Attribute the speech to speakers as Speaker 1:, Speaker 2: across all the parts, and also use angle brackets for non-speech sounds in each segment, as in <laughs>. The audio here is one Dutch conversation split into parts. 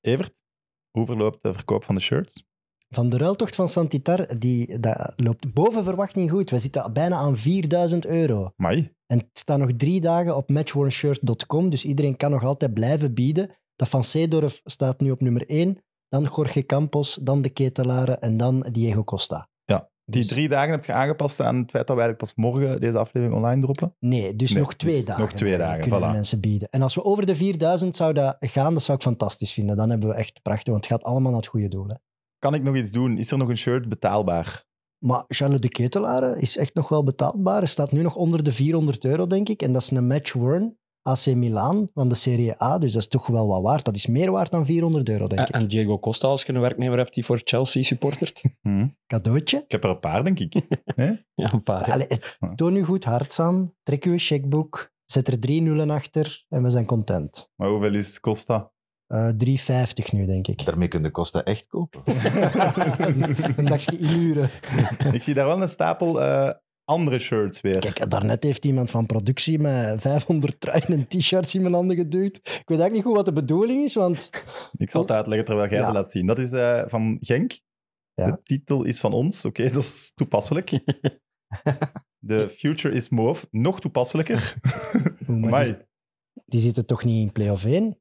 Speaker 1: Evert, hoe verloopt de verkoop van de shirts?
Speaker 2: Van de ruiltocht van Santitar, die dat loopt boven verwachting goed. We zitten bijna aan 4000 euro.
Speaker 1: Mai,
Speaker 2: En het staat nog drie dagen op matchwornshirt.com, dus iedereen kan nog altijd blijven bieden. Dat van Seedorf staat nu op nummer 1, dan Jorge Campos, dan de Ketelaren en dan Diego Costa.
Speaker 1: die
Speaker 2: Dus-
Speaker 1: drie dagen heb je aangepast aan het feit dat wij eigenlijk pas morgen deze aflevering online droppen.
Speaker 2: Nee, dus
Speaker 1: Nee,
Speaker 2: nog twee
Speaker 1: dus
Speaker 2: dagen. eh,
Speaker 1: nog twee dagen,
Speaker 2: kunnen de
Speaker 1: voilà.
Speaker 2: mensen bieden. En als we over de 4000 zouden gaan, dat zou ik fantastisch vinden. Dan hebben we echt prachtig, want het gaat allemaal naar het goede doel. Hè.
Speaker 1: Kan ik nog iets doen? Is er nog een shirt betaalbaar?
Speaker 2: Maar Charles de Ketelare is echt nog wel betaalbaar. Hij staat nu nog onder de 400 euro, denk ik. En dat is een match worn AC Milan van de Serie A. Dus dat is toch wel wat waard. Dat is meer waard dan 400 euro, denk
Speaker 3: En,
Speaker 2: ik.
Speaker 3: Eh, en Diego Costa, als je een werknemer hebt die voor Chelsea supportert. <laughs>
Speaker 1: Hm.
Speaker 2: Hmm. Cadeautje.
Speaker 1: Ik heb er een paar, denk ik.
Speaker 2: <laughs>
Speaker 3: ja, een paar. hè.
Speaker 2: Allee, het- toon nu goed hart aan. Trek uw checkboek. Zet er drie nullen achter en we zijn content.
Speaker 1: Maar hoeveel is Costa?
Speaker 2: Eh 3,50 nu, denk <laughs> ik.
Speaker 4: Daarmee kunnen de kosten echt kopen.
Speaker 2: een dagje uren.
Speaker 1: ik zie daar wel een stapel eh, andere shirts weer.
Speaker 2: Kijk, daarnet heeft iemand van productie me 500 truien en t-shirts in mijn handen geduwd. Ik weet eigenlijk niet goed wat de bedoeling is, want
Speaker 1: Ik zal het uitleggen terwijl jij
Speaker 2: Ja.
Speaker 1: ze laat zien. Dat is eh, van Genk.
Speaker 2: Ja.
Speaker 1: De titel is van ons. Oké, <laughs> dat is
Speaker 2: <laughs>
Speaker 1: toepasselijk. De Future is Move. Nog toepasselijker.
Speaker 2: Oeh, maar die,
Speaker 1: Amai.
Speaker 2: die zitten toch niet in play-off 1?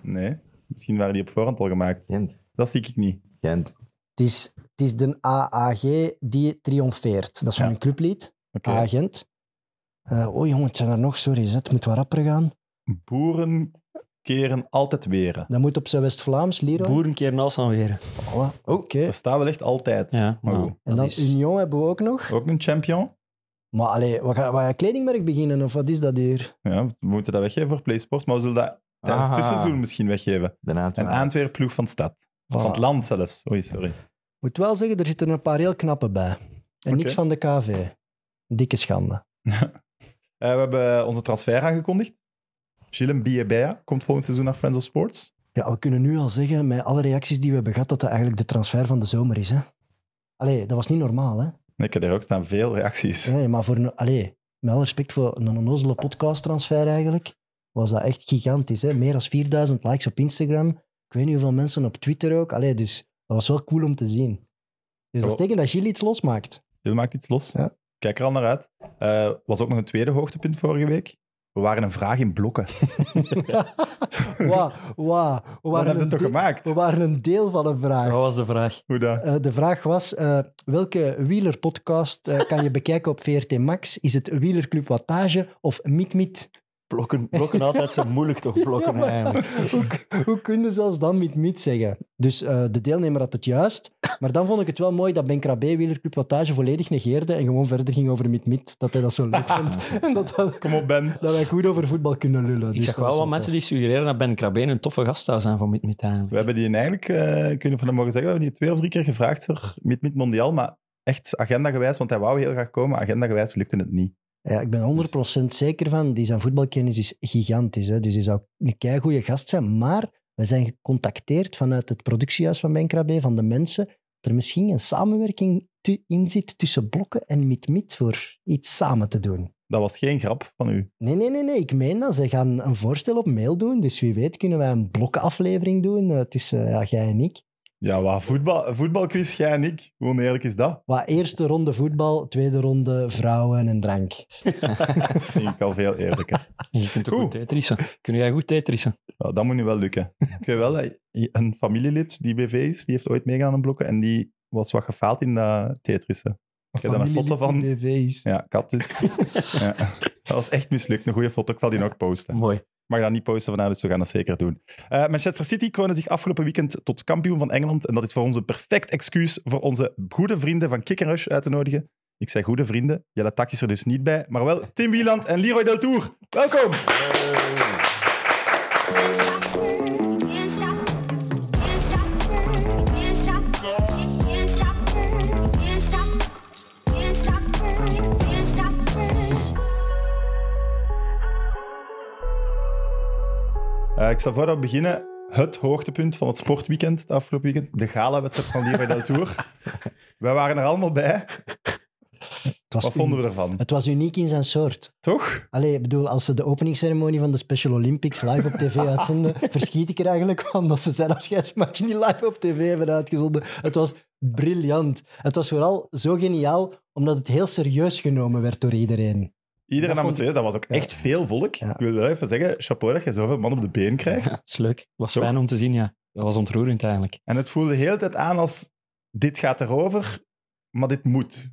Speaker 1: Nee, misschien waren die op voorhand al gemaakt.
Speaker 4: Gent.
Speaker 1: Dat zie ik niet.
Speaker 4: Gent.
Speaker 2: Het is, het is de AAG die triomfeert. Dat is van
Speaker 1: Ja.
Speaker 2: een clublied,
Speaker 1: Oké.
Speaker 2: Agent. Eh oh jongen, het zijn er nog, sorry, hè. het moet wat rapper gaan.
Speaker 1: Boeren keren altijd weren.
Speaker 2: Dat moet op zijn West-Vlaams, Leroy.
Speaker 3: Boer een keer naast aan weer.
Speaker 2: Voilà, Oké.
Speaker 1: Dat staat wel echt altijd.
Speaker 3: Ja,
Speaker 1: Maar
Speaker 3: nou,
Speaker 1: goed.
Speaker 2: En dan
Speaker 3: dat is-
Speaker 2: Union hebben we ook nog.
Speaker 1: Ook een champion.
Speaker 2: Maar allee, we gaan, we gaan kledingmerk beginnen, of wat is dat hier?
Speaker 1: Ja, we moeten dat weggeven voor PlaySports, maar we zullen dat tijdens het
Speaker 4: Aha.
Speaker 1: tussenseizoen misschien weggeven.
Speaker 4: Ah, De
Speaker 1: Een
Speaker 4: Antwerpen.
Speaker 1: Antwerp ploeg van de stad. Van het
Speaker 2: Voilà.
Speaker 1: land zelfs. Oei, sorry.
Speaker 2: Ik moet wel zeggen, er zitten een paar heel knappe bij. En niks
Speaker 1: Oké.
Speaker 2: van de KV. Dikke schande.
Speaker 1: Eh, we hebben onze transfer aangekondigd. Gilles Biebea komt volgend seizoen naar Friends of Sports.
Speaker 2: Ja, we kunnen nu al zeggen, met alle reacties die we hebben gehad, dat dat eigenlijk de transfer van de zomer is. Hè? Allee, dat was niet normaal, hè?
Speaker 1: Nee, Ik heb daar ook staan veel reacties.
Speaker 2: Nee, maar voor een, allee, met alle respect voor een onnozele podcasttransfer eigenlijk, was dat echt gigantisch. Hè? Meer dan 4000 likes op Instagram. Ik weet niet hoeveel mensen op Twitter ook. Allee, dus dat was wel cool om te zien. Dus dat is
Speaker 1: Oh.
Speaker 2: teken dat Gilles iets
Speaker 1: <laughs>
Speaker 2: losmaakt.
Speaker 1: Gilles maakt iets los.
Speaker 2: Ja.
Speaker 1: Kijk er al naar uit. Eh, was ook nog een tweede hoogtepunt vorige week. We waren een vraag in blokken.
Speaker 2: Wauw, wauw. We
Speaker 1: Wat
Speaker 2: waren
Speaker 1: hebben
Speaker 2: een
Speaker 1: we toch
Speaker 2: deel-
Speaker 1: gemaakt?
Speaker 2: We waren een deel van een vraag.
Speaker 3: Wat was de vraag?
Speaker 1: Hoe dat?
Speaker 2: Eh, de vraag was, eh, welke wielerpodcast eh, kan je bekijken op VRT Max? Is het Wielerclub Wattage of Miet Miet?
Speaker 3: Blokken, blokken altijd zo moeilijk toch? Blokken
Speaker 2: Ja, maar-
Speaker 3: eigenlijk.
Speaker 2: Hoe, hoe kun je zelfs dan Miet Miet zeggen? Dus eh, de deelnemer had het juist. Maar dan vond ik het wel mooi dat Ben Krabbe Wielerclub Wattage volledig negeerde en gewoon verder ging over Miet Miet. Dat hij dat zo leuk
Speaker 1: <laughs>
Speaker 2: vond. en dat, dat,
Speaker 1: Kom op, Ben.
Speaker 2: dat wij goed over voetbal kunnen lullen.
Speaker 3: Ik
Speaker 2: Dus
Speaker 3: zag
Speaker 2: dat was
Speaker 3: wel wat mensen
Speaker 2: tof.
Speaker 3: die suggereren dat Ben Krabbe een toffe gast zou zijn voor Mit Mit
Speaker 1: We
Speaker 3: eigenlijk.
Speaker 1: hebben die eigenlijk, eh kunnen van hem mogen zeggen, we hebben die twee of drie keer gevraagd voor Meet Meet Mondial, maar echt agendagewijs, want hij wou heel graag komen, agendagewijs lukte het niet.
Speaker 2: Ja, ik ben 100% zeker van, die zijn voetbalkennis is gigantisch. Hè? Dus die zou een keigoede gast zijn. Maar we zijn gecontacteerd vanuit het productiehuis van Benkrabé, van de mensen, dat er misschien een samenwerking tu- in zit tussen Blokken en Mit-Mit voor iets samen te doen.
Speaker 1: Dat was geen grap van u.
Speaker 2: Nee, nee, nee, nee. Ik meen dat. Ze gaan een voorstel op mail doen. Dus wie weet kunnen wij een blokkenaflevering doen eh, tussen ja, jij en ik.
Speaker 1: Ja, wat voetbal, voetbalquiz, jij en ik. Hoe oneerlijk is dat?
Speaker 2: Wat eerste ronde voetbal, tweede ronde vrouwen en drank.
Speaker 1: Vind ik al veel eerlijker. <laughs>
Speaker 3: En je kunt ook
Speaker 1: Oeh.
Speaker 3: goed titrissen. Kun jij goed titrissen?
Speaker 1: Nou, dat moet nu wel lukken. Ik weet wel dat een familielid die BV is, die heeft ooit meegedaan aan blokken en die was wat gefaald in de Tetrissen. Ik heb daar een foto van. Ja, kat dus. ja. Dat was echt mislukt. Een goede foto. Ik zal die nog posten.
Speaker 3: Mooi.
Speaker 1: mag dat niet posten vandaag, dus we gaan dat zeker doen. Eh, Manchester City kroonde zich afgelopen weekend tot kampioen van Engeland. En dat is voor ons een perfect excuus voor onze goede vrienden van Kick Rush uit te nodigen. Ik zei goede vrienden, Jelle Tak is er dus niet bij, maar wel Tim Wieland en Leroy Del Tour. Welkom!
Speaker 5: Can't stop, can't stop, can't stop, can't stop, can't stop, can't stop, can't stop, can't stop.
Speaker 1: Eh, ik stel voor dat we beginnen. Het hoogtepunt van het sportweekend, het afgelopen
Speaker 2: <laughs>
Speaker 1: weekend. De gala-wedstrijd van Leroy Del Tour. Wij waren er allemaal bij.
Speaker 2: was
Speaker 1: Wat vonden we ervan?
Speaker 2: Het was uniek in zijn soort.
Speaker 1: Toch?
Speaker 2: Allee, ik bedoel, als ze de openingsceremonie van de Special Olympics live op tv
Speaker 1: <laughs>
Speaker 2: uitzenden, verschiet ik er eigenlijk van dat ze zijn afscheidsmatch niet live op tv hebben uitgezonden. Het was briljant. Het was vooral zo geniaal, omdat het heel serieus genomen werd door iedereen.
Speaker 1: Iedereen
Speaker 2: Dat
Speaker 1: nam het
Speaker 2: vond
Speaker 1: serieus. Dat was ook
Speaker 2: Ja.
Speaker 1: echt veel volk.
Speaker 2: Ja.
Speaker 1: Ik wil wel even zeggen, chapeau dat je zoveel man op de been krijgt.
Speaker 3: Ja, dat is leuk. Was
Speaker 1: Toch?
Speaker 3: fijn om te zien, ja. Dat was ontroerend eigenlijk.
Speaker 1: En het voelde heel de tijd aan als, dit gaat erover, maar dit moet.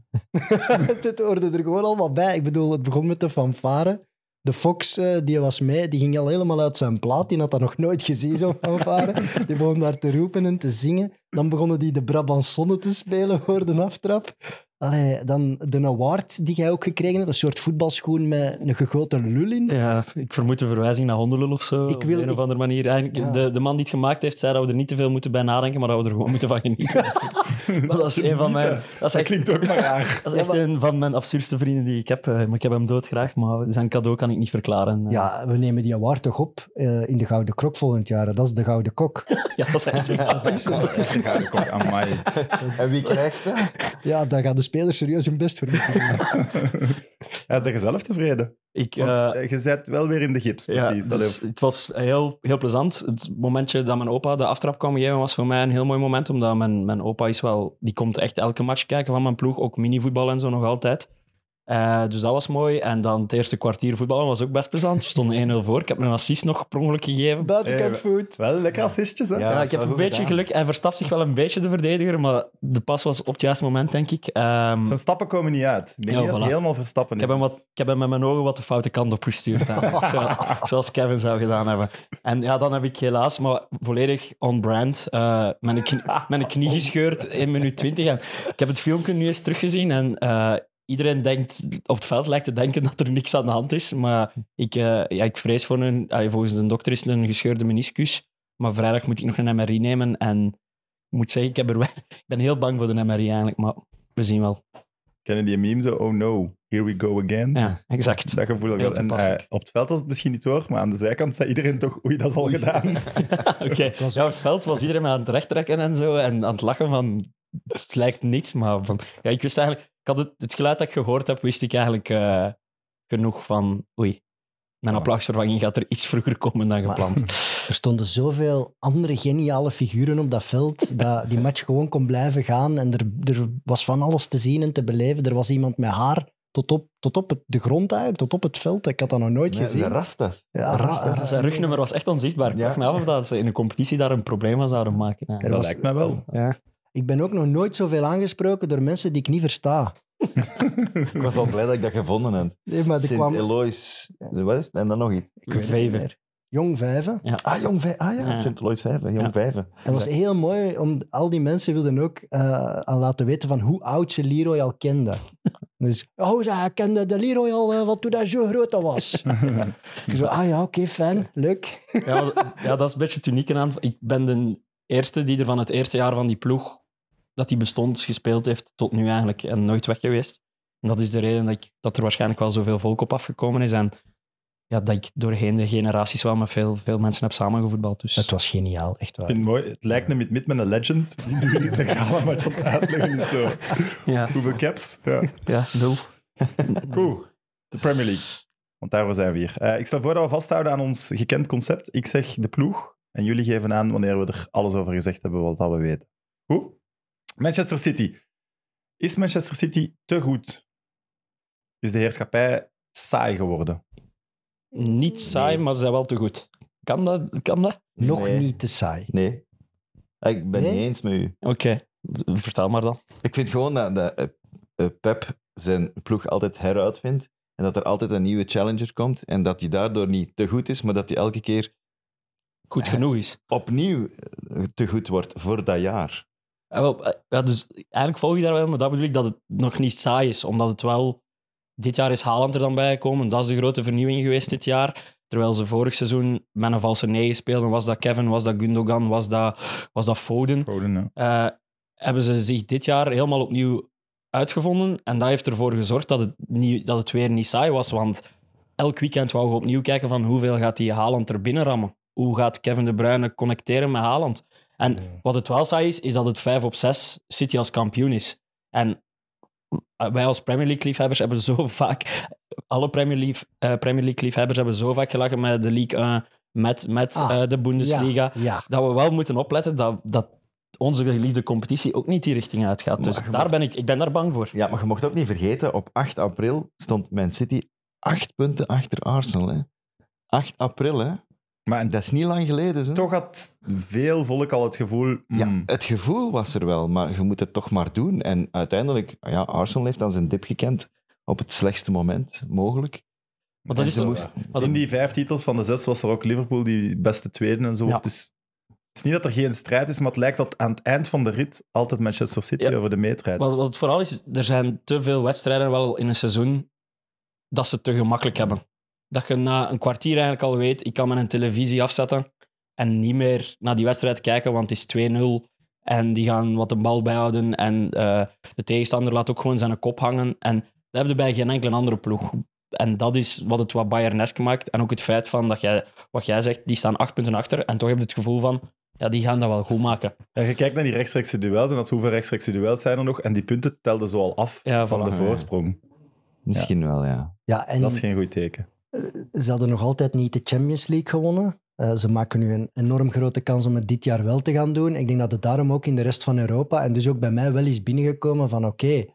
Speaker 2: Dit hoorde er gewoon allemaal bij. Ik bedoel, het begon met de fanfare. De Fox, eh, die was mee, die ging al helemaal uit zijn plaat. Die had dat nog nooit gezien, zo'n <laughs> fanfare. Die begon daar te roepen en te zingen. Dan begonnen die de Brabantsonne te spelen voor de aftrap. Allee, dan de award die jij ook gekregen hebt. Een soort voetbalschoen met een gegoten lul in.
Speaker 3: Ja, ik vermoed een verwijzing naar hondenlul of zo.
Speaker 2: Ik
Speaker 3: op
Speaker 2: wil-
Speaker 3: een
Speaker 2: ik-
Speaker 3: of andere manier. Eigenlijk,
Speaker 2: Ja.
Speaker 3: de, de man die het gemaakt heeft, zei dat we er niet te veel moeten bij nadenken, maar dat we er gewoon moeten van genieten. Maar dat is een van mijn... Dat is
Speaker 1: Dat
Speaker 3: echt,
Speaker 1: klinkt ook maar raar.
Speaker 3: dat is echt
Speaker 2: Ja,
Speaker 3: een van mijn absurdste vrienden die ik heb. eh, Maar ik heb hem doodgraag, maar zijn cadeau kan ik niet verklaren. Eh,
Speaker 2: Ja, we nemen die award toch op eh, in de Gouden Krok volgend jaar. Dat is de Gouden Kok.
Speaker 3: <laughs> ja, dat is echt een cadeau.
Speaker 1: Ja, ik ook, amai.
Speaker 4: <laughs> En wie krijgt dat?
Speaker 2: Ja, daar gaan de spelers serieus hun best voor moeten doen.
Speaker 1: Ja, zeg je zelf tevreden?
Speaker 3: <laughs> Ik, eh,
Speaker 1: Want eh, je zit wel weer in de gips,
Speaker 3: Ja,
Speaker 1: precies. Allee,
Speaker 3: dus het was heel, heel plezant. Het momentje dat mijn opa de aftrap kwam geven was voor mij een heel mooi moment, omdat mijn, mijn opa is wel... Die komt echt elke match kijken van mijn ploeg, ook minivoetbal en zo nog altijd. Eh, dus dat was mooi. En dan het eerste kwartier voetballen was ook best plezant. We stonden 1-0 voor. Ik heb een assist nog per ongeluk gegeven.
Speaker 2: Buitenkant voet.
Speaker 1: Wel lekker assistjes, hè?
Speaker 4: Ja.
Speaker 3: Ja,
Speaker 4: dat
Speaker 3: ik
Speaker 4: is
Speaker 3: heb
Speaker 4: wel
Speaker 3: een
Speaker 4: goed
Speaker 3: beetje
Speaker 4: gedaan.
Speaker 3: geluk. Hij verstapt zich wel een beetje de verdediger, maar de pas was op het juiste moment, denk ik. Ehm,
Speaker 1: Zijn stappen komen niet uit. Ik denk
Speaker 3: Ja,
Speaker 1: niet dat
Speaker 3: voilà.
Speaker 1: hij helemaal verstappen
Speaker 3: Ik
Speaker 1: is.
Speaker 3: heb, hem wat, ik heb hem met mijn ogen wat de foute kant op gestuurd. eigenlijk. Zo, zoals Kevin zou gedaan hebben. En ja, dan heb ik helaas, maar volledig on-brand, eh, mijn, knie, mijn knie gescheurd in minuut 20. En ik heb het filmpje nu eens teruggezien en eh, iedereen denkt, op het veld lijkt te denken dat er niks aan de hand is. Maar ik, eh, ja, ik vrees voor een, allee, volgens de dokter is het een gescheurde meniscus. Maar vrijdag moet ik nog een MRI nemen en ik moet zeggen, ik, heb er, wel- ik ben heel bang voor de MRI eigenlijk, maar we zien wel.
Speaker 1: Kennen die meme zo? Oh no, here we go again.
Speaker 3: Ja, exact.
Speaker 1: Dat gevoel.
Speaker 3: Heel
Speaker 1: wel. En
Speaker 3: toepasselijk.
Speaker 1: eh, op het veld was het misschien niet hoor, maar aan de zijkant zei iedereen toch, oei, dat is al gedaan.
Speaker 3: Oké,
Speaker 2: <laughs>
Speaker 3: ja, op het veld was iedereen mij aan het rechttrekken en zo. En aan het lachen van, het lijkt niets. Maar van, ja, ik wist eigenlijk, ik had het, het geluid dat ik gehoord heb, wist ik eigenlijk eh, genoeg van, oei, mijn
Speaker 1: Ja.
Speaker 3: applausvervanging gaat er iets vroeger komen dan
Speaker 2: Maar-
Speaker 3: gepland.
Speaker 2: <laughs> Er stonden zoveel andere geniale figuren op dat veld, dat die match gewoon kon blijven gaan. En er, er was van alles te zien en te beleven. Er was iemand met haar tot op, tot op het, de grond eigenlijk, tot op het veld. Ik had dat nog nooit
Speaker 4: Nee,
Speaker 2: gezien.
Speaker 4: de Rastas.
Speaker 2: ja, ra- ra-
Speaker 3: Dus Zijn rugnummer was echt onzichtbaar. Ik
Speaker 4: Ja.
Speaker 3: vraag me af of dat ze in een competitie daar een probleem aan zouden maken.
Speaker 2: Er
Speaker 3: Ja.
Speaker 1: dat
Speaker 2: was-
Speaker 1: lijkt mij wel.
Speaker 3: Ja.
Speaker 2: Ik ben ook nog nooit zoveel aangesproken door mensen die ik niet versta.
Speaker 4: Ik was al blij dat ik dat gevonden heb.
Speaker 2: Nee, maar er
Speaker 4: Sint
Speaker 2: kwam
Speaker 4: Elois. Wat is het? En dan nog iets.
Speaker 2: weet het niet meer. Jong Vijven.
Speaker 4: Ah, Jong Vijven. Ah ja,
Speaker 3: Ja.
Speaker 4: Sint Elois Vijven. Jong
Speaker 3: Ja.
Speaker 4: Vijven.
Speaker 2: Het was heel mooi, om, al die mensen wilden ook eh, aan laten weten van hoe oud ze Leroy al kende. <laughs> Dus, oh, ze hij kende de Leroy al eh, wat toen hij zo groot al <laughs> was. Ik zo, ah ja, oké, fijn, leuk.
Speaker 3: Ja, want- ja, dat is een beetje het unieke aan. Ik ben de eerste die er van het eerste jaar van die ploeg, dat die bestond, gespeeld heeft tot nu eigenlijk en nooit weg geweest. En dat is de reden dat, ik, dat er waarschijnlijk wel zoveel volk op afgekomen is. En ja, dat ik doorheen de generaties wel met veel, veel mensen heb samengevoetbald. Dus
Speaker 2: Het was geniaal, echt
Speaker 1: Ik
Speaker 2: waar.
Speaker 1: vind het mooi. Het lijkt een mid met een legend. Die nu zijn gala match aan het uitleggen is zo.
Speaker 3: ja,
Speaker 1: Hoeveel caps? Ja.
Speaker 3: ja nul.
Speaker 1: Goed. De Premier League. Want daarvoor zijn we hier. Eh, ik stel voor dat we vasthouden aan ons gekend concept. Ik zeg de ploeg. En jullie geven aan wanneer we er alles over gezegd hebben wat dat we weten. Goed. Manchester City. Is Manchester City te goed? Is de heerschappij saai geworden?
Speaker 3: Niet saai,
Speaker 4: Nee.
Speaker 3: maar ze zijn wel te goed. Kan dat? Kan dat?
Speaker 2: Nog
Speaker 4: Nee.
Speaker 2: niet te saai.
Speaker 4: Nee. Ah, Ik ben
Speaker 2: Nee?
Speaker 4: niet eens met u.
Speaker 3: Oké, vertel maar dan.
Speaker 4: Ik vind gewoon dat, dat eh, eh, Pep zijn ploeg altijd heruitvindt. En dat er altijd een nieuwe challenger komt. En dat hij daardoor niet te goed is, maar dat hij elke keer
Speaker 3: Goed genoeg is.
Speaker 4: opnieuw eh, te goed wordt voor dat jaar.
Speaker 3: Ja, wel, eh, ja, dus eigenlijk volg je daar wel, maar dat bedoel ik dat het nog niet saai is. Omdat het wel... Dit jaar is Haaland er dan bijgekomen. Dat is de grote vernieuwing geweest dit jaar. Terwijl ze vorig seizoen met een valse negen speelden. Was dat Kevin, was dat Gundogan, was dat, was dat Foden.
Speaker 1: Foden, ja.
Speaker 3: Eh, hebben ze zich dit jaar helemaal opnieuw uitgevonden. En dat heeft ervoor gezorgd dat het, niet, dat het weer niet saai was. Want elk weekend wou je opnieuw kijken van hoeveel gaat die Haaland er binnen rammen. Hoe gaat Kevin De Bruyne connecteren met Haaland? En wat het wel saai is, is dat het 5 op 6 City als kampioen is. En wij als Premier League liefhebbers hebben zo <laughs> vaak, alle Premier League, eh, Premier League liefhebbers hebben zo vaak gelachen met de League 1, met, met
Speaker 2: Ah,
Speaker 3: eh, de Bundesliga,
Speaker 2: Ja, ja.
Speaker 3: dat we wel moeten opletten dat, dat onze geliefde competitie ook niet die richting uitgaat. Dus
Speaker 4: Maar je
Speaker 3: daar
Speaker 4: mag-
Speaker 3: ben ik, ik ben daar bang voor.
Speaker 4: Ja, maar je mocht ook niet vergeten, op 8 april stond Man City acht punten achter Arsenal. Hè. 8 april, hè.
Speaker 1: Maar en
Speaker 4: Dat is niet lang geleden. Hè.
Speaker 1: toch had veel volk al het gevoel... mm,
Speaker 4: Ja, het gevoel was er wel, maar je moet het toch maar doen. En uiteindelijk, ja, Arsenal heeft dan zijn dip gekend op het slechtste moment mogelijk.
Speaker 3: Maar dat
Speaker 4: En
Speaker 3: is
Speaker 4: ze
Speaker 3: toch-
Speaker 4: moest-
Speaker 3: Maar
Speaker 1: In die vijf titels van de zes was er ook Liverpool die beste tweede en zo.
Speaker 3: Ja.
Speaker 1: Dus het is niet dat er geen strijd is, maar het lijkt dat aan het eind van de rit altijd Manchester City
Speaker 3: Ja.
Speaker 1: over de meet rijdt.
Speaker 3: Wat, wat het vooral is, er zijn te veel wedstrijden wel in een seizoen dat ze het te gemakkelijk hebben. Dat je na een kwartier eigenlijk al weet, ik kan mijn televisie afzetten en niet meer naar die wedstrijd kijken, want het is 2-0 en die gaan wat de bal bijhouden en eh, de tegenstander laat ook gewoon zijn kop hangen. En dat heb je bij geen enkele andere ploeg. En dat is wat het wat Bayernesk maakt. En ook het feit van dat jij, wat jij zegt, die staan acht punten achter en toch heb je het gevoel van, ja, die gaan dat wel goed maken.
Speaker 1: Ja, je kijkt naar die rechtstreekse duels en dat is hoeveel rechtstreekse duels zijn er nog. En die punten telden zo al af
Speaker 3: Ja,
Speaker 1: van
Speaker 3: voilà.
Speaker 1: de voorsprong.
Speaker 4: Misschien wel, ja.
Speaker 2: ja en
Speaker 1: Dat is geen goed teken.
Speaker 2: Eh, ze hadden nog altijd niet de Champions League gewonnen. Eh, ze maken nu een enorm grote kans om het dit jaar wel te gaan doen. Ik denk dat het daarom ook in de rest van Europa en dus ook bij mij wel is binnengekomen van oké,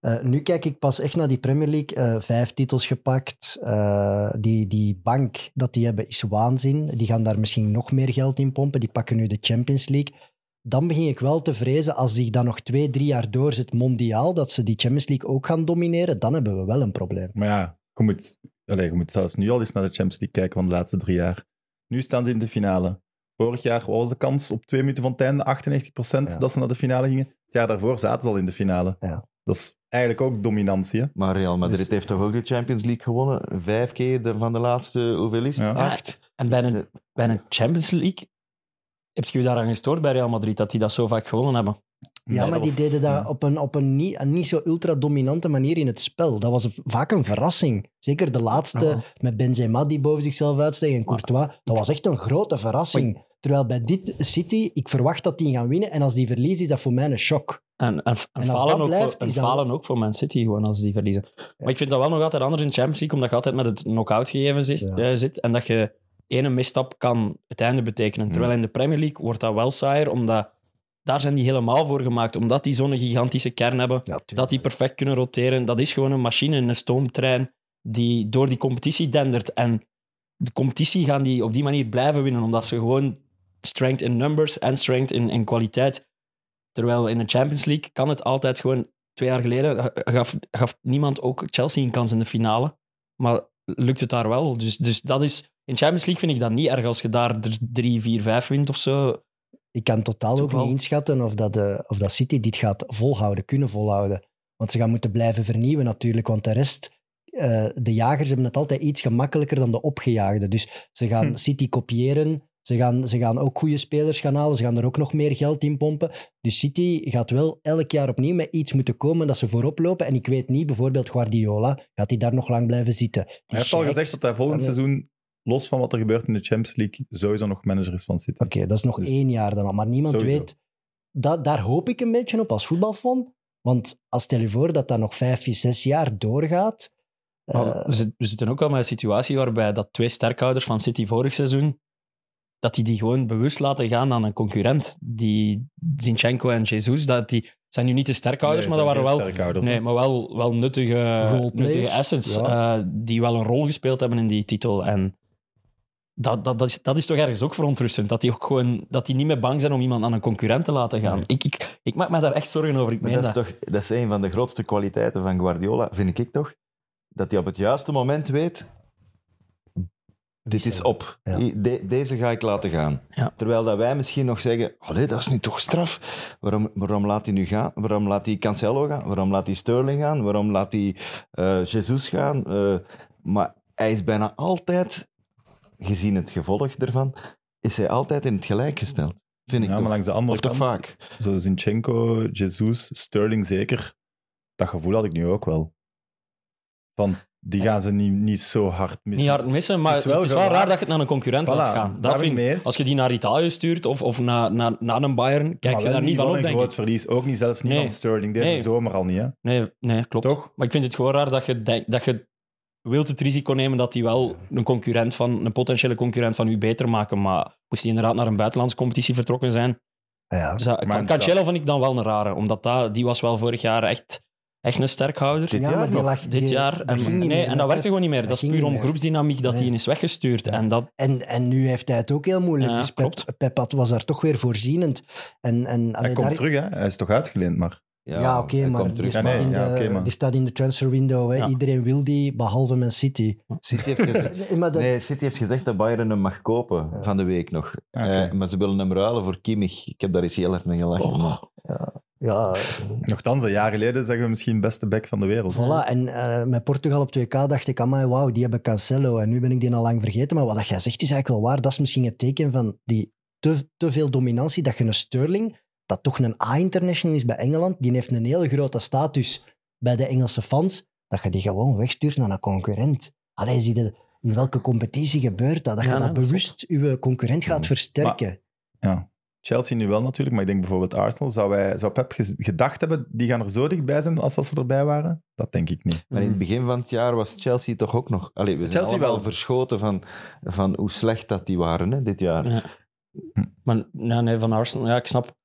Speaker 2: eh, nu kijk ik pas echt naar die Premier League. Eh, vijf titels gepakt. Eh, die, die bank dat die hebben is waanzin. Die gaan daar misschien nog meer geld in pompen. Die pakken nu de Champions League. Dan begin ik wel te vrezen als zich dan nog twee, drie jaar doorzet mondiaal, dat ze die Champions League ook gaan domineren. Dan hebben we wel een probleem.
Speaker 1: Maar ja, je moet, allez, je moet zelfs nu al eens naar de Champions League kijken van de laatste drie jaar. Nu staan ze in de finale. Vorig jaar wat was de kans op twee minuten van het einde 98%
Speaker 2: Ja.
Speaker 1: dat ze naar de finale gingen. Het jaar daarvoor zaten ze al in de finale.
Speaker 2: Ja.
Speaker 1: Dat is eigenlijk ook dominantie. Hè?
Speaker 4: Maar Real Madrid
Speaker 2: Dus-
Speaker 4: heeft toch ook de Champions League gewonnen? Vijf keer de- van de laatste, hoeveel is het?
Speaker 1: Ja.
Speaker 4: Acht.
Speaker 3: Eh, En bij een, bij een Champions League heb je je daaraan gestoord bij Real Madrid, dat die dat zo vaak gewonnen hebben.
Speaker 2: Ja,
Speaker 1: Nee,
Speaker 2: maar
Speaker 1: dat
Speaker 2: die
Speaker 1: was-
Speaker 2: deden
Speaker 1: ja.
Speaker 2: dat op een, op een niet, een niet zo ultra-dominante manier in het spel. Dat was vaak een verrassing. Zeker de laatste
Speaker 3: Ja.
Speaker 2: met Benzema die boven zichzelf uitsteeg en Courtois. Dat was echt een grote verrassing. Terwijl bij dit City, ik verwacht dat die gaan winnen. En als die verliezen, is dat voor mij een shock.
Speaker 3: En, en, en
Speaker 2: als dat
Speaker 3: falen, ook
Speaker 2: blijft,
Speaker 3: voor, en
Speaker 2: is dat-
Speaker 3: falen ook voor Man City gewoon als die verliezen. Maar ik vind dat wel nog altijd anders in Champions League, omdat je altijd met het knock-out gegeven zit,
Speaker 2: Ja.
Speaker 3: eh, zit en dat je ene misstap kan het einde betekenen. Terwijl in de Premier League wordt dat wel saaier, omdat daar zijn die helemaal voor gemaakt. Omdat die zo'n gigantische kern hebben,
Speaker 2: Ja,
Speaker 3: dat die perfect kunnen roteren. Dat is gewoon een machine, een stoomtrein die door die competitie dendert. En de competitie gaan die op die manier blijven winnen, omdat ze gewoon strength in numbers en strength in, in kwaliteit. Terwijl in de Champions League kan het altijd gewoon. Twee jaar geleden gaf, gaf niemand ook Chelsea een kans in de finale. Maar lukt het daar wel. Dus, dus dat is. In Champions League vind ik dat niet erg als je daar d- drie, vier, vijf wint of zo.
Speaker 2: Ik kan totaal
Speaker 3: Toch
Speaker 2: ook
Speaker 3: wel.
Speaker 2: niet inschatten of dat, eh, of dat City dit gaat volhouden, kunnen volhouden. Want ze gaan moeten blijven vernieuwen natuurlijk, want de rest, eh, de jagers hebben het altijd iets gemakkelijker dan de opgejaagden. Dus ze gaan
Speaker 1: Hm.
Speaker 2: City kopiëren, ze gaan, ze gaan ook goede spelers gaan halen, ze gaan er ook nog meer geld in pompen. Dus City gaat wel elk jaar opnieuw met iets moeten komen dat ze voorop lopen. En ik weet niet, bijvoorbeeld Guardiola, gaat hij daar nog lang blijven zitten? Die
Speaker 1: Hij heeft al
Speaker 2: Sheiks-
Speaker 1: gezegd dat hij volgend
Speaker 2: Ja.
Speaker 1: seizoen, los van wat er gebeurt in de Champions League, sowieso nog manager is van City.
Speaker 2: Oké, dat is nog
Speaker 1: Dus-
Speaker 2: één jaar dan al. Maar niemand
Speaker 1: Sowieso.
Speaker 2: weet... Dat, daar hoop ik een beetje op als voetbalfan. Want als stel je voor dat dat nog vijf, zes jaar doorgaat...
Speaker 3: Maar
Speaker 2: eh,
Speaker 3: we, zit- we zitten ook al met een situatie waarbij dat twee sterkhouders van City vorig seizoen, dat die die gewoon bewust laten gaan aan een concurrent. Die Zinchenko en Jesus, dat die zijn nu niet de sterkhouders,
Speaker 1: Nee,
Speaker 3: maar dat
Speaker 1: zijn
Speaker 3: waren
Speaker 1: geen
Speaker 3: wel,
Speaker 1: sterkhouders,
Speaker 3: nee,
Speaker 1: hè.
Speaker 3: maar wel, wel nuttige,
Speaker 2: Roleplayers,
Speaker 3: nuttige assets eh, die wel een rol gespeeld hebben in die titel. En dat, dat, dat, is, dat is toch ergens ook verontrustend, dat die, ook gewoon, dat die niet meer bang zijn om iemand aan een concurrent te laten gaan. Ik, ik, ik maak me daar echt zorgen over, ik
Speaker 4: Maar
Speaker 3: meen
Speaker 4: dat, is toch, dat is een van de grootste kwaliteiten van Guardiola, vind ik toch? Dat hij op het juiste moment weet, dit is op.
Speaker 2: Ja.
Speaker 4: I- de- deze ga ik laten gaan.
Speaker 3: Ja.
Speaker 4: Terwijl dat wij misschien nog zeggen, allee, dat is nu toch straf. Waarom, waarom laat hij nu gaan? Waarom laat hij Cancelo gaan? Waarom laat hij Sterling gaan? Waarom laat hij eh Jesus gaan? Eh, maar hij is bijna altijd, gezien het gevolg daarvan, is hij altijd in het gelijk gesteld. Vind ik
Speaker 1: Ja, maar
Speaker 4: toch.
Speaker 1: langs de andere
Speaker 4: Of toch
Speaker 1: kant,
Speaker 4: vaak.
Speaker 1: zo Zinchenko, Jesus, Sterling zeker, dat gevoel had ik nu ook wel. Van, die gaan ze niet, niet zo hard missen.
Speaker 3: Niet hard missen, maar
Speaker 1: Het
Speaker 3: het
Speaker 1: is
Speaker 3: is
Speaker 1: wel
Speaker 3: wel,
Speaker 1: gewaagd.
Speaker 3: raar dat je het naar een concurrent laat
Speaker 1: Voilà, daar
Speaker 3: gaan.
Speaker 1: ben
Speaker 3: Dat
Speaker 1: ik
Speaker 3: vind,
Speaker 1: mee
Speaker 3: ik-
Speaker 1: eens.
Speaker 3: als je die naar Italië stuurt of, of naar, naar, naar een Bayern,
Speaker 1: Maar
Speaker 3: kijk je
Speaker 1: wel
Speaker 3: daar niet van op,
Speaker 1: een
Speaker 3: denk
Speaker 1: groot
Speaker 3: ik.
Speaker 1: verlies. Ook niet, zelfs niet
Speaker 3: Nee.
Speaker 1: van Sterling. Deze
Speaker 3: Nee.
Speaker 1: zomer al niet, hè?
Speaker 3: Nee, nee, klopt.
Speaker 1: Toch?
Speaker 3: Maar ik vind het gewoon raar dat je, denkt- dat je wilt het risico nemen dat die wel een, concurrent van, een potentiële concurrent van u beter maken. Maar moest die inderdaad naar een buitenlandse competitie vertrokken zijn,
Speaker 1: Ah
Speaker 2: Ja,
Speaker 3: zou-
Speaker 1: Maar
Speaker 3: Can-
Speaker 1: het-
Speaker 3: Cancelo vond ik dan wel een rare. Omdat dat, die was wel vorig jaar echt, echt een sterkhouder.
Speaker 4: Dit
Speaker 2: Ja,
Speaker 4: jaar
Speaker 2: maar die
Speaker 4: nog.
Speaker 2: lag-
Speaker 3: dit
Speaker 2: die-
Speaker 3: jaar.
Speaker 2: dat
Speaker 3: En,
Speaker 2: ging niet
Speaker 3: nee,
Speaker 2: meer
Speaker 3: en
Speaker 2: met
Speaker 3: dat werkte
Speaker 2: Pep.
Speaker 3: gewoon niet meer.
Speaker 2: Dat
Speaker 3: Dat, is
Speaker 2: ging
Speaker 3: puur
Speaker 2: niet
Speaker 3: om
Speaker 2: meer.
Speaker 3: groepsdynamiek dat
Speaker 2: Nee.
Speaker 3: hij is weggestuurd.
Speaker 2: Ja.
Speaker 3: En dat,
Speaker 2: En, en nu heeft hij het ook heel moeilijk.
Speaker 3: Ja,
Speaker 2: dus Pep,
Speaker 3: klopt.
Speaker 2: Pep had- was daar toch weer voorzienend. En, en,
Speaker 1: Hij
Speaker 2: allee,
Speaker 1: komt
Speaker 2: daar-
Speaker 1: terug, hè? Hij is toch uitgeleend, maar...
Speaker 2: Ja, oké,
Speaker 4: hij
Speaker 2: maar
Speaker 4: komt
Speaker 2: die
Speaker 4: terug.
Speaker 1: Ja,
Speaker 2: staat,
Speaker 1: nee,
Speaker 2: in de,
Speaker 1: ja, oké, maar-
Speaker 2: die staat in de transfer window. Hè.
Speaker 3: Ja.
Speaker 2: Iedereen wil die, behalve Man City.
Speaker 4: City heeft
Speaker 1: <laughs>
Speaker 4: gezegd...
Speaker 2: Nee, maar dat-
Speaker 4: Nee, City heeft gezegd dat Bayern hem mag kopen van de week nog.
Speaker 1: Ah, oké.
Speaker 4: Eh, maar ze willen hem ruilen voor Kimmich. Ik heb daar eens heel hard mee gelachen.
Speaker 2: Ja,
Speaker 1: Nochtans, een jaar geleden zeggen we misschien beste back van de wereld.
Speaker 2: Eh. voilà. En eh, met Portugal op 2K dacht ik, amai, wauw, die hebben Cancelo. En nu ben ik die al lang vergeten. Maar wat dat jij zegt is eigenlijk wel waar. Dat is misschien het teken van die te, te veel dominantie. Dat je een Sterling, dat toch een A-international is bij Engeland, die heeft een hele grote status bij de Engelse fans, dat je die gewoon wegstuurt naar een concurrent. Allee, zie je, in welke competitie gebeurt dat? Dat je
Speaker 3: Ja,
Speaker 2: dat
Speaker 3: nee, dat is
Speaker 2: bewust je concurrent gaat versterken.
Speaker 1: Chelsea nu wel natuurlijk, maar ik denk bijvoorbeeld Arsenal. Zou, wij, zou Pep gez- gedacht hebben, die gaan er zo dichtbij zijn als, als ze erbij waren? Dat denk ik niet.
Speaker 4: Maar in
Speaker 3: Mm.
Speaker 4: het begin van het jaar was Chelsea toch ook nog... Allee, we zijn
Speaker 1: Mm. Chelsea
Speaker 4: allemaal
Speaker 1: wel.
Speaker 4: verschoten van, van hoe slecht dat die waren hè, dit jaar.
Speaker 3: Ja. Maar nee, nee, van Arsenal, ja, ik snap.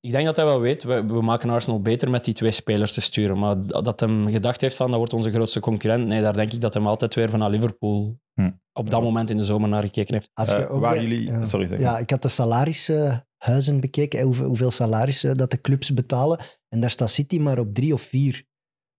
Speaker 3: Ik denk dat hij wel weet, we, we maken Arsenal beter met die twee spelers te sturen. Maar dat, dat hem gedacht heeft van, dat wordt onze grootste concurrent. Nee, daar denk ik dat hem altijd weer van naar Liverpool
Speaker 1: Hm.
Speaker 3: op dat moment in de zomer naar gekeken heeft.
Speaker 2: Als
Speaker 1: Eh,
Speaker 2: je ook
Speaker 1: waar
Speaker 2: bij-
Speaker 1: jullie...
Speaker 2: ja.
Speaker 1: Sorry, zeg.
Speaker 2: Ja, ik had de salarishuizen bekeken, hè, hoeveel, hoeveel salarissen dat de clubs betalen. En daar staat City maar op drie of vier.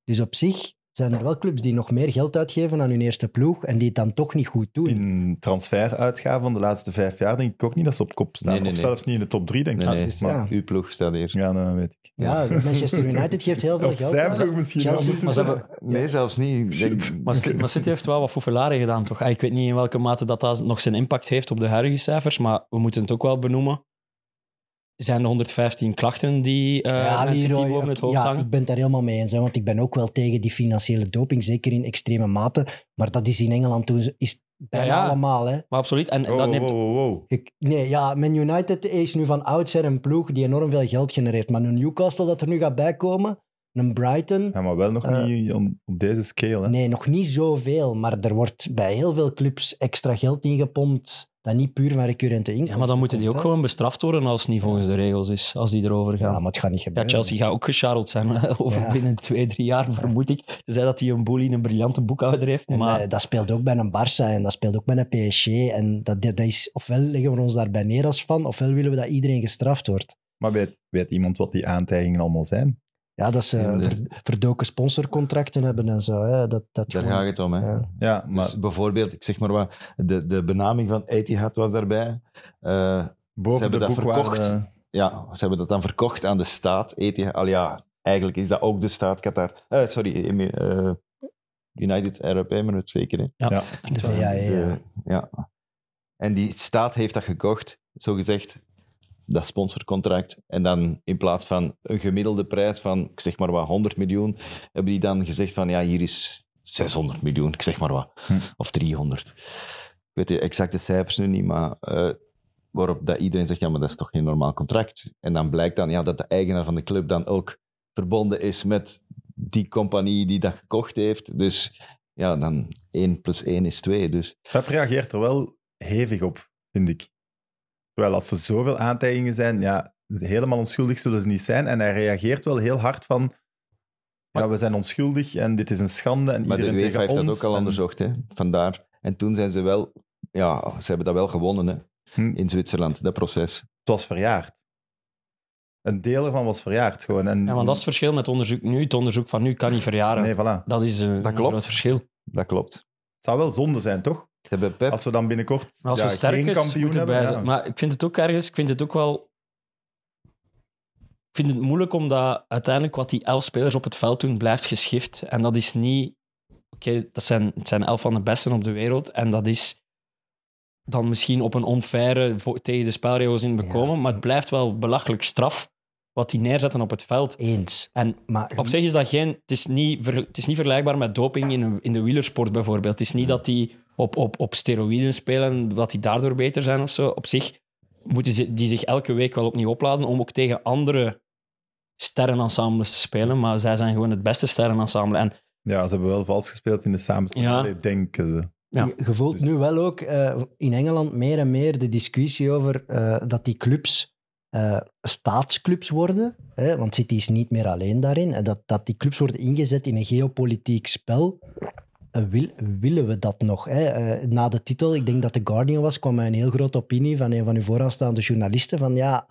Speaker 2: Dus op zich zijn er wel clubs die nog meer geld uitgeven aan hun eerste ploeg en die het dan toch niet goed doen.
Speaker 1: In transferuitgaven van de laatste vijf jaar denk ik ook niet dat ze op kop staan.
Speaker 4: Nee, nee,
Speaker 1: Of
Speaker 4: nee.
Speaker 1: zelfs niet in de top drie, denk ik.
Speaker 4: Nee, nee.
Speaker 2: Dus
Speaker 1: Maar-
Speaker 2: ja,
Speaker 4: Uw ploeg staat eerst.
Speaker 1: Ja, dat weet ik.
Speaker 2: ja, Manchester United geeft
Speaker 1: <laughs>
Speaker 2: heel veel
Speaker 1: Of
Speaker 2: geld
Speaker 1: zijn
Speaker 2: uit.
Speaker 1: ploeg misschien wel,
Speaker 2: Chelsea-
Speaker 1: moet
Speaker 3: Maar ze hebben,
Speaker 4: Nee, zelfs niet. Ik denk-
Speaker 1: Shit.
Speaker 3: Maar, Ci- maar City heeft wel wat foefelaren gedaan, toch? Ah, Ik weet niet in welke mate dat, dat nog zijn impact heeft op de huidige cijfers, maar we moeten het ook wel benoemen. Zijn de 115 klachten die eh
Speaker 2: Ja,
Speaker 3: Man City
Speaker 2: Leroy,
Speaker 3: boven het hoofd
Speaker 2: ja,
Speaker 3: hangen?
Speaker 2: ik ben het daar helemaal mee eens. Hè, want ik ben ook wel tegen die financiële doping, zeker in extreme mate. Maar dat is in Engeland toen is bijna
Speaker 3: Ja, ja.
Speaker 2: allemaal. Hè.
Speaker 3: Maar absoluut. En, en
Speaker 1: Wow,
Speaker 2: Oh,
Speaker 3: dat neemt,
Speaker 1: wow, wow, wow.
Speaker 2: Ik- nee, ja, Man United is nu van oudsher een ploeg die enorm veel geld genereert. Maar een Newcastle dat er nu gaat bijkomen, een Brighton...
Speaker 1: Ja, maar wel nog
Speaker 2: Eh,
Speaker 1: niet on- op deze scale. Hè.
Speaker 2: Nee, nog niet zoveel. Maar er wordt bij heel veel clubs extra geld ingepompt dat niet puur van recurrente inkomsten
Speaker 3: Ja, maar dan moeten die
Speaker 2: komt,
Speaker 3: ook
Speaker 2: hè.
Speaker 3: gewoon bestraft worden als het niet volgens de regels is, als die erover gaan.
Speaker 2: Ja,
Speaker 3: Ja,
Speaker 2: maar het gaat niet gebeuren.
Speaker 3: Chelsea gaat ook gecharreld zijn hè, <laughs> over
Speaker 2: Ja.
Speaker 3: binnen twee, drie jaar, vermoed ik. Ze zei dat hij een boel in een briljante boekhouder heeft,
Speaker 2: En,
Speaker 3: maar
Speaker 2: eh, dat speelt ook bij een Barça en dat speelt ook bij een PSG. En dat, dat is, ofwel leggen we ons daarbij neer als fan, ofwel willen we dat iedereen gestraft wordt.
Speaker 1: Maar weet, weet iemand wat die aantijgingen allemaal zijn?
Speaker 2: Ja, dat ze
Speaker 4: En dus-
Speaker 2: ver- verdoken sponsorcontracten hebben en zo. Hè. Dat, dat
Speaker 4: Daar
Speaker 2: gewoon-
Speaker 4: gaat het om. Hè.
Speaker 2: Ja.
Speaker 1: Ja, maar
Speaker 4: Dus bijvoorbeeld, ik zeg maar wat, de, de benaming van Etihad was daarbij. Eh,
Speaker 1: boven
Speaker 4: ze hebben
Speaker 1: de
Speaker 4: dat
Speaker 1: boekwaarde-
Speaker 4: verkocht. ja, ze hebben dat dan verkocht aan de staat. Etihad, al ja, eigenlijk is dat ook de staat Qatar. Eh, sorry, Emi- eh, United Arab Emirates zeker. Hè.
Speaker 2: De E, VAE, ja.
Speaker 4: De- ja. En die staat heeft dat gekocht, zogezegd, dat sponsorcontract. En dan in plaats van een gemiddelde prijs van, ik zeg maar wat, 100 miljoen, hebben die dan gezegd van, ja, hier is 600 miljoen, ik zeg maar wat.
Speaker 1: Hm.
Speaker 4: Of 300. Ik weet de exacte cijfers nu niet, maar eh, waarop dat iedereen zegt, ja, maar dat is toch geen normaal contract. En dan blijkt dan ja, dat de eigenaar van de club dan ook verbonden is met die compagnie die dat gekocht heeft. Dus ja, dan 1 plus 1 is 2. Dus
Speaker 1: Pep reageert er wel hevig op, vind ik. Terwijl als er zoveel aantijgingen zijn, ja, ze- helemaal onschuldig zullen ze niet zijn. En hij reageert wel heel hard van... Ja,
Speaker 3: Maar-
Speaker 1: we zijn onschuldig en dit is een schande. En
Speaker 4: Maar de
Speaker 1: iedereen
Speaker 4: UEFA
Speaker 1: tegen
Speaker 4: heeft dat
Speaker 1: ons
Speaker 4: ook al
Speaker 1: en-
Speaker 4: onderzocht, hè? vandaar. En toen zijn ze wel, ja, ze hebben dat wel gewonnen hè?
Speaker 1: Hm.
Speaker 4: in Zwitserland, dat proces.
Speaker 1: Het was verjaard. Een deel ervan was verjaard gewoon. En,
Speaker 3: ja, want dat is het verschil met onderzoek nu. Het onderzoek van nu kan niet verjaren.
Speaker 1: Nee, voilà.
Speaker 3: Dat is eh,
Speaker 4: klopt.
Speaker 3: een groot verschil.
Speaker 4: Dat klopt.
Speaker 1: Het zou wel zonde zijn, toch?
Speaker 4: Ze hebben Pep,
Speaker 1: Als we dan binnenkort
Speaker 3: Maar als
Speaker 1: ja,
Speaker 3: we sterk
Speaker 1: geen
Speaker 3: is,
Speaker 1: kampioen
Speaker 3: moeten
Speaker 1: hebben...
Speaker 3: bij
Speaker 1: ja.
Speaker 3: zijn. Maar ik vind het ook ergens, ik vind het ook wel... Ik vind het moeilijk omdat uiteindelijk wat die elf spelers op het veld doen, blijft geschift. En dat is niet... Oké, dat zijn, het zijn elf van de besten op de wereld. En dat is dan misschien op een onfaire, vo- tegen de spelregels in bekomen. Maar het blijft wel belachelijk straf wat die neerzetten op het veld.
Speaker 2: Eens.
Speaker 3: En
Speaker 2: Maar
Speaker 3: op zich is dat geen... Het is niet, ver- het is niet vergelijkbaar met doping in, een- in de wielersport bijvoorbeeld. Het is niet dat die op, op, op steroïden spelen, dat die daardoor beter zijn of zo. Op zich moeten ze, die zich elke week wel opnieuw opladen om ook tegen andere sterrenensembles te spelen. Maar zij zijn gewoon het beste sterrenensemble. En
Speaker 1: Ja, ze hebben wel vals gespeeld in de samenstelling.
Speaker 3: Ja.
Speaker 1: Allee, denken ze.
Speaker 3: Ja.
Speaker 2: Je- Je voelt
Speaker 1: Dus-
Speaker 2: nu wel ook eh, in Engeland meer en meer de discussie over eh, dat die clubs eh, staatsclubs worden. Hè, want City is niet meer alleen daarin. En dat, dat die clubs worden ingezet in een geopolitiek spel. Eh, wil- willen we dat nog? Hè? Eh, na de titel, ik denk dat The Guardian was, kwam een heel grote opinie van een van uw vooraanstaande journalisten van ja,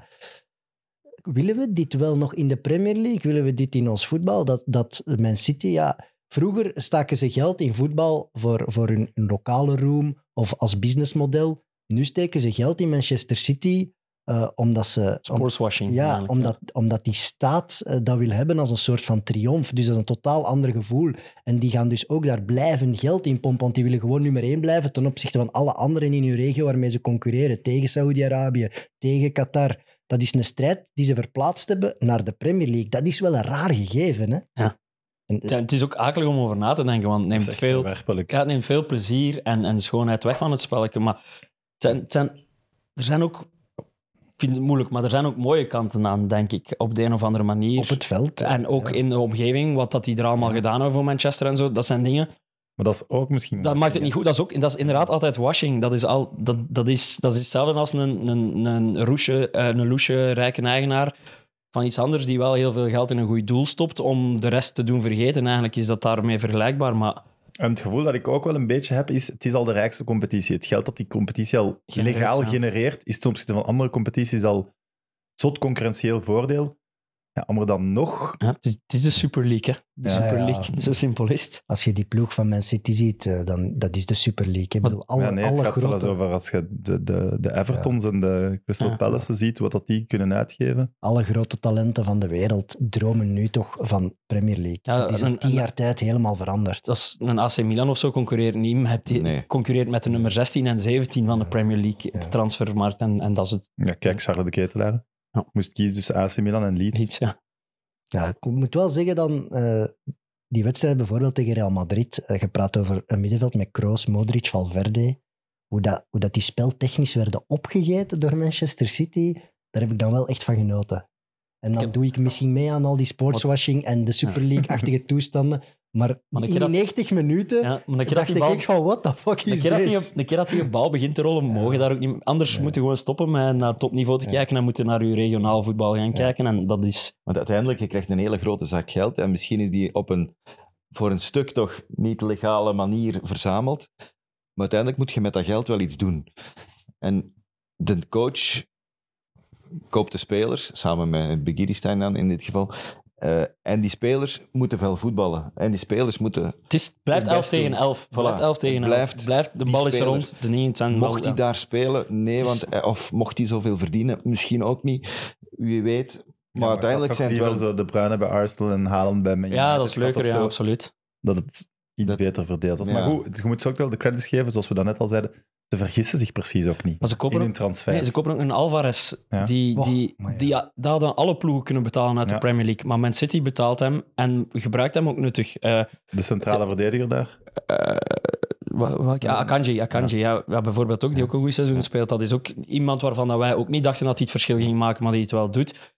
Speaker 2: willen we dit wel nog in de Premier League? Willen we dit in ons voetbal? Dat, dat Man City, ja, Vroeger staken ze geld in voetbal voor, voor hun, hun lokale roem of als businessmodel. Nu steken ze geld in Manchester City eh, omdat ze... om-
Speaker 3: sportswashing.
Speaker 2: ja,
Speaker 3: eigenlijk,
Speaker 2: omdat, omdat die staat eh, dat wil hebben als een soort van triomf. Dus dat is een totaal ander gevoel. En die gaan dus ook daar blijven geld in pompen, want die willen gewoon nummer één blijven ten opzichte van alle anderen in hun regio waarmee ze concurreren. Tegen Saoedi-Arabië, tegen Qatar. Dat is een strijd die ze verplaatst hebben naar de Premier League. Dat is wel een raar gegeven, hè?
Speaker 3: Ja.
Speaker 2: En,
Speaker 3: Ja, het is ook akelig om over na te denken, want het
Speaker 1: Dat is
Speaker 3: neemt
Speaker 1: echt
Speaker 3: veel...
Speaker 1: verwerpelijk.
Speaker 3: Ja, het neemt veel plezier en, en schoonheid weg van het spelletje. Maar het zijn, het zijn, er zijn ook... Ik vind het moeilijk, maar er zijn ook mooie kanten aan, denk ik. Op de een of andere manier.
Speaker 2: op het veld. hè.
Speaker 3: en ook
Speaker 2: Ja.
Speaker 3: in de omgeving, wat dat die er allemaal gedaan hebben voor Manchester en zo. Dat zijn dingen.
Speaker 1: Maar dat is ook misschien...
Speaker 3: Dat maakt het niet goed. Dat is, ook, dat is inderdaad altijd washing. Dat is, al, dat, dat is, dat is hetzelfde als een, een, een, roesje, eh, een loesje rijke eigenaar van iets anders die wel heel veel geld in een goed doel stopt om de rest te doen vergeten. Eigenlijk is dat daarmee vergelijkbaar, maar
Speaker 1: En het gevoel dat ik ook wel een beetje heb, is het is al de rijkste competitie. Het geld dat die competitie al
Speaker 3: Genereert,
Speaker 1: legaal
Speaker 3: ja.
Speaker 1: genereert, is ten opzichte van andere competities al zot concurrentieel voordeel. Ja, om er dan nog...
Speaker 3: Ja, het, is, het is de Super League, hè? De
Speaker 1: Ja,
Speaker 3: Super
Speaker 2: ja.
Speaker 3: League, <laughs> zo simpel is het.
Speaker 2: Als je die ploeg van Man City ziet, eh, dan dat is de Super League. hè. Ik
Speaker 3: Wat-
Speaker 2: bedoel, alle,
Speaker 1: ja, nee, het
Speaker 2: alle
Speaker 1: gaat zelfs
Speaker 2: grote,
Speaker 1: over als je de, de, de Evertons en de Crystal
Speaker 3: Ja.
Speaker 1: Palaces ziet, wat dat die kunnen uitgeven.
Speaker 2: alle grote talenten van de wereld dromen nu toch van Premier League.
Speaker 3: Ja,
Speaker 2: dat is in
Speaker 3: en-
Speaker 2: tien
Speaker 3: en-
Speaker 2: jaar tijd helemaal veranderd.
Speaker 3: Dat is een AC Milan of zo concurreert niet met, die-
Speaker 4: Nee.
Speaker 3: concurreert met de nummer 16 en 17 van de Premier League op
Speaker 2: Ja.
Speaker 3: de transfermarkt. En, en dat is het
Speaker 1: Ja, kijk, Charles de Ketelaar.
Speaker 3: Ja.
Speaker 1: Moest kiezen tussen AC Milan en Leeds.
Speaker 3: iets. Ja.
Speaker 2: Ja, ik moet wel zeggen dan, eh, die wedstrijd bijvoorbeeld tegen Real Madrid, eh, je praat over een middenveld met Kroos, Modric, Valverde, hoe dat, hoe dat die speltechnisch werden opgegeten door Manchester City, daar heb ik dan wel echt van genoten. En dan
Speaker 3: Ik heb-
Speaker 2: doe ik misschien mee aan al die sportswashing en de Super League-achtige toestanden, maar,
Speaker 3: Maar
Speaker 2: in
Speaker 3: de keer
Speaker 2: die
Speaker 3: dat-
Speaker 2: 90 minuten...
Speaker 3: Ja, maar de keer dat
Speaker 2: dacht
Speaker 3: die
Speaker 2: ik
Speaker 3: bal,
Speaker 2: echt van, what the fuck
Speaker 3: de
Speaker 2: is
Speaker 3: keer dat die,
Speaker 2: this?
Speaker 3: de keer dat die een bal begint te rollen, mogen daar ook niet Anders
Speaker 2: Nee.
Speaker 3: moeten we gewoon stoppen met naar topniveau te
Speaker 2: Ja.
Speaker 3: kijken en moeten naar uw regionaal voetbal gaan kijken. En dat is...
Speaker 4: Want uiteindelijk, je krijgt een hele grote zak geld en misschien is die op een, voor een stuk toch niet legale manier verzameld. Maar uiteindelijk moet je met dat geld wel iets doen. En de coach koopt de spelers, samen met Begiristein dan in dit geval. eh, en die spelers moeten wel voetballen. En die spelers moeten...
Speaker 3: Het, is, het blijft
Speaker 4: Het
Speaker 3: 11
Speaker 4: best doen.
Speaker 3: tegen 11. Blijft
Speaker 4: Voilà.
Speaker 3: 11 tegen 11.
Speaker 4: Blijft
Speaker 3: blijft, de
Speaker 4: die
Speaker 3: bal is
Speaker 4: speler.
Speaker 3: rond, de dingen zijn wel-
Speaker 4: Mocht hij
Speaker 3: ja.
Speaker 4: daar spelen? Nee,
Speaker 3: Het
Speaker 4: want,
Speaker 3: is-
Speaker 4: eh, of mocht hij zoveel verdienen? Misschien ook niet. Wie weet. Maar,
Speaker 1: Ja, maar
Speaker 4: uiteindelijk
Speaker 1: ik had
Speaker 4: zijn
Speaker 1: toch
Speaker 4: het wel...
Speaker 1: liever zo de Bruine bij Arsenal en Haaland bij Man
Speaker 3: Ja,
Speaker 1: United.
Speaker 3: dat is
Speaker 1: Ik had
Speaker 3: leuker,
Speaker 1: toch
Speaker 3: ja,
Speaker 1: zo-
Speaker 3: absoluut.
Speaker 1: dat het iets
Speaker 4: Dat-
Speaker 1: beter verdeeld was. Maar
Speaker 4: Ja.
Speaker 1: goed, je moet ze ook wel de credits geven, zoals we daarnet al zeiden. Ze vergissen zich precies ook niet
Speaker 3: Maar ze kopen
Speaker 1: in
Speaker 3: ook-
Speaker 1: hun transfer.
Speaker 3: Nee, ze kopen ook een Alvarez.
Speaker 1: Ja.
Speaker 3: Die,
Speaker 2: Och,
Speaker 3: die,
Speaker 2: maar ja.
Speaker 3: die, dat hadden alle ploegen kunnen betalen uit
Speaker 1: Ja.
Speaker 3: de Premier League. Maar Man City betaalt hem en gebruikt hem ook nuttig. Eh
Speaker 1: De centrale verdediger daar.
Speaker 3: eh, wa- welke- ah, Akanji, Akanji ja. Ja, bijvoorbeeld ook, die ook een goed seizoen speelt. Dat is ook iemand waarvan dat wij ook niet dachten dat hij het verschil ging maken, maar die het wel doet.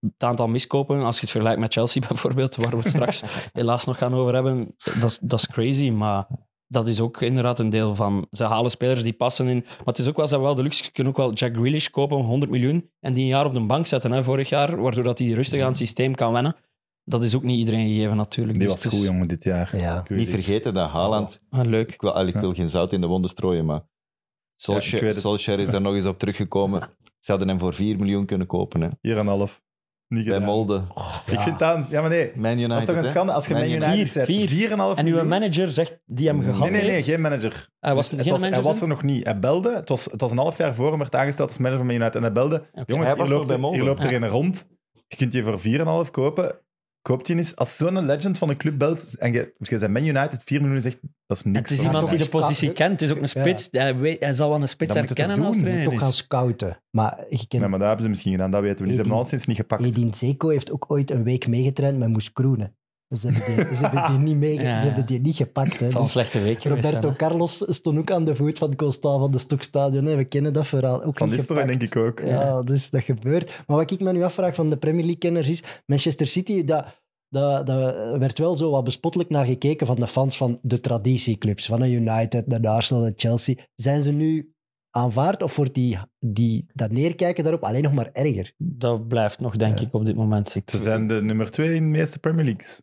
Speaker 3: Het aantal miskopen, als je het vergelijkt met Chelsea <laughs> bijvoorbeeld, waar we het <laughs> straks helaas nog gaan over hebben, dat is- dat is crazy, maar dat is ook inderdaad een deel van. Ze halen spelers die passen in. Maar het is ook wel, ze hebben wel de luxe. Ze kunnen ook wel Jack Grealish kopen, 100 miljoen. En die een jaar op de bank zetten, hè, vorig jaar. Waardoor dat hij rustig aan het systeem kan wennen. Dat is ook niet iedereen gegeven, natuurlijk.
Speaker 1: Die
Speaker 3: Dus
Speaker 1: was
Speaker 3: het is-
Speaker 1: goed, jongen, dit jaar.
Speaker 2: Ja.
Speaker 1: Ik weet
Speaker 4: Niet
Speaker 1: het.
Speaker 4: vergeten dat Haaland
Speaker 3: Ah, leuk.
Speaker 4: Ik wil, allee, ik
Speaker 1: Ja.
Speaker 4: wil geen zout in de wonden strooien, maar
Speaker 1: Ja, ik
Speaker 4: Solskjaer,
Speaker 1: weet het.
Speaker 4: Solskjaer is daar nog eens op teruggekomen. Ze hadden hem voor 4 miljoen kunnen kopen. Hè.
Speaker 1: Hier en half. Niet
Speaker 4: Bij
Speaker 1: gedaan.
Speaker 4: Molde.
Speaker 1: Ik vind dat... Ja, maar nee.
Speaker 4: Man United.
Speaker 1: dat is toch een
Speaker 4: hè.
Speaker 1: schande als je
Speaker 4: Man
Speaker 1: Man
Speaker 4: United.
Speaker 1: United
Speaker 3: Vier,
Speaker 1: zet.
Speaker 3: vier.
Speaker 1: 4,5
Speaker 3: En uw manager zegt die hem gehad
Speaker 1: Nee, nee, nee,
Speaker 3: heeft?
Speaker 1: geen manager.
Speaker 3: Hij
Speaker 1: Dus
Speaker 3: was geen
Speaker 1: het was,
Speaker 3: manager
Speaker 1: hij was
Speaker 3: dan?
Speaker 1: er nog niet. Hij belde. Het was, het was een half jaar voor hem werd aangesteld als manager van Man United. En hij belde. Jongens,
Speaker 4: Hij
Speaker 1: hier
Speaker 4: was nog
Speaker 1: loopt,
Speaker 4: bij
Speaker 1: er,
Speaker 4: Molde.
Speaker 1: hier loopt er een rond. Je kunt je voor 4,5 kopen. Koopt je eens. Als zo'n legend van een club belt en je, je bent Man United 4 miljoen zegt, dat is niks.
Speaker 3: Het is
Speaker 1: voor
Speaker 3: iemand
Speaker 1: mij.
Speaker 3: die de
Speaker 2: toch een
Speaker 3: positie
Speaker 2: scout, hè?
Speaker 3: kent. Het is ook een spits. Hij, weet, hij zal wel een spits
Speaker 1: Dan moet het
Speaker 3: herkennen
Speaker 1: toch
Speaker 3: als
Speaker 1: doen,
Speaker 3: trainer. dus
Speaker 1: moet
Speaker 2: Toch
Speaker 3: is.
Speaker 2: gaan scouten. Maar je kent...
Speaker 1: Ja, maar dat hebben ze misschien gedaan, dat weten we niet. Ze hebben
Speaker 2: Edin-
Speaker 1: al sinds niet gepakt.
Speaker 2: Edin Zeko heeft ook ooit een week meegetraind met Moes Kroenen. Dus ze hebben die, ze hebben die, niet, mee,
Speaker 3: Ja.
Speaker 2: ze hebben die niet gepakt. Hè.
Speaker 3: Het zal een
Speaker 2: Dus
Speaker 3: slechte week geweest zijn.
Speaker 2: Roberto
Speaker 3: hè.
Speaker 2: Carlos stond ook aan de voet van Constant van de Stokstadion. Hè. We kennen dat verhaal ook
Speaker 1: Van
Speaker 2: niet
Speaker 1: Nistelrooy
Speaker 2: gepakt.
Speaker 1: denk ik ook.
Speaker 2: Ja, dus dat gebeurt. Maar wat ik me nu afvraag van de Premier League-kenners is... Manchester City, dat, dat, dat werd wel zo wat bespottelijk naar gekeken van de fans van de traditieclubs. Van een United, naar de Arsenal, naar Chelsea. Zijn ze nu aanvaard of wordt die, die, dat neerkijken daarop alleen nog maar erger?
Speaker 3: Dat blijft nog, denk
Speaker 2: Ja.
Speaker 3: ik, op dit moment.
Speaker 1: Ze zijn de nummer 2 in de meeste Premier Leagues.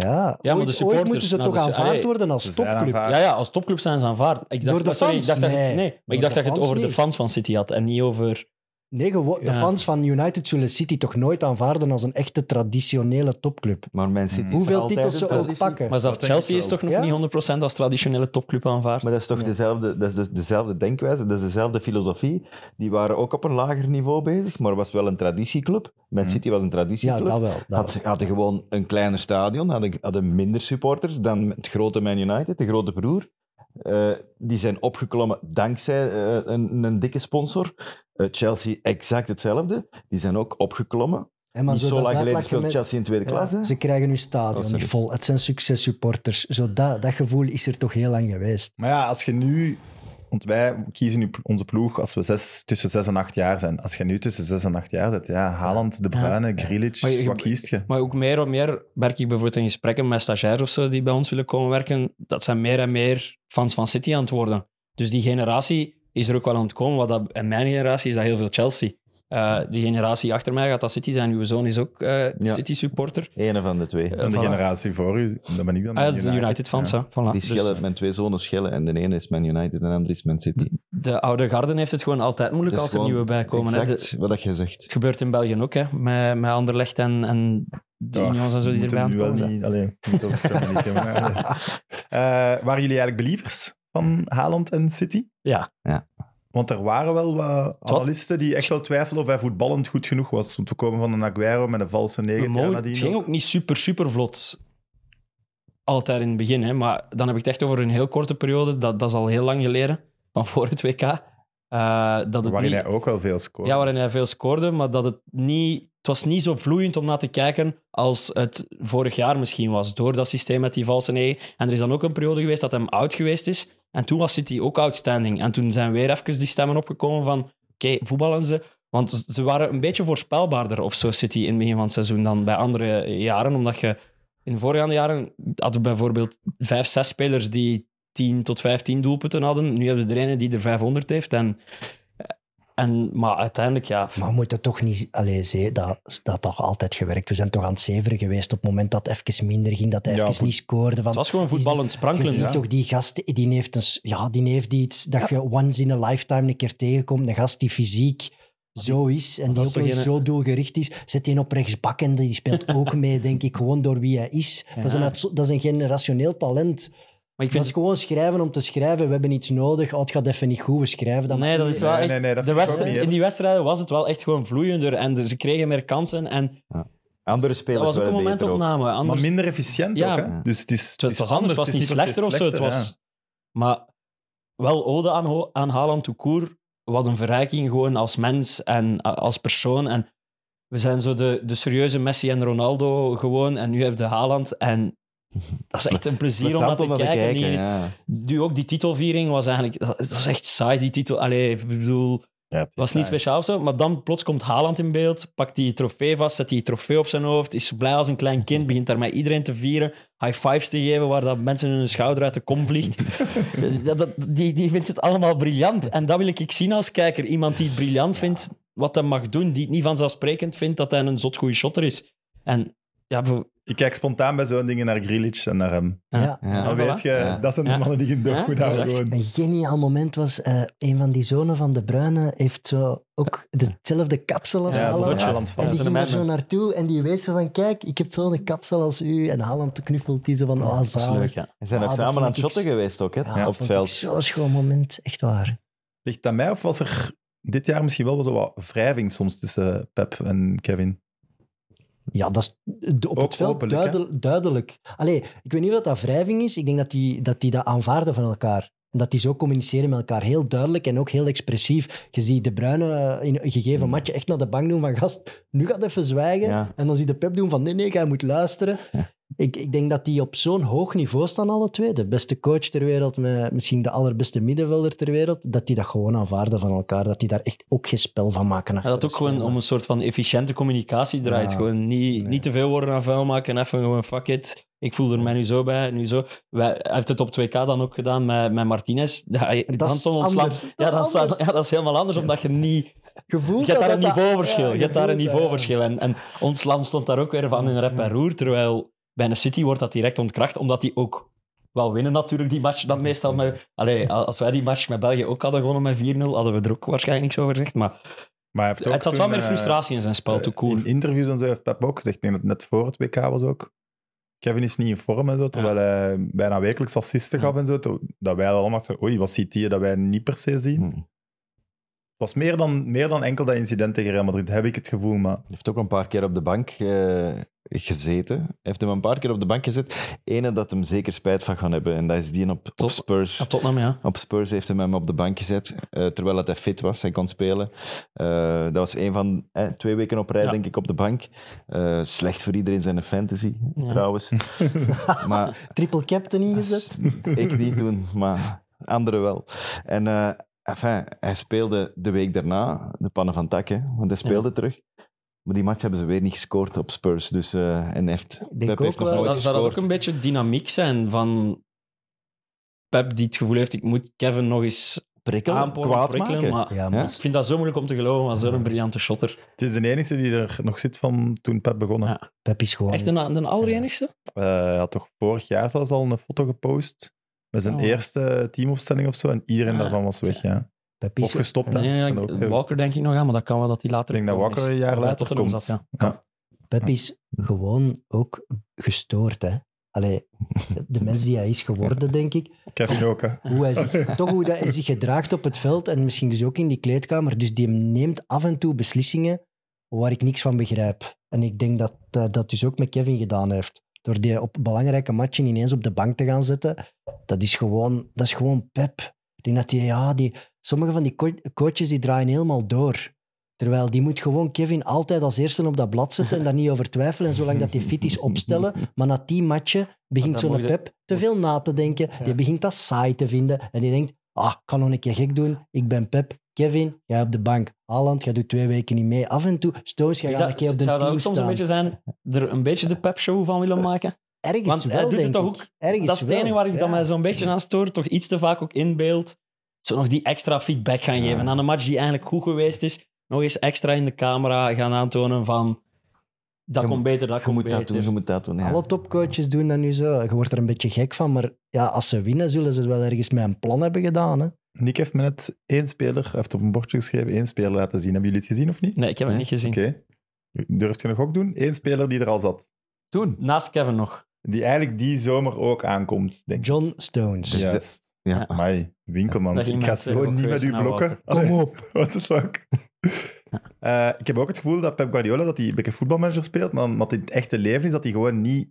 Speaker 2: Ja,
Speaker 3: maar
Speaker 2: ooit,
Speaker 3: de
Speaker 2: ooit
Speaker 3: supporters,
Speaker 2: moeten ze
Speaker 3: nou,
Speaker 2: toch
Speaker 3: dus-
Speaker 2: aanvaard
Speaker 3: allee,
Speaker 2: worden als
Speaker 1: Ze zijn
Speaker 2: topclub.
Speaker 1: aanvaard.
Speaker 3: Ja, ja, als topclub zijn ze aanvaard. Ik dacht,
Speaker 2: Door de
Speaker 3: sorry,
Speaker 2: fans?
Speaker 3: ik dacht dat,
Speaker 2: Nee.
Speaker 3: nee, maar
Speaker 2: Door
Speaker 3: ik dacht
Speaker 2: de
Speaker 3: dat je het
Speaker 2: fans
Speaker 3: over de
Speaker 2: niet.
Speaker 3: fans van City had en niet over...
Speaker 2: Nee, gewo- de
Speaker 3: Ja.
Speaker 2: fans van United zullen City toch nooit aanvaarden als een echte traditionele topclub.
Speaker 4: Maar Man
Speaker 1: Hmm.
Speaker 4: City is
Speaker 2: Hoeveel
Speaker 4: altijd
Speaker 2: titels
Speaker 4: een
Speaker 2: ze ook
Speaker 4: traditie.
Speaker 2: pakken.
Speaker 3: Maar
Speaker 1: denk
Speaker 3: zelfs
Speaker 1: ik
Speaker 3: Chelsea
Speaker 1: wel.
Speaker 3: is toch nog
Speaker 2: Ja?
Speaker 3: niet 100% als traditionele topclub aanvaard.
Speaker 4: Maar dat is toch
Speaker 2: Ja.
Speaker 4: dezelfde, dat is dus dezelfde denkwijze, dat is dezelfde filosofie. Die waren ook op een lager niveau bezig, maar was wel een traditieclub. Man
Speaker 1: Hmm.
Speaker 4: City was een
Speaker 2: Ja,
Speaker 4: traditieclub.
Speaker 2: dat wel. Dat
Speaker 4: Had, hadden gewoon een kleiner stadion, hadden, hadden minder supporters dan het grote Man United, de grote broer. Eh, die zijn opgeklommen dankzij eh, een, een dikke sponsor. Eh, Chelsea exact hetzelfde. Die zijn ook opgeklommen.
Speaker 2: En maar
Speaker 4: Niet
Speaker 2: zo
Speaker 4: zo
Speaker 2: dat
Speaker 4: lang geleden
Speaker 2: uitlaat je
Speaker 4: speelt
Speaker 2: met-
Speaker 4: Chelsea in tweede
Speaker 2: Ja,
Speaker 4: klas. hè?
Speaker 2: Ze krijgen hun
Speaker 4: Oh,
Speaker 2: stadion
Speaker 4: sorry.
Speaker 2: niet vol. Het zijn successupporters. Zo dat, dat gevoel is er toch heel lang geweest.
Speaker 1: Maar ja, als je nu... Want wij kiezen nu onze ploeg als we zes, tussen 6 en 8 jaar zijn. Als je nu tussen 6 en 8 jaar zit, ja, Haaland, De Bruyne, Grealish,
Speaker 3: Maar je- Eh,
Speaker 1: wat kiest je?
Speaker 3: Maar ook meer en meer merk ik bijvoorbeeld in gesprekken met stagiairs of zo die bij ons willen komen werken, dat zijn meer en meer fans van City aan het worden. Dus die generatie is er ook wel aan het komen. Wat dat, in mijn generatie is dat heel veel Chelsea. Eh, die generatie achter mij gaat dat City zijn. Uw zoon is ook eh,
Speaker 4: Ja.
Speaker 3: City-supporter.
Speaker 4: Ene van de twee.
Speaker 1: En de
Speaker 3: voilà.
Speaker 1: generatie voor u, dat ben ik dan.
Speaker 3: Ah, dat is de United-fans,
Speaker 1: Ja.
Speaker 3: hè. Voilà.
Speaker 4: Die
Speaker 3: Dus-
Speaker 4: schillen, mijn twee zonen schillen. En de ene is Man United en de andere is Man City.
Speaker 3: De oude garden heeft het gewoon altijd moeilijk
Speaker 4: Dat is
Speaker 3: als er
Speaker 4: gewoon
Speaker 3: nieuwe bij komen. hè.
Speaker 4: Exact
Speaker 3: De-
Speaker 4: wat dat je
Speaker 3: het
Speaker 4: zegt.
Speaker 3: gebeurt in België ook, hè, met, met Anderlecht en, en de
Speaker 1: Ja,
Speaker 3: Unions en zo
Speaker 1: we
Speaker 3: die erbij
Speaker 1: moeten
Speaker 3: aan het
Speaker 1: nu wel
Speaker 3: komen
Speaker 1: niet- allee,
Speaker 3: zijn.
Speaker 1: we moeten over Premier League hebben, maar, <laughs> eh, eh, waren jullie eigenlijk believers van Haaland en City?
Speaker 3: Ja.
Speaker 4: Ja.
Speaker 1: Want er waren wel wat
Speaker 3: was-
Speaker 1: analisten die echt wel twijfelden of hij voetballend goed genoeg was. Want we komen van een Aguero met een valse negen.
Speaker 3: Maar
Speaker 1: jaar
Speaker 3: het
Speaker 1: nadien
Speaker 3: ging
Speaker 1: ook.
Speaker 3: ook niet super, super vlot. Altijd in het begin, hè. maar dan heb ik het echt over een heel korte periode. Dat, dat is al heel lang geleden, van voor het WK. eh, dat het
Speaker 1: Waarin
Speaker 3: niet,
Speaker 1: hij ook wel veel scoorde.
Speaker 3: ja, waarin hij veel scoorde, maar dat het niet... Het was niet zo vloeiend om naar te kijken als het vorig jaar misschien was, door dat systeem met die valse negen. En er is dan ook een periode geweest dat hem oud geweest is. En toen was City ook outstanding. En toen zijn weer even die stemmen opgekomen van oké, voetballen ze? Want ze waren een beetje voorspelbaarder of zo, City, in het begin van het seizoen dan bij andere jaren. Omdat je in de voorgaande jaren hadden we bijvoorbeeld vijf, zes spelers die 10 tot 15 doelpunten hadden. Nu hebben we er een die er 500 heeft. En, en, maar uiteindelijk, ja,
Speaker 2: Maar we moeten toch niet... Allee, zee, dat, dat had toch altijd gewerkt. We zijn toch aan het zeveren geweest op het moment dat het even minder ging, dat hij
Speaker 1: Ja,
Speaker 2: even
Speaker 1: voet-
Speaker 2: niet scoorde. Van,
Speaker 3: het was gewoon voetballend
Speaker 2: je
Speaker 3: sprankelen.
Speaker 2: ziet
Speaker 1: ja.
Speaker 2: toch die gast, die heeft, een, s- ja, die heeft iets dat je once in a lifetime een keer tegenkomt. Een gast die fysiek zo is en die
Speaker 3: dat
Speaker 2: ook
Speaker 3: is
Speaker 2: nog eens
Speaker 3: toch
Speaker 2: zo doelgericht is. Zet die op rechtsbak en die speelt ook mee, denk ik, gewoon door wie hij is. Dat, is een,
Speaker 3: Ja.
Speaker 2: uitzo- dat is een generationeel talent.
Speaker 3: Maar
Speaker 2: Dat
Speaker 3: ik vind
Speaker 2: is gewoon schrijven om te schrijven. We hebben iets nodig. Oh, het gaat even niet goed. We schrijven dat.
Speaker 3: nee, dat is wel
Speaker 1: Nee,
Speaker 3: echt...
Speaker 1: nee, nee, dat
Speaker 3: de
Speaker 1: vind ik
Speaker 3: wedstrijd-
Speaker 1: ook niet, hè.
Speaker 3: in die wedstrijden was het wel echt gewoon vloeiender. En de- ze kregen meer kansen. En
Speaker 4: Andere
Speaker 3: dat
Speaker 4: spelers
Speaker 3: was ook een
Speaker 4: waren beter ook.
Speaker 3: momentopname.
Speaker 1: Maar
Speaker 3: Anders,
Speaker 1: minder efficiënt
Speaker 3: Ja.
Speaker 1: ook. Hè? Dus het is,
Speaker 3: het, was anders, het was niet
Speaker 1: per se
Speaker 3: slechter of zo. Het was,
Speaker 1: ja.
Speaker 3: Maar wel ode aan, Ho- aan Haaland Toucour. Wat een verrijking gewoon als mens en a- als persoon. En we zijn zo de, de serieuze Messi en Ronaldo gewoon. En nu heb je Haaland. En dat is echt <laughs> een plezier om naar
Speaker 4: Plezant
Speaker 3: te kijken. Die-
Speaker 4: ja.
Speaker 3: Nu ook die titelviering was eigenlijk... Dat dat was echt saai, die titel. Allee, ik bedoel...
Speaker 1: Ja, het is
Speaker 3: was niet
Speaker 1: saai.
Speaker 3: speciaal of zo, maar dan plots komt Haaland in beeld, pakt die trofee vast, zet die trofee op zijn hoofd, is zo blij als een klein
Speaker 1: <laughs>
Speaker 3: kind, begint daar met iedereen te vieren, high fives te geven, waar dat mensen hun schouder uit de
Speaker 1: <laughs>
Speaker 3: kom vliegt. dat, dat- die, die vindt het allemaal briljant. En dat wil ik zien als kijker. Iemand die het briljant vindt, wat hij mag doen, die het niet vanzelfsprekend vindt dat hij een zot goede shotter is. En ja, voor-
Speaker 1: Ik kijk spontaan bij zo'n dingen naar Grealish en naar hem.
Speaker 2: Ja.
Speaker 4: Ja.
Speaker 1: Dan
Speaker 3: voilà.
Speaker 1: weet je,
Speaker 4: Ja.
Speaker 1: dat zijn de
Speaker 3: Ja.
Speaker 1: mannen die je
Speaker 3: Ja,
Speaker 1: dood goed
Speaker 3: dat is
Speaker 1: houden.
Speaker 3: echt-
Speaker 1: gewoon.
Speaker 2: Een geniaal moment was eh, een van die zonen van De Bruyne heeft zo ook dezelfde kapsel als
Speaker 1: Ja, zo'n
Speaker 2: Haaland.
Speaker 1: dotje. Haaland van.
Speaker 2: En
Speaker 3: Ja,
Speaker 2: die
Speaker 3: zo'n
Speaker 2: ging daar zo
Speaker 3: madman.
Speaker 2: naartoe en die wees zo van, kijk, ik heb zo'n kapsel als u. En Haaland knuffelt die zo van,
Speaker 1: Ah,
Speaker 2: oh,
Speaker 3: dat is leuk,
Speaker 2: zalig.
Speaker 3: ja.
Speaker 4: Ze zijn
Speaker 2: Ah,
Speaker 4: ook
Speaker 2: dat
Speaker 4: samen
Speaker 2: vond
Speaker 4: aan het
Speaker 2: ik-
Speaker 4: shotten geweest ook, hè,
Speaker 2: Ja,
Speaker 4: op het
Speaker 2: vond ik
Speaker 4: veld.
Speaker 2: Zo'n schoon moment, echt waar.
Speaker 1: Ligt dat mij of was er dit jaar misschien wel wat, wat wrijving soms tussen Pep en Kevin?
Speaker 2: Ja, dat is de- op
Speaker 1: Ook
Speaker 2: het veld
Speaker 1: openlijk, hè?
Speaker 2: duidel- duidelijk. Allee, ik weet niet of dat wrijving is. Ik denk dat die, dat die dat aanvaarden van elkaar. En dat die zo communiceren met elkaar. Heel duidelijk en ook heel expressief. Je ziet De Bruyne eh, in een gegeven
Speaker 4: Hmm.
Speaker 2: matje echt naar de bank doen van gast, nu gaat even zwijgen.
Speaker 4: Ja.
Speaker 2: En dan zie je Pep doen van nee, nee, jij moet luisteren. Ik, ik denk dat die op zo'n hoog niveau staan, alle twee. De beste coach ter wereld, met misschien de allerbeste middenvelder ter wereld. Dat die dat gewoon aanvaarden van elkaar. Dat die daar echt ook geen spel van maken.
Speaker 3: Ja,
Speaker 2: achter
Speaker 3: dat
Speaker 2: de
Speaker 3: ook gewoon
Speaker 2: schermen.
Speaker 3: om een soort van efficiënte communicatie draait.
Speaker 2: Ja.
Speaker 3: Gewoon niet, niet te veel woorden aan vuil maken en even gewoon fuck it. Ik voel er mij nu zo bij, nu zo. Wij, hij heeft het op 2K dan ook gedaan met, met Martinez. <laughs> Ja, hij-
Speaker 2: is
Speaker 3: Danson ontslaat-
Speaker 2: anders. Dat
Speaker 3: Ja,
Speaker 2: is
Speaker 3: dan staat,
Speaker 2: anders.
Speaker 3: ja, dat is helemaal anders, omdat je niet...
Speaker 2: Gevoel
Speaker 3: Je hebt daar een
Speaker 2: dat dat-
Speaker 3: niveauverschil.
Speaker 2: ja,
Speaker 3: Je hebt daar een
Speaker 2: gevoel dat-
Speaker 3: niveauverschil. En, en ons land stond daar ook weer van in rep en roer, terwijl bij een City wordt dat direct ontkracht, omdat die ook wel winnen natuurlijk, die match. Dan meestal met... Allee, als wij die match met België ook hadden gewonnen met 4-0, hadden we er ook waarschijnlijk niks over gezegd, maar...
Speaker 1: Maar hij heeft ook
Speaker 3: Het zat
Speaker 1: toen,
Speaker 3: wel meer
Speaker 1: eh,
Speaker 3: frustratie in zijn spel, te
Speaker 1: In
Speaker 3: cool.
Speaker 1: interviews en zo heeft Pep ook gezegd, ik denk dat het net voor het WK was ook. Kevin is niet in vorm en zo, terwijl hij bijna wekelijks assisten
Speaker 3: Ja.
Speaker 1: gaf en zo. ter- Dat wij al allemaal dachten, oei, wat ziet hij dat wij niet per se zien?
Speaker 4: Hm.
Speaker 1: Het was meer dan, meer dan enkel dat incident tegen Real Madrid, heb ik het gevoel. Maar
Speaker 4: Hij heeft ook een paar keer op de bank eh, gezeten. Hij heeft hem een paar keer op de bank gezet. Ene dat hem zeker spijt van gaan hebben. En dat is die op, op
Speaker 3: Tot-
Speaker 4: Spurs.
Speaker 3: Ja, Tottenham, ja.
Speaker 4: Op Spurs heeft hem hem op de bank gezet, eh, terwijl dat hij fit was en kon spelen. Eh, dat was een van eh, twee weken op rij,
Speaker 3: Ja.
Speaker 4: denk ik, op de bank. Eh, slecht voor iedereen zijn fantasy,
Speaker 3: Ja. <laughs>
Speaker 4: trouwens. maar
Speaker 2: Triple captain ingezet.
Speaker 4: Dus ik niet doen, maar anderen wel. En eh, enfin, hij speelde de week daarna, de pannen van tak, hè, want hij speelde terug. Maar die match hebben ze weer niet gescoord op Spurs. Dus, eh, en hij heeft,
Speaker 2: denk ook
Speaker 4: heeft
Speaker 2: wel-
Speaker 4: nog
Speaker 3: Zou
Speaker 4: nooit
Speaker 3: dat, zou dat ook
Speaker 4: gescoord.
Speaker 3: een beetje dynamiek zijn van Pep die het gevoel heeft, ik moet Kevin nog eens
Speaker 4: Prikkelen,
Speaker 3: aanporen,
Speaker 4: kwaad
Speaker 3: prikkelen,
Speaker 4: maken.
Speaker 3: maar
Speaker 2: Ja, maar
Speaker 4: Ja?
Speaker 3: ik vind dat zo moeilijk om te geloven, maar zo'n briljante shotter.
Speaker 1: het is de enige die er nog zit van toen Pep begonnen.
Speaker 3: Ja.
Speaker 2: Pep is gewoon...
Speaker 3: Echt de, de allerenigste?
Speaker 1: Eh, hij had toch vorig jaar zelfs al een foto gepost met zijn
Speaker 3: Oh.
Speaker 1: eerste teamopstelling of zo. En iedereen
Speaker 3: Ah.
Speaker 1: daarvan was weg, ja.
Speaker 2: Pep
Speaker 1: Of
Speaker 2: is,
Speaker 1: gestopt, hè.
Speaker 3: Nee, ja,
Speaker 1: Zijn er ook geweest.
Speaker 3: Walker denk ik nog aan, maar dat kan wel dat hij later...
Speaker 1: Ik denk dat Walker een jaar later
Speaker 3: tot
Speaker 1: komt.
Speaker 3: Zat, ja.
Speaker 1: Ja.
Speaker 2: Pep is gewoon ook gestoord, hè. Allee, <laughs> de- de mens die hij is geworden, denk ik.
Speaker 1: Kevin ook, hè.
Speaker 2: <laughs> Hoe hij zich, toch hoe dat hij zich gedraagt op het veld en misschien dus ook in die kleedkamer. Dus die neemt af en toe beslissingen waar ik niks van begrijp. En ik denk dat eh, dat dus ook met Kevin gedaan heeft. Door die op belangrijke matchen ineens op de bank te gaan zetten. Dat is gewoon, dat is gewoon Pep. Ik denk dat die, ja, die, sommige van die co- coaches die draaien helemaal door. Terwijl die moet gewoon Kevin altijd als eerste op dat blad zetten en daar niet over twijfelen. En zolang dat hij fit is, opstellen. Maar na die matchen begint
Speaker 3: dan
Speaker 2: zo'n
Speaker 3: moet je-
Speaker 2: Pep te veel na te denken. Die begint dat saai te vinden. En die denkt, ah, ik kan nog een keer gek doen. Ik ben Pep. Kevin, jij op de bank. Haaland, jij doet twee weken niet mee. Af en toe, Stones, jij
Speaker 3: Is
Speaker 2: gaat een
Speaker 3: dat,
Speaker 2: keer op de
Speaker 3: zou dat
Speaker 2: team
Speaker 3: ook soms een
Speaker 2: staan.
Speaker 3: beetje zijn, er een beetje de Pep-show van willen maken?
Speaker 2: Ergens
Speaker 3: Want hij
Speaker 2: wel,
Speaker 3: doet het
Speaker 2: denk
Speaker 3: toch
Speaker 2: ik.
Speaker 3: ook-
Speaker 2: Ergens
Speaker 3: dat is het
Speaker 2: wel,
Speaker 3: enige waar ik dan
Speaker 2: ja.
Speaker 3: mij zo'n beetje aan stoor. Toch iets te vaak ook inbeeld. Zo nog die extra feedback gaan
Speaker 4: Ja.
Speaker 3: geven. Aan een match die eigenlijk goed geweest is. Nog eens extra in de camera gaan aantonen van... Dat
Speaker 4: Je
Speaker 3: komt beter, dat
Speaker 4: Je
Speaker 3: komt
Speaker 4: moet dat
Speaker 3: beter.
Speaker 4: doen, je moet dat doen. Ja.
Speaker 2: Alle topcoaches doen dat nu zo. Je wordt er een beetje gek van, maar ja, als ze winnen, zullen ze het wel ergens met een plan hebben gedaan. Hè?
Speaker 1: Nick heeft me net één speler, hij heeft op een bordje geschreven, één speler laten zien. Hebben jullie het gezien of niet?
Speaker 3: Nee, ik heb het
Speaker 4: Nee?
Speaker 3: niet gezien.
Speaker 1: Oké. Durft je nog ook doen? Eén speler die er al zat.
Speaker 4: Doen.
Speaker 3: Naast Kevin nog.
Speaker 1: Die eigenlijk die zomer ook aankomt, denk ik.
Speaker 2: John Stones.
Speaker 4: Ja.
Speaker 1: Juist.
Speaker 4: Ja.
Speaker 1: Amai, winkelman.
Speaker 3: Ah. Dat ging
Speaker 1: Ik ga
Speaker 3: met, eh,
Speaker 1: zo
Speaker 3: ook
Speaker 1: niet met
Speaker 3: geweest
Speaker 1: u
Speaker 3: naar
Speaker 1: blokken.
Speaker 3: Walker.
Speaker 1: Kom op. <laughs> What the fuck?
Speaker 3: <laughs>
Speaker 1: Eh, ik heb ook het gevoel dat Pep Guardiola dat hij een beetje voetbalmanager speelt, maar wat in het echte leven is dat hij gewoon niet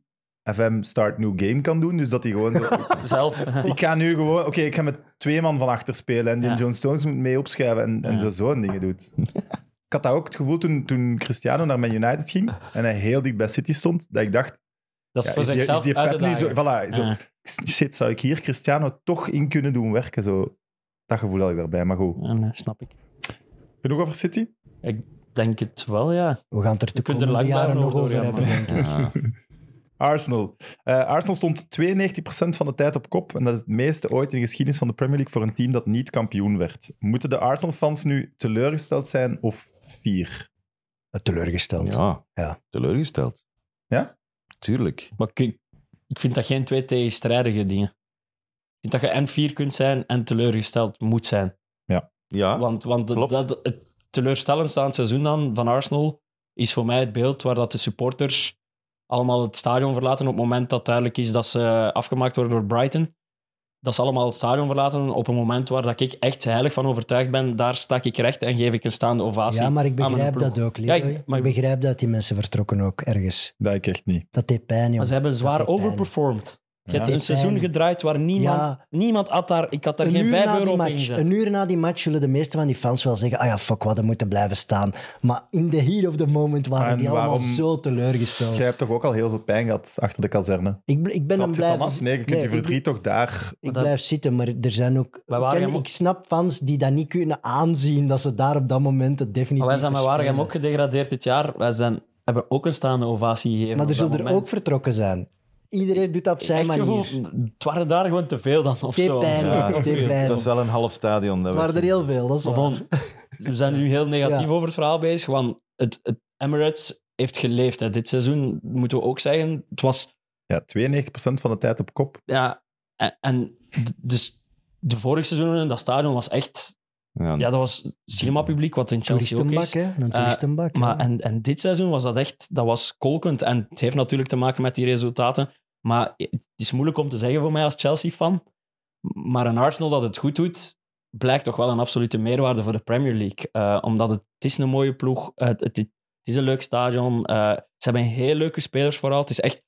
Speaker 1: FM start new game kan doen. Dus dat hij
Speaker 3: <laughs>
Speaker 1: gewoon zo...
Speaker 3: Zelf.
Speaker 1: ik ga nu gewoon... Oké, ik ga met twee man van achter spelen en die
Speaker 3: Ja.
Speaker 1: John Stones moet mee opschuiven en, en
Speaker 3: Ja.
Speaker 1: zo zo'n dingen
Speaker 3: <laughs>
Speaker 1: doet. Ik had dat ook het gevoel toen, toen Cristiano naar Man United ging en hij heel dicht bij City stond, dat ik dacht,
Speaker 3: Dat is
Speaker 1: ja,
Speaker 3: voor
Speaker 1: is die-
Speaker 3: zichzelf
Speaker 1: is die
Speaker 3: uit
Speaker 1: Pep
Speaker 3: te
Speaker 1: nu zo,
Speaker 3: dagen.
Speaker 1: voilà, zo,
Speaker 3: Ja.
Speaker 1: shit, zou ik hier Cristiano toch in kunnen doen werken? Zo. Dat gevoel had ik daarbij, maar goed.
Speaker 3: Ja, nee, snap ik.
Speaker 1: Genoeg over City?
Speaker 3: Denk het wel, ja.
Speaker 2: We gaan het er de
Speaker 3: Je kunt er
Speaker 2: komende
Speaker 3: lang
Speaker 2: jaren
Speaker 3: daarover
Speaker 2: nog over
Speaker 3: doorgaan,
Speaker 2: hebben.
Speaker 3: maar-
Speaker 2: denk ik.
Speaker 4: Ja.
Speaker 1: Arsenal. Eh, Arsenal stond 92% van de tijd op kop. En dat is het meeste ooit in de geschiedenis van de Premier League voor een team dat niet kampioen werd. Moeten de Arsenal-fans nu teleurgesteld zijn of fier?
Speaker 2: Teleurgesteld.
Speaker 4: Ja.
Speaker 2: Ja.
Speaker 4: teleurgesteld.
Speaker 1: Ja?
Speaker 4: Tuurlijk.
Speaker 3: Maar ik, ik vind dat geen twee tegenstrijdige dingen. Ik vind dat je en fier kunt zijn en teleurgesteld moet zijn.
Speaker 4: Ja,
Speaker 3: Want, want de-
Speaker 4: Ah, Klopt.
Speaker 3: dat, het teleurstellendste aan het seizoen dan van Arsenal is voor mij het beeld waar dat de supporters allemaal het stadion verlaten op het moment dat duidelijk is dat ze afgemaakt worden door Brighton. dat ze allemaal het stadion verlaten op een moment waar dat ik echt heilig van overtuigd ben. Daar sta ik recht en geef ik een staande ovatie.
Speaker 2: Ja, maar ik
Speaker 3: aan mijn
Speaker 2: begrijp
Speaker 3: ploeg.
Speaker 2: dat ook,
Speaker 3: Ja, ik-
Speaker 2: Leroy.
Speaker 3: maar-
Speaker 2: ik begrijp dat die mensen vertrokken ook ergens.
Speaker 1: Dat ik echt niet.
Speaker 2: Dat deed pijn, joh.
Speaker 3: Maar ze hebben
Speaker 2: Dat
Speaker 3: zwaar
Speaker 2: deed pijn.
Speaker 3: overperformed. Je hebt
Speaker 2: Ja.
Speaker 3: een seizoen
Speaker 2: Pijn.
Speaker 3: gedraaid waar niemand,
Speaker 2: Ja.
Speaker 3: niemand had daar... Ik had daar
Speaker 2: Een
Speaker 3: geen
Speaker 2: uur
Speaker 3: 5
Speaker 2: na die
Speaker 3: euro op
Speaker 2: match-
Speaker 3: ingezet.
Speaker 2: Een uur na die match zullen de meeste van die fans wel zeggen: ah ja, fuck wat, we moeten blijven staan. Maar in the heat of the moment waren
Speaker 1: En
Speaker 2: die allemaal
Speaker 1: waarom-
Speaker 2: zo teleurgesteld.
Speaker 1: Jij hebt toch ook al heel veel pijn gehad achter de kazerne?
Speaker 2: Ik, bl- ik ben
Speaker 1: Snap
Speaker 2: hem
Speaker 1: je het dan af?
Speaker 2: blijven.
Speaker 1: Nee, je kunt je
Speaker 2: ik-
Speaker 1: verdriet toch daar...
Speaker 2: Ik
Speaker 3: dat-
Speaker 2: blijf zitten, maar er zijn ook.
Speaker 3: Wij waren
Speaker 2: Ik ken-
Speaker 3: hem ook-
Speaker 2: ik snap fans die dat niet kunnen aanzien dat ze daar op dat moment het definitief.
Speaker 3: Maar wij zijn met Waregem
Speaker 2: verspelen.
Speaker 3: ook gedegradeerd dit jaar. Wij zijn, hebben ook een staande ovatie gegeven.
Speaker 2: Maar er
Speaker 3: op dat
Speaker 2: zullen er
Speaker 3: moment.
Speaker 2: ook vertrokken zijn. Iedereen doet dat op zijn
Speaker 3: Echt het
Speaker 2: manier.
Speaker 3: gevoel,
Speaker 2: Het
Speaker 3: Mm, het waren daar gewoon te veel dan of
Speaker 2: Deed
Speaker 3: zo.
Speaker 2: pijn,
Speaker 4: Ja,
Speaker 2: deed pijn.
Speaker 4: Dat is wel een half stadion. Dat
Speaker 2: waren er
Speaker 4: werd-
Speaker 2: heel veel, dat is
Speaker 3: Maar
Speaker 2: waar.
Speaker 3: bon, we zijn nu heel negatief
Speaker 2: Ja.
Speaker 3: over het verhaal bezig, want het, het Emirates heeft geleefd. Hè. Dit seizoen moeten we ook zeggen, het was...
Speaker 1: Ja, 92% van de tijd op kop.
Speaker 3: Ja, en, en d- dus de vorige seizoenen in dat stadion was echt...
Speaker 4: Ja,
Speaker 3: Ja, dat was cinemapubliek, wat in Chelsea ook
Speaker 2: toeristenbak,
Speaker 3: is.
Speaker 2: hè? Een
Speaker 3: Eh,
Speaker 2: toeristenbak. hè.
Speaker 3: Maar en, en dit seizoen was dat echt, dat was kolkend. En het heeft natuurlijk te maken met die resultaten. Maar het is moeilijk om te zeggen voor mij als Chelsea-fan. Maar een Arsenal dat het goed doet, blijkt toch wel een absolute meerwaarde voor de Premier League. Eh, omdat het, het is een mooie ploeg, eh, het, het, het is een leuk stadion. eh, ze hebben heel leuke spelers vooral. Het is echt,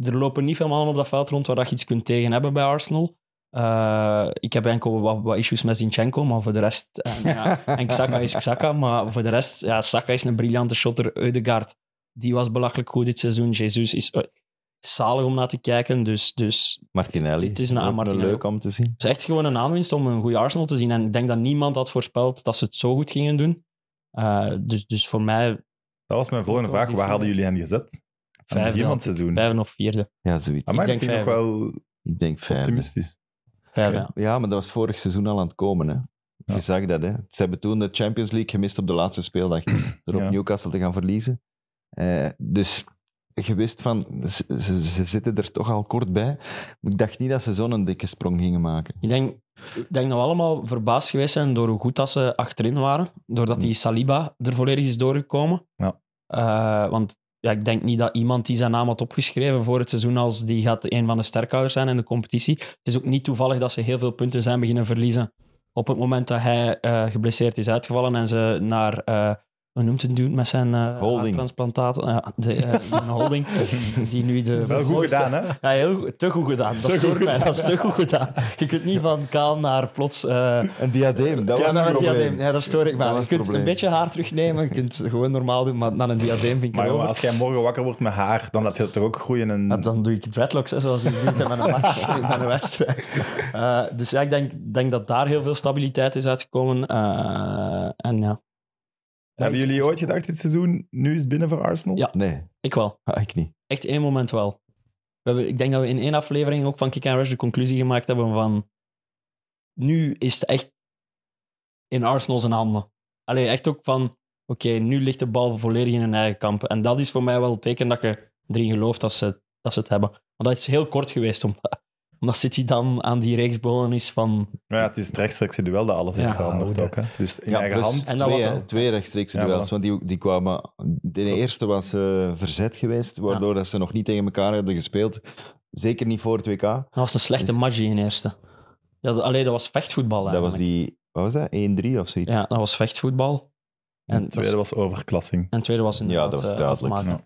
Speaker 3: er lopen niet veel mannen op dat veld rond waar dat je iets kunt tegen hebben bij Arsenal. Eh, ik heb enkel wat, wat issues met Zinchenko, maar voor de rest... eh, ja, en Xhaka is Xhaka, maar voor de rest, ja, Saka is een briljante shotter. Eudegaard, die was belachelijk goed dit seizoen. Jesus is eh, zalig om naar te kijken. Dus, dus
Speaker 4: Martinelli.
Speaker 3: Het is een
Speaker 4: Ook
Speaker 3: Martinelli.
Speaker 4: Leuk om te zien.
Speaker 3: het is echt gewoon een aanwinst om een goede Arsenal te zien. En ik denk dat niemand had voorspeld dat ze het zo goed gingen doen. Eh, dus, dus voor mij
Speaker 1: Dat was mijn volgende
Speaker 3: Ook wel
Speaker 1: vraag.
Speaker 3: die
Speaker 1: Waar hadden
Speaker 3: vierde.
Speaker 1: jullie hen gezet? Aan het
Speaker 3: Vijfde
Speaker 1: begin van
Speaker 3: had
Speaker 1: het seizoen.
Speaker 3: vijfde of vierde.
Speaker 4: Ja, zoiets.
Speaker 1: Amai,
Speaker 3: Ik
Speaker 1: dat
Speaker 3: denk
Speaker 1: vind ik ook wel
Speaker 4: Ik denk vijf.
Speaker 1: optimistisch.
Speaker 3: Vijfde,
Speaker 1: Oké.
Speaker 3: ja.
Speaker 4: Ja, maar dat was vorig seizoen al aan het komen. Hè.
Speaker 1: Ja.
Speaker 4: Je zag dat, hè. Ze hebben toen de Champions League gemist op de laatste speeldag.
Speaker 1: <clears throat>
Speaker 4: Door op
Speaker 1: Ja.
Speaker 4: Newcastle te gaan verliezen. Eh, dus je wist van, ze, ze- ze zitten er toch al kort bij. Maar ik dacht niet dat ze zo'n dikke sprong gingen maken.
Speaker 3: Ik denk, ik denk dat we allemaal verbaasd geweest zijn door hoe goed dat ze achterin waren. Doordat die Saliba er volledig is doorgekomen.
Speaker 1: Mm. Ja.
Speaker 3: Eh, want ja, ik denk niet dat iemand die zijn naam had opgeschreven voor het seizoen als die gaat een van de sterkhouders zijn in de competitie. Het is ook niet toevallig dat ze heel veel punten zijn beginnen verliezen op het moment dat hij eh, geblesseerd is uitgevallen en ze naar... eh hoe noemt het dude met zijn eh
Speaker 4: Holding.
Speaker 3: transplantaat? de, eh,
Speaker 1: <laughs>
Speaker 3: een holding. Die nu de
Speaker 1: Wel goed gedaan, hè?
Speaker 3: ja, heel goed. Te goed gedaan. Dat
Speaker 1: Te
Speaker 3: stoort
Speaker 1: goed
Speaker 3: mij. Dat is te goed gedaan. Je kunt niet van kaal naar plots... eh,
Speaker 4: Een diadeem, dat
Speaker 3: ja,
Speaker 4: was
Speaker 3: naar
Speaker 4: een
Speaker 3: een
Speaker 4: probleem.
Speaker 3: diadeem. Ja, daar stoor ik me
Speaker 4: Dat
Speaker 3: aan.
Speaker 4: was
Speaker 3: Je
Speaker 4: het
Speaker 3: kunt een
Speaker 4: probleem.
Speaker 3: beetje haar terugnemen. Je kunt het gewoon normaal doen, maar naar een diadeem vind ik
Speaker 1: <laughs> Maar jongen,
Speaker 3: erover.
Speaker 1: als jij morgen wakker wordt met haar, dan laat je dat toch ook groeien. En...
Speaker 3: Ja, dan doe ik dreadlocks, hè, zoals ik doe met een
Speaker 4: <laughs>
Speaker 3: match, <laughs> met een wedstrijd. Eh, dus ja, ik denk, denk dat daar heel veel stabiliteit is uitgekomen. Eh, en ja,
Speaker 1: Hebben jullie ooit gedacht dit seizoen, nu is het binnen voor Arsenal?
Speaker 3: Ja.
Speaker 4: Nee,
Speaker 3: ik wel.
Speaker 4: ah, ik niet.
Speaker 3: Echt één moment wel. We hebben, ik denk dat we in één aflevering ook van Kick and Rush de conclusie gemaakt hebben van... Nu is het echt in Arsenal zijn handen. Allee, echt ook van... Oké, nu ligt de bal volledig in hun eigen kamp. En dat is voor mij wel het teken dat je erin gelooft dat ze, dat ze het hebben. Want dat is heel kort geweest, omdat, <laughs> omdat City dan aan die reeksbomen is van...
Speaker 1: Maar ja, het is het rechtstreekse duel dat alles
Speaker 3: Ja,
Speaker 1: heeft veranderd
Speaker 2: oude.
Speaker 1: ook. Hè? Dus in
Speaker 4: Ja,
Speaker 1: eigen
Speaker 4: plus
Speaker 1: hand.
Speaker 3: En dat
Speaker 4: twee,
Speaker 3: was-
Speaker 4: hè, twee rechtstreekse
Speaker 1: Ja,
Speaker 4: duels.
Speaker 1: voilà.
Speaker 4: Want die, die kwamen... De eerste was eh, verzet geweest, waardoor dat ze nog niet tegen elkaar hadden gespeeld. Zeker niet voor het WK.
Speaker 3: Dat was een slechte
Speaker 4: Dus-
Speaker 3: match die in eerste. Ja, dat- allee, dat was vechtvoetbal
Speaker 4: Dat was
Speaker 3: eigenlijk.
Speaker 4: die... Wat was dat? 1-3 of zoiets?
Speaker 3: Ja, dat was vechtvoetbal. En
Speaker 1: De tweede was overklassing.
Speaker 3: En het tweede was inderdaad
Speaker 4: dat was
Speaker 3: eh,
Speaker 4: duidelijk,
Speaker 3: afmaken.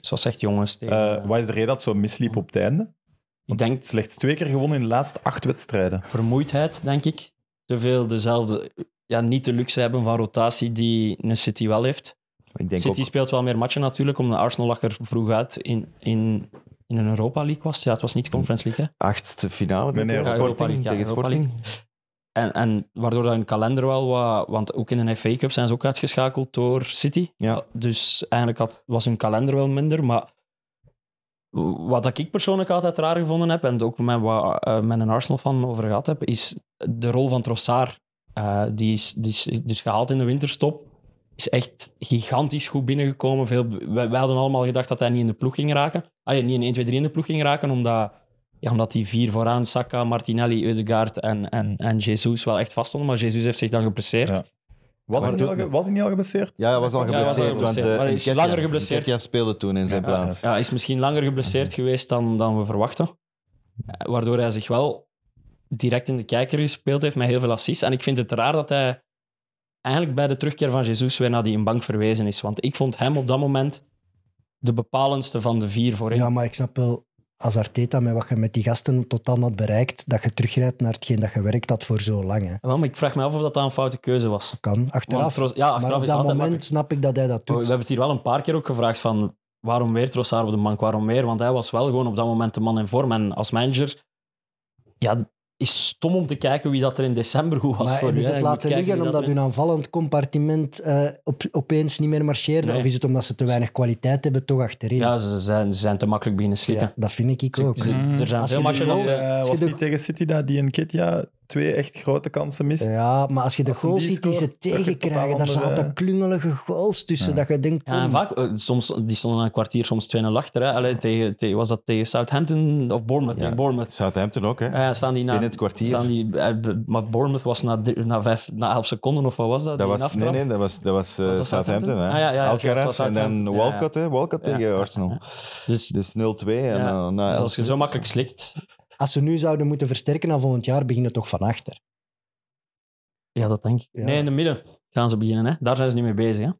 Speaker 3: Zoals echt jongens tegen...
Speaker 1: Eh,
Speaker 3: eh,
Speaker 1: wat is de reden dat het zo misliep op het einde?
Speaker 3: ik
Speaker 1: Want
Speaker 3: denk
Speaker 1: slechts twee keer gewonnen in de laatste acht wedstrijden.
Speaker 3: vermoeidheid, denk ik. Te veel dezelfde... Ja, niet de luxe hebben van rotatie die een City wel heeft.
Speaker 4: Ik denk
Speaker 3: City
Speaker 4: ook-
Speaker 3: speelt wel meer matchen natuurlijk, omdat Arsenal lag er vroeg uit in, in, in een Europa League was. Ja, het was niet de Conference League, hè.
Speaker 4: achtste finale
Speaker 1: Nee, nee,
Speaker 4: tegen
Speaker 1: ja,
Speaker 3: Europa
Speaker 4: Sporting.
Speaker 3: League, ja,
Speaker 4: tegen
Speaker 3: Europa
Speaker 4: Sporting.
Speaker 3: En, en waardoor dat hun kalender wel wat... Want ook in de FA Cup zijn ze ook uitgeschakeld door City.
Speaker 4: Ja.
Speaker 3: Dus eigenlijk had, was hun kalender wel minder, maar... Wat dat ik persoonlijk altijd raar gevonden heb, en ook met, wat, eh, met een Arsenal-fan over gehad heb, is de rol van Trossard. Eh, die, is, die is dus gehaald in de winterstop. Is echt gigantisch goed binnengekomen. Veel, wij, wij hadden allemaal gedacht dat hij niet in de ploeg ging raken. Allee, niet in 1, 2, 3 in de ploeg ging raken, omdat, ja, omdat die vier vooraan, Saka, Martinelli, Eudegaard en, en, en Jesus wel echt vaststonden. Maar Jesus heeft zich dan geblesseerd.
Speaker 1: Ja. Was
Speaker 4: Maar
Speaker 1: hij niet
Speaker 4: doet
Speaker 1: al ge-
Speaker 4: me-
Speaker 1: was hij niet al geblesseerd?
Speaker 4: Ja, hij was al
Speaker 1: Ja, hij was al
Speaker 4: geblesseerd. want,
Speaker 3: geblesseerd,
Speaker 4: eh,
Speaker 3: maar hij is
Speaker 4: Nketiah-
Speaker 3: langer geblesseerd.
Speaker 4: Nketiah speelde toen in zijn
Speaker 1: Ja,
Speaker 4: plaats.
Speaker 3: Ja, hij is misschien langer geblesseerd geweest dan, dan we verwachten. Eh, Waardoor hij zich wel direct in de kijker gespeeld heeft met heel veel assists. En ik vind het raar dat hij eigenlijk bij de terugkeer van Jesus weer naar die bank verwezen is. Want ik vond hem op dat moment de bepalendste van de vier voorin.
Speaker 2: Ja, maar ik snap wel, als Arteta met wat je met die gasten tot dan had bereikt, dat je teruggrijpt naar hetgeen dat je werkt had voor zo lang. Hè.
Speaker 3: Eh, Wel, maar ik vraag me af of dat dan een foute keuze was.
Speaker 2: Kan, achteraf.
Speaker 3: Want Tros- ja,
Speaker 2: maar
Speaker 3: achteraf is
Speaker 2: op
Speaker 3: het
Speaker 2: dat
Speaker 3: altijd
Speaker 2: moment
Speaker 3: makkelijk.
Speaker 2: snap ik dat hij dat
Speaker 3: Maar Oh, We
Speaker 2: doet.
Speaker 3: hebben het hier wel een paar keer ook gevraagd van waarom weer Trossard op de bank, waarom weer? Want hij was wel gewoon op dat moment de man in vorm. En als manager, ja, is stom om te kijken wie dat er in december goed was
Speaker 2: maar
Speaker 3: voor u.
Speaker 2: hebben ze
Speaker 3: hè.
Speaker 2: het
Speaker 3: Je moet
Speaker 2: laten
Speaker 3: kijken
Speaker 2: liggen
Speaker 3: wie dat
Speaker 2: omdat
Speaker 3: er in-
Speaker 2: hun aanvallend compartiment eh, op, opeens niet meer marcheerde?
Speaker 3: Nee.
Speaker 2: Of is het omdat ze te weinig kwaliteit hebben, toch achterin?
Speaker 3: Ja, ze zijn, ze zijn te makkelijk beginnen slikken.
Speaker 2: Ja, dat vind ik
Speaker 3: Ze-
Speaker 2: ook.
Speaker 3: ze- er zijn
Speaker 2: Als
Speaker 3: veel
Speaker 2: je
Speaker 3: matchen
Speaker 2: de
Speaker 3: dat
Speaker 2: goal-
Speaker 3: ze...
Speaker 1: Eh,
Speaker 2: Als je
Speaker 1: was
Speaker 2: de-
Speaker 1: niet tegen City dat die en Kitja twee echt grote kansen mist?
Speaker 2: Ja, maar als je de
Speaker 1: Als ze
Speaker 2: goals
Speaker 1: die
Speaker 2: ziet die ze
Speaker 1: scoort, dat je
Speaker 2: tegenkrijgen, daar
Speaker 1: totaal onder,
Speaker 2: zaten
Speaker 1: eh,
Speaker 2: klungelige goals tussen.
Speaker 1: Ja.
Speaker 2: Dat je denkt,
Speaker 3: Ja, en
Speaker 2: kom,
Speaker 3: vaak, eh, soms, die stonden na een kwartier soms 2-0 achter. Hè. Allee, tegen, tegen- was dat tegen Southampton of Bournemouth?
Speaker 4: Ja.
Speaker 3: Tegen Bournemouth.
Speaker 4: Southampton ook, hè?
Speaker 3: Ja, staan die na,
Speaker 4: Binnen het kwartier.
Speaker 3: Staan die, eh, b- maar Bournemouth was na, drie- na, vijf, na elf seconden of wat was dat?
Speaker 4: dat
Speaker 3: die
Speaker 4: was,
Speaker 3: aftrap?
Speaker 4: nee, nee, dat was, dat was, eh,
Speaker 3: Was dat Southampton?
Speaker 4: Southampton. Hè?
Speaker 3: Ah, ja, ja, ja, dat was
Speaker 4: Alcaraz en dan
Speaker 3: Southampton. Ja,
Speaker 4: Walcott, hè? Walcott
Speaker 3: Ja.
Speaker 4: tegen Arsenal.
Speaker 3: Dus,
Speaker 4: Dus 0-2. En,
Speaker 3: Ja.
Speaker 4: eh, na
Speaker 3: dus
Speaker 4: elf
Speaker 3: als je zo
Speaker 4: minuten.
Speaker 3: makkelijk slikt,
Speaker 2: als ze nu zouden moeten versterken na volgend jaar, beginnen toch van achter.
Speaker 3: ja, dat denk ik.
Speaker 2: Ja.
Speaker 3: Nee, in de midden gaan ze beginnen. Hè. Daar zijn ze nu mee bezig. Hè.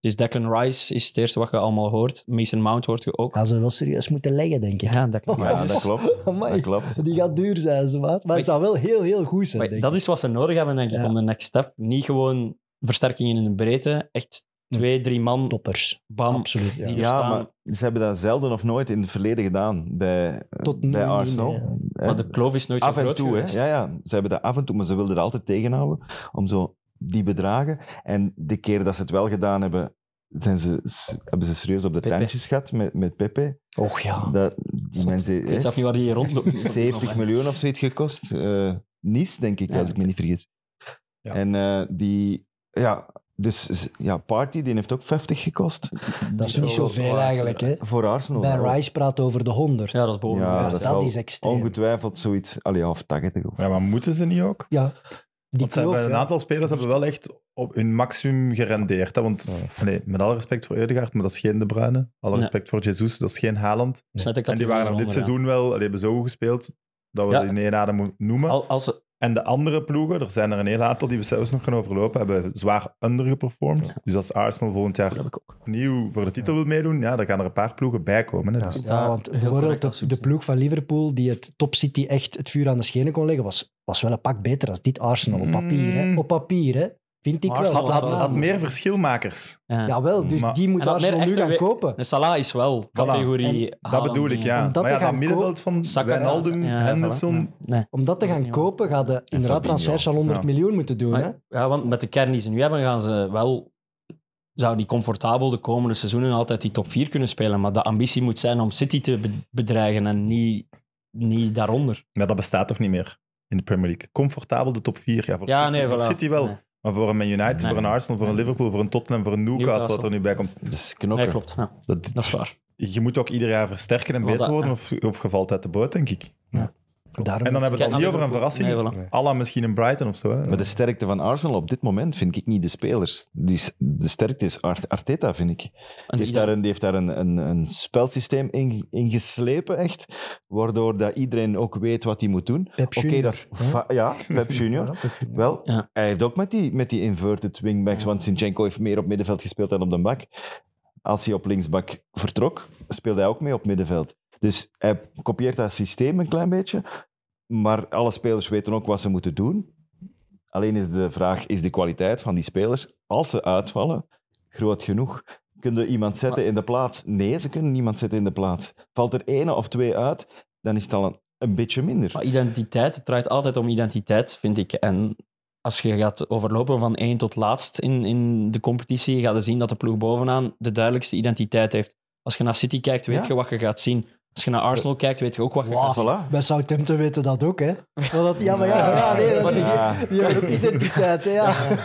Speaker 3: Dus Declan Rice is het eerste wat je allemaal hoort. Mason Mount hoort je ook.
Speaker 2: Gaan ze wel serieus moeten leggen, denk ik.
Speaker 3: Ja, Oh Declan Rice.
Speaker 4: Oh, Ja,
Speaker 3: is-
Speaker 4: dat
Speaker 3: <laughs>
Speaker 4: klopt.
Speaker 2: Amai.
Speaker 4: Dat klopt.
Speaker 2: Die gaat duur zijn, zo wat. Maar het zou wel heel, heel goed zijn,
Speaker 3: Maar
Speaker 2: denk
Speaker 3: dat
Speaker 2: ik.
Speaker 3: is wat ze nodig hebben, denk ik,
Speaker 2: Ja.
Speaker 3: om de next step. Niet gewoon versterkingen in de breedte. Echt twee, drie man,
Speaker 2: Toppers,
Speaker 3: bam.
Speaker 2: absoluut. Ja.
Speaker 3: Die er
Speaker 4: Ja,
Speaker 3: staan.
Speaker 4: maar ze hebben dat zelden of nooit in het verleden gedaan bij,
Speaker 2: Tot nu
Speaker 4: bij
Speaker 2: niet,
Speaker 4: Arsenal.
Speaker 2: nee, ja.
Speaker 4: Hè,
Speaker 3: Maar de kloof is nooit zo
Speaker 4: af en
Speaker 3: groot
Speaker 4: toe, hè?
Speaker 3: geweest.
Speaker 4: Ja, ja, ze hebben dat af en toe, maar ze wilden het altijd tegenhouden om zo die bedragen. En de keer dat ze het wel gedaan hebben, zijn ze, s- hebben ze serieus op de
Speaker 3: Pepe.
Speaker 4: tandjes gehad met, met Pepe.
Speaker 2: Och ja.
Speaker 4: Dat, die mensen,
Speaker 3: Dus Ik weet zelf niet waar die hier
Speaker 4: <laughs>
Speaker 3: rondloopt.
Speaker 4: 70 miljoen of zoiets gekost. Eh Nice, denk ik,
Speaker 3: Ja,
Speaker 4: als ik me niet vergis.
Speaker 1: Ja.
Speaker 4: En eh, die, ja, dus z- ja, Party, die heeft ook 50 gekost
Speaker 2: Dat is niet zoveel eigenlijk, hè.
Speaker 4: voor Arsenal.
Speaker 2: Bij Rice praat over de 100.
Speaker 3: Ja, dat is boven.
Speaker 4: Ja,
Speaker 2: Ja,
Speaker 4: dat
Speaker 2: dat,
Speaker 4: is al
Speaker 2: is extreem.
Speaker 4: Ongetwijfeld zoiets, allee, ja, of 80 of
Speaker 1: Ja, maar moeten ze niet ook?
Speaker 2: Ja. Die
Speaker 1: Want ze
Speaker 2: kloof,
Speaker 1: hebben, een
Speaker 2: ja.
Speaker 1: aantal spelers hebben wel echt op hun maximum gerendeerd. Hè? Want nee, met alle respect voor Eudegaard, maar dat is geen De Bruyne. Alle
Speaker 3: Nee.
Speaker 1: respect voor Jesus, dat is geen Haaland.
Speaker 3: Dat is net een
Speaker 1: En die waren er
Speaker 3: categorie
Speaker 1: dit
Speaker 3: eronder,
Speaker 1: seizoen wel, die hebben zo goed gespeeld dat we
Speaker 3: Ja.
Speaker 1: die in één adem moeten noemen.
Speaker 3: ja. Al- Als, ze-
Speaker 1: En de andere ploegen, er zijn er een heel aantal die we zelfs nog gaan overlopen, hebben zwaar undergeperformed. Dus als Arsenal volgend jaar
Speaker 3: dat heb ik ook.
Speaker 1: opnieuw voor de titel wil meedoen, ja, dan gaan er een paar ploegen bij komen. Hè?
Speaker 2: Ja,
Speaker 1: Dus,
Speaker 3: daar
Speaker 2: want
Speaker 3: heel
Speaker 2: bijvoorbeeld
Speaker 3: correct
Speaker 2: de,
Speaker 3: absoluut,
Speaker 2: de
Speaker 3: ja.
Speaker 2: ploeg van Liverpool, die het top City echt het vuur aan de schenen kon leggen, was, was wel een pak beter als dit Arsenal op papier. Hè?
Speaker 1: Mm.
Speaker 2: Op papier, hè? vind ik
Speaker 3: Maar
Speaker 2: wel.
Speaker 3: Arsenal
Speaker 1: had, had,
Speaker 3: wel-
Speaker 1: had meer verschilmakers.
Speaker 3: Ja.
Speaker 2: Jawel, dus
Speaker 1: Maar-
Speaker 2: die moet
Speaker 3: En dat
Speaker 2: Arsenal
Speaker 3: meer
Speaker 2: nu
Speaker 3: echte
Speaker 2: gaan
Speaker 3: we-
Speaker 2: kopen.
Speaker 3: En Salah is wel categorie.
Speaker 1: Dat
Speaker 3: Haaland,
Speaker 1: bedoel ik, ja.
Speaker 2: Om dat
Speaker 1: Maar ja,
Speaker 2: te
Speaker 1: dat
Speaker 2: gaan
Speaker 1: middenveld van
Speaker 3: Saka,
Speaker 1: Wijnaldum,
Speaker 3: ja, voilà.
Speaker 1: Henderson...
Speaker 3: Nee.
Speaker 2: Om dat te
Speaker 3: Dat is
Speaker 2: gaan
Speaker 3: niet waar.
Speaker 2: kopen, gaat de inderdaad
Speaker 4: Fabinho.
Speaker 2: transfers al 100
Speaker 1: Ja.
Speaker 2: miljoen moeten doen. Hè?
Speaker 3: Maar- ja, want met de kern die ze nu hebben, gaan ze wel. Zouden die comfortabel de komende seizoenen altijd die top 4 kunnen spelen? Maar de ambitie moet zijn om City te be- bedreigen en niet, niet daaronder.
Speaker 1: Maar dat bestaat toch niet meer in de Premier League? Comfortabel de top 4. Ja, voor
Speaker 3: ja,
Speaker 1: City,
Speaker 3: nee,
Speaker 1: voor
Speaker 3: voilà.
Speaker 1: City wel.
Speaker 3: Nee,
Speaker 1: Maar voor een Man United,
Speaker 3: Nee.
Speaker 1: voor een Arsenal, voor een
Speaker 3: Nee.
Speaker 1: Liverpool, voor een Tottenham, voor een Newcastle,
Speaker 3: Newcastle.
Speaker 1: wat er nu bij komt.
Speaker 4: Dat is
Speaker 3: Nee,
Speaker 4: knokken.
Speaker 3: klopt. Ja,
Speaker 1: Dat,
Speaker 3: dat is waar.
Speaker 1: je moet ook ieder jaar versterken en
Speaker 3: Want
Speaker 1: beter
Speaker 3: dat-
Speaker 1: worden, of, of je valt uit de boot, denk ik.
Speaker 2: Daarom
Speaker 1: En dan hebben we het
Speaker 3: Kijk,
Speaker 1: al niet
Speaker 3: aan
Speaker 1: over een verrassing.
Speaker 3: Liverpool. Nee, voilà.
Speaker 1: Alla misschien een Brighton of zo. Hè?
Speaker 4: Maar de sterkte van Arsenal op dit moment vind ik niet de spelers. Die, s- de sterkte is Ar- Arteta, vind ik. Die
Speaker 3: En
Speaker 4: heeft daar
Speaker 3: ieder-
Speaker 4: een, die heeft daar een, een, een spelsysteem in, in geslepen, echt. Waardoor dat iedereen ook weet wat hij moet doen.
Speaker 2: Pep
Speaker 4: Oké,
Speaker 2: Junior,
Speaker 4: dat is...
Speaker 2: hè?
Speaker 4: fa- Ja,
Speaker 2: <laughs>
Speaker 4: Pep Junior.
Speaker 2: Ja, Pep Junior.
Speaker 4: Wel,
Speaker 3: Ja.
Speaker 4: hij heeft ook met die, met die inverted wingbacks, want Sinchenko heeft meer op middenveld gespeeld dan op de bak. Als hij op linksbak vertrok, speelde hij ook mee op middenveld. Dus hij kopieert dat systeem een klein beetje, maar alle spelers weten ook wat ze moeten doen. Alleen is de vraag, is de kwaliteit van die spelers, als ze uitvallen, groot genoeg? Kunnen iemand zetten in de plaats? Nee, ze kunnen niemand zetten in de plaats. Valt er ene of twee uit, dan is het al een, een beetje minder.
Speaker 3: Maar identiteit, het draait altijd om identiteit, vind ik. En als je gaat overlopen van één tot laatst in, in de competitie, ga je zien dat de ploeg bovenaan de duidelijkste identiteit heeft. Als je naar City kijkt, weet
Speaker 4: Ja.
Speaker 3: je wat je gaat zien. Als je naar Arsenal kijkt, weet je ook wat je
Speaker 2: Wow.
Speaker 3: gaat
Speaker 4: Voilà.
Speaker 2: Bij Southampton weten dat ook, hè? Maar dat, ja, maar ja, ja, nee, dat, die,
Speaker 4: Ja.
Speaker 2: die hebben ook identiteit, hè? Ja.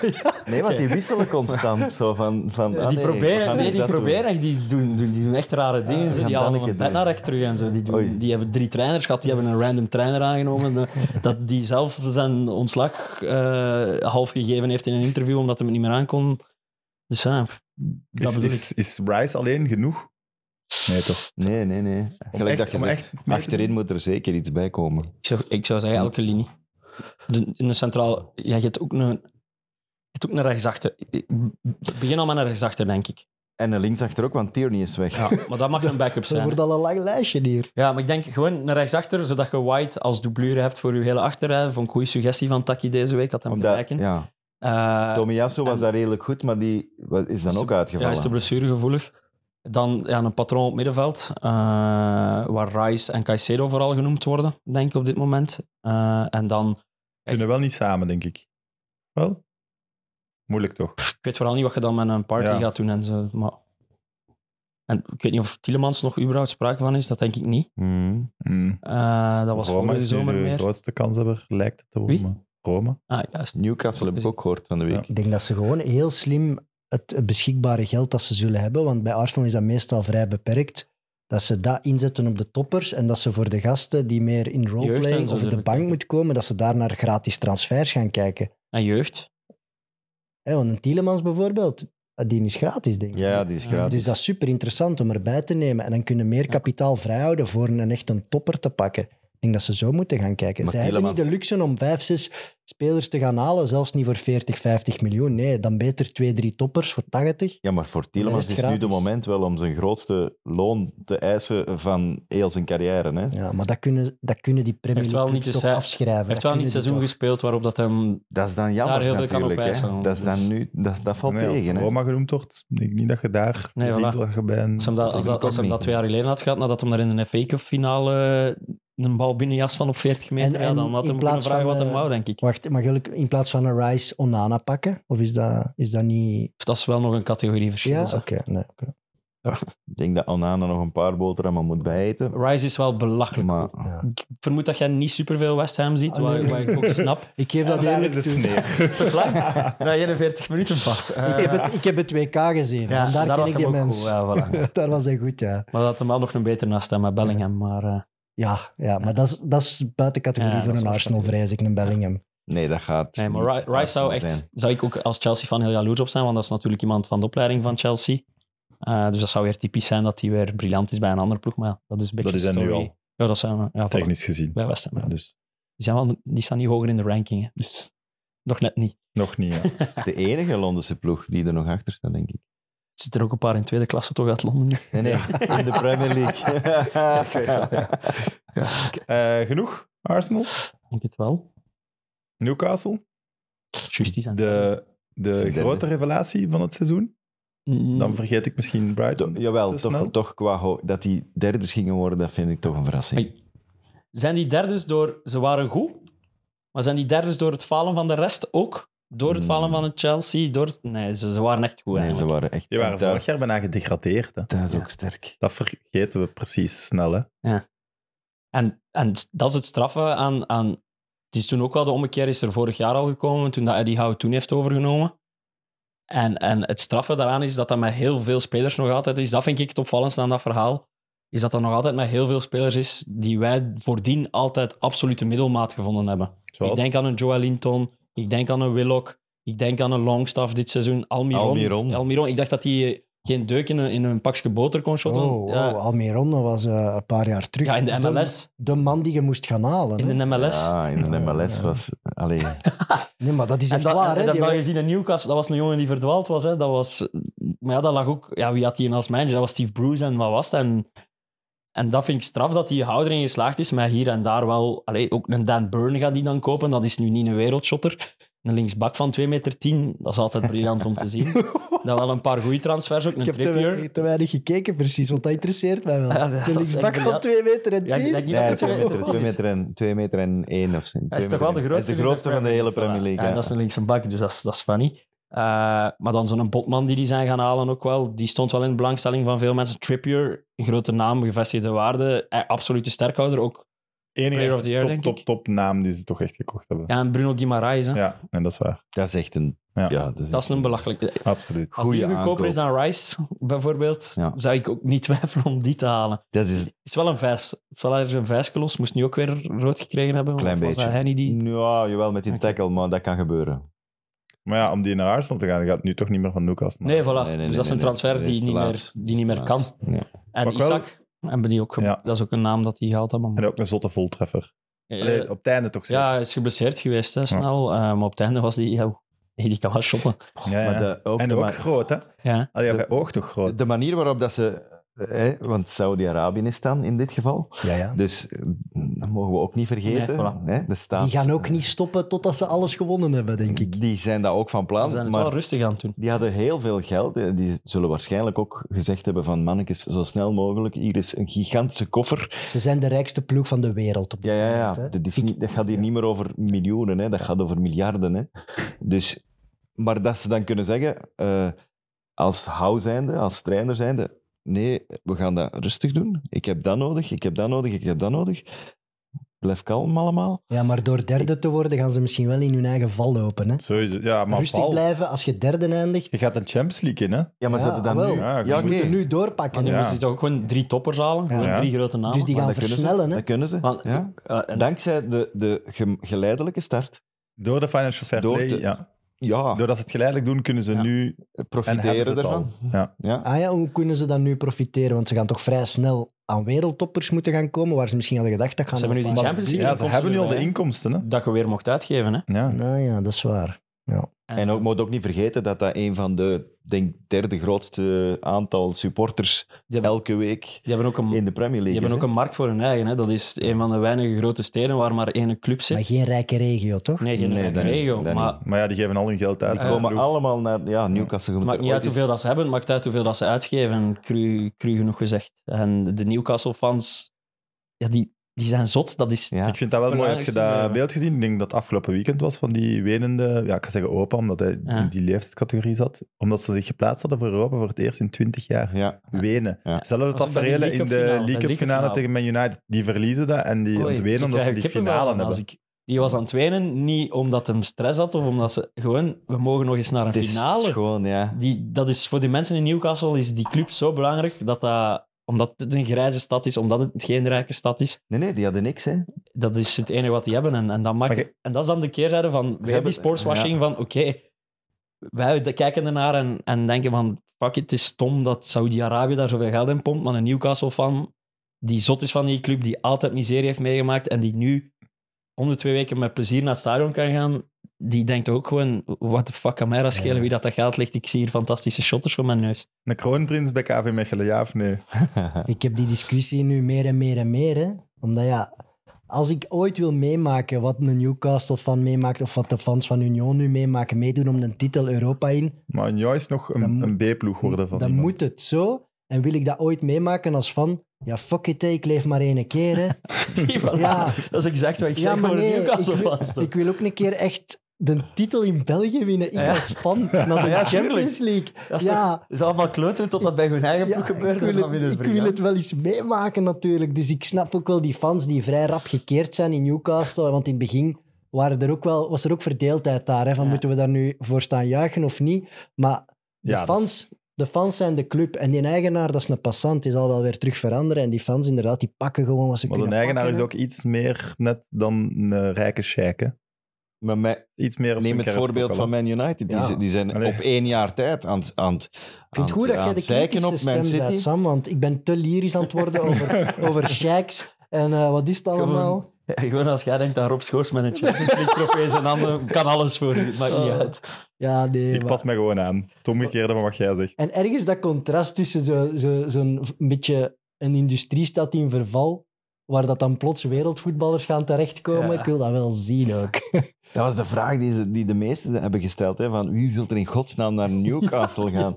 Speaker 4: Nee, want die
Speaker 3: <laughs>
Speaker 4: wisselen constant. Zo van, van,
Speaker 3: zien.
Speaker 4: ah,
Speaker 3: Die
Speaker 4: nee, we
Speaker 3: proberen,
Speaker 4: gaan
Speaker 3: nee,
Speaker 4: eens
Speaker 3: die
Speaker 4: dat doen.
Speaker 3: proberen echt, die doen, doen, die doen echt rare dingen. zo.
Speaker 4: gaan
Speaker 3: Die
Speaker 4: dat
Speaker 3: halen
Speaker 4: een
Speaker 3: een
Speaker 4: keer doen.
Speaker 3: bednarrek terug en zo. Die, doen-
Speaker 4: Oei.
Speaker 3: die hebben drie trainers gehad, die hebben een random trainer aangenomen. De- dat die zelf zijn ontslag eh, half gegeven heeft in een interview, omdat hij het niet meer aankon. Dus ja, dat
Speaker 1: is,
Speaker 3: bedoel ik.
Speaker 1: is, is Rice alleen genoeg? Nee, toch?
Speaker 4: Nee, nee, nee. Gelijk
Speaker 1: echt-
Speaker 4: dat je
Speaker 1: om
Speaker 4: zegt,
Speaker 1: echt mee te
Speaker 4: achterin moet er zeker iets bij komen.
Speaker 3: Ik zou, ik zou zeggen elke linie. de- in de centraal... Ja, je hebt ook een... Je hebt ook een rechtsachter. Ik- ik Begin al met een rechtsachter, denk ik.
Speaker 4: En een linksachter ook, want Tierney is weg.
Speaker 3: Ja, maar dat mag een
Speaker 2: <laughs>
Speaker 3: backup
Speaker 2: Er
Speaker 3: zijn.
Speaker 2: wordt
Speaker 3: hè.
Speaker 2: al een lang lijstje hier.
Speaker 3: Ja, maar ik denk gewoon een rechtsachter, zodat je White als doublure hebt voor je hele achterrij. Vond ik goede suggestie van Taki deze week, had hem
Speaker 4: Omdat,
Speaker 3: gelijk in.
Speaker 4: ja.
Speaker 3: Eh,
Speaker 4: Tomiyasu was
Speaker 3: en-
Speaker 4: daar redelijk goed, maar die wa- is dan
Speaker 3: Is-
Speaker 4: ook
Speaker 3: Ja, is de
Speaker 4: uitgevallen.
Speaker 3: blessuregevoelig. Dan ja, een patroon op middenveld, eh, waar Rice en Caicedo vooral genoemd worden, denk ik op dit moment. Eh, en dan,
Speaker 1: Kunnen wel niet samen, denk ik. Wel? Moeilijk toch?
Speaker 3: pff, ik weet vooral niet wat je dan met een party
Speaker 1: Ja.
Speaker 3: gaat doen. En, zo, maar... en ik weet niet of Tielemans nog überhaupt sprake van is, dat denk ik niet.
Speaker 4: Mhm.
Speaker 1: Hmm.
Speaker 3: Eh, dat was
Speaker 1: Roma
Speaker 3: vorige
Speaker 1: is nu
Speaker 3: zomer
Speaker 1: de
Speaker 3: meer.
Speaker 1: grootste kanshebber, lijkt het te
Speaker 3: Wie?
Speaker 1: worden. Roma.
Speaker 3: Ah, juist.
Speaker 4: Newcastle heb ik ook gehoord van de week.
Speaker 2: Ik denk dat ze gewoon heel slim het beschikbare geld dat ze zullen hebben, want bij Arsenal is dat meestal vrij beperkt, dat ze dat inzetten op de toppers en dat ze voor de gasten die meer in
Speaker 3: Jeugd en
Speaker 2: roleplaying of
Speaker 3: zo
Speaker 2: op de
Speaker 3: durven
Speaker 2: bank
Speaker 3: kijken.
Speaker 2: moet komen, dat ze daar naar gratis transfers gaan kijken.
Speaker 3: En jeugd.
Speaker 2: Hè, want een Tielemans bijvoorbeeld, die is gratis, denk ik.
Speaker 4: Ja, die is
Speaker 3: Ja,
Speaker 4: gratis.
Speaker 2: Dus dat is super interessant om erbij te nemen. En dan kunnen meer kapitaal vrijhouden voor een echt een topper te pakken. Ik denk dat ze zo moeten gaan kijken.
Speaker 4: Maar
Speaker 2: Zij hebben niet de
Speaker 4: Tielemans-
Speaker 2: luxe om vijf, zes spelers te gaan halen. Zelfs niet voor 40, 50 miljoen. Nee, dan beter twee, drie toppers voor 80.
Speaker 4: Ja, maar voor Tielemans
Speaker 2: De
Speaker 4: is
Speaker 2: rest
Speaker 4: nu de
Speaker 2: gratis.
Speaker 4: moment wel om zijn grootste loon te eisen van heel zijn carrière. Hè?
Speaker 2: Ja, maar dat kunnen, dat kunnen die Premier
Speaker 3: Heeft
Speaker 2: League
Speaker 3: wel
Speaker 2: clubs toch
Speaker 3: niet de seizoen-
Speaker 2: afschrijven.
Speaker 3: Hij heeft
Speaker 2: Dat
Speaker 3: wel niet
Speaker 2: kunnen
Speaker 3: seizoen
Speaker 2: die
Speaker 3: gespeeld waarop dat hem...
Speaker 4: Dat is dan
Speaker 3: Daar heel
Speaker 4: jammer
Speaker 3: veel kan
Speaker 4: natuurlijk.
Speaker 3: op eisen, dus-
Speaker 4: Hè?
Speaker 3: dan.
Speaker 4: Dat, is dan nu, dat, dat valt
Speaker 1: Nee, als
Speaker 4: tegen. Hè?
Speaker 1: Roma genoemd wordt, denk ik niet dat je daar...
Speaker 3: Nee,
Speaker 1: ik
Speaker 3: voilà.
Speaker 1: denk dat je bij een...
Speaker 3: Als hem dat, als dat, als hem dat twee jaar geleden had gehad, nadat hem daar in de FA Cup finale eh, een bal binnenjas van op 40 meter,
Speaker 2: En-
Speaker 3: ja,
Speaker 2: en
Speaker 3: dan had
Speaker 2: in
Speaker 3: hem kunnen
Speaker 2: plaats
Speaker 3: vragen
Speaker 2: van,
Speaker 3: wat hem
Speaker 2: eh,
Speaker 3: wou, denk ik.
Speaker 2: toch- Wacht, maar gelukkig in plaats van een Rice Onana pakken? Of is dat, is dat niet...
Speaker 3: Dat is wel nog een categorie verschil. dus, eh.
Speaker 2: Ja,
Speaker 3: zeg.
Speaker 2: oké. nee, oké.
Speaker 4: Ik denk dat Onana nog een paar boterhammen moet bijeten.
Speaker 3: Rice is wel belachelijk.
Speaker 4: Maar
Speaker 3: Ik vermoed dat jij niet superveel West Ham ziet,
Speaker 2: Ah,
Speaker 3: wat,
Speaker 2: nee.
Speaker 3: wat ik ook
Speaker 2: <laughs>
Speaker 3: snap.
Speaker 2: Ik geef dat
Speaker 1: Daar
Speaker 2: eerlijk
Speaker 1: is de
Speaker 2: toe.
Speaker 1: sneer.
Speaker 3: Toch lang? Na 41 minuten
Speaker 2: <laughs>
Speaker 3: pas. Eh,
Speaker 2: Ik heb, het, ik heb het WK gezien.
Speaker 3: ja,
Speaker 2: en daar, ken
Speaker 3: was
Speaker 2: ik
Speaker 3: hem
Speaker 2: die
Speaker 3: ook
Speaker 2: mens.
Speaker 3: goed, ja, voilà.
Speaker 2: <laughs> Daar was hij goed, ja.
Speaker 3: Maar dat had hem wel nog een beter naast hem met Bellingham. Maar, eh,
Speaker 2: Ja, ja maar dat is, dat is buiten categorie
Speaker 3: Ja, dat
Speaker 2: voor
Speaker 3: is
Speaker 2: een
Speaker 3: wel
Speaker 2: Arsenal,
Speaker 3: categorie.
Speaker 2: vrees ik, een Bellingham.
Speaker 4: nee, dat gaat.
Speaker 3: nee, maar
Speaker 4: niet
Speaker 3: Ri- Rice zou
Speaker 4: Arsenal
Speaker 3: echt... <laughs>
Speaker 4: zijn.
Speaker 3: Zou ik ook als Chelsea-fan heel jaloers op zijn, want dat is natuurlijk iemand van de opleiding van Chelsea. Eh, dus dat zou weer typisch zijn dat hij weer briljant is bij een andere ploeg. Maar ja, dat is een beetje
Speaker 1: Dat is
Speaker 3: de
Speaker 1: hij nu
Speaker 3: story.
Speaker 1: al.
Speaker 3: Ja, dat zijn we. Ja, voilà.
Speaker 1: <laughs> Technisch gezien.
Speaker 3: Bij West Ham. ja.
Speaker 1: Ja, dus
Speaker 3: Die, zijn wel, die staan niet hoger in de ranking. hè. <laughs> Dus nog net niet.
Speaker 1: nog niet,
Speaker 3: <laughs>
Speaker 1: ja.
Speaker 4: De enige Londense ploeg die er nog achter staat, denk ik.
Speaker 3: Er zitten er ook een paar in tweede klasse toch uit Londen. <laughs>
Speaker 4: Nee, nee, <laughs> in de Premier League.
Speaker 3: ik weet wel, ja.
Speaker 1: Eh, genoeg, Arsenal.
Speaker 3: Ik denk het wel.
Speaker 1: Newcastle.
Speaker 3: Juist, die zijn
Speaker 1: De,
Speaker 4: is
Speaker 1: de
Speaker 4: de
Speaker 1: grote revelatie van het seizoen.
Speaker 3: Mm,
Speaker 1: Dan vergeet ik misschien Brighton.
Speaker 4: To- jawel,
Speaker 1: Te
Speaker 4: toch,
Speaker 1: snel.
Speaker 4: toch qua ho- dat die derdes gingen worden, dat vind ik toch een verrassing.
Speaker 3: Ai. Zijn die derdes door... Ze waren goed, maar zijn die derdes door het falen van de rest ook? Door
Speaker 1: Mm.
Speaker 3: het falen van het Chelsea? Door het- nee, ze, ze waren echt goed
Speaker 4: Nee, ze
Speaker 3: eigenlijk.
Speaker 4: waren echt.
Speaker 1: Die waren
Speaker 4: daar-
Speaker 1: vorig jaar bijna gedegradeerd. Hè.
Speaker 4: Dat is
Speaker 3: Ja.
Speaker 4: ook sterk.
Speaker 1: Dat vergeten we precies snel. Hè.
Speaker 3: En, en dat is het straffe aan, aan... Het is toen ook wel de ommekeer is er vorig jaar al gekomen, toen dat Eddie Howe toen heeft overgenomen. En, en het straffe daaraan is dat dat met heel veel spelers nog altijd is. Dat vind ik het opvallendste aan dat verhaal. Is dat dat nog altijd met heel veel spelers is die wij voordien altijd absolute middelmaat gevonden hebben.
Speaker 1: Zoals-
Speaker 3: Ik denk aan een Joelinton, ik denk aan een Willock, ik denk aan een Longstaff dit seizoen. Almiron.
Speaker 4: Almiron.
Speaker 3: Almiron. Ik dacht dat hij eh, geen deuk in een, in een pakje boter kon shotten.
Speaker 2: Oh, oh
Speaker 3: ja,
Speaker 2: Almiron dat was eh, een paar jaar terug.
Speaker 3: ja, in de MLS.
Speaker 2: De, de man die je moest gaan halen. hè.
Speaker 3: In de MLS.
Speaker 4: Ja, Ah, in de
Speaker 2: Ja,
Speaker 4: MLS
Speaker 2: ja.
Speaker 4: was. Allee,
Speaker 2: Nee, maar dat is
Speaker 3: En
Speaker 2: echt
Speaker 3: dat, en-
Speaker 2: waar.
Speaker 3: en
Speaker 2: hè.
Speaker 3: dat
Speaker 2: Die
Speaker 3: dan
Speaker 2: wij-
Speaker 3: gezien in Newcastle, dat was een jongen die verdwaald was. Hè. Dat was maar ja, dat lag ook... Ja, wie had hij als manager? Dat was Steve Bruce en wat was het? En, en dat vind ik straf dat die houder in geslaagd is. Maar hier en daar wel... Allee, ook een Dan Burn gaat die dan kopen. Dat is nu niet een wereldshotter. Een linksbak van 2,10 meter, dat is altijd briljant om te
Speaker 2: <laughs>
Speaker 3: zien. Dat wel een paar goede transfers ook. Een
Speaker 2: ik heb te,
Speaker 3: Trippier.
Speaker 2: we- te weinig gekeken, precies, want dat interesseert mij wel.
Speaker 3: Ja, dat
Speaker 2: de
Speaker 3: is
Speaker 2: linksbak
Speaker 3: echt
Speaker 2: van 2 meter en
Speaker 3: Ja, ik
Speaker 2: 10.
Speaker 3: denk niet
Speaker 4: nee,
Speaker 3: dat hij 2
Speaker 4: 2 meter,
Speaker 3: meter
Speaker 4: twee
Speaker 3: groot is.
Speaker 4: meter, en, twee meter en één of zo.
Speaker 3: Hij is
Speaker 4: Twee
Speaker 3: toch wel de
Speaker 4: meter en-
Speaker 3: grootste,
Speaker 4: Hij is de grootste van de hele Premier League.
Speaker 3: Ja,
Speaker 4: ja.
Speaker 3: dat is een linkse bak, dus dat is, dat is funny. Eh, maar dan zo'n botman die die zijn gaan halen ook wel. Die stond wel in de belangstelling van veel mensen. Trippier, een grote naam, gevestigde waarde. eh, Absolute sterkhouder ook. Player of the Year,
Speaker 1: top,
Speaker 3: denk
Speaker 1: top,
Speaker 3: ik.
Speaker 1: top naam die ze toch echt gekocht hebben. Ja,
Speaker 3: Ja, en Bruno Guimaraes. Hè.
Speaker 1: en dat is waar.
Speaker 4: Dat is echt een.
Speaker 1: Ja.
Speaker 4: Ja, dat, is
Speaker 3: Dat is
Speaker 4: echt
Speaker 3: een belachelijk.
Speaker 1: Absoluut.
Speaker 3: Als die
Speaker 4: Eh, goeie
Speaker 3: goedkoper is dan Rice, bijvoorbeeld,
Speaker 4: Ja.
Speaker 3: zou ik ook niet <laughs> twijfelen om die te halen.
Speaker 4: Dat is
Speaker 3: Is wel een vijf. Valaris een vijskelos, moest nu ook weer rood gekregen hebben.
Speaker 4: een klein
Speaker 3: of was
Speaker 4: beetje. Mm.
Speaker 3: dat hij niet die...
Speaker 4: Ja, jawel, met die
Speaker 3: Oké.
Speaker 4: tackle, maar dat kan gebeuren.
Speaker 1: Maar ja, om die naar Arsenal te gaan, gaat het nu toch niet meer van Newcastle. naar
Speaker 3: Nee, voilà.
Speaker 1: Arsenal.
Speaker 4: nee, nee,
Speaker 3: dus
Speaker 4: nee,
Speaker 3: dat is een
Speaker 4: nee,
Speaker 3: transfer
Speaker 4: nee, is
Speaker 3: die
Speaker 4: te
Speaker 3: niet meer,
Speaker 4: laat.
Speaker 3: die niet
Speaker 4: Is te
Speaker 3: meer kan.
Speaker 4: laat. Ja.
Speaker 3: En
Speaker 1: Wat ik wel-
Speaker 3: Isaac hebben die ook ge-
Speaker 1: Ja.
Speaker 3: Dat is ook een naam dat hij gehaald hebben.
Speaker 1: En ook een zotte voltreffer. Allee, op het einde toch zeker.
Speaker 3: Ja, hij is geblesseerd geweest, hè, snel. Eh, maar op het einde was hij... Ja, <laughs> die kan wel shotten.
Speaker 1: Ja, ja.
Speaker 4: Maar de, ook
Speaker 1: En
Speaker 4: de,
Speaker 1: ook
Speaker 4: ma-
Speaker 1: groot, hè?
Speaker 3: Ja.
Speaker 1: Allee,
Speaker 4: De-
Speaker 1: bij oog toch groot.
Speaker 4: de manier waarop dat ze... eh, want Saudi-Arabië is dan in dit geval.
Speaker 2: Ja, ja.
Speaker 4: Dus eh, dat mogen we ook niet vergeten.
Speaker 3: Nee, voilà.
Speaker 4: hè, de staat,
Speaker 2: Die gaan ook niet stoppen totdat ze alles gewonnen hebben, denk ik.
Speaker 4: Die zijn dat ook van
Speaker 3: Ze
Speaker 4: plan.
Speaker 3: zijn het
Speaker 4: maar
Speaker 3: wel rustig aan toen.
Speaker 4: Die hadden heel veel geld. Eh, Die zullen waarschijnlijk ook gezegd hebben van mannetjes, zo snel mogelijk. Hier is een gigantische koffer.
Speaker 2: Ze zijn de rijkste ploeg van de wereld op dit
Speaker 4: Ja, ja, ja.
Speaker 2: moment. hè.
Speaker 4: Dat, is niet, dat gaat hier niet meer over miljoenen. Hè. Dat gaat over miljarden. Hè. Dus, maar dat ze dan kunnen zeggen, eh, als hou zijnde, als trainer zijnde, nee, we gaan dat rustig doen. Ik heb dat nodig, ik heb dat nodig, ik heb dat nodig. Blijf kalm allemaal.
Speaker 2: Ja, maar door derde te worden gaan ze misschien wel in hun eigen val lopen. Hè?
Speaker 1: Sowieso. Ja, maar
Speaker 2: Rustig
Speaker 1: Paul,
Speaker 2: blijven als je derde eindigt.
Speaker 1: je gaat een Champions League in, hè?
Speaker 4: Ja, maar
Speaker 2: Ja,
Speaker 4: zetten dan
Speaker 2: ah, wel.
Speaker 4: nu...
Speaker 1: Ja,
Speaker 4: Ja,
Speaker 1: dus
Speaker 2: Ze
Speaker 4: oké.
Speaker 2: moeten nu
Speaker 3: Maar
Speaker 2: doorpakken.
Speaker 3: nu
Speaker 1: Ja.
Speaker 3: moeten die toch ook gewoon drie toppers halen. Gewoon
Speaker 1: Ja.
Speaker 3: drie grote namen.
Speaker 2: Dus die
Speaker 4: Maar
Speaker 2: gaan
Speaker 4: dat kunnen ze,
Speaker 2: versnellen. Hè?
Speaker 4: Dat kunnen ze.
Speaker 3: Want-
Speaker 4: ja.
Speaker 3: Eh, en-
Speaker 4: Dankzij de, de gem- geleidelijke start
Speaker 1: Door de Financial Fair
Speaker 4: Door
Speaker 1: Play,
Speaker 4: te-
Speaker 1: ja.
Speaker 4: ja,
Speaker 1: Doordat ze het geleidelijk doen, kunnen ze
Speaker 3: Ja.
Speaker 1: nu... En hebben ze
Speaker 4: eh, profiteren
Speaker 1: het
Speaker 4: ervan.
Speaker 1: al. <laughs> Ja.
Speaker 4: Ja.
Speaker 2: Ah ja, hoe kunnen ze dan nu profiteren? Want ze gaan toch vrij snel aan wereldtoppers moeten gaan komen, waar ze misschien hadden gedacht dat gaan
Speaker 3: Ze
Speaker 2: er
Speaker 3: hebben nu
Speaker 2: een
Speaker 3: die
Speaker 2: paar-
Speaker 3: Champions
Speaker 1: ja,
Speaker 3: League.
Speaker 1: ze hebben nu al de
Speaker 3: erbij, hè.
Speaker 1: inkomsten, hè?
Speaker 3: Dat je weer mocht uitgeven, hè.
Speaker 1: Ja.
Speaker 2: Nou ja, dat is waar.
Speaker 4: En ook, moet ook niet vergeten dat dat een van de denk, derde grootste aantal supporters
Speaker 3: Die hebben,
Speaker 4: elke week
Speaker 3: die hebben ook een...
Speaker 4: in de Premier
Speaker 3: Die
Speaker 4: League
Speaker 3: hebben
Speaker 4: is,
Speaker 3: ook
Speaker 4: hè.
Speaker 3: een markt voor hun eigen. Hè. Dat is een van de weinige grote steden waar maar één club
Speaker 2: Maar
Speaker 3: zit.
Speaker 2: geen rijke regio, toch?
Speaker 3: Nee, geen
Speaker 4: Nee,
Speaker 3: eigen
Speaker 4: dat niet,
Speaker 3: regio.
Speaker 4: dat
Speaker 3: Maar
Speaker 1: Maar ja, die geven al hun geld uit.
Speaker 4: Die
Speaker 1: aan de
Speaker 4: komen
Speaker 1: ploeg.
Speaker 4: allemaal naar ja, Newcastle.
Speaker 3: het maakt niet uit hoeveel dat ze hebben. Het maakt uit hoeveel dat ze uitgeven. Cru, cru genoeg gezegd. En de Newcastle-fans, ja, die, die zijn zot. Dat is...
Speaker 4: Ja.
Speaker 1: Ik vind dat wel mooi. Heb je
Speaker 3: Belangrijkste
Speaker 1: dat
Speaker 3: blijven.
Speaker 1: beeld gezien? Ik denk dat het afgelopen weekend was van die wenende... Ja, ik kan zeggen opa, omdat hij
Speaker 3: Ja.
Speaker 1: in die leeftijdscategorie zat. Omdat ze zich geplaatst hadden voor Europa voor het eerst in 20 jaar.
Speaker 4: Ja,
Speaker 1: Wenen.
Speaker 4: Ja.
Speaker 1: Zelfs het
Speaker 3: Dat was bij die
Speaker 1: tafereel in
Speaker 3: League Cup
Speaker 1: de League
Speaker 3: finale, bij de
Speaker 1: Cup
Speaker 3: League Cup
Speaker 1: finale
Speaker 3: finale.
Speaker 1: tegen Man United, die verliezen dat en die
Speaker 3: Oei, ik
Speaker 1: ontwenen omdat ze
Speaker 3: krijg
Speaker 1: die
Speaker 3: kippenvel
Speaker 1: finale
Speaker 3: van als
Speaker 1: hebben.
Speaker 3: ik- die was aan het wenen, niet omdat hem stress had of omdat ze gewoon... We mogen nog eens naar een
Speaker 4: het is
Speaker 3: finale.
Speaker 4: gewoon, ja.
Speaker 3: Die, dat is, voor die mensen in Newcastle is die club zo belangrijk dat dat omdat het een grijze stad is, omdat het geen rijke stad is,
Speaker 4: Nee, nee, die hadden niks, hè. <laughs>
Speaker 3: dat is het enige wat die hebben. En, en, dat, maakt
Speaker 1: Maar
Speaker 3: het- en dat is dan de keerzijde van we hebben
Speaker 4: hebben-
Speaker 3: die sportswashing van oké, wij de- kijken ernaar en, en denken van fuck it, het is stom dat Saudi-Arabië daar zoveel geld in pompt, maar een Newcastle-fan die zot is van die club, die altijd miserie heeft meegemaakt en die nu om de twee weken met plezier naar het stadion kan gaan, die denkt ook gewoon, what the fuck kan mij dat schelen wie dat, dat geld ligt, ik zie hier fantastische shotters voor mijn
Speaker 2: <laughs>
Speaker 3: neus. <laughs>
Speaker 1: Een kroonprins bij KV Mechelen, ja of nee?
Speaker 2: Ik heb die discussie nu meer en meer en meer. Hè? Omdat ja, als ik ooit wil meemaken wat een Newcastle-fan meemaakt of wat de fans van Union nu meemaken, meedoen om een titel Europa in,
Speaker 1: Maar een is nog een,
Speaker 2: Dan moet-
Speaker 1: een B-ploeg worden van
Speaker 2: dan
Speaker 1: iemand.
Speaker 2: moet het zo. En wil ik dat ooit meemaken als van, ja fuck it, hè, ik leef maar één keer.
Speaker 3: <laughs>
Speaker 2: Hè?
Speaker 3: Zie, voilà.
Speaker 2: Ja.
Speaker 3: Dat is exact wat ik
Speaker 2: Ja,
Speaker 3: zeg
Speaker 2: maar
Speaker 3: over
Speaker 2: nee,
Speaker 3: Newcastle
Speaker 2: ik wil-
Speaker 3: vast.
Speaker 2: Ik wil ook een keer echt de titel in België winnen. Ik
Speaker 3: Ja.
Speaker 2: als fan
Speaker 1: <laughs>
Speaker 2: van de
Speaker 3: Ja,
Speaker 2: Champions League.
Speaker 3: Dat is,
Speaker 2: ja.
Speaker 3: toch- is allemaal kloten totdat bij hun eigen
Speaker 2: Ja,
Speaker 3: boek gebeurt.
Speaker 2: ik wil, het, ik wil het wel eens meemaken natuurlijk. Dus ik snap ook wel die fans die vrij rap gekeerd zijn in Newcastle. Want in het begin waren er ook wel, was er ook verdeeldheid daar. Hè, van
Speaker 3: Ja.
Speaker 2: moeten we daar nu voor staan juichen of niet? Maar de,
Speaker 1: Ja, dat
Speaker 2: fans, de fans zijn de club. En die eigenaar, dat is een passant, die zal wel weer terug veranderen. En die fans inderdaad, die pakken gewoon wat ze
Speaker 1: Maar een
Speaker 2: kunnen
Speaker 1: eigenaar is
Speaker 2: pakken, hè.
Speaker 1: ook iets meer net dan een rijke sheik, hè?
Speaker 4: Maar mij,
Speaker 1: Iets meer op
Speaker 4: neem
Speaker 1: zijn
Speaker 4: het
Speaker 1: kerfstok
Speaker 4: voorbeeld
Speaker 1: al, hè.
Speaker 4: van Man United. Die,
Speaker 2: Ja.
Speaker 4: z- die zijn
Speaker 1: Allee.
Speaker 4: op één jaar tijd aan het aan, het-
Speaker 2: Ik vind het goed
Speaker 4: aan
Speaker 2: dat jij
Speaker 4: het
Speaker 2: de
Speaker 4: zeiken
Speaker 2: kritische
Speaker 4: op Man
Speaker 2: stem bent,
Speaker 4: City.
Speaker 2: Sam. Want ik ben te lyrisch aan het worden
Speaker 1: <laughs>
Speaker 2: over, over sheiks. En eh, wat is het allemaal?
Speaker 3: Gewoon als jij denkt aan Rob Schoors met een Champions League trofee in zijn handen, kan alles voor u. Het maakt niet
Speaker 2: Oh.
Speaker 3: uit.
Speaker 2: Ja, nee.
Speaker 1: Ik
Speaker 2: maar-
Speaker 1: pas mij gewoon aan. Het omgekeerde van wat jij zegt.
Speaker 2: En ergens dat contrast tussen zo- zo- zo'n v- beetje een industriestad in verval, waar dat dan plots wereldvoetballers gaan terechtkomen.
Speaker 3: Ja.
Speaker 2: Ik wil dat wel zien
Speaker 1: <laughs>
Speaker 2: ook.
Speaker 4: Dat was de vraag die, ze, die de meesten hebben gesteld. Hè, van wie wil er in godsnaam naar Newcastle gaan?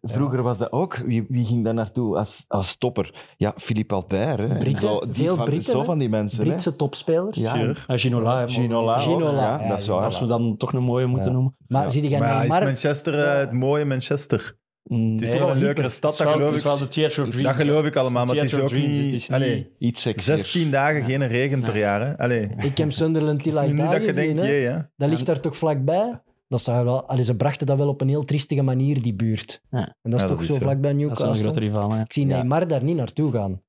Speaker 4: Vroeger was dat ook. Wie, wie ging daar naartoe als, als topper? Ja, Philippe Albert. Hè.
Speaker 2: Britten,
Speaker 4: Zo- die
Speaker 2: veel
Speaker 4: van,
Speaker 2: Britten,
Speaker 4: Zo
Speaker 2: hè?
Speaker 4: van die mensen. hè.
Speaker 2: Britse topspelers.
Speaker 4: Ja,
Speaker 1: Sure.
Speaker 3: Ah, Ginola. hè,
Speaker 4: Ginola. ook,
Speaker 2: Ginola.
Speaker 4: ja, dat is
Speaker 2: Ja,
Speaker 4: waar.
Speaker 3: Als we dan toch een mooie moeten
Speaker 2: Ja.
Speaker 3: noemen.
Speaker 2: Maar
Speaker 4: Ja.
Speaker 2: zie je
Speaker 1: maar ja,
Speaker 2: naar
Speaker 1: is
Speaker 2: Mark...
Speaker 1: Manchester eh, het mooie Manchester?
Speaker 3: Nee.
Speaker 1: Het is wel een leukere stad,
Speaker 3: Het
Speaker 1: dat
Speaker 3: is wel, het
Speaker 1: geloof
Speaker 3: is wel de
Speaker 1: ik.
Speaker 3: Theater of Dreams.
Speaker 1: Dat geloof ik allemaal, maar het is
Speaker 3: Theater
Speaker 1: ook
Speaker 3: of Dreams, dus het is
Speaker 1: niet...
Speaker 3: niet-
Speaker 1: Allee,
Speaker 4: Iets seksier.
Speaker 1: 16 dagen geen regen per jaar, hè? Allee, het
Speaker 2: Ik
Speaker 1: <laughs>
Speaker 2: heb Sunderland
Speaker 1: is
Speaker 2: Till I
Speaker 1: niet dat
Speaker 2: Die
Speaker 1: je
Speaker 2: gezien.
Speaker 1: denkt,
Speaker 2: hè.
Speaker 1: jee, hè?
Speaker 2: Dat ligt daar toch vlakbij? Dat zou wel... Allee, ze brachten dat wel op een heel triestige manier, die buurt.
Speaker 3: Ja.
Speaker 2: En dat is
Speaker 1: Ja, dat
Speaker 2: toch
Speaker 1: is
Speaker 2: zo
Speaker 1: zo.
Speaker 2: vlakbij
Speaker 3: Dat is wel een grote
Speaker 2: Newcastle.
Speaker 3: rivaal. hè.
Speaker 2: Ik zie
Speaker 4: Ja.
Speaker 2: Neymar daar niet naartoe gaan.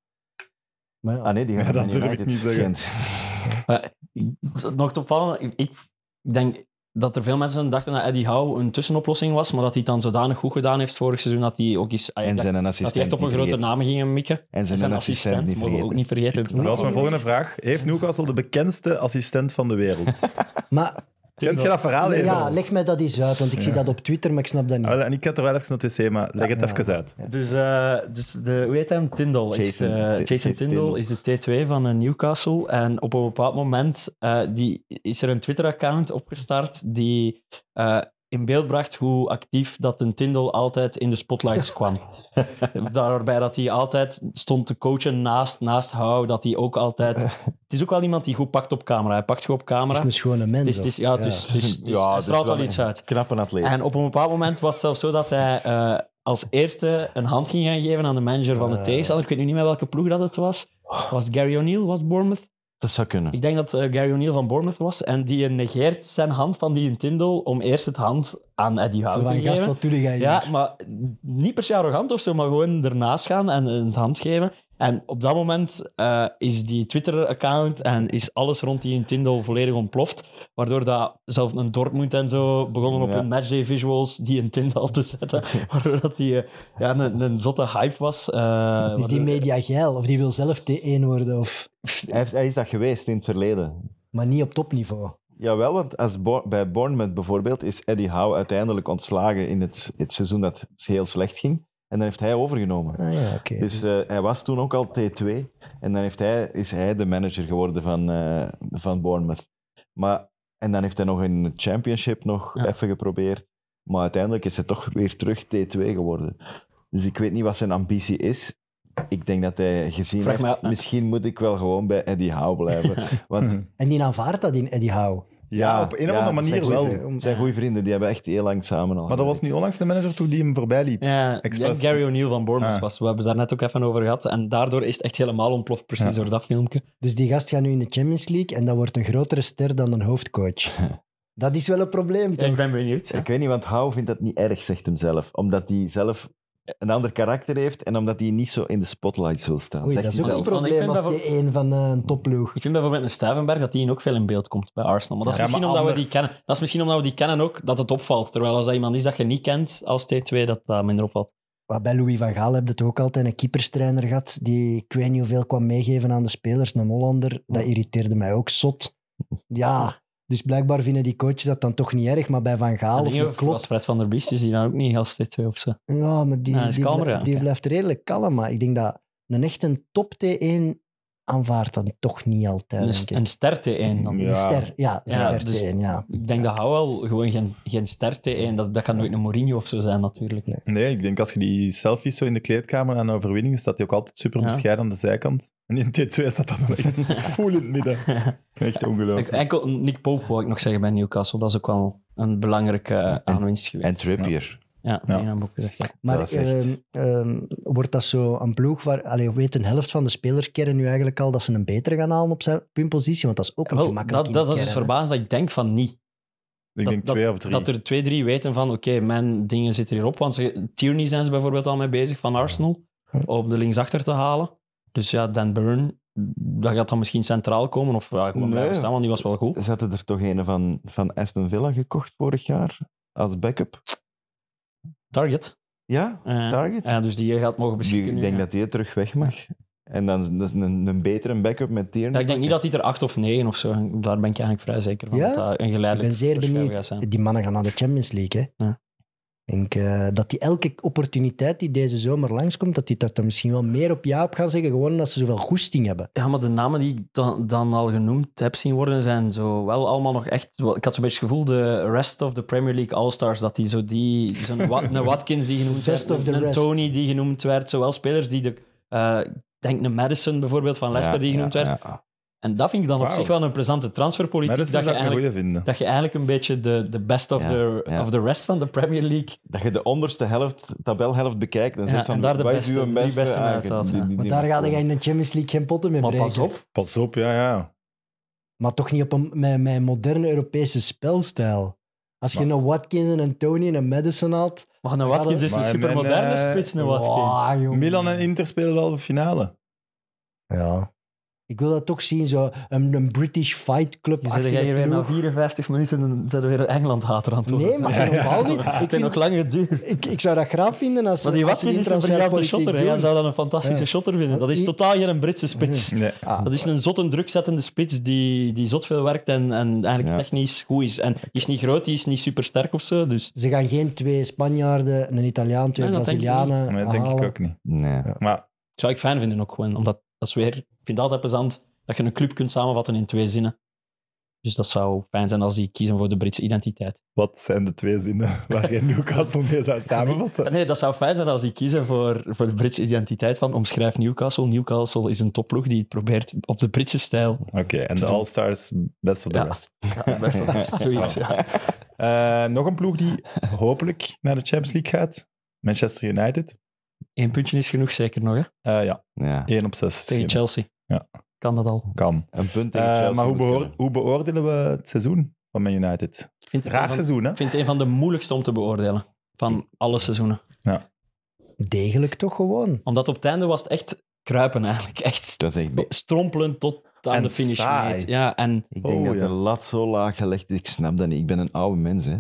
Speaker 2: Maar ja.
Speaker 4: Ah nee, die gaan
Speaker 1: Ja, dat
Speaker 4: naar
Speaker 1: durf ik
Speaker 4: United.
Speaker 1: niet zeggen.
Speaker 4: Gent.
Speaker 3: Maar, ik- nog te opvallen, ik, ik denk dat er veel mensen dachten dat Eddie Howe een tussenoplossing was, maar dat hij het dan zodanig goed gedaan heeft vorig seizoen dat hij ook eens... ah,
Speaker 4: En
Speaker 3: dat,
Speaker 4: zijn een
Speaker 3: dat
Speaker 4: assistent.
Speaker 3: hij echt op een
Speaker 4: niet
Speaker 3: grote
Speaker 4: vergeten.
Speaker 3: namen ging mikken.
Speaker 4: En zijn, een assistent, niet
Speaker 3: mogen we ook
Speaker 4: vergeten.
Speaker 3: niet vergeten.
Speaker 1: Dat was mijn volgende vraag. Heeft Newcastle de bekendste assistent van de
Speaker 2: <laughs>
Speaker 1: wereld?
Speaker 2: Maar
Speaker 1: Kent je Ah, dat verhaal even?
Speaker 2: ja, leg mij dat eens uit, want ik zie dat op Twitter, maar ik snap dat niet.
Speaker 1: Ah, wel, En ik heb er wel even naar het wc, maar leg het even uit.
Speaker 3: Dus, eh, dus de, hoe heet hem? Tindall. is de, eh,
Speaker 4: Jason- Ti-
Speaker 3: Jason,
Speaker 4: Jason
Speaker 3: Tindall
Speaker 4: Tindall.
Speaker 3: is de T2 van eh, Newcastle. En op een bepaald moment eh, die, is er een Twitter-account opgestart die eh, in beeld bracht hoe actief dat een Tindall altijd in de
Speaker 4: <laughs>
Speaker 3: spotlights kwam. Daarbij dat hij altijd stond te coachen naast, naast Hou, dat hij ook altijd... Het is ook wel iemand die goed pakt op camera. Hij pakt goed op camera.
Speaker 2: Het is een schone mens.
Speaker 3: Het is, het is- ja, het is, het is- het is-
Speaker 4: Ja,
Speaker 3: hij
Speaker 4: het is
Speaker 3: straalt
Speaker 4: wel
Speaker 3: wel iets
Speaker 4: een-
Speaker 3: uit.
Speaker 4: Knappe atleet.
Speaker 3: En op een bepaald moment was het zelfs zo dat hij eh, als eerste een hand ging gaan geven aan de manager van de
Speaker 2: Ah.
Speaker 4: Eh.
Speaker 3: tegenstander. Ik weet nu niet meer welke ploeg dat het was. Was Gary O'Neill, was Bournemouth?
Speaker 4: Dat zou kunnen.
Speaker 3: Ik denk dat eh, Gary O'Neill van Bournemouth was. En die negeert zijn hand van die Tindall om eerst het hand aan Eddie
Speaker 2: Zo
Speaker 3: Howe
Speaker 2: van,
Speaker 3: te
Speaker 2: gast,
Speaker 3: geven.
Speaker 2: wat doe je hier?
Speaker 3: Ja, maar niet per se arrogant of zo, maar gewoon ernaast gaan en eh, het hand geven. En op dat moment eh, is die Twitter-account en is alles rond die Tindall volledig ontploft. Waardoor dat zelfs een Dortmund en zo begonnen op
Speaker 4: Ja.
Speaker 3: hun matchday visuals die een Tindall te zetten. <laughs> Waardoor dat die eh, ja, een, een zotte hype was. eh,
Speaker 2: Is die
Speaker 3: waardoor-
Speaker 2: media geil? Of die wil zelf T1 worden? Of...
Speaker 4: Hij, heeft- hij is dat geweest in het verleden.
Speaker 2: Maar niet op topniveau.
Speaker 4: Jawel, want als Bo- bij Bournemouth bijvoorbeeld is Eddie Howe uiteindelijk ontslagen in het, het seizoen dat het heel slecht ging. En dan heeft hij overgenomen.
Speaker 2: Ah ja, oké.
Speaker 4: Dus eh, hij was toen ook al T2. En dan heeft hij, is hij de manager geworden van, eh, van Bournemouth. Maar, en dan heeft hij nog in de championship nog
Speaker 3: Ja.
Speaker 4: even geprobeerd. Maar uiteindelijk is hij toch weer terug T2 geworden. Dus ik weet niet wat zijn ambitie is. Ik denk dat hij gezien
Speaker 3: Vraag
Speaker 4: heeft,
Speaker 3: mij-
Speaker 4: misschien moet ik wel gewoon bij Eddie Howe
Speaker 3: <laughs>
Speaker 4: blijven. Want
Speaker 2: En die aanvaardt dat in Eddie Howe.
Speaker 1: Ja, op een of andere manier
Speaker 4: zijn goeie
Speaker 1: wel.
Speaker 4: vri- zijn goede vrienden, die hebben echt heel lang samen al.
Speaker 1: Maar dat was
Speaker 4: gewerkt.
Speaker 1: nu onlangs de manager toen die hem voorbij liep.
Speaker 3: Ja,
Speaker 1: Express.
Speaker 3: Gary O'Neill van Bournemouth
Speaker 1: Ah.
Speaker 3: was. We hebben daar net ook even over gehad. En daardoor is het echt helemaal ontploft, precies
Speaker 1: Ja.
Speaker 3: door dat filmpje.
Speaker 2: Dus die gast gaat nu in de Champions League en dat wordt een grotere ster dan een hoofdcoach. Dat is wel een probleem,
Speaker 3: Ja,
Speaker 2: toch?
Speaker 3: ik ben benieuwd. ja.
Speaker 4: Ik weet niet, want Hou vindt dat niet erg, zegt hem zelf. Omdat hij zelf een ander karakter heeft en omdat hij niet zo in de spotlights wil staan.
Speaker 2: Oei,
Speaker 4: zegt
Speaker 2: dat is
Speaker 4: hij
Speaker 2: ook een
Speaker 4: zelf.
Speaker 3: Want ik
Speaker 2: probleem
Speaker 3: vind
Speaker 2: als
Speaker 3: bijvoorbeeld-
Speaker 2: die een van eh, een topploeg.
Speaker 3: Ik vind bijvoorbeeld een Stuivenberg dat die ook veel in beeld komt bij Arsenal. Maar dat is
Speaker 1: Ja,
Speaker 3: misschien
Speaker 1: maar
Speaker 3: omdat we
Speaker 1: anders-
Speaker 3: die kennen. Dat is misschien omdat we die kennen ook dat het opvalt. Terwijl als dat iemand is dat je niet kent als T2, dat dat minder opvalt.
Speaker 2: Maar bij Louis van Gaal heb je toch ook altijd een keeperstrainer gehad die ik weet niet hoeveel kwam meegeven aan de spelers, een Hollander. Dat irriteerde mij ook zot. Ja, dus blijkbaar vinden die coaches dat dan toch niet erg, maar bij Van Gaal
Speaker 3: En
Speaker 2: of
Speaker 3: dingen
Speaker 2: een
Speaker 3: als-
Speaker 2: Klopp...
Speaker 3: Als Fred van der Biest is die dan ook niet als T2 of zo.
Speaker 2: Ja, maar die,
Speaker 3: Ja, dat is
Speaker 2: die,
Speaker 3: kalmer,
Speaker 2: blij-
Speaker 3: ja,
Speaker 2: die
Speaker 3: oké.
Speaker 2: blijft redelijk kalm. Maar ik denk dat een echt een top T1 aanvaardt dan toch niet altijd.
Speaker 3: Een,
Speaker 2: denk ik.
Speaker 3: een ster T1 dan.
Speaker 4: Ja.
Speaker 2: Een ster, ja, een
Speaker 3: Ja,
Speaker 2: ster
Speaker 3: dus-
Speaker 2: T1, ja.
Speaker 3: Ik denk dat Howell gewoon geen, geen ster T1. Dat, dat kan nooit een Mourinho of zo zijn natuurlijk.
Speaker 1: Nee, ik denk als je die selfies zo in de kleedkamer aan overwinningen staat hij ook altijd super
Speaker 3: Ja.
Speaker 1: bescheiden aan de zijkant. En in T2 staat dat dan echt
Speaker 3: <laughs>
Speaker 1: voel in het midden. Echt
Speaker 3: Ik-
Speaker 1: ongelooflijk.
Speaker 3: Enkel Nick Pope wou ik nog zeggen bij Newcastle. Dat is ook wel een belangrijke eh, aanwinst
Speaker 4: En
Speaker 3: geweest.
Speaker 4: Trippier.
Speaker 3: Ja,
Speaker 1: Ja.
Speaker 3: die naam ook gezegd. ja.
Speaker 2: Maar
Speaker 4: Dat is echt-
Speaker 2: ehm, ehm, wordt dat zo een ploeg waar... Allee, weet een helft van de spelers kennen nu eigenlijk al dat ze een betere gaan halen op, zijn, op hun positie? Want dat is ook niet
Speaker 3: Wel,
Speaker 2: gemakkelijk
Speaker 3: dat,
Speaker 2: in
Speaker 3: dat
Speaker 2: de
Speaker 3: is dus
Speaker 2: kern, hè.
Speaker 3: verbaasd dat ik denk van niet.
Speaker 1: Ik denk twee of drie.
Speaker 3: dat er twee, drie weten van, oké, mijn dingen zitten hierop. Want ze, Tierney zijn ze bijvoorbeeld al mee bezig van Arsenal, op de linksachter te halen. Dus ja, Dan Burn, dat gaat dan misschien centraal komen of ja, gewoon
Speaker 4: Nee.
Speaker 3: blijven staan, want die was wel goed.
Speaker 4: Ze hadden er toch een van, van Aston Villa gekocht vorig jaar als backup.
Speaker 3: Target.
Speaker 4: Ja,
Speaker 3: Eh,
Speaker 4: Target.
Speaker 3: ja, dus die gaat mogen
Speaker 4: Die-
Speaker 3: beschikken.
Speaker 4: ik
Speaker 3: nu,
Speaker 4: denk
Speaker 3: ja.
Speaker 4: dat hij terug weg mag. En dan is dat is een, een betere backup met Tierney.
Speaker 3: Ja, ik denk niet dat hij er acht of negen of zo, daar ben ik eigenlijk vrij zeker van,
Speaker 2: Ja?
Speaker 3: dat dat een
Speaker 2: Ik
Speaker 3: geleidelijk
Speaker 2: ben zeer
Speaker 3: verschuiven
Speaker 2: benieuwd.
Speaker 3: gaat zijn.
Speaker 2: Die mannen gaan naar de Champions League, hè.
Speaker 3: Ja.
Speaker 2: Ik denk eh, dat die elke opportuniteit die deze zomer langskomt, dat die dat er misschien wel meer op ja op gaan zeggen, gewoon omdat ze zoveel goesting hebben.
Speaker 3: Ja, maar de namen die ik dan, dan al genoemd heb zien worden, zijn zo wel allemaal nog echt... wel- Ik had zo'n beetje het gevoel, de rest of the Premier League All-Stars, dat die zo die... Zo'n Wat, een Watkins die genoemd
Speaker 2: Best
Speaker 3: werd,
Speaker 2: of the
Speaker 3: een
Speaker 2: rest.
Speaker 3: Tony die genoemd werd, zowel spelers die de... eh, Ik denk een Madison bijvoorbeeld van Leicester die genoemd werd. En dat vind ik dan op
Speaker 1: Wauw.
Speaker 3: zich wel een plezante transferpolitiek.
Speaker 1: maar dat is
Speaker 3: dat,
Speaker 1: dat
Speaker 3: je
Speaker 1: ik een
Speaker 3: eigenlijk,
Speaker 1: goeie vinden.
Speaker 3: dat je eigenlijk een beetje de, de best of,
Speaker 4: Ja,
Speaker 3: the,
Speaker 4: ja.
Speaker 3: of the rest van de Premier League...
Speaker 4: Dat je de onderste helft, tabelhelft bekijkt en
Speaker 3: Ja,
Speaker 4: zegt van,
Speaker 3: en daar de
Speaker 4: wat
Speaker 3: beste-
Speaker 4: is uw
Speaker 3: die
Speaker 4: beste?
Speaker 3: beste
Speaker 4: Ah,
Speaker 3: uithaalt,
Speaker 4: die-
Speaker 3: ja.
Speaker 4: die-
Speaker 2: Want
Speaker 4: die-
Speaker 2: daar ga je in de Champions League geen potten mee
Speaker 3: Maar
Speaker 2: breken.
Speaker 3: pas op,
Speaker 1: Pas op, ja, ja.
Speaker 2: Maar toch niet op een, met, met een moderne Europese spelstijl. Als je een Watkins en een Tony en een Madison haalt...
Speaker 3: maar een Watkins is een
Speaker 1: Maar mijn,
Speaker 3: supermoderne
Speaker 1: eh,
Speaker 3: spits, een Watkins.
Speaker 2: Wow, jongen.
Speaker 1: Milan en Inter spelen de halve finale.
Speaker 2: Ja. Ik wil dat toch zien, zo een, een British Fight Club.
Speaker 3: Zet jij hier weer na 54 minuten en zijn we weer een Engeland-hater aan het worden. <laughs>
Speaker 2: Nee, maar helemaal niet.
Speaker 3: Het
Speaker 2: Ik,
Speaker 3: heeft nog
Speaker 2: vind,
Speaker 3: lang
Speaker 2: <laughs>
Speaker 3: geduurd.
Speaker 2: ik, ik zou dat graag vinden als
Speaker 3: Maar die
Speaker 2: als ze
Speaker 3: Watkins is een
Speaker 2: internationale
Speaker 3: briljante
Speaker 2: politiek
Speaker 3: shotter. hè. Hij
Speaker 2: doen.
Speaker 3: zou dan een fantastische
Speaker 2: Ja.
Speaker 3: shotter vinden. Dat is
Speaker 2: Die-
Speaker 3: totaal geen Britse spits.
Speaker 1: Nee.
Speaker 2: Ah,
Speaker 3: Dat is een zot en drukzettende spits die, die zot veel werkt en, en eigenlijk
Speaker 4: Ja.
Speaker 3: technisch goed is. En die is niet groot, die is niet supersterk of zo. Dus
Speaker 2: Ze gaan geen twee Spanjaarden, een Italiaan, twee
Speaker 3: Nee, dat denk ik niet.
Speaker 2: Brazilianen
Speaker 1: Nee, dat denk
Speaker 2: halen.
Speaker 1: ik ook niet.
Speaker 4: Nee.
Speaker 1: Ja. Maar
Speaker 3: zou ik fijn vinden ook gewoon. Omdat dat is weer, ik vind het altijd plezant dat je een club kunt samenvatten in twee zinnen. Dus dat zou fijn zijn als die kiezen voor de Britse identiteit.
Speaker 1: wat zijn de twee zinnen <laughs> waar je Newcastle mee zou samenvatten?
Speaker 3: <laughs> Nee, dat zou fijn zijn als die kiezen voor, voor de Britse identiteit van omschrijf Newcastle. Newcastle is een topploeg die het probeert op de Britse stijl.
Speaker 1: Oké, en de All-Stars best of the
Speaker 3: Ja.
Speaker 1: rest.
Speaker 3: <laughs> Ja, best wel
Speaker 4: <laughs>
Speaker 3: best, zoiets. Ja.
Speaker 1: Eh, nog een ploeg die hopelijk naar de Champions League gaat. Manchester United.
Speaker 3: Eén puntje is genoeg zeker nog, hè?
Speaker 1: Eh, ja,
Speaker 4: Ja.
Speaker 1: 1 op 6.
Speaker 3: Tegen Chelsea.
Speaker 1: Ja.
Speaker 3: Kan dat al.
Speaker 1: Kan.
Speaker 4: Een punt
Speaker 1: Eh,
Speaker 4: tegen Chelsea
Speaker 1: maar hoe,
Speaker 4: moet
Speaker 1: beoor-
Speaker 4: kunnen.
Speaker 1: hoe beoordelen we het seizoen van Man United?
Speaker 3: Ik vind het
Speaker 1: Raar
Speaker 3: een van-
Speaker 1: seizoen, hè?
Speaker 3: Ik vind het een van de moeilijkste om te beoordelen. Van alle seizoenen.
Speaker 2: Degelijk toch gewoon.
Speaker 3: Omdat op het einde was het echt kruipen eigenlijk. <laughs> Echt
Speaker 4: Dat is echt... be-
Speaker 3: strompelen tot aan
Speaker 1: En
Speaker 3: de finish.
Speaker 1: saai.
Speaker 3: meet. Ja, en
Speaker 4: Ik denk
Speaker 1: Oh,
Speaker 4: dat
Speaker 1: ja.
Speaker 4: de lat zo laag gelegd is. Ik snap dat niet. Ik ben een oude mens, hè.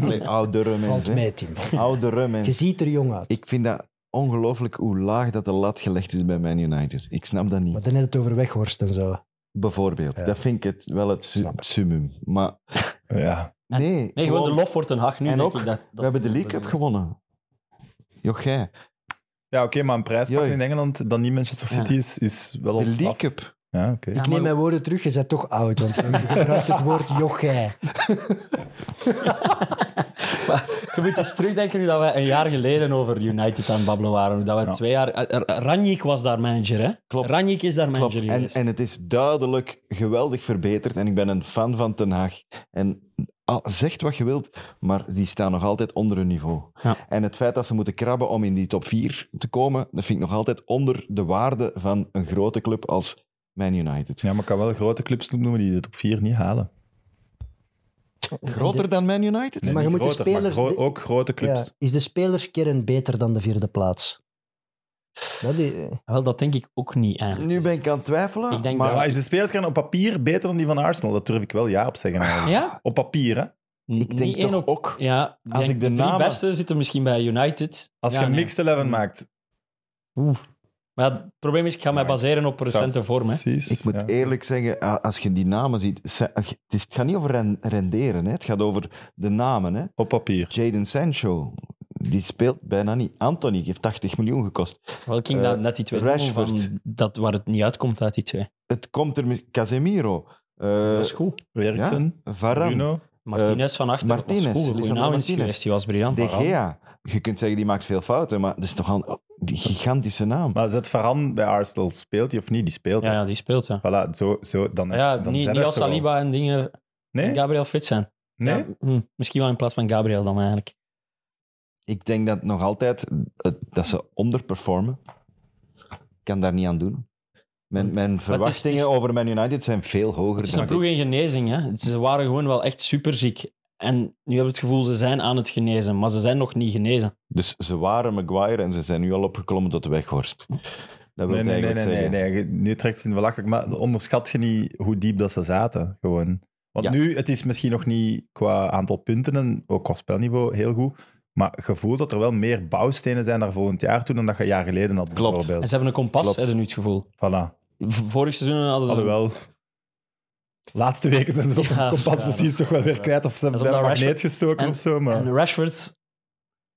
Speaker 4: Allee, oudere mens,
Speaker 2: Valt
Speaker 4: hè.
Speaker 2: mee, Tim.
Speaker 4: Oudere
Speaker 2: Je
Speaker 4: mens.
Speaker 2: ziet er jong uit.
Speaker 4: Ik vind dat ongelooflijk hoe laag dat de lat gelegd is bij Man United. Ik snap dat niet.
Speaker 2: Maar dan net het over Weghorst en zo.
Speaker 4: Bijvoorbeeld.
Speaker 2: Ja.
Speaker 4: Dat vind ik het, wel het, su-
Speaker 2: Snap ik.
Speaker 4: het summum. Maar
Speaker 1: Ja.
Speaker 3: En-
Speaker 4: nee,
Speaker 3: nee, gewoon de lof voor Ten Hag nu.
Speaker 4: En
Speaker 3: denk
Speaker 4: ook,
Speaker 3: ik dat, dat-
Speaker 4: we hebben de League Cup gewonnen. Joch, jij.
Speaker 1: Ja, oké, maar een prijs
Speaker 4: Joi.
Speaker 1: in Engeland dat niet Manchester
Speaker 3: Ja.
Speaker 1: City is, is wel
Speaker 4: De
Speaker 1: ons
Speaker 4: League
Speaker 1: af.
Speaker 4: Cup.
Speaker 1: Ja, oké.
Speaker 3: Ja,
Speaker 2: Ik
Speaker 3: maar-
Speaker 2: neem mijn woorden terug, je bent toch oud, want je gebruikt het
Speaker 3: <laughs>
Speaker 2: woord jochij.
Speaker 3: Maar je moet eens terugdenken hoe dat wij een jaar geleden over United aan het babbelen waren. Hoe dat we
Speaker 1: Ja.
Speaker 3: twee jaar... eh, eh, Ranjik was daar manager, hè?
Speaker 4: Klopt.
Speaker 3: Ranjik is daar
Speaker 4: Klopt.
Speaker 3: manager
Speaker 4: En,
Speaker 3: geweest.
Speaker 4: en het is duidelijk geweldig verbeterd. En ik ben een fan van Ten Haag. En ah, zegt wat je wilt, maar die staan nog altijd onder hun niveau.
Speaker 3: Ja.
Speaker 4: En het feit dat ze moeten krabben om in die top 4 te komen, dat vind ik nog altijd onder de waarde van een grote club als Man United.
Speaker 1: Ja, maar ik kan wel grote clubs noemen die de top 4 niet halen.
Speaker 4: Groter dan Man United?
Speaker 2: Nee, maar je
Speaker 1: niet
Speaker 2: moet de
Speaker 1: groter, maar
Speaker 2: speler-
Speaker 1: gro-
Speaker 2: de-
Speaker 1: ook grote clubs.
Speaker 2: Ja, is de spelerskern beter dan de vierde plaats? Dat is,
Speaker 3: Wel, dat denk ik ook niet, eigenlijk.
Speaker 4: Nu ben ik aan het twijfelen.
Speaker 3: Ik denk
Speaker 1: Ja, maar
Speaker 4: maar
Speaker 1: is de spelerskern op papier beter dan die van Arsenal? Dat durf ik wel ja op zeggen. eigenlijk.
Speaker 3: Ja?
Speaker 1: Op papier, hè?
Speaker 4: ik denk
Speaker 3: één
Speaker 4: toch ook...
Speaker 3: Ja,
Speaker 4: Als
Speaker 3: denk
Speaker 4: ik de
Speaker 3: drie
Speaker 4: namen-
Speaker 3: beste zitten misschien bij United.
Speaker 1: Als
Speaker 3: Ja,
Speaker 1: je een
Speaker 3: nee. Mm.
Speaker 1: mixed 11 maakt.
Speaker 3: Maar ja, het probleem is, ik ga mij
Speaker 1: Maar-
Speaker 3: baseren op recente vorm. Hè.
Speaker 1: Precies.
Speaker 4: Ik moet e-
Speaker 1: ja.
Speaker 4: eerlijk zeggen, a- als je die namen ziet... se- ach, Het, is- het gaat niet over ren- renderen, hè. het gaat over de namen. Hè.
Speaker 1: Op papier.
Speaker 4: Jaden Sancho, die speelt bijna niet. Anthony heeft 80 miljoen gekost.
Speaker 3: Wel, ik ging
Speaker 4: Eh,
Speaker 3: daar net die twee noemen van
Speaker 4: Rashford.
Speaker 3: dat waar het niet uitkomt uit die twee.
Speaker 4: Het komt er met Casemiro, eh
Speaker 3: dat is goed.
Speaker 1: Werksen,
Speaker 4: Varane,
Speaker 1: Bruno.
Speaker 3: Martinez van achter.
Speaker 4: Martinez,
Speaker 3: Dat was goed. Goeie
Speaker 4: Lisandro
Speaker 3: naam is
Speaker 4: Martinez.
Speaker 3: geweest. Die was briljant.
Speaker 4: De Gea. Je kunt zeggen, die maakt veel fouten, maar dat is toch al die gigantische naam.
Speaker 1: Maar zet Varane bij Arsenal. Speelt hij of niet? Die speelt.
Speaker 3: Ja,
Speaker 1: hè.
Speaker 3: ja, die speelt,
Speaker 4: Ah,
Speaker 3: ja.
Speaker 1: Voilà, zo, zo, dan,
Speaker 3: ja,
Speaker 1: dan
Speaker 3: niet,
Speaker 1: zijn
Speaker 3: niet
Speaker 1: er
Speaker 3: als
Speaker 1: toch wel.
Speaker 3: Saliba en dingen
Speaker 1: Nee?
Speaker 3: en Gabriel fit zijn.
Speaker 1: nee?
Speaker 3: Ja, hm, misschien wel in plaats van Gabriel dan eigenlijk.
Speaker 4: Ik denk dat nog altijd eh, dat ze onderperformen. Ik kan daar niet aan doen. Mijn, mijn verwachtingen
Speaker 3: het is-
Speaker 4: over Man United zijn veel hoger
Speaker 3: Het is
Speaker 4: dan
Speaker 3: een ploeg
Speaker 4: dit.
Speaker 3: in genezing. Hè. Het- Ze waren gewoon wel echt superziek. En nu heb ik het gevoel, ze zijn aan het genezen. Maar ze zijn nog niet genezen.
Speaker 4: Dus ze waren Maguire en ze zijn nu al opgeklommen tot de weghorst. Dat wil
Speaker 1: Nee, nee,
Speaker 4: ik
Speaker 1: nee,
Speaker 4: eigenlijk
Speaker 1: nee, nee,
Speaker 4: zeggen.
Speaker 1: nee. Je- Nu trekt het belachelijk. Maar onderschat je niet hoe diep dat ze zaten. Gewoon. Want
Speaker 4: Ja.
Speaker 1: nu, het is misschien nog niet qua aantal punten en ook qua spelniveau heel goed. Maar gevoel dat er wel meer bouwstenen zijn naar volgend jaar toe dan dat je een jaar geleden had.
Speaker 4: Klopt.
Speaker 3: En
Speaker 1: Bijvoorbeeld.
Speaker 3: ze hebben een kompas,
Speaker 4: Klopt.
Speaker 3: hebben nu het gevoel.
Speaker 1: Voilà.
Speaker 3: V- Vorig seizoen hadden ze...
Speaker 1: Alhoewel, laatste weken zijn ze dat
Speaker 3: Ja,
Speaker 1: kompas
Speaker 3: ja,
Speaker 1: precies
Speaker 3: dat
Speaker 1: toch wel weer
Speaker 3: ja.
Speaker 1: kwijt. Of ze hebben
Speaker 3: omdat
Speaker 1: bij een magneet
Speaker 3: Rashford-
Speaker 1: gestoken
Speaker 3: en-
Speaker 1: of zo. Maar...
Speaker 3: En Rashford,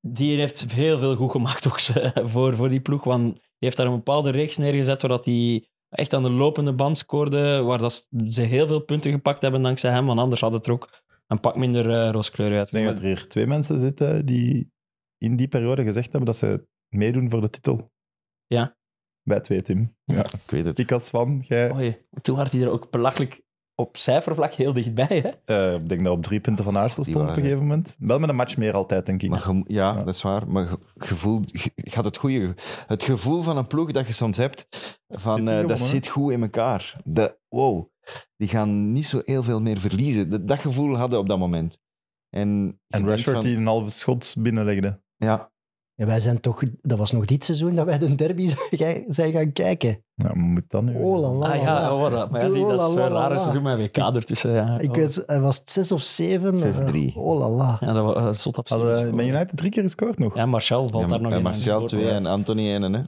Speaker 3: die heeft heel veel goed gemaakt ook, <laughs> ze, voor, voor die ploeg. Want die heeft daar een bepaalde reeks neergezet waar dat hij echt aan de lopende band scoorde. Waar dat ze heel veel punten gepakt hebben dankzij hem. Want anders had het er ook een pak minder eh rooskleur uit.
Speaker 1: Ik denk dat er hier twee mensen zitten die in die periode gezegd hebben dat ze meedoen voor de titel.
Speaker 3: Ja.
Speaker 1: Wij twee, Tim. Ja.
Speaker 4: Ik weet het.
Speaker 1: Ik als van, jij.
Speaker 3: Oei, toen had hij er ook belachelijk op cijfervlak heel dichtbij. Hè?
Speaker 1: eh, ik denk dat op drie punten van Arsenal
Speaker 4: Die
Speaker 1: stond op een
Speaker 4: waren-
Speaker 1: gegeven moment. Wel met een match meer altijd, denk ik.
Speaker 4: Maar ge- ja,
Speaker 1: Ja.
Speaker 4: dat is waar. Maar ge- gevoel, ge- gaat het goede. Het gevoel van een ploeg dat je soms hebt, van,
Speaker 1: City
Speaker 4: eh, dat
Speaker 1: gewonnen,
Speaker 4: zit goed in elkaar. De, wow, die gaan niet zo heel veel meer verliezen. Dat, dat gevoel hadden op dat moment. En, je
Speaker 1: en
Speaker 4: denkt
Speaker 1: Rashford
Speaker 4: van-
Speaker 1: die een halve schot binnenlegde.
Speaker 4: Ja,
Speaker 2: En wij zijn toch, dat was nog dit seizoen dat wij de derby <laughs> zijn- zijn gaan kijken.
Speaker 1: Nou, moet dat nu?
Speaker 2: Oh la la.
Speaker 3: Ah
Speaker 2: la,
Speaker 3: ja,
Speaker 2: la.
Speaker 3: oh, dat, maar ja, zie, dat is
Speaker 2: La,
Speaker 3: een
Speaker 2: la, la,
Speaker 3: rare
Speaker 2: la.
Speaker 3: seizoen met WK ertussen. Ja,
Speaker 2: Ik
Speaker 3: Oh.
Speaker 2: weet, eh, was het zes of zeven?
Speaker 4: 6-3.
Speaker 2: Eh, Oh la la.
Speaker 3: ja dat was eh, zot op
Speaker 1: Hadden
Speaker 3: zich.
Speaker 1: we- Man United drie keer gescoord nog.
Speaker 3: Ja, Marcel valt daar nog
Speaker 4: en
Speaker 3: in.
Speaker 4: Martial twee en Anthony één. Hè.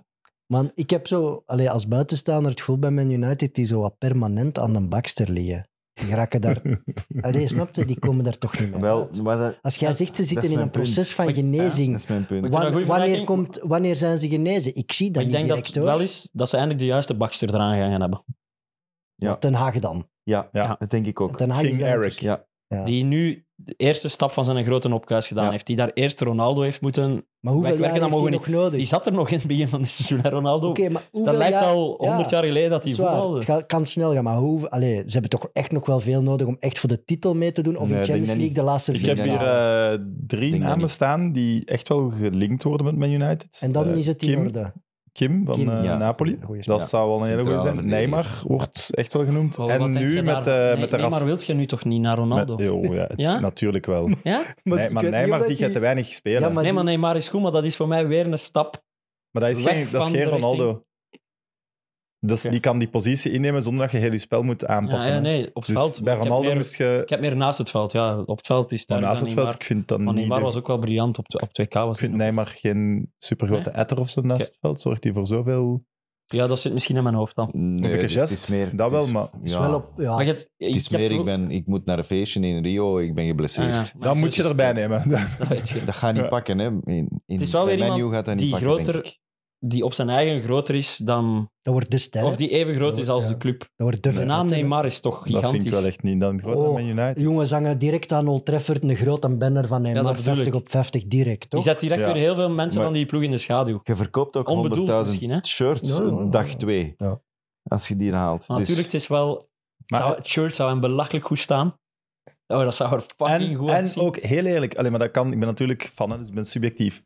Speaker 2: Man, ik heb zo, allee, als buitenstaander het gevoel bij Man United die zo wat permanent aan de bakster liggen. Die raken daar... Allee, snap je? Die komen daar toch niet meer
Speaker 4: Wel,
Speaker 2: uit.
Speaker 4: maar dat,
Speaker 2: Als jij zegt, ze
Speaker 4: dat
Speaker 2: zitten
Speaker 4: is
Speaker 2: in
Speaker 4: mijn
Speaker 2: een proces van
Speaker 3: Maar-
Speaker 4: dat
Speaker 2: genezing.
Speaker 4: is mijn punt.
Speaker 3: Maar-
Speaker 2: Wan-
Speaker 3: een goede
Speaker 2: wanneer,
Speaker 3: vergelijking.
Speaker 2: komt, wanneer zijn ze genezen? Ik zie dat
Speaker 3: ik
Speaker 2: niet
Speaker 3: denk dat
Speaker 2: direct,
Speaker 3: het
Speaker 2: hoor.
Speaker 3: wel is dat ze eindelijk de juiste bakster eraan gaan hebben.
Speaker 4: Ja.
Speaker 2: Ten Haag dan.
Speaker 4: Ja,
Speaker 1: Ja.
Speaker 4: dat denk ik ook.
Speaker 2: Ten Hag is
Speaker 1: King
Speaker 2: dan
Speaker 1: Eric.
Speaker 4: Ja.
Speaker 2: Ja.
Speaker 3: Die nu de eerste stap van zijn grote opkuis gedaan
Speaker 4: Ja.
Speaker 3: heeft. Die daar eerst Ronaldo heeft moeten...
Speaker 2: Maar hoeveel jaar
Speaker 3: Wij werken
Speaker 2: heeft
Speaker 3: dan
Speaker 2: hij nog
Speaker 3: mogen
Speaker 2: nodig?
Speaker 3: Die zat er nog in het begin van dit seizoen, hè, Ronaldo.
Speaker 2: Oké, maar hoeveel
Speaker 3: dat lijkt
Speaker 2: jaar...
Speaker 3: al
Speaker 2: ja,
Speaker 3: 100 jaar geleden dat hij
Speaker 2: is waar. Het
Speaker 3: voetbalde.
Speaker 2: gaat- kan snel gaan, maar hoe, allee, ze hebben toch echt nog wel veel nodig om echt voor de titel mee te doen? Of
Speaker 4: Nee,
Speaker 2: in
Speaker 4: ik denk
Speaker 2: Champions
Speaker 4: dat
Speaker 2: League
Speaker 4: niet.
Speaker 2: de laatste
Speaker 1: Ik
Speaker 2: vier
Speaker 1: heb
Speaker 4: Denk dat
Speaker 1: hier
Speaker 2: jaar.
Speaker 1: eh, drie
Speaker 4: Denk dat
Speaker 1: namen
Speaker 4: niet.
Speaker 1: staan die echt wel gelinkt worden met Man United.
Speaker 2: En dan
Speaker 1: Eh,
Speaker 2: is het in
Speaker 1: Kim,
Speaker 2: orde.
Speaker 1: Kim van
Speaker 2: Kim,
Speaker 1: eh,
Speaker 4: ja.
Speaker 1: Napoli.
Speaker 2: Goeie
Speaker 1: Dat
Speaker 2: speler.
Speaker 4: Ja,
Speaker 1: zou wel een hele goede
Speaker 4: centrale
Speaker 1: zijn.
Speaker 4: verdediger.
Speaker 1: Neymar wordt echt wel genoemd.
Speaker 3: Wow,
Speaker 1: en
Speaker 3: Oh, wat denk
Speaker 1: nu
Speaker 3: je
Speaker 1: met,
Speaker 3: daar-
Speaker 1: eh,
Speaker 3: nee,
Speaker 1: met de
Speaker 3: nee,
Speaker 1: ras...
Speaker 3: maar wilt je nu toch niet naar Ronaldo?
Speaker 1: Met- oh, ja,
Speaker 3: <laughs> Ja?
Speaker 1: Natuurlijk
Speaker 2: <laughs>
Speaker 1: wel.
Speaker 3: Ja?
Speaker 1: nee, maar Neymar ziet je te weinig spelen.
Speaker 2: Ja,
Speaker 1: maar,
Speaker 2: Maar
Speaker 3: Nee,
Speaker 2: die-
Speaker 3: maar Neymar is goed, maar dat is voor mij weer een stap.
Speaker 1: dat is
Speaker 3: weg
Speaker 1: geen, dat is
Speaker 3: van
Speaker 1: geen
Speaker 3: de
Speaker 1: Ronaldo. Dus
Speaker 3: Oké.
Speaker 1: die kan die positie innemen zonder dat je heel je spel moet aanpassen.
Speaker 3: Ja, ja,
Speaker 1: hè.
Speaker 3: nee, op het
Speaker 1: Dus
Speaker 3: veld.
Speaker 1: bij
Speaker 3: Ik heb
Speaker 1: Ronaldo
Speaker 3: meer-
Speaker 1: moest je...
Speaker 3: Ik heb meer naast het veld, ja. Op het veld is daar
Speaker 1: Maar naast het veld, ik vind dat
Speaker 3: Maar
Speaker 1: niet...
Speaker 3: Neymar
Speaker 1: de-
Speaker 3: was ook wel briljant op, op 2K. Was
Speaker 1: Ik vind
Speaker 3: hij ook.
Speaker 1: Neymar geen supergrote etter of zo naast
Speaker 3: Oké.
Speaker 1: het veld. Zorgt hij voor zoveel...
Speaker 3: Ja, dat zit misschien in mijn
Speaker 1: Ah,
Speaker 3: hoofd dan.
Speaker 4: Nee,
Speaker 1: beetje
Speaker 4: het
Speaker 1: gest,
Speaker 4: is meer-
Speaker 1: dat
Speaker 4: het is-
Speaker 1: wel, maar-
Speaker 2: Is wel op, ja.
Speaker 3: Maar je hebt-
Speaker 4: Het is
Speaker 3: ik heb
Speaker 4: meer,
Speaker 3: het
Speaker 4: ik,
Speaker 3: gevoel-
Speaker 4: ben, ik moet naar een feestje in Rio, ik ben
Speaker 3: Ah, ja.
Speaker 4: geblesseerd.
Speaker 3: Maar
Speaker 1: Dan
Speaker 3: zo
Speaker 1: moet je
Speaker 3: is het.
Speaker 1: erbij nemen. <laughs>
Speaker 3: Dat weet je.
Speaker 4: Dat gaat niet
Speaker 1: Ja.
Speaker 4: pakken, hè. In, in,
Speaker 3: Het is wel
Speaker 4: bij
Speaker 3: weer
Speaker 4: Man U
Speaker 3: iemand
Speaker 4: gaat dat niet
Speaker 3: Die,
Speaker 4: pakken, denk ik.
Speaker 3: groter, die op zijn eigen groter is dan...
Speaker 2: Dat wordt de ster.
Speaker 3: Of die even groot is als
Speaker 2: Ja.
Speaker 3: de club.
Speaker 2: Dat wordt de
Speaker 3: De
Speaker 2: vet,
Speaker 3: naam
Speaker 2: hè.
Speaker 3: Neymar is toch
Speaker 1: Dat vind ik wel
Speaker 3: gigantisch.
Speaker 1: echt niet. Dan groot
Speaker 2: Oh,
Speaker 1: Man United.
Speaker 2: Jongens hangen direct aan Old Trafford een grote banner van Neymar.
Speaker 3: dat bedoel
Speaker 2: 50
Speaker 3: ik.
Speaker 2: op 50 direct,
Speaker 3: Die
Speaker 2: toch?
Speaker 3: zet direct
Speaker 1: Ja.
Speaker 3: weer heel veel mensen
Speaker 1: Maar-
Speaker 3: van die ploeg in de schaduw.
Speaker 4: Je verkoopt ook
Speaker 3: Onbedoeld
Speaker 4: 100.000
Speaker 3: misschien, hè?
Speaker 4: shirts
Speaker 2: Ja, ja,
Speaker 4: dag
Speaker 2: ja.
Speaker 4: twee.
Speaker 2: Ja.
Speaker 4: Als je die haalt.
Speaker 3: Maar
Speaker 4: Dus-
Speaker 3: natuurlijk, het is wel... het
Speaker 1: Maar-
Speaker 3: zou- het shirt zou hem belachelijk goed staan. Oh, dat zou er fucking
Speaker 1: En,
Speaker 3: goed
Speaker 1: en
Speaker 3: uitzien.
Speaker 1: ook heel eerlijk, alleen maar dat kan, ik ben natuurlijk fan, hè, dus ik ben subjectief.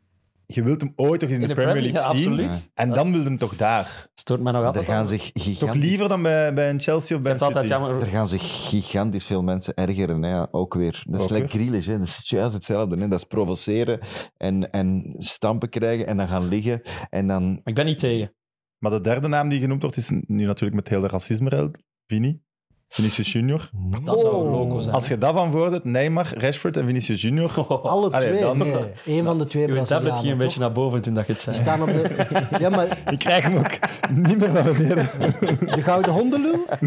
Speaker 1: Je wilt hem ooit toch eens in, de, Premier League
Speaker 3: ja,
Speaker 1: zien.
Speaker 3: absoluut.
Speaker 1: En dan wil je hem toch daar.
Speaker 3: Stoort mij nog
Speaker 4: er
Speaker 3: altijd aan.
Speaker 4: gaan zich
Speaker 1: Toch
Speaker 4: gigantisch...
Speaker 1: liever dan bij, bij een Chelsea of bij
Speaker 3: Ik
Speaker 1: een
Speaker 3: heb altijd
Speaker 1: City.
Speaker 3: jammer.
Speaker 4: Er gaan zich gigantisch veel mensen ergeren, hè. ja, ook weer. Dat is
Speaker 1: Ook
Speaker 4: lekker Grealish, hè. dat is juist hetzelfde. Hè. Dat is provoceren en, en stampen krijgen en dan gaan liggen. En dan...
Speaker 3: Ik ben niet
Speaker 1: <laughs>
Speaker 3: tegen.
Speaker 1: Maar de derde naam die genoemd wordt, is nu natuurlijk met heel de racisme Vini. Vinicius Junior.
Speaker 3: Dat zou
Speaker 2: Oh.
Speaker 3: loco zijn.
Speaker 1: Als je dat van voorzet, Neymar, Rashford en Vinicius Junior.
Speaker 2: Alle
Speaker 1: Allee,
Speaker 2: twee.
Speaker 1: dan-
Speaker 2: nee. Eén van de twee
Speaker 3: Uw tablet
Speaker 2: Brazilianen,
Speaker 3: ging een
Speaker 2: toch?
Speaker 3: beetje naar boven toen dat je het
Speaker 2: Die
Speaker 3: zei.
Speaker 2: staan op de... Ja, maar
Speaker 1: <laughs> Ik krijg hem ook niet meer naar beneden.
Speaker 2: de gouden
Speaker 3: <laughs>
Speaker 2: hondenloe? Ah,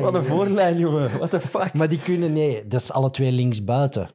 Speaker 3: Wat een
Speaker 2: jee.
Speaker 3: voorlijn, jongen. What the fuck.
Speaker 2: Maar die kunnen... Nee, dat is alle twee linksbuiten.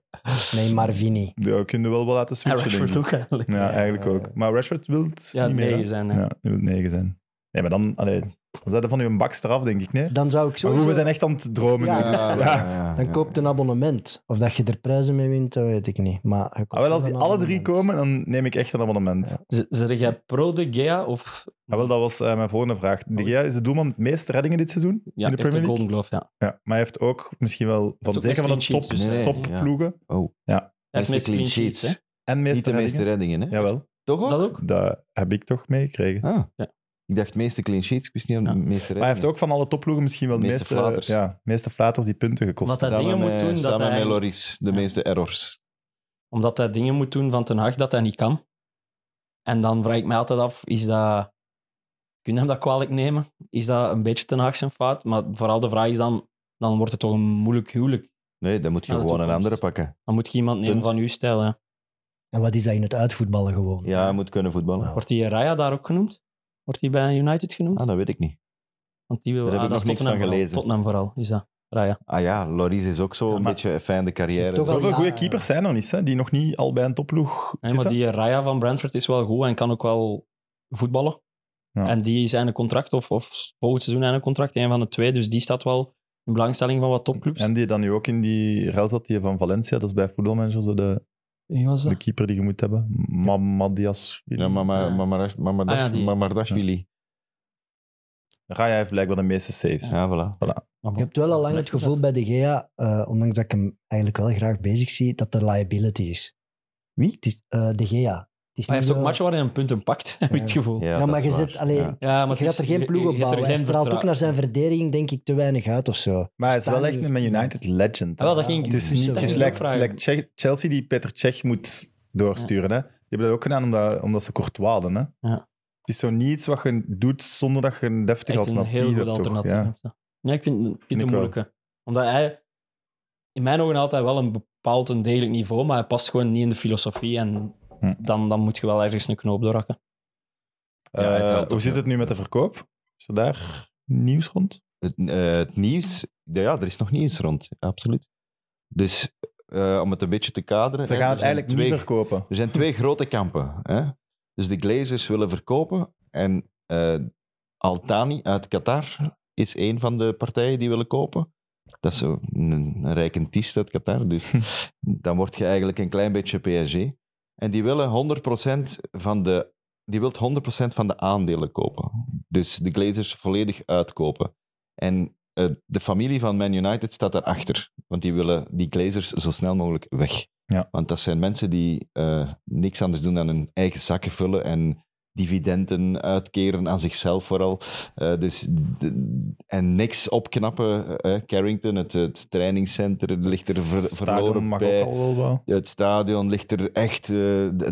Speaker 2: Neymar, Vini.
Speaker 1: Ja, kun je wel wel laten
Speaker 3: En
Speaker 1: switchen.
Speaker 3: Rashford
Speaker 1: denk
Speaker 3: ook eigenlijk.
Speaker 1: ik. Ja, eigenlijk ook. Maar Rashford wil het
Speaker 3: Ja,
Speaker 1: niet meer. hè?
Speaker 3: negen zijn. hè.
Speaker 1: Ja, die wil negen zijn. Nee, maar dan, allee, dan zijn er van u een bakster af, denk ik. Nee?
Speaker 2: Dan zou ik
Speaker 1: Maar goed, we
Speaker 2: zo...
Speaker 1: zijn echt aan het dromen. nu,
Speaker 2: Ja,
Speaker 1: dus,
Speaker 4: Ja,
Speaker 1: ja.
Speaker 4: ja, ja,
Speaker 2: Dan
Speaker 4: ja.
Speaker 2: koopt een abonnement. Of dat je er prijzen mee wint, dat weet ik niet. Maar je koopt
Speaker 1: Ah, wel, als die
Speaker 2: wel een
Speaker 1: alle drie
Speaker 2: abonnement.
Speaker 1: komen, dan neem ik echt een abonnement.
Speaker 2: Ja.
Speaker 3: Z- Zeg jij pro de Gea of...
Speaker 1: Ah, wel, dat was eh, mijn volgende vraag. De Gea is de doelman met de meeste reddingen dit seizoen
Speaker 3: Ja,
Speaker 1: in de
Speaker 3: heeft
Speaker 1: Premier
Speaker 3: een
Speaker 1: League.
Speaker 3: Golden Glove, ja.
Speaker 1: Ja, maar hij heeft ook misschien wel, van,
Speaker 3: ook
Speaker 1: zeker van de
Speaker 3: meest clean
Speaker 1: top,
Speaker 3: sheets,
Speaker 4: dus, hè.
Speaker 1: topploegen
Speaker 4: Oh,
Speaker 3: Hij heeft meest clean sheets, hè.
Speaker 1: en meeste
Speaker 4: Niet de meeste
Speaker 1: reddingen.
Speaker 4: reddingen, hè?
Speaker 1: Jawel,
Speaker 4: Toch ook?
Speaker 3: Dat ook?
Speaker 1: dat heb ik toch meegekregen.
Speaker 4: Ah.
Speaker 3: Ja.
Speaker 4: Ik dacht meeste clean sheets, ik wist niet
Speaker 3: Ja.
Speaker 4: aan de meeste
Speaker 1: Maar hij heeft ook van alle topploegen misschien wel de
Speaker 4: Meeste
Speaker 1: meeste,
Speaker 4: flaters.
Speaker 1: ja, meeste flaters die punten gekost.
Speaker 3: Omdat dat dingen moet doen dat
Speaker 4: samen
Speaker 3: hij-
Speaker 4: met Loris, de
Speaker 3: Ja.
Speaker 4: meeste errors.
Speaker 3: Omdat hij dingen moet doen van Ten Hag dat hij niet kan. En dan vraag ik mij altijd af, is dat... Kun je hem dat kwalijk nemen? Is dat een beetje Ten Hag zijn fout? Maar vooral de vraag is dan, dan wordt het toch een moeilijk huwelijk.
Speaker 4: Nee, dan moet je
Speaker 3: Naar de
Speaker 4: gewoon een
Speaker 3: toekomst.
Speaker 4: andere pakken.
Speaker 3: Dan moet je iemand nemen
Speaker 4: Punt.
Speaker 3: van uw stijl, hè.
Speaker 2: En wat is dat in het uitvoetballen gewoon?
Speaker 4: Ja, hij moet kunnen voetballen.
Speaker 2: Ja.
Speaker 3: Wordt die Raya daar ook genoemd? Wordt die bij United genoemd?
Speaker 4: Ah, dat weet ik niet.
Speaker 3: Want die wil,
Speaker 4: Daar heb
Speaker 3: ah,
Speaker 4: ik
Speaker 3: dat is
Speaker 4: nog niks
Speaker 3: Tottenham
Speaker 4: van
Speaker 3: vooral. Tottenham vooral,
Speaker 4: gelezen.
Speaker 3: is dat. Raya.
Speaker 4: Ah ja, Loris is ook zo een
Speaker 1: maar-
Speaker 4: beetje een fijne carrière.
Speaker 2: Toch
Speaker 4: Zo-
Speaker 1: Zoveel
Speaker 2: Ja.
Speaker 1: goede keepers zijn er niet, hè, die nog niet al bij een topploeg
Speaker 3: Nee, maar
Speaker 1: zitten.
Speaker 3: die Raya van Brentford is wel goed en kan ook wel voetballen.
Speaker 1: Ja.
Speaker 3: En die is een contract, of, of volgend seizoen een contract, een van de twee. Dus die staat wel in belangstelling van wat topclubs.
Speaker 1: En die dan nu ook in die rel zat, die van Valencia, dat is bij voetbalmanager zo de,
Speaker 3: Wie was dat? Ah,
Speaker 1: de keeper die je moet hebben. Mamadias.
Speaker 4: Ja, mama,
Speaker 3: Ja.
Speaker 4: mama, Rash- mama,
Speaker 3: Ah ja,
Speaker 4: Dash-
Speaker 3: die-
Speaker 4: mama Dashvili.
Speaker 1: Raya heeft blijkbaar de meeste saves.
Speaker 4: Ja, voilà.
Speaker 3: Ah, bon.
Speaker 2: Je hebt wel al lang het
Speaker 3: Lekker
Speaker 2: gevoel
Speaker 3: zat.
Speaker 2: bij de Gea, eh, ondanks dat ik hem eigenlijk wel graag bezig zie, dat er liability is. Wie? Het is eh, de Gea. Het is
Speaker 3: Maar hij
Speaker 2: niet
Speaker 3: heeft ook
Speaker 2: zo-
Speaker 3: matchen waarin hij een punten pakt, <laughs> heb ik het gevoel.
Speaker 4: Ja,
Speaker 2: eh, Ja,
Speaker 4: dat
Speaker 2: maar
Speaker 4: is
Speaker 2: je
Speaker 4: waar.
Speaker 2: zit... Allee,
Speaker 4: Ja.
Speaker 3: Ja,
Speaker 2: Je
Speaker 3: maar het
Speaker 2: gaat
Speaker 3: is-
Speaker 2: er geen ploeg
Speaker 3: je-
Speaker 2: op
Speaker 3: je hebt er
Speaker 2: bouwen. Hij
Speaker 3: geen
Speaker 2: straalt ook
Speaker 3: vertrouwen-
Speaker 2: naar zijn verdediging, denk ik, te weinig uit of zo.
Speaker 1: Maar hij is wel
Speaker 2: Staan
Speaker 1: echt
Speaker 2: nu-
Speaker 1: een Man United legend. hè.
Speaker 3: Ah, wel, dat ging ik-
Speaker 1: het is,
Speaker 2: dus
Speaker 1: niet,
Speaker 2: zo.
Speaker 1: het
Speaker 3: dat
Speaker 1: is
Speaker 3: ging ik
Speaker 1: like-
Speaker 3: ook vragen.
Speaker 1: like Che- Chelsea die Peter Cech moet doorsturen. Hè? Die hebben dat ook gedaan omdat, omdat ze kort hadden. Hè?
Speaker 3: Ja.
Speaker 1: Het is zo niets wat je doet zonder dat je een deftig
Speaker 3: Echt een
Speaker 1: alternatief
Speaker 3: heel goed
Speaker 1: hebt. toch?
Speaker 3: alternatief.
Speaker 1: Ja.
Speaker 3: hebt, ja. Nee, ik vind, ik vind het
Speaker 1: wel.
Speaker 3: een moeilijke. Omdat hij, in mijn ogen altijd wel een bepaald een degelijk niveau, maar hij past gewoon niet in de filosofie. En
Speaker 1: Hm.
Speaker 3: dan, dan moet je wel ergens een knoop doorhakken.
Speaker 4: Ja, hij is
Speaker 1: Eh,
Speaker 4: wel
Speaker 1: hoe
Speaker 4: tof,
Speaker 1: zit
Speaker 4: ja.
Speaker 1: het nu met de verkoop? Is er daar nieuws rond?
Speaker 4: Het, eh, het nieuws, ja, ja, er is nog nieuws rond, absoluut. Dus eh, om het een beetje te kaderen.
Speaker 1: Ze
Speaker 4: hè,
Speaker 1: gaan
Speaker 4: Eh, er
Speaker 1: het eigenlijk
Speaker 4: zijn twee,
Speaker 1: niet verkopen.
Speaker 4: Er zijn twee grote kampen. Hè? Dus de Glazers willen verkopen en eh Altani uit Qatar is een van de partijen die willen kopen. Dat is zo een, een rijke tiest uit Qatar. Dus dan word je eigenlijk een klein beetje PSG. En die willen 100% van de, die wilt 100% van de aandelen kopen. Dus de Glazers volledig uitkopen. En eh, de familie van Man United staat daarachter. Want die willen die Glazers zo snel mogelijk weg.
Speaker 1: Ja.
Speaker 4: Want dat zijn mensen die eh, niks anders doen dan hun eigen zakken vullen en dividenden uitkeren aan zichzelf vooral. Eh, dus, de- en niks opknappen. eh, Carrington, het, het trainingscentrum, ligt er ver-
Speaker 1: Stadion
Speaker 4: verloren
Speaker 1: mag
Speaker 4: bij.
Speaker 1: ook al wel wat.
Speaker 4: Het stadion ligt er echt eh, d-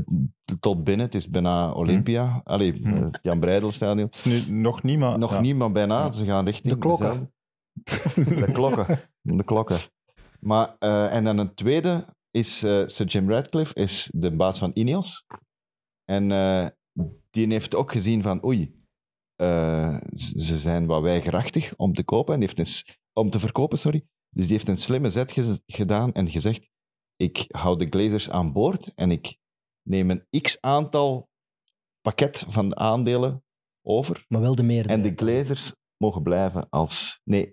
Speaker 4: tot binnen. Het is bijna Olympia. Allee,
Speaker 1: Hmm.
Speaker 4: eh, het Jan Breidelstadion.
Speaker 1: Het is nu nog niet, maar...
Speaker 4: Nog
Speaker 1: ja.
Speaker 4: niet, maar bijna. Ze gaan richting
Speaker 2: De klokken.
Speaker 4: dezelfde- De klokken. De klokken. Maar, eh, en dan een tweede is eh, Sir Jim Radcliffe, is de baas van Ineos. En eh, die heeft ook gezien van, oei, eh, z- ze zijn wat weigerachtig om te kopen. En die heeft een, s- om te verkopen, sorry. Dus die heeft een slimme zet gez- gedaan en gezegd, ik hou de Glazers aan boord en ik neem een x-aantal pakket van de aandelen over.
Speaker 2: Maar wel de meerderheid.
Speaker 4: En de Glazers mogen blijven als... Nee,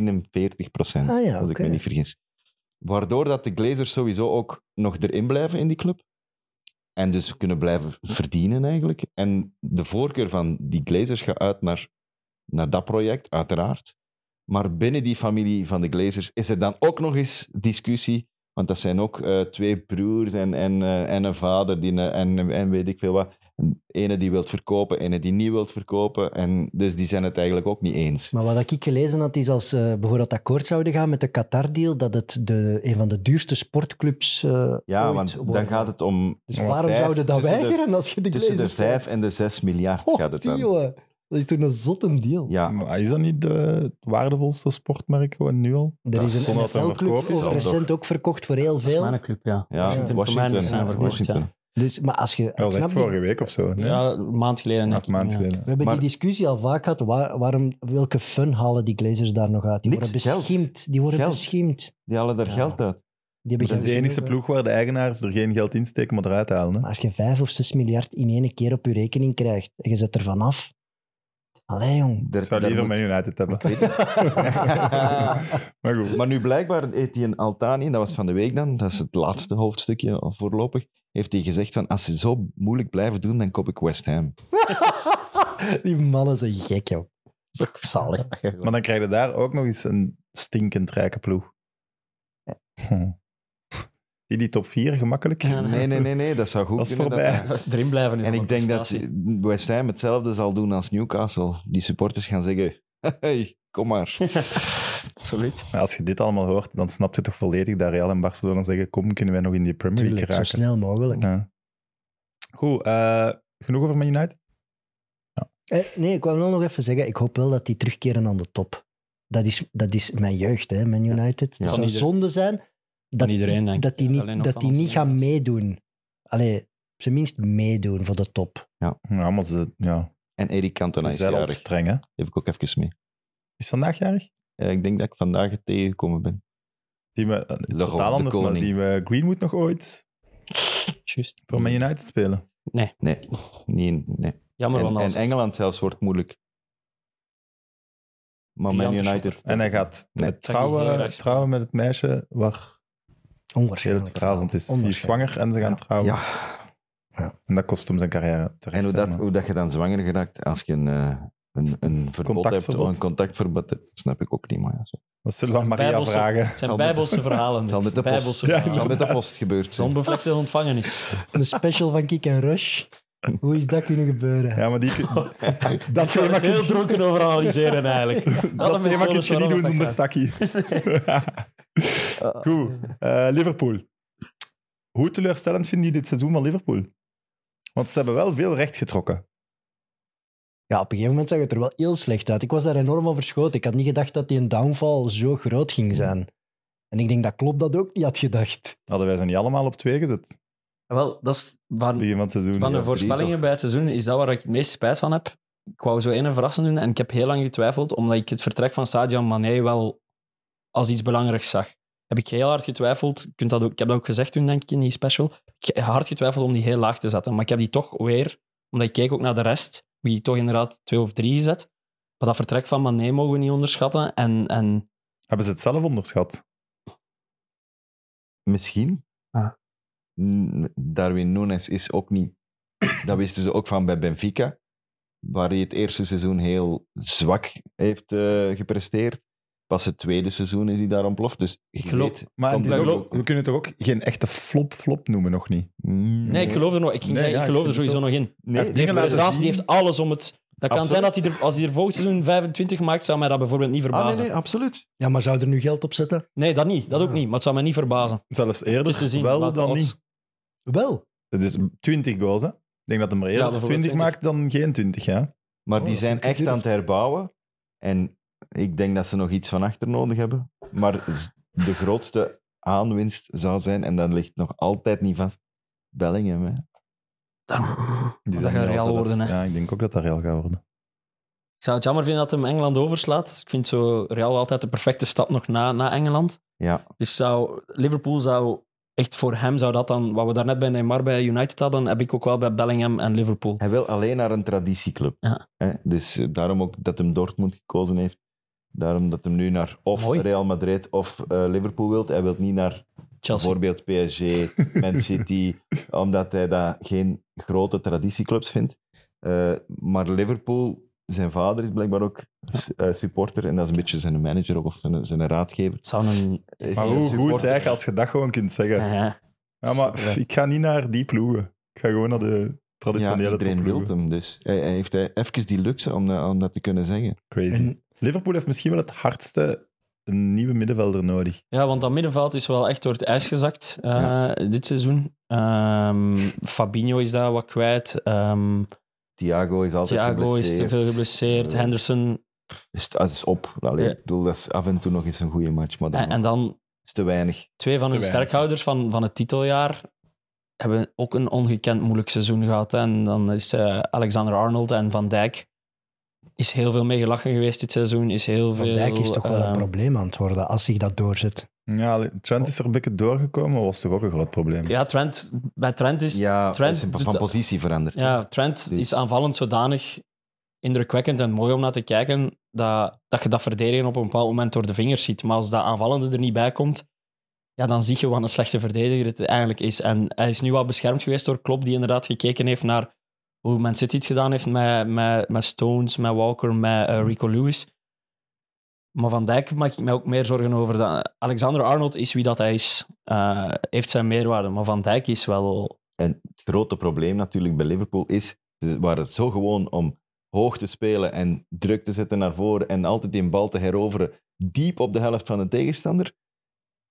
Speaker 4: 49 procent,
Speaker 2: Ah ja,
Speaker 4: als ik
Speaker 2: oké.
Speaker 4: me niet vergis. Waardoor dat de Glazers sowieso ook nog erin blijven in die club. En dus kunnen blijven verdienen eigenlijk. En de voorkeur van die Glazers gaat uit naar, naar dat project, uiteraard. Maar binnen die familie van de Glazers is er dan ook nog eens discussie. Want dat zijn ook eh, twee broers en, en, eh, en een vader die, een- en, en weet ik veel wat. En Ene die wilt verkopen, ene die niet wilt verkopen. En dus die zijn het eigenlijk ook niet eens.
Speaker 2: Maar wat ik gelezen had, is als ze bijvoorbeeld akkoord zouden gaan met de Qatar-deal, dat het de, een van de duurste sportclubs eh
Speaker 4: Ja,
Speaker 2: ooit
Speaker 4: want dan
Speaker 2: wordt.
Speaker 4: gaat het om...
Speaker 2: Dus
Speaker 1: om
Speaker 2: waarom
Speaker 4: vijf-
Speaker 2: zouden dat
Speaker 4: tussen de-
Speaker 2: weigeren als je de
Speaker 4: Tussen de
Speaker 2: Glazers
Speaker 4: 5
Speaker 2: bent?
Speaker 4: en de 6 miljard
Speaker 2: Oh,
Speaker 4: gaat het
Speaker 2: zie,
Speaker 4: dan.
Speaker 2: jongen. Dat is toen een zotte deal.
Speaker 4: Ja,
Speaker 1: Maar is dat niet de waardevolste sportmerk gewoon nu al?
Speaker 2: Er
Speaker 4: dat
Speaker 2: is een
Speaker 1: kon dat dan
Speaker 2: NFL-club
Speaker 1: verkopen, is
Speaker 2: over
Speaker 4: dat
Speaker 2: recent ook verkocht voor heel
Speaker 3: Dat is
Speaker 2: veel.
Speaker 3: mijn club, ja.
Speaker 4: ja, Washington.
Speaker 3: Commanders zijn verkocht,
Speaker 4: Washington.
Speaker 3: ja.
Speaker 2: Dus, maar als je...
Speaker 1: Dat was
Speaker 2: ik
Speaker 1: echt
Speaker 2: snap niet-
Speaker 1: vorige week of zo. nee?
Speaker 3: Ja, een maand geleden. denk
Speaker 1: Acht
Speaker 3: ik,
Speaker 1: maanden
Speaker 3: ja.
Speaker 1: geleden.
Speaker 2: We hebben
Speaker 4: Maar-
Speaker 2: die discussie al vaak gehad. Waar- waarom, welke fun halen die Glazers daar nog uit? Die
Speaker 4: Niks,
Speaker 2: worden
Speaker 4: geld.
Speaker 2: beschimd. Die worden
Speaker 4: Geld.
Speaker 2: beschiemd.
Speaker 4: Die halen daar
Speaker 2: Ja.
Speaker 4: geld uit.
Speaker 2: Die hebben
Speaker 1: Dat is
Speaker 2: geen
Speaker 1: de enige
Speaker 2: genoegen.
Speaker 1: ploeg waar de eigenaars er geen geld in steken, maar eruit halen.
Speaker 2: Maar
Speaker 1: Hè?
Speaker 2: als je 5 of 6 miljard in één keer op je rekening krijgt en je zet er vanaf. Allee, jong.
Speaker 4: Daar-
Speaker 1: Ik zou
Speaker 4: daar
Speaker 1: liever
Speaker 4: moet-
Speaker 1: Man United hebben. <laughs>
Speaker 4: <laughs>
Speaker 1: maar goed.
Speaker 4: Maar nu blijkbaar heeft hij een Altani, dat was van de week dan, dat is het laatste hoofdstukje voorlopig, heeft hij gezegd van als ze zo moeilijk blijven doen, dan koop ik West Ham.
Speaker 2: Die mannen zijn gek, joh.
Speaker 3: Dat is ook zalig. dat je gewoon-
Speaker 1: Maar dan krijg je daar ook nog eens een stinkend rijke ploeg. Hm. Die die top 4 gemakkelijk. <laughs>
Speaker 3: Ja,
Speaker 4: Nee, nee, nee, nee, dat zou goed
Speaker 1: Dat is
Speaker 4: kunnen.
Speaker 1: voorbij.
Speaker 3: <laughs> Erin blijven nu.
Speaker 4: en
Speaker 3: van
Speaker 4: ik denk dat
Speaker 3: prestatie.
Speaker 4: West Ham hetzelfde zal doen als Newcastle. Die supporters gaan zeggen, <laughs> hey, kom maar.
Speaker 3: Absoluut.
Speaker 1: Maar als je dit allemaal hoort, dan snap je toch volledig dat Real en Barcelona zeggen: Kom, kunnen wij nog in die Premier League
Speaker 2: Tuurlijk, zo
Speaker 1: geraken?
Speaker 2: snel mogelijk.
Speaker 1: Ja. Goed, eh, genoeg over Man United?
Speaker 2: Eh, nee, ik wou wel nog even zeggen, ik hoop wel dat die terugkeren aan de top. Dat is, dat is mijn jeugd, hè, Man United.
Speaker 4: Ja.
Speaker 2: Dat
Speaker 3: Van
Speaker 2: zou
Speaker 3: ieder-
Speaker 2: zonde zijn dat,
Speaker 3: van iedereen, denk ik.
Speaker 2: dat die
Speaker 3: Alleen
Speaker 2: niet,
Speaker 3: nog
Speaker 2: dat
Speaker 3: van
Speaker 2: die
Speaker 3: ons
Speaker 2: niet gaan
Speaker 3: Nederlands.
Speaker 2: meedoen. Allee, op zijn minst meedoen voor de top.
Speaker 1: Ja, maar ze ja,
Speaker 4: En Erik Cantona
Speaker 1: ze
Speaker 4: is
Speaker 1: zijn al
Speaker 4: jarig.
Speaker 1: streng, hè?
Speaker 4: Geef ik ook even mee.
Speaker 1: Is vandaag jarig?
Speaker 4: Eh, ik denk dat ik vandaag het tegengekomen ben.
Speaker 1: Zien we, eh, het is
Speaker 4: Laurent,
Speaker 1: totaal
Speaker 4: de
Speaker 1: anders, maar
Speaker 4: koning.
Speaker 1: zien we Greenwood nog ooit
Speaker 3: Juist.
Speaker 1: voor
Speaker 4: Hmm.
Speaker 1: Man United spelen?
Speaker 4: Nee, niet, nee.
Speaker 3: Jammer,
Speaker 4: En,
Speaker 3: want
Speaker 4: en
Speaker 3: als-
Speaker 4: Engeland zelfs wordt moeilijk. Maar Man
Speaker 3: Gigantische
Speaker 4: United...
Speaker 1: En hij gaat
Speaker 4: Nee.
Speaker 1: eh, trouwen, trouwen met het meisje waar heel
Speaker 2: Onwaarschijnlijk.
Speaker 1: het verhaal rond is. Die is
Speaker 2: Onwaarschijnlijk.
Speaker 1: zwanger en ze gaan
Speaker 2: Ja.
Speaker 1: trouwen.
Speaker 4: Ja,
Speaker 1: En dat kost hem zijn carrière. terecht,
Speaker 4: en hoe,
Speaker 1: hè,
Speaker 4: dat,
Speaker 1: maar-
Speaker 4: hoe dat je dan zwanger geraakt als je een, eh, een, een verbod hebt,
Speaker 1: Contactverbod.
Speaker 4: of een contactverbod hebt, dat snap ik ook niet. Maar ja, zo.
Speaker 1: Dat zullen we aan Maria
Speaker 3: Bijbelse-
Speaker 1: vragen.
Speaker 3: Het zijn
Speaker 4: zal met-
Speaker 3: bijbelse verhalen.
Speaker 4: Het
Speaker 3: dit.
Speaker 4: <laughs> zal met de post,
Speaker 3: Bijbelse
Speaker 1: Ja,
Speaker 4: het
Speaker 3: verhalen.
Speaker 4: zal met de post gebeurd zijn.
Speaker 3: Onbevlekte ontvangenis.
Speaker 2: Een special van Kick en
Speaker 1: <laughs>
Speaker 2: Rush. Hoe is dat kunnen gebeuren?
Speaker 1: Ja, maar
Speaker 3: <laughs>
Speaker 1: die,
Speaker 3: Dat
Speaker 1: thema
Speaker 3: thema is
Speaker 1: kun je-
Speaker 3: heel dronken over analyseren eigenlijk.
Speaker 1: dat thema kun je niet doen <laughs> zonder takkie. Goed, eh, Liverpool. hoe teleurstellend vinden jullie dit seizoen van Liverpool? Want ze hebben wel veel recht getrokken.
Speaker 2: Ja, op een gegeven moment zag het er wel heel slecht uit. Ik was daar enorm van verschoten. Ik had niet gedacht dat die een downfall zo groot ging zijn. En ik denk dat Klopp dat ook niet had gedacht.
Speaker 1: Hadden wij ze niet allemaal op twee gezet?
Speaker 3: Wel, dat is waar,
Speaker 1: Begin van het seizoen.
Speaker 3: Van de
Speaker 1: ja.
Speaker 3: voorspellingen bij het seizoen is dat waar ik het meest spijt van heb. Ik wou zo één verrassing doen en ik heb heel lang getwijfeld, omdat ik het vertrek van Sadio Mané wel als iets belangrijks zag. Heb ik heel hard getwijfeld. Je kunt dat ook, ik heb dat ook gezegd toen, denk ik, in die special. Ik heb hard getwijfeld om die heel laag te zetten. Maar ik heb die toch weer, omdat ik keek ook naar de rest, heb ik die toch inderdaad twee of drie gezet. Maar dat vertrek van Mané mogen we niet onderschatten. En, en
Speaker 1: Hebben ze het zelf onderschat?
Speaker 4: Misschien.
Speaker 3: Ah.
Speaker 4: N- Darwin Nunes is ook niet... <clears throat> Dat wisten ze ook van bij Benfica, waar hij het eerste seizoen heel zwak heeft eh, gepresteerd. Pas het tweede seizoen is hij daar ontploft. Dus ik
Speaker 3: geloof-
Speaker 4: Weet,
Speaker 1: Maar
Speaker 4: het is ook-
Speaker 1: we kunnen toch ook geen echte flop-flop noemen, nog niet?
Speaker 4: Mm,
Speaker 3: nee, ik geloof er, nog, ik ging
Speaker 1: Nee,
Speaker 3: zeggen,
Speaker 1: ja,
Speaker 3: ik geloof
Speaker 1: ik
Speaker 3: er
Speaker 1: vind
Speaker 3: sowieso nog in.
Speaker 4: Nee,
Speaker 1: Hij heeft
Speaker 3: Die
Speaker 1: dingen laten
Speaker 3: Zaas, die
Speaker 1: zien.
Speaker 3: Dus heeft alles om het. Dat kan
Speaker 4: Absoluut.
Speaker 3: zijn dat hij er, als hij er volgend seizoen 25 maakt, zou mij dat bijvoorbeeld niet
Speaker 4: Ah,
Speaker 3: verbazen.
Speaker 4: nee, nee, absoluut.
Speaker 2: Ja, maar zou er nu geld op zetten?
Speaker 3: Nee, dat niet. Dat ook
Speaker 4: Ah.
Speaker 3: niet. Maar het zou mij niet verbazen.
Speaker 1: Zelfs
Speaker 3: Het
Speaker 1: eerder
Speaker 3: is te zien.
Speaker 1: wel
Speaker 3: laat de
Speaker 1: dan
Speaker 3: odds.
Speaker 1: niet.
Speaker 2: Wel.
Speaker 1: Dus 20 goals, hè? Ik denk dat hem er eerder
Speaker 3: bijvoorbeeld
Speaker 1: 20,
Speaker 3: 20.
Speaker 1: maakt dan geen 20, ja.
Speaker 4: Maar
Speaker 1: Oh,
Speaker 4: die
Speaker 1: dat
Speaker 4: zijn
Speaker 1: vind ik
Speaker 4: echt aan het herbouwen. En ik denk dat ze nog iets van achter nodig hebben. Maar z- de grootste aanwinst zou zijn, en dat ligt nog altijd niet vast, Bellingham. Hè.
Speaker 1: Die
Speaker 3: dat
Speaker 1: zijn
Speaker 3: gaat
Speaker 1: al
Speaker 3: Real
Speaker 1: zelfs-
Speaker 3: worden, hè.
Speaker 1: Ja, ik denk ook dat dat Real gaat worden.
Speaker 3: Ik zou het jammer vinden dat hem Engeland overslaat. Ik vind zo Real altijd de perfecte stap nog na, na Engeland.
Speaker 4: Ja,
Speaker 3: Dus zou, Liverpool zou echt voor hem, zou dat dan, wat we daarnet bij Neymar bij United hadden, heb ik ook wel bij Bellingham en Liverpool.
Speaker 4: hij wil alleen naar een traditieclub.
Speaker 3: Ja.
Speaker 4: Hè. Dus eh, daarom ook dat hem Dortmund gekozen heeft. Daarom dat hem nu naar of
Speaker 3: Mooi.
Speaker 4: Real Madrid of eh, Liverpool wilt. Hij wil niet naar
Speaker 3: Chelsea.
Speaker 4: bijvoorbeeld PSG,
Speaker 3: <laughs>
Speaker 4: Man City, omdat hij dat geen grote traditieclubs vindt. Eh, maar Liverpool, zijn vader is blijkbaar ook s- eh, supporter en dat is een beetje zijn manager ook, of zijn, zijn raadgever.
Speaker 3: Het zou een...
Speaker 4: Is
Speaker 1: Maar
Speaker 4: hij een
Speaker 1: hoe goed
Speaker 4: supporter?
Speaker 1: zeg je als je dat gewoon kunt zeggen?
Speaker 3: Ja, ja.
Speaker 1: Ja, maar pff, ik ga niet naar die ploegen. Ik ga gewoon naar de
Speaker 4: Ja,
Speaker 1: traditionele
Speaker 4: iedereen
Speaker 1: topploegen.
Speaker 4: wil hem dus. Hij, hij heeft hij even die luxe om, dat- om dat te kunnen zeggen.
Speaker 1: Crazy.
Speaker 2: En
Speaker 1: Liverpool heeft misschien wel het hardste nieuwe middenvelder nodig.
Speaker 3: Ja, want dat middenveld is wel echt door het ijs gezakt eh,
Speaker 4: Ja.
Speaker 3: dit seizoen. Ehm, Fabinho is daar wat kwijt. Ehm
Speaker 4: Thiago is altijd
Speaker 3: Thiago
Speaker 4: geblesseerd.
Speaker 3: is te veel geblesseerd.
Speaker 4: Eh,
Speaker 3: Henderson.
Speaker 4: Dus dat is op. Allee,
Speaker 3: Ja.
Speaker 4: Ik bedoel, dat is af en toe nog eens een goede match, maar
Speaker 3: En,
Speaker 4: dat
Speaker 3: en dan
Speaker 4: is te weinig.
Speaker 3: twee van
Speaker 1: te
Speaker 3: hun
Speaker 1: weinig.
Speaker 3: sterkhouders van, van het titeljaar hebben ook een ongekend moeilijk seizoen gehad. hè. En dan is eh, Alexander Arnold en Van Dijk is heel veel mee gelachen geweest dit seizoen. Is heel
Speaker 2: Van
Speaker 3: veel,
Speaker 2: Dijk is toch wel een
Speaker 3: ehm,
Speaker 2: probleem aan het worden als zich dat doorzet.
Speaker 1: Ja, Trent is er een beetje doorgekomen, was toch ook een groot probleem.
Speaker 3: Ja, Trent, bij Trent is...
Speaker 4: Ja,
Speaker 3: Trent
Speaker 4: is een-
Speaker 3: doet-
Speaker 4: van positie veranderd.
Speaker 3: Ja, Trent
Speaker 4: Dus-
Speaker 3: is aanvallend zodanig indrukwekkend en mooi om naar te kijken dat, dat je dat verdedigen op een bepaald moment door de vingers ziet. Maar als dat aanvallende er niet bij komt, ja, dan zie je wat een slechte verdediger het eigenlijk is. En hij is nu wel beschermd geweest door Klopp, die inderdaad gekeken heeft naar hoe Man City het gedaan heeft met, met, met Stones, met Walker, met eh, Rico Lewis. Maar Van Dijk maak ik mij ook meer zorgen over. Dat. Alexander Arnold is wie dat hij is. Eh, heeft zijn meerwaarde. Maar Van Dijk is wel...
Speaker 4: En het grote probleem natuurlijk bij Liverpool is, ze waren zo gewoon om hoog te spelen en druk te zetten naar voren en altijd die bal te heroveren, diep op de helft van de tegenstander.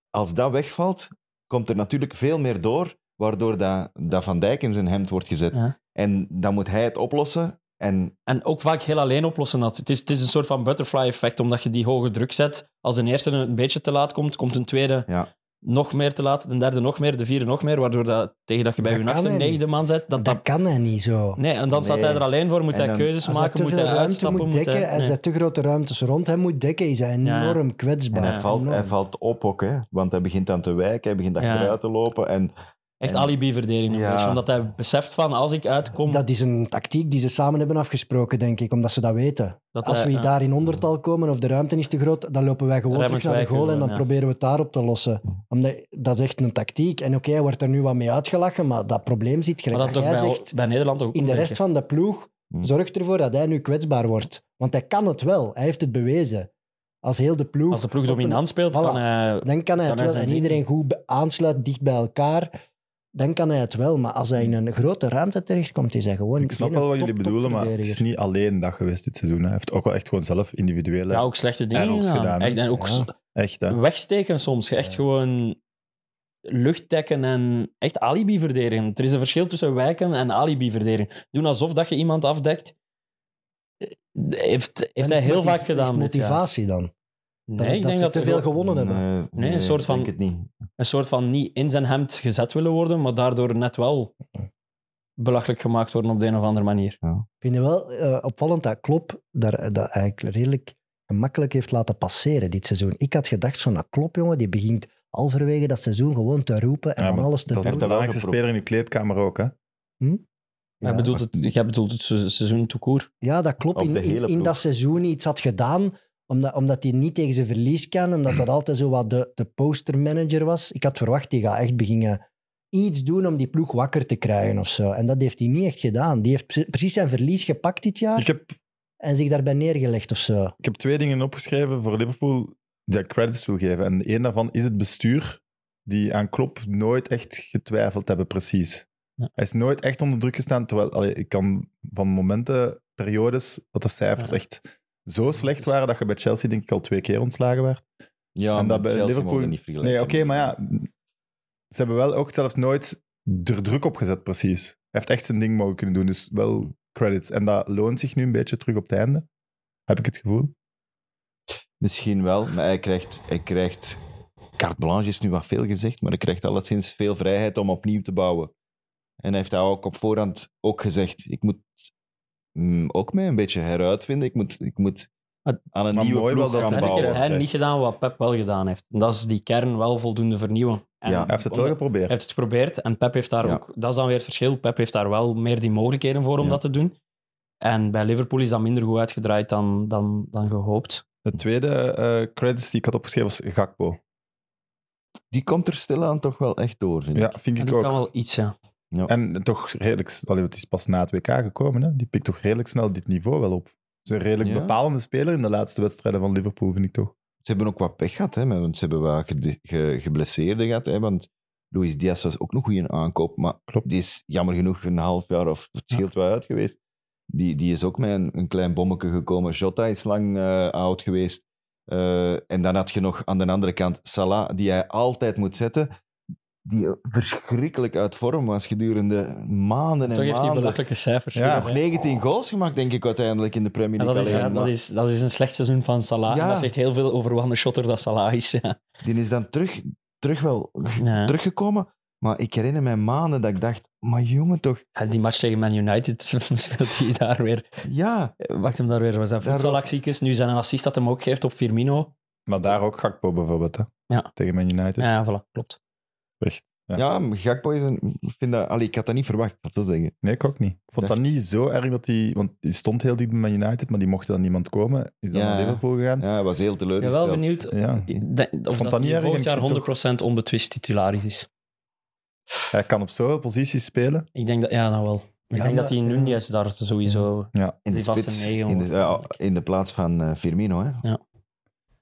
Speaker 4: Als dat wegvalt, komt er natuurlijk veel meer door, waardoor dat, dat Van Dijk in zijn hemd wordt gezet.
Speaker 3: Ja.
Speaker 4: En dan moet hij het oplossen. En
Speaker 3: En ook vaak heel alleen oplossen. Dat. Het, is, het is een soort van butterfly effect, omdat je die hoge druk zet. Als een eerste een beetje te laat komt, komt een tweede
Speaker 4: Ja.
Speaker 3: nog meer te laat, de derde nog meer, de vierde nog meer, waardoor dat, tegen dat je bij
Speaker 2: Dat
Speaker 3: je
Speaker 2: kan
Speaker 3: achtste
Speaker 2: hij
Speaker 3: negende man zet, dat,
Speaker 2: Dat
Speaker 3: dat,
Speaker 2: kan hij niet zo.
Speaker 3: nee, en dan staat hij
Speaker 4: Nee.
Speaker 3: er alleen voor, moet
Speaker 4: En
Speaker 3: hij
Speaker 4: dan-
Speaker 3: keuzes
Speaker 2: Als hij
Speaker 3: maken,
Speaker 2: te
Speaker 3: moet
Speaker 2: veel
Speaker 3: hij
Speaker 2: ruimte
Speaker 3: uitstappen,
Speaker 2: moet
Speaker 3: moet hij...
Speaker 2: dekken, als
Speaker 3: nee.
Speaker 2: hij te grote ruimtes rond hem moet dekken, is hij
Speaker 3: Ja.
Speaker 2: enorm
Speaker 4: en
Speaker 2: kwetsbaar.
Speaker 4: hij, valt,
Speaker 2: Enorm.
Speaker 4: hij valt op ook, hè? want hij begint aan te wijken, hij begint
Speaker 3: Ja.
Speaker 4: achteruit te lopen. En
Speaker 3: Echt
Speaker 4: En-
Speaker 3: alibi-verdediging.
Speaker 4: Ja.
Speaker 3: geweest, Omdat hij beseft van, als ik uitkom...
Speaker 2: Dat is een tactiek die ze samen hebben afgesproken, denk ik, omdat ze dat weten.
Speaker 3: dat
Speaker 2: Als
Speaker 3: hij-
Speaker 2: we
Speaker 3: eh, ja.
Speaker 2: daar in ondertal komen of de ruimte is te groot, dan lopen wij gewoon
Speaker 3: Remmen
Speaker 2: terug naar de
Speaker 3: wij
Speaker 2: goal en
Speaker 3: gewoon,
Speaker 2: dan
Speaker 3: ja.
Speaker 2: proberen we het daarop te lossen. Omdat, dat is echt een tactiek. En oké, hij wordt er nu wat mee uitgelachen, maar dat probleem zit gelijk.
Speaker 3: Maar
Speaker 2: dat
Speaker 3: dat toch bij,
Speaker 2: jij zegt,
Speaker 3: bij Nederland ook.
Speaker 2: in de
Speaker 3: denk
Speaker 2: rest
Speaker 3: ik.
Speaker 2: van de ploeg,
Speaker 4: Hmm.
Speaker 2: zorg ervoor dat hij nu kwetsbaar wordt. Want hij kan het wel. Hij heeft het bewezen. Als heel de ploeg...
Speaker 3: Als de ploeg
Speaker 2: op een-
Speaker 3: dominant speelt,
Speaker 2: Voilà.
Speaker 3: kan
Speaker 2: Dan
Speaker 3: hij...
Speaker 2: kan hij
Speaker 3: Kan
Speaker 2: het
Speaker 3: hij
Speaker 2: wel.
Speaker 3: zijn
Speaker 2: En
Speaker 3: ding
Speaker 2: iedereen goed be- aansluit, dicht bij elkaar. Dan kan hij het wel. Maar als hij in een grote ruimte terechtkomt, is hij gewoon...
Speaker 1: Ik snap
Speaker 2: geen
Speaker 1: wel wat
Speaker 2: top-
Speaker 1: jullie bedoelen, maar het is
Speaker 2: topverdediger.
Speaker 1: niet alleen dat geweest dit seizoen. hè. Hij heeft ook wel echt gewoon zelf individuele...
Speaker 3: Ja, ook slechte
Speaker 1: En
Speaker 3: dingen
Speaker 1: ook
Speaker 3: gedaan.
Speaker 1: gedaan, hè.
Speaker 3: Echt, en ook
Speaker 2: Ja.
Speaker 3: s-
Speaker 1: Echt, hè.
Speaker 3: wegsteken soms. Je Echt gewoon luchtdekken en echt alibi verdedigen. Er is een verschil tussen wijken en alibi verdedigen. Doen alsof dat je iemand afdekt. eh, Heeft, heeft hij heel vaak gedaan.
Speaker 2: Is
Speaker 3: dit jaar.
Speaker 2: motivatie dan? Dat,
Speaker 3: Nee, ik
Speaker 2: dat
Speaker 3: denk
Speaker 2: ze
Speaker 3: dat
Speaker 2: te veel gewonnen hebben.
Speaker 4: Nee,
Speaker 3: Nee, een soort
Speaker 4: ik
Speaker 3: van-
Speaker 4: denk het niet.
Speaker 3: een soort van niet in zijn hemd gezet willen worden, maar daardoor net wel belachelijk gemaakt worden op de een of andere manier.
Speaker 2: Ik vind het wel eh, opvallend dat Klop daar, dat eigenlijk redelijk gemakkelijk heeft laten passeren dit seizoen. Ik had gedacht, zo'n Klop, jongen, die begint halverwege dat seizoen gewoon te roepen en
Speaker 1: Ja,
Speaker 2: van
Speaker 1: maar
Speaker 2: alles te
Speaker 1: Dat is de
Speaker 2: doen.
Speaker 4: wel
Speaker 1: belangrijkste
Speaker 4: geprobeerd.
Speaker 1: speler in uw kleedkamer ook, hè?
Speaker 2: Ja,
Speaker 3: Jij, bedoelt het, jij bedoelt het se- seizoen tout court.
Speaker 2: ja, dat klopt.
Speaker 4: Op
Speaker 2: In,
Speaker 4: de
Speaker 2: in- in
Speaker 4: hele ploeg.
Speaker 2: dat seizoen iets had gedaan, omdat, omdat hij niet tegen zijn verlies kan, omdat dat altijd zo wat de, de postermanager was. Ik had verwacht, die gaat echt beginnen iets doen om die ploeg wakker te krijgen of zo. En dat heeft hij niet echt gedaan. Die heeft pre- precies zijn verlies gepakt dit jaar
Speaker 1: Ik heb,
Speaker 2: en zich daarbij neergelegd of zo.
Speaker 1: ik heb twee dingen opgeschreven voor Liverpool die ik credits wil geven. En één daarvan is het bestuur, die aan Klopp nooit echt getwijfeld hebben, precies.
Speaker 3: Ja.
Speaker 1: Hij is nooit echt onder druk gestaan, terwijl allee, ik kan van momenten, periodes, dat de cijfers
Speaker 3: Ja.
Speaker 1: echt zo slecht waren dat je bij Chelsea denk ik al twee keer ontslagen werd.
Speaker 4: Ja,
Speaker 1: en
Speaker 4: maar
Speaker 1: dat bij
Speaker 4: Chelsea
Speaker 1: Liverpool...
Speaker 4: mogen niet vergelijken
Speaker 1: nee, oké,
Speaker 4: met
Speaker 1: maar ja.
Speaker 4: Liverpool.
Speaker 1: Ze hebben wel ook zelfs nooit er druk op gezet, precies. Hij heeft echt zijn ding mogen kunnen doen, dus wel credits. En dat loont zich nu een beetje terug op het einde, heb ik het gevoel.
Speaker 4: Misschien wel, maar hij krijgt, hij krijgt... Carte blanche is nu wat veel gezegd, maar hij krijgt alleszins veel vrijheid om opnieuw te bouwen. En hij heeft dat ook op voorhand ook gezegd. Ik moet mm, ook mij een beetje heruitvinden. Ik moet, ik moet
Speaker 3: Maar-
Speaker 4: aan een
Speaker 1: maar
Speaker 4: nieuwe
Speaker 1: mooi wel dat
Speaker 4: ploeg gaan
Speaker 1: hij-
Speaker 3: Uiteindelijk
Speaker 4: bouwen.
Speaker 3: heeft hij
Speaker 1: krijgt.
Speaker 3: niet gedaan wat Pep wel gedaan heeft. En dat is die kern wel voldoende vernieuwen. En
Speaker 4: Ja.
Speaker 1: Hij heeft het wel
Speaker 3: omdat-
Speaker 1: geprobeerd.
Speaker 3: heeft het geprobeerd en Pep heeft daar
Speaker 4: Ja.
Speaker 3: ook... Dat is dan weer het verschil. Pep heeft daar wel meer die mogelijkheden voor om
Speaker 4: Ja.
Speaker 3: dat te doen. En bij Liverpool is dat minder goed uitgedraaid dan, dan, dan gehoopt.
Speaker 1: De tweede eh credits die ik had opgeschreven was Gakpo.
Speaker 4: Die komt er stilaan toch wel echt door, vind ik.
Speaker 1: Ja, vind
Speaker 3: En
Speaker 1: ik
Speaker 3: die
Speaker 1: ook.
Speaker 3: kan wel iets, ja.
Speaker 1: En toch redelijk... Allee, het is pas na het WK gekomen, hè. Die pikt toch redelijk snel dit niveau wel op. Het is een redelijk
Speaker 4: Ja.
Speaker 1: bepalende speler in de laatste wedstrijden van Liverpool, vind ik toch.
Speaker 4: Ze hebben ook wat pech gehad, hè, maar- want ze hebben wat gede- ge- geblesseerden gehad. Hè, want Luis Diaz was ook nog een goede aankoop, maar
Speaker 1: Klopt.
Speaker 4: die is jammer genoeg een half jaar of het scheelt wel uit geweest. Die, die is ook met een, een klein bommetje gekomen. Jota is lang eh, oud geweest. Eh, en dan had je nog aan de andere kant Salah, die hij altijd moet zetten. Die verschrikkelijk uit vorm was gedurende maanden en
Speaker 3: Toch heeft hij
Speaker 4: maanden.
Speaker 3: belachelijke cijfers.
Speaker 1: Ja.
Speaker 4: Nog 19 goals gemaakt, denk ik, uiteindelijk in de Premier
Speaker 3: En
Speaker 4: League.
Speaker 3: dat is,
Speaker 4: alleen.
Speaker 3: ja, dat, is, dat is een slecht seizoen van Salah.
Speaker 4: Ja.
Speaker 3: En dat zegt heel veel over wat een shotter dat Salah is. Ja.
Speaker 4: Die is dan terug, terug wel
Speaker 3: Ja.
Speaker 4: teruggekomen. Maar ik herinner mij maanden dat ik dacht, maar jongen toch,
Speaker 3: Ja, Die match tegen Man United <laughs> speelt hij daar weer.
Speaker 4: ja.
Speaker 3: Wacht hem daar weer. Was zijn
Speaker 4: Daarom-
Speaker 3: voetbalactiekes. Nu zijn een assist dat hem ook geeft op Firmino.
Speaker 1: Maar daar ook Gakpo bijvoorbeeld, hè.
Speaker 3: Ja.
Speaker 1: Tegen Man United.
Speaker 3: Ja, voilà, klopt.
Speaker 4: Ja,
Speaker 1: Ja.
Speaker 4: maar Gakpo is een, ik vind dat, allee, ik had dat niet verwacht, dat wil zeggen.
Speaker 1: Nee, ik ook niet. Ik vond dat niet zo erg dat hij... Want die stond heel diep bij Man United, maar die mocht dan niemand komen. Is dan
Speaker 4: Ja.
Speaker 1: naar Liverpool gegaan.
Speaker 4: Ja, hij was heel
Speaker 3: Ik ben
Speaker 4: teleurgesteld.
Speaker 3: wel benieuwd
Speaker 1: Ja.
Speaker 3: Ik denk- Of
Speaker 1: vond dat niet
Speaker 3: dat, hij
Speaker 1: erg,
Speaker 3: volgend
Speaker 1: ik
Speaker 3: jaar
Speaker 1: vind het
Speaker 3: 100% onbetwist titularis is.
Speaker 1: Hij kan op zoveel posities spelen.
Speaker 3: Ik denk dat, ja, nou wel. Ik denk
Speaker 2: maar-
Speaker 3: dat die Nunez daar sowieso.
Speaker 4: In de
Speaker 3: Die vaste
Speaker 4: spits,
Speaker 3: negen,
Speaker 4: in de,
Speaker 3: hoor.
Speaker 4: ja, in de plaats van eh, Firmino. Hè. <laughs>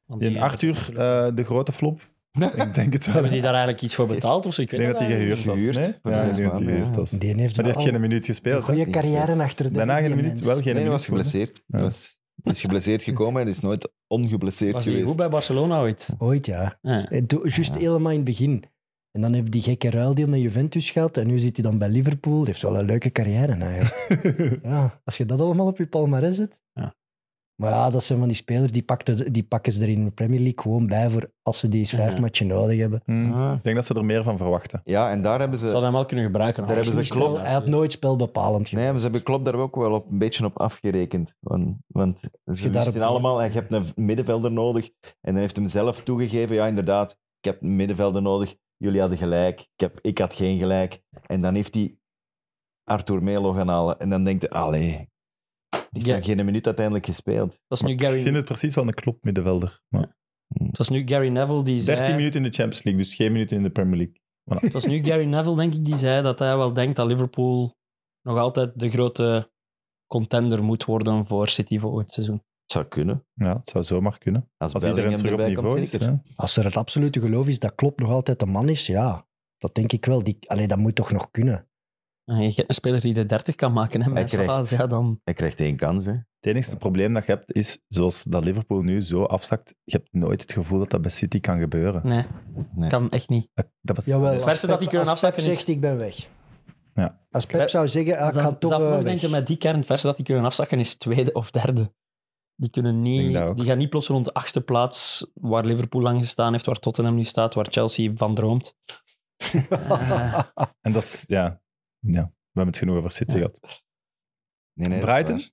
Speaker 3: want
Speaker 1: In
Speaker 3: die-
Speaker 1: Arthur,
Speaker 3: <laughs>
Speaker 1: eh, de grote flop. ik denk het wel.
Speaker 3: Hebben die daar eigenlijk iets voor betaald of zo? Ik
Speaker 1: Ik
Speaker 3: weet
Speaker 1: denk dat hij
Speaker 3: eigenlijk
Speaker 1: gehuurd was.
Speaker 4: Gehuurd,
Speaker 1: nee?
Speaker 4: voor
Speaker 1: Ja, ik
Speaker 4: zes
Speaker 1: denk dat hij
Speaker 4: maanden,
Speaker 1: gehuurd
Speaker 4: ja.
Speaker 1: was. Maar
Speaker 2: Die heeft,
Speaker 1: die heeft
Speaker 2: wel
Speaker 1: geen minuut gespeeld. hè?
Speaker 2: goede
Speaker 4: niet
Speaker 2: carrière
Speaker 4: gespeeld.
Speaker 2: achter de
Speaker 1: Daarna
Speaker 2: rug,
Speaker 1: geen
Speaker 2: die
Speaker 1: minuut,
Speaker 2: mens.
Speaker 1: wel geen
Speaker 4: Nee, hij
Speaker 1: minuut.
Speaker 4: was geblesseerd.
Speaker 1: Ja.
Speaker 4: Hij was, hij is geblesseerd gekomen en is nooit ongeblesseerd
Speaker 3: Was hij
Speaker 4: geweest.
Speaker 3: goed bij Barcelona ooit?
Speaker 2: Ooit, ja.
Speaker 3: Ja.
Speaker 2: Eh, do- Juist
Speaker 4: Ja.
Speaker 2: helemaal in het begin. En dan heeft die gekke ruildeal met Juventus gehad en nu zit hij dan bij Liverpool. Die heeft wel een leuke carrière eigenlijk. ja, als je dat allemaal op je palmarès zet.
Speaker 3: Ja.
Speaker 2: Maar ja, dat zijn van die spelers die, pakten, die pakken ze er in de Premier League gewoon bij voor als ze die eens vijf
Speaker 3: Ja.
Speaker 2: matchen nodig hebben.
Speaker 1: Hmm.
Speaker 4: Ah.
Speaker 1: Ik denk dat ze er meer van verwachten.
Speaker 4: Ja, en daar hebben ze...
Speaker 3: Ze hadden hem wel kunnen gebruiken.
Speaker 4: Daar hebben ze
Speaker 2: Niet spel-
Speaker 4: klopt.
Speaker 2: Hij had nooit spelbepalend
Speaker 4: Nee,
Speaker 2: geweest.
Speaker 4: maar ze hebben Klopp daar ook wel op, een beetje op afgerekend. Want, want ze
Speaker 2: daarop-
Speaker 4: wisten allemaal, je hebt een middenvelder nodig. En dan heeft hem zelf toegegeven, ja inderdaad, ik heb een middenvelder nodig. Jullie hadden gelijk, ik, heb, ik had geen gelijk. En dan heeft hij Arthur Melo gaan halen. En dan denkt hij, allee, die heeft
Speaker 3: Ja.
Speaker 4: dan geen minuut uiteindelijk gespeeld.
Speaker 3: Dat is
Speaker 1: Maar
Speaker 3: nu
Speaker 1: Ik
Speaker 3: Gary,
Speaker 1: vind het precies wel een klopt middenvelder. Maar
Speaker 3: dat is nu Gary Neville die zei...
Speaker 1: 13 minuten in de Champions League, dus geen minuten in de Premier League.
Speaker 3: Het was nu Gary Neville, denk ik, die zei dat hij wel denkt dat Liverpool nog altijd de grote contender moet worden voor City volgend seizoen.
Speaker 4: Het zou kunnen.
Speaker 1: Ja, het zou zomaar kunnen.
Speaker 4: Als,
Speaker 1: Als
Speaker 4: Bellingham
Speaker 1: iedereen terug op
Speaker 4: erbij
Speaker 1: niveau
Speaker 4: komt,
Speaker 1: is.
Speaker 4: zeker.
Speaker 1: hè.
Speaker 2: Als er het absolute geloof is dat Klopp nog altijd de man is, ja, dat denk ik wel. Die, allee, dat moet toch nog kunnen.
Speaker 3: En je hebt een speler die de 30 kan maken, hè,
Speaker 4: Hij
Speaker 3: met Salah,
Speaker 4: krijgt-
Speaker 3: ja, dan...
Speaker 4: Hij krijgt één kans, hè.
Speaker 1: Het enige probleem dat je hebt is, zoals dat Liverpool nu zo afzakt, je hebt nooit het gevoel dat dat bij City kan gebeuren.
Speaker 3: Nee,
Speaker 4: Nee.
Speaker 3: kan echt niet.
Speaker 1: Dat, dat bestaat
Speaker 2: Jawel,
Speaker 1: niet.
Speaker 3: Het verste dat die kunnen
Speaker 2: als Pep
Speaker 3: afzakken is-
Speaker 2: zegt, ik ben weg.
Speaker 1: Ja.
Speaker 2: Als Pep
Speaker 3: Ver-
Speaker 2: zou zeggen, ah, ik ga
Speaker 3: Zelf-
Speaker 2: toch
Speaker 3: zelf
Speaker 2: eh,
Speaker 3: nog
Speaker 2: weg.
Speaker 3: denk je met die kern, het verste dat die kunnen afzakken is tweede of derde. Die, kunnen
Speaker 1: Denk
Speaker 3: niet,
Speaker 1: dat ook.
Speaker 3: die gaan niet plots rond de achtste plaats, waar Liverpool lang gestaan heeft, waar Tottenham nu staat, waar Chelsea
Speaker 2: <laughs>
Speaker 3: van droomt. Eh,
Speaker 1: En dat is, ja, ja, we hebben het genoeg over City
Speaker 3: Ja.
Speaker 1: gehad.
Speaker 4: Nee, nee, dat is
Speaker 1: Brighton?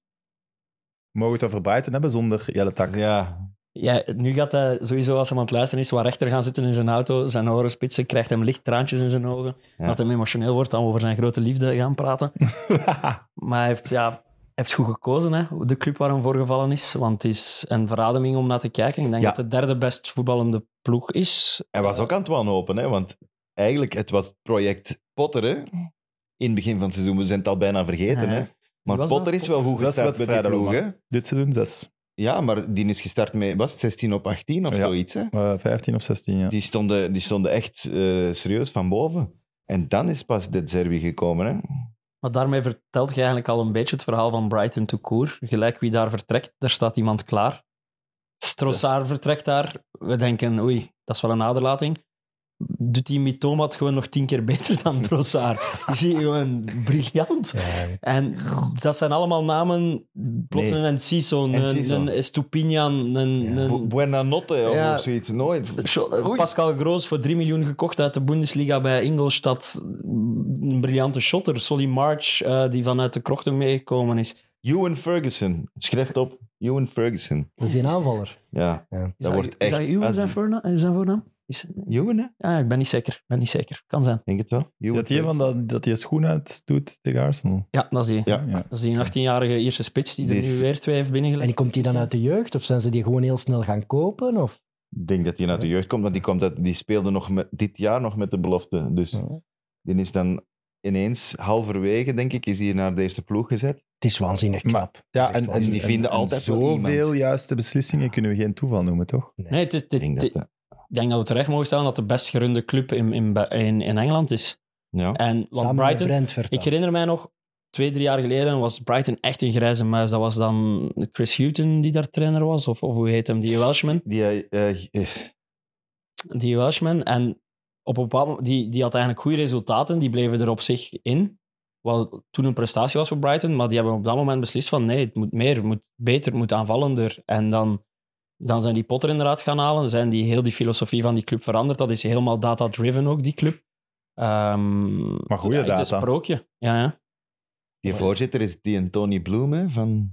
Speaker 1: Mogen we het over Brighton hebben zonder Jelle Tak?
Speaker 4: waar. Ja.
Speaker 3: ja, nu gaat hij sowieso, als hij aan het luisteren is, waar rechter gaan zitten in zijn auto, zijn oren spitsen, krijgt hem licht traantjes in zijn ogen.
Speaker 4: Ja.
Speaker 3: Dat hij emotioneel wordt, dan we over zijn grote liefde gaan
Speaker 4: <laughs>
Speaker 3: praten. maar hij heeft, ja, hij heeft goed gekozen, hè, de club waar hem voor gevallen is. Want het is een verademing om naar te kijken. Ik denk
Speaker 4: Ja.
Speaker 3: dat de derde best voetballende ploeg is.
Speaker 4: Hij was ook aan het wanhopen, hè, want eigenlijk het was project Potter. Hè. In het begin van het seizoen, we zijn het al bijna vergeten.
Speaker 3: Ja.
Speaker 4: Hè. Maar
Speaker 3: was dat?
Speaker 4: Potter is wel goed
Speaker 1: Zes
Speaker 4: gestart met die
Speaker 1: wedstrijden,
Speaker 4: ploeg.
Speaker 1: maar.
Speaker 4: hè.
Speaker 1: Dit seizoen zes.
Speaker 4: Ja, maar die is gestart met was het, 16 op 18 of
Speaker 1: Ja.
Speaker 4: zoiets. Hè.
Speaker 1: Eh 15 of 16, ja.
Speaker 4: Die, stonden, die stonden echt eh, serieus van boven. En dan is pas dit Zerbi gekomen. Hè.
Speaker 3: Maar daarmee vertelt je eigenlijk al een beetje het verhaal van Brighton to Cour. Gelijk wie daar vertrekt, daar staat iemand klaar. Trossard vertrekt daar. We denken, oei, dat is wel een aderlating. Doet die Mitoma het gewoon nog tien keer beter dan Trossard. Die zie je gewoon briljant.
Speaker 2: Ja,
Speaker 3: En dat zijn allemaal namen, plots
Speaker 4: Nee.
Speaker 3: een Ciso, een,
Speaker 4: Enciso.
Speaker 3: een Estupinian, een,
Speaker 4: Bu-
Speaker 3: een
Speaker 4: Buenanotte of,
Speaker 3: Ja.
Speaker 4: of zoiets. Nooit.
Speaker 3: Scho- eh,
Speaker 4: Oei.
Speaker 3: Pascal Groos voor 3 miljoen gekocht uit de Bundesliga bij Ingolstadt. Een briljante shotter, Solly March, eh, die vanuit de krochten meegekomen is.
Speaker 4: Ewan Ferguson. Schrijft op. Ewan Ferguson.
Speaker 2: Dat is die aanvaller.
Speaker 4: Ja,
Speaker 2: Ja.
Speaker 4: dat wordt
Speaker 3: is
Speaker 4: echt...
Speaker 3: dat Ewan
Speaker 4: als-
Speaker 3: zijn voornaam? eh, zijn voornaam? Is,
Speaker 4: Ewan, hè?
Speaker 3: ah, ik ben niet zeker. ben niet zeker. Kan zijn.
Speaker 4: Denk het wel. Ewan
Speaker 1: Dat die van
Speaker 4: Ferguson.
Speaker 1: dat, dat die schoen uit doet tegen Arsenal.
Speaker 3: Ja, dat is die.
Speaker 4: Ja.
Speaker 1: ja.
Speaker 3: Dat is die 18-jarige Ierse spits die er
Speaker 4: Die is-
Speaker 3: nu weer twee heeft
Speaker 2: En die
Speaker 3: binnengelegd.
Speaker 2: komt die dan uit de jeugd? Of zijn ze die gewoon heel snel gaan kopen? Of?
Speaker 4: Ik denk dat hij uit de jeugd komt, want die, komt uit, die speelde nog met, dit jaar nog met de belofte. Dus
Speaker 2: Ja.
Speaker 4: die is dan ineens halverwege, denk ik, is hij naar de eerste ploeg gezet.
Speaker 2: Het is waanzinnig knap.
Speaker 1: Ja,
Speaker 2: Echt
Speaker 1: en,
Speaker 2: wel.
Speaker 1: en
Speaker 4: Dus die vinden
Speaker 1: en- en
Speaker 4: altijd wel
Speaker 1: zoveel
Speaker 4: iemand.
Speaker 1: juiste beslissingen kunnen we geen toeval noemen, toch?
Speaker 3: Nee, het, het-
Speaker 4: Ik
Speaker 3: het-
Speaker 4: denk dat,
Speaker 3: het-
Speaker 4: eh,
Speaker 3: ik denk dat we terecht mogen stellen dat de best gerunde club in, in, Be- in, in Engeland is.
Speaker 4: ja.
Speaker 3: En want
Speaker 2: Samen met
Speaker 3: Brighton,
Speaker 2: Brentford.
Speaker 3: ik herinner mij nog, twee, drie jaar geleden was Brighton echt een grijze muis. Dat was dan Chris Houghton die daar trainer was, of, of hoe heet hem, die Welshman.
Speaker 4: Die, eh, eh, eh,
Speaker 3: die Welshman. En op een bepaald moment, die, die had eigenlijk goede resultaten, die bleven er op zich in. Wat toen een prestatie was voor Brighton, maar die hebben op dat moment beslist van nee, het moet meer, het moet beter, het moet aanvallender. En dan, dan zijn die Potter inderdaad gaan halen, zijn die heel die filosofie van die club veranderd. Dat is helemaal data-driven ook, die club. Ehm,
Speaker 1: Maar goeie
Speaker 3: ja, Het is
Speaker 1: data.
Speaker 3: een sprookje. Ja, ja.
Speaker 4: die voorzitter is die een Tony Bloem, hè, van,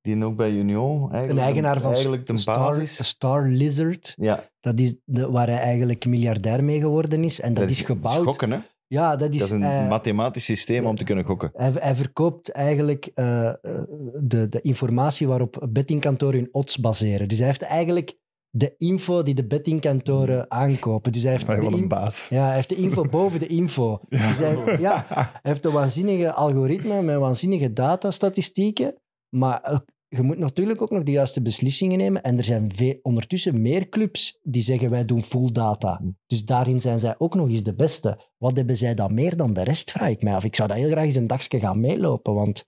Speaker 4: die ook bij Union eigenlijk...
Speaker 2: een eigenaar
Speaker 4: de-
Speaker 2: van
Speaker 4: Eigenlijk de
Speaker 2: Star,
Speaker 4: basis.
Speaker 2: Star Lizard.
Speaker 4: Ja,
Speaker 2: Dat is de, waar hij eigenlijk miljardair mee geworden is. En dat, is gebouwd.
Speaker 4: Gokken, hè.
Speaker 2: Ja, dat is,
Speaker 4: Dat is een
Speaker 2: eh,
Speaker 4: mathematisch systeem om te kunnen gokken.
Speaker 2: hij, hij verkoopt eigenlijk eh, eh, de, de informatie waarop bettingkantoren hun odds baseren. Dus hij heeft eigenlijk de info die de bettingkantoren aankopen. Dus hij heeft,
Speaker 1: Maar
Speaker 2: de,
Speaker 1: wel een
Speaker 2: in-
Speaker 1: baas.
Speaker 2: ja, hij heeft de info boven de info. Dus hij, ja, hij heeft een waanzinnige algoritme met waanzinnige datastatistieken. Maar ook- je moet natuurlijk ook nog de juiste beslissingen nemen. En er zijn ve- ondertussen meer clubs die zeggen wij doen full data. Dus daarin zijn zij ook nog eens de beste. Wat hebben zij dan meer dan de rest, vraag ik mij af. Ik zou dat heel graag eens een dagje gaan meelopen, want
Speaker 1: Stuur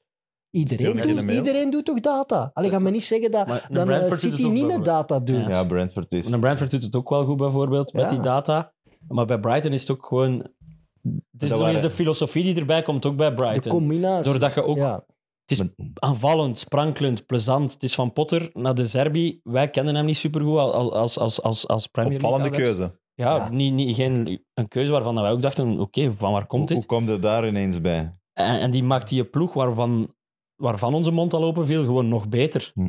Speaker 2: iedereen,
Speaker 1: me een
Speaker 2: doet,
Speaker 1: mail.
Speaker 2: iedereen doet toch data? Allee, ga me niet zeggen dat
Speaker 3: Maar
Speaker 2: dan, eh, City niet met data doet.
Speaker 3: Ja.
Speaker 4: Ja, Brentford is...
Speaker 3: En Brentford doet het ook wel goed, bijvoorbeeld,
Speaker 2: Ja.
Speaker 3: met die data. Maar bij Brighton is het ook gewoon... Het is
Speaker 4: Dat
Speaker 3: nog eens de
Speaker 4: waren-
Speaker 3: filosofie die erbij komt, ook bij
Speaker 2: De
Speaker 3: Brighton.
Speaker 2: combinatie.
Speaker 3: Doordat je ook...
Speaker 2: Ja.
Speaker 3: Het is aanvallend, sprankelend, plezant. Het is van Potter naar de Zerbi. Wij kennen hem niet supergoed als, als, als, als, als Premier League
Speaker 1: Opvallende
Speaker 3: adepts.
Speaker 1: keuze.
Speaker 3: Ja,
Speaker 2: Ja.
Speaker 3: Niet, niet, geen, een keuze waarvan wij ook dachten, oké, van waar komt
Speaker 4: Hoe,
Speaker 3: dit?
Speaker 4: hoe komt het daar ineens bij?
Speaker 3: En, en die maakt die ploeg waarvan, waarvan onze mond al open viel, gewoon nog beter.
Speaker 4: Hm.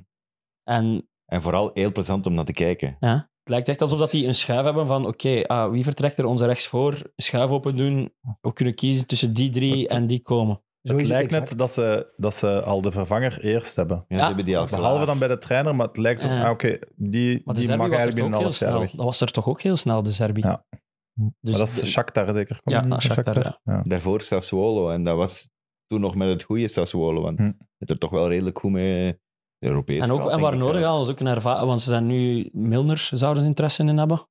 Speaker 3: En
Speaker 4: En vooral heel plezant om naar te kijken.
Speaker 3: Ja. Het lijkt echt alsof dat die een schuif hebben van oké, ah, wie vertrekt er onze rechtsvoor? Schuif open doen. We kunnen kiezen tussen die drie en die komen.
Speaker 2: Zo
Speaker 1: Het
Speaker 2: is
Speaker 1: lijkt
Speaker 2: exact.
Speaker 1: net dat ze, dat ze al de vervanger eerst hebben.
Speaker 4: Ja,
Speaker 3: Ja.
Speaker 4: Ze hebben die al
Speaker 1: Behalve
Speaker 4: klaar.
Speaker 1: dan bij de trainer, maar het lijkt zo,
Speaker 3: Ja.
Speaker 1: ah, oké, die,
Speaker 3: Maar de
Speaker 1: die mag
Speaker 3: Serbi was er
Speaker 1: eigenlijk
Speaker 3: toch
Speaker 1: binnen een
Speaker 3: ook heel
Speaker 1: half jaar
Speaker 3: snel.
Speaker 1: weg.
Speaker 3: Dat was er toch ook heel snel, de Serbi.
Speaker 1: Ja.
Speaker 3: Dus
Speaker 1: maar dat is
Speaker 3: de-
Speaker 1: Shakhtar zeker. Komt
Speaker 3: Ja,
Speaker 1: die niet?
Speaker 3: Shakhtar,
Speaker 1: Ja.
Speaker 4: Daarvoor Sassuolo. En dat was toen nog met het goede Sassuolo. Want
Speaker 1: Hm.
Speaker 4: het heeft er toch wel redelijk goed mee eh, de Europese
Speaker 3: en, ook,
Speaker 4: gehad,
Speaker 3: en
Speaker 4: denk
Speaker 3: waar
Speaker 4: ik
Speaker 3: nodig
Speaker 4: zelfs.
Speaker 3: hadden ze ook een ervaring, want ze zijn nu Milner, zouden ze interesse in hebben.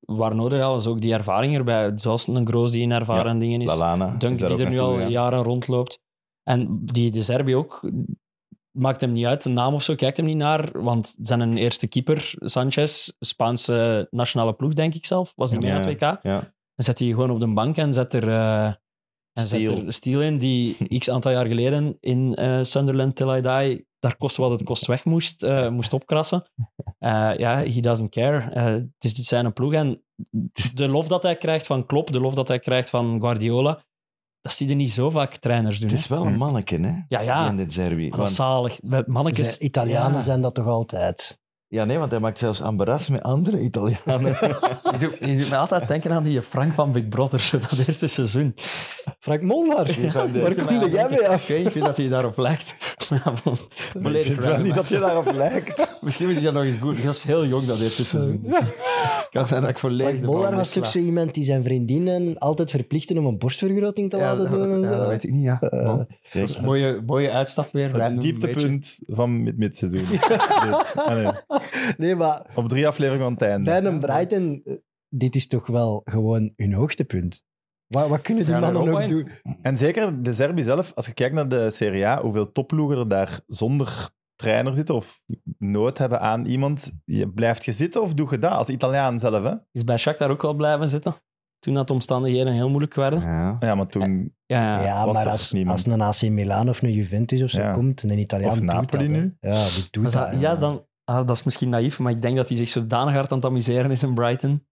Speaker 3: Waar nodig hadden ze ook die ervaring erbij, zoals een Groos die een ervaren dingen is.
Speaker 4: Lallana.
Speaker 3: Dunk
Speaker 4: is daar
Speaker 3: die
Speaker 4: ook
Speaker 3: er nu
Speaker 4: naartoe
Speaker 3: al
Speaker 4: gegaan.
Speaker 3: jaren rondloopt. En die de Serbi ook maakt hem niet uit, de naam of zo, kijkt hem niet naar. Want zijn eerste keeper, Sanchez, Spaanse nationale ploeg, denk ik zelf, was niet
Speaker 4: Ja.
Speaker 3: meer aan het WK.
Speaker 4: Ja.
Speaker 3: Dan zet hij gewoon op de bank en zet er, eh en zet
Speaker 4: Steel.
Speaker 3: er Steel in,
Speaker 4: <laughs>
Speaker 3: die x aantal jaar geleden in eh, Sunderland Till I Die, daar kost wat het kost weg moest, eh, moest opkrassen. Eh, Ja, he doesn't care. Eh, het is zijn ploeg en Dus de lof dat hij krijgt van Klopp, de lof dat hij krijgt van Guardiola, dat zie je niet zo vaak trainers doen.
Speaker 4: Het
Speaker 3: hè.
Speaker 4: is wel een manneke, hè?
Speaker 3: Ja, ja.
Speaker 4: In dit Zerbi.
Speaker 3: Maar dat
Speaker 4: Want-
Speaker 3: is zalig. Met Mannetjes,
Speaker 2: Zij- Italianen
Speaker 4: ja.
Speaker 2: zijn dat toch altijd?
Speaker 4: Ja, nee, want hij maakt zelfs embarras met andere
Speaker 3: <laughs>
Speaker 4: Italianen.
Speaker 3: je, doet, je doet me altijd denken aan die Frank van Big Brother, zo <laughs> dat eerste seizoen.
Speaker 2: Frank Molnar.
Speaker 4: Die van de-
Speaker 2: Waar
Speaker 3: Doet
Speaker 2: kom
Speaker 3: mij aan
Speaker 2: jij mee
Speaker 3: denken.
Speaker 2: af?
Speaker 3: Ik weet niet dat hij daarop lijkt. <laughs> Maar ja, bon,
Speaker 1: Ik
Speaker 3: volledig
Speaker 1: vind wel
Speaker 3: random.
Speaker 1: niet dat je daarop
Speaker 4: <laughs>
Speaker 1: lijkt.
Speaker 3: Misschien moet hij dat nog eens goed. Hij was heel jong dat eerste seizoen. kan zijn dat ik volledig
Speaker 2: Frank
Speaker 3: de
Speaker 2: Molnar
Speaker 3: bal
Speaker 2: was toch
Speaker 3: misla.
Speaker 2: zo iemand die zijn vriendinnen altijd verplichtte om een borstvergroting te
Speaker 3: Ja,
Speaker 2: laten
Speaker 3: dat-
Speaker 2: doen en
Speaker 3: ja,
Speaker 2: zo. Eh,
Speaker 3: dat weet ik niet, ja. Bon.
Speaker 4: Ja,
Speaker 3: Dat is een mooie, mooie uitstap weer. random,
Speaker 1: Het
Speaker 3: beetje.
Speaker 1: dieptepunt van mid-
Speaker 3: <laughs>
Speaker 1: midseizoen. Dit. Allee,
Speaker 2: Nee, maar
Speaker 1: op drie afleveringen aan het einde.
Speaker 2: Bij een Brighton, eh, dit is toch wel gewoon hun hoogtepunt. Wat, wat kunnen die
Speaker 3: Ze gaan
Speaker 2: mannen
Speaker 3: Europa
Speaker 2: nog
Speaker 3: in.
Speaker 2: doen?
Speaker 1: En zeker de Serbi zelf, als je kijkt naar de Serie A, hoeveel topploegen er daar zonder trainer zitten of nood hebben aan iemand, je blijft je zitten of doe je dat als Italiaan zelf? Hè?
Speaker 3: Is bij Shakhtar ook wel blijven zitten. Toen dat de omstandigheden heel moeilijk werden.
Speaker 4: Ja.
Speaker 1: Ja, maar toen...
Speaker 3: Ja,
Speaker 2: Ja,
Speaker 3: ja.
Speaker 1: was
Speaker 2: maar
Speaker 1: er
Speaker 2: als,
Speaker 1: niemand.
Speaker 2: als een AC Milan of een Juventus of zo
Speaker 1: Ja.
Speaker 2: komt, en een Italiaan
Speaker 1: Of
Speaker 2: doet
Speaker 1: Napoli
Speaker 2: dat, hè.
Speaker 1: nu.
Speaker 2: Ja, die doet dat.
Speaker 3: Maar zou-
Speaker 2: hè.
Speaker 3: ja dan, ah, dat is misschien naïef, maar ik denk dat hij zich zodanig hard aan het amuseren is in Brighton.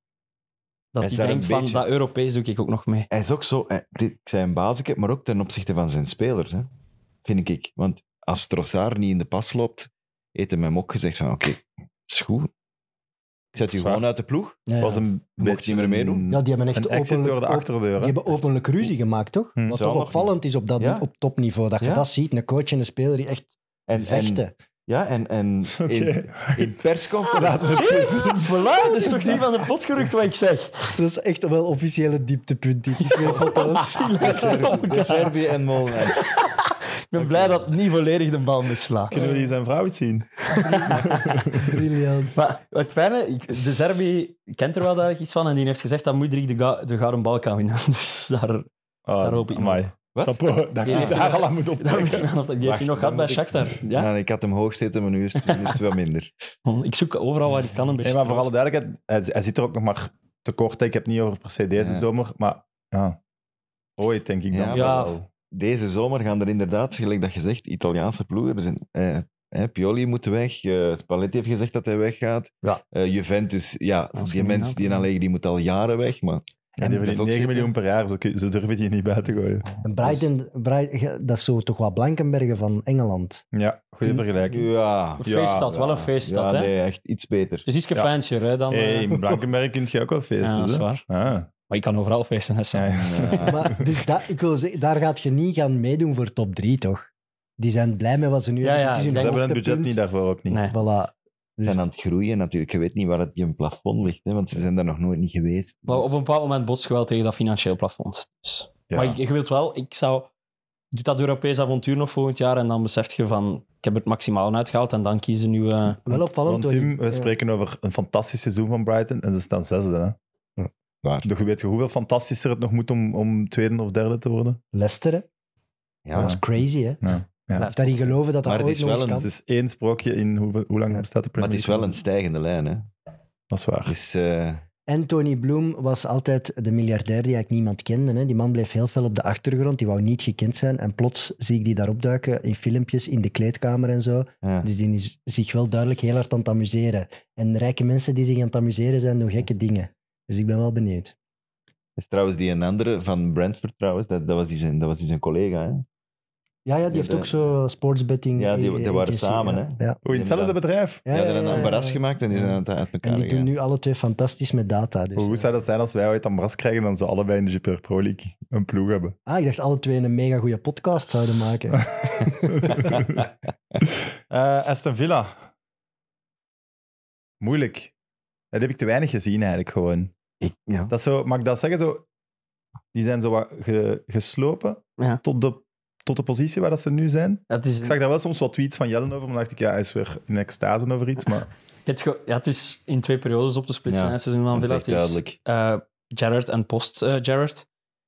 Speaker 3: Dat
Speaker 4: Hij is
Speaker 3: hij
Speaker 4: daar
Speaker 3: denkt
Speaker 4: een
Speaker 3: van,
Speaker 4: beetje-
Speaker 3: dat Europees doe ik ook nog
Speaker 4: <laughs>
Speaker 3: mee.
Speaker 4: Hij is ook zo, hij, dit- ik zei een basisje, maar ook ten opzichte van zijn spelers, hè? vind ik. Want als Trossard niet in de pas loopt, heeft hem hem ook gezegd van oké, is goed. Ik zet je
Speaker 1: Zwaar.
Speaker 4: gewoon uit de ploeg.
Speaker 2: Ja, ja.
Speaker 1: was een
Speaker 4: Mocht
Speaker 1: beetje
Speaker 4: niet meer meedoen.
Speaker 1: een-
Speaker 2: Ja, die hebben echt
Speaker 1: Een exit
Speaker 2: openlijk,
Speaker 1: door de
Speaker 2: op-
Speaker 1: achterdeur.
Speaker 2: die
Speaker 1: hè.
Speaker 2: hebben openlijk ruzie gemaakt, toch?
Speaker 1: Hm.
Speaker 2: Wat
Speaker 4: Zou
Speaker 2: toch
Speaker 4: nog
Speaker 2: opvallend is op, dat,
Speaker 4: Ja.
Speaker 2: op topniveau, dat je
Speaker 4: Ja.
Speaker 2: dat ziet. Een coach en een speler die echt
Speaker 4: En,
Speaker 2: vechten.
Speaker 4: En, ja, en,
Speaker 1: <laughs>
Speaker 4: en
Speaker 1: Oké.
Speaker 4: in, in
Speaker 1: <laughs>
Speaker 4: persconferenties.
Speaker 3: Voilà, dat is toch niet van de pot gerukt wat ik zeg?
Speaker 2: <laughs> Dat is echt wel officiële dieptepunt, <laughs> die twee
Speaker 3: <laughs>
Speaker 2: foto's.
Speaker 4: De Serbië en Molnar.
Speaker 3: Ik ben blij dat het niet volledig de bal mislaat.
Speaker 1: Kunnen we die zijn vrouw eens zien?
Speaker 2: Briljant.
Speaker 3: Maar het fijne, ik- de Serbi kent er wel duidelijk iets van en die heeft gezegd dat Moedrik de, ga- de gouden bal kan winnen. <laughs> Dus daar,
Speaker 1: Oh,
Speaker 3: Daar hoop ik
Speaker 1: amai.
Speaker 4: Wat?
Speaker 1: Chapeau, daar
Speaker 3: Die
Speaker 1: moet
Speaker 3: heeft-
Speaker 1: daar al aan moeten
Speaker 3: <laughs> daar moet je
Speaker 1: optrekken.
Speaker 3: aan of die heeft
Speaker 4: Wacht,
Speaker 3: hij nog
Speaker 4: dan
Speaker 3: gehad bij
Speaker 4: moet ik-
Speaker 3: Shakhtar. Ja?
Speaker 4: Ja, Nou, ik had hem hoog zitten, maar nu is het, nu is het wat minder.
Speaker 3: Want Oh, Ik zoek overal waar ik kan een beetje.
Speaker 1: Nee, maar voor alle
Speaker 3: troost.
Speaker 1: duidelijkheid, hij, hij zit er ook nog maar tekort. hè. Ik heb het niet over per se deze
Speaker 4: Ja.
Speaker 1: zomer, maar ja. ooit denk ik dan.
Speaker 4: Ja,
Speaker 3: Ja.
Speaker 4: maar wel. Deze zomer gaan er inderdaad, gelijk dat je zegt, Italiaanse ploegen. Er zijn, eh, eh, Pioli moet weg. eh, Spalletti heeft gezegd dat hij weggaat.
Speaker 2: Ja.
Speaker 4: Eh, Juventus, ja,
Speaker 3: Als
Speaker 4: die
Speaker 3: je
Speaker 4: mens die in
Speaker 3: inderdaad-
Speaker 4: Allegri die moet al jaren weg. Maar
Speaker 1: En die
Speaker 4: dat
Speaker 1: verdienen
Speaker 4: ook
Speaker 1: 9
Speaker 4: zitten.
Speaker 1: miljoen per jaar, ze, kun- ze durven die niet buiten gooien.
Speaker 2: En Brighton, Brighton, dat is zo toch wat Blankenbergen van Engeland.
Speaker 1: Ja, goede vergelijking.
Speaker 4: ja,
Speaker 3: Een feeststad, wel een feeststad,
Speaker 4: ja,
Speaker 3: hè?
Speaker 4: nee, echt iets beter.
Speaker 3: Dus iets
Speaker 1: Ja.
Speaker 3: fijnser hè, dan...
Speaker 1: Hey,
Speaker 3: eh,
Speaker 1: in Blankenberg kun je ook wel feesten.
Speaker 3: ja, dat is
Speaker 1: hè?
Speaker 3: waar.
Speaker 1: Ah,
Speaker 3: Maar je kan overal feesten, hè, Sam.
Speaker 1: ja, ja.
Speaker 2: Maar dus dat, ik wil zeggen, daar gaat je niet gaan meedoen voor top 3, toch? Die zijn blij met wat ze nu
Speaker 3: Ja,
Speaker 2: hebben.
Speaker 3: ja,
Speaker 2: Dit is
Speaker 1: Ze
Speaker 2: hun
Speaker 3: denk-
Speaker 1: hebben het budget
Speaker 2: hoogtepunt.
Speaker 1: niet daarvoor ook niet.
Speaker 3: Nee.
Speaker 2: Voilà.
Speaker 4: Ze zijn aan het groeien natuurlijk. Je weet niet waar het je plafond ligt, hè, want ze zijn daar nog nooit niet geweest.
Speaker 3: Maar op een bepaald moment bots je wel tegen dat financieel plafond. Dus.
Speaker 1: Ja.
Speaker 3: Maar je, je wilt wel, ik zou... Doe dat Europees avontuur nog volgend jaar en dan besef je van, ik heb er het maximaal uitgehaald en dan kiezen nu... eh,
Speaker 2: Wel opvallend.
Speaker 1: Want Tim, we
Speaker 2: Tony.
Speaker 1: spreken over een fantastisch seizoen van Brighton en ze staan zesde. Hè?
Speaker 4: Waar?
Speaker 1: Dus je weet hoeveel fantastischer het nog moet om, om tweede of derde te worden.
Speaker 2: Leicester, hè?
Speaker 4: Ja,
Speaker 2: dat was crazy, hè?
Speaker 1: Ja.
Speaker 2: Of daarin geloven dat dat
Speaker 4: Maar het
Speaker 2: ooit
Speaker 4: is
Speaker 2: nog
Speaker 4: wel
Speaker 2: eens
Speaker 4: een-
Speaker 2: kan.
Speaker 1: Het is één sprookje in hoeveel, hoe lang
Speaker 2: Ja.
Speaker 1: bestaat de
Speaker 4: maar
Speaker 1: Premier
Speaker 4: het is wel
Speaker 1: League?
Speaker 4: een stijgende lijn. Hè.
Speaker 1: Dat is waar.
Speaker 4: Dus, eh,
Speaker 2: En Tony Bloom was altijd de miljardair die eigenlijk niemand kende. Hè? Die man bleef heel veel op de achtergrond. Die wou niet gekend zijn. En plots zie ik die daar opduiken in filmpjes, in de kleedkamer en zo.
Speaker 4: ja.
Speaker 2: Dus die is zich wel duidelijk heel hard aan het amuseren. En rijke mensen die zich aan het amuseren zijn, doen gekke dingen. Dus ik ben wel benieuwd.
Speaker 4: Dat is trouwens die een andere van Brentford, trouwens. Dat, dat, was, die zijn, dat was die zijn collega. Hè.
Speaker 2: Ja, ja die
Speaker 4: Ja,
Speaker 2: heeft
Speaker 4: de-
Speaker 2: ook zo sportsbetting. eh,
Speaker 4: Ja, die- die
Speaker 2: agency,
Speaker 4: waren
Speaker 2: ja.
Speaker 4: samen, hè?
Speaker 2: Ja. Ja.
Speaker 1: Oei, hetzelfde
Speaker 4: Inderdaad.
Speaker 1: bedrijf.
Speaker 4: Ja, die hebben een
Speaker 2: ja,
Speaker 4: embarras
Speaker 2: ja.
Speaker 4: gemaakt en die zijn aan het uit elkaar
Speaker 2: En die doen
Speaker 4: gegaan.
Speaker 2: nu alle twee fantastisch met data. Dus,
Speaker 1: Hoe goed
Speaker 2: ja.
Speaker 1: zou dat zijn als wij ooit Ambras krijgen en dan ze allebei in de Super Pro League een ploeg hebben? <laughs>
Speaker 2: <laughs> Ah, ik dacht alle twee een mega goede podcast zouden
Speaker 4: <laughs>
Speaker 2: maken.
Speaker 1: <laughs> Eh, Aston Villa. Moeilijk. Dat heb ik te weinig gezien eigenlijk gewoon.
Speaker 4: Ik, ja.
Speaker 1: Dat is zo, mag ik dat zeggen? Zo, die zijn zo wat ge- geslopen
Speaker 3: Ja.
Speaker 1: tot, de, tot de positie waar dat ze nu zijn.
Speaker 3: het
Speaker 1: Ik
Speaker 3: is,
Speaker 1: zag daar wel soms wat tweets van Jellen over, maar dan dacht ik, ja, hij is weer in extase over iets. Maar
Speaker 3: <laughs> Het, is ge- ja, het is in twee periodes op te splitsen.
Speaker 4: Ja,
Speaker 3: hè, het seizoen van
Speaker 4: dat is
Speaker 3: Villa.
Speaker 4: echt
Speaker 3: Het is
Speaker 4: duidelijk.
Speaker 3: eh, Gerrard en post eh Gerrard.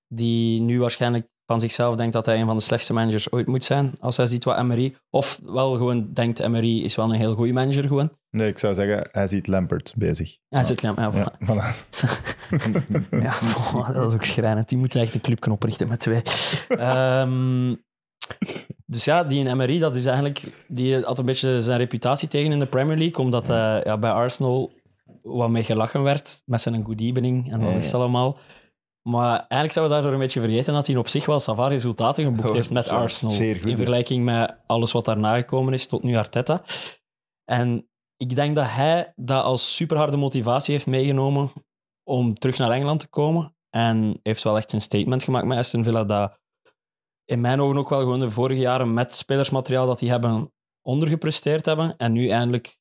Speaker 3: Die nu waarschijnlijk van zichzelf denkt dat hij een van de slechtste managers ooit moet zijn. Als hij ziet wat Emery... Of wel gewoon denkt, Emery is wel een heel goede manager gewoon.
Speaker 1: Nee, ik zou zeggen, hij ziet Lampert bezig.
Speaker 3: Hij zit... Ja, ja,
Speaker 1: Ja, <laughs>
Speaker 3: voilà.
Speaker 1: voilà.
Speaker 3: <laughs> Ja, voilà, dat is ook schrijnend. Die moeten echt een club kunnen oprichten met twee. Ehm, dus ja, die in MRI, dat is eigenlijk, die had een beetje zijn reputatie tegen in de Premier League, omdat hij ja, bij Arsenal wat mee gelachen werd met zijn good evening en dat
Speaker 4: Ja,
Speaker 3: is
Speaker 4: ja.
Speaker 3: allemaal. Maar eigenlijk zouden we daardoor een beetje vergeten dat hij op zich wel Savar resultaten geboekt
Speaker 1: Oh,
Speaker 4: Dat
Speaker 3: heeft met
Speaker 4: was
Speaker 3: Arsenal.
Speaker 4: zeer goed,
Speaker 3: in
Speaker 4: hè?
Speaker 3: vergelijking met alles wat daarna gekomen is tot nu Arteta. En ik denk dat hij dat als superharde motivatie heeft meegenomen om terug naar Engeland te komen. En heeft wel echt een statement gemaakt met Aston Villa dat in mijn ogen ook wel gewoon de vorige jaren met spelersmateriaal dat die hebben ondergepresteerd hebben. En nu eindelijk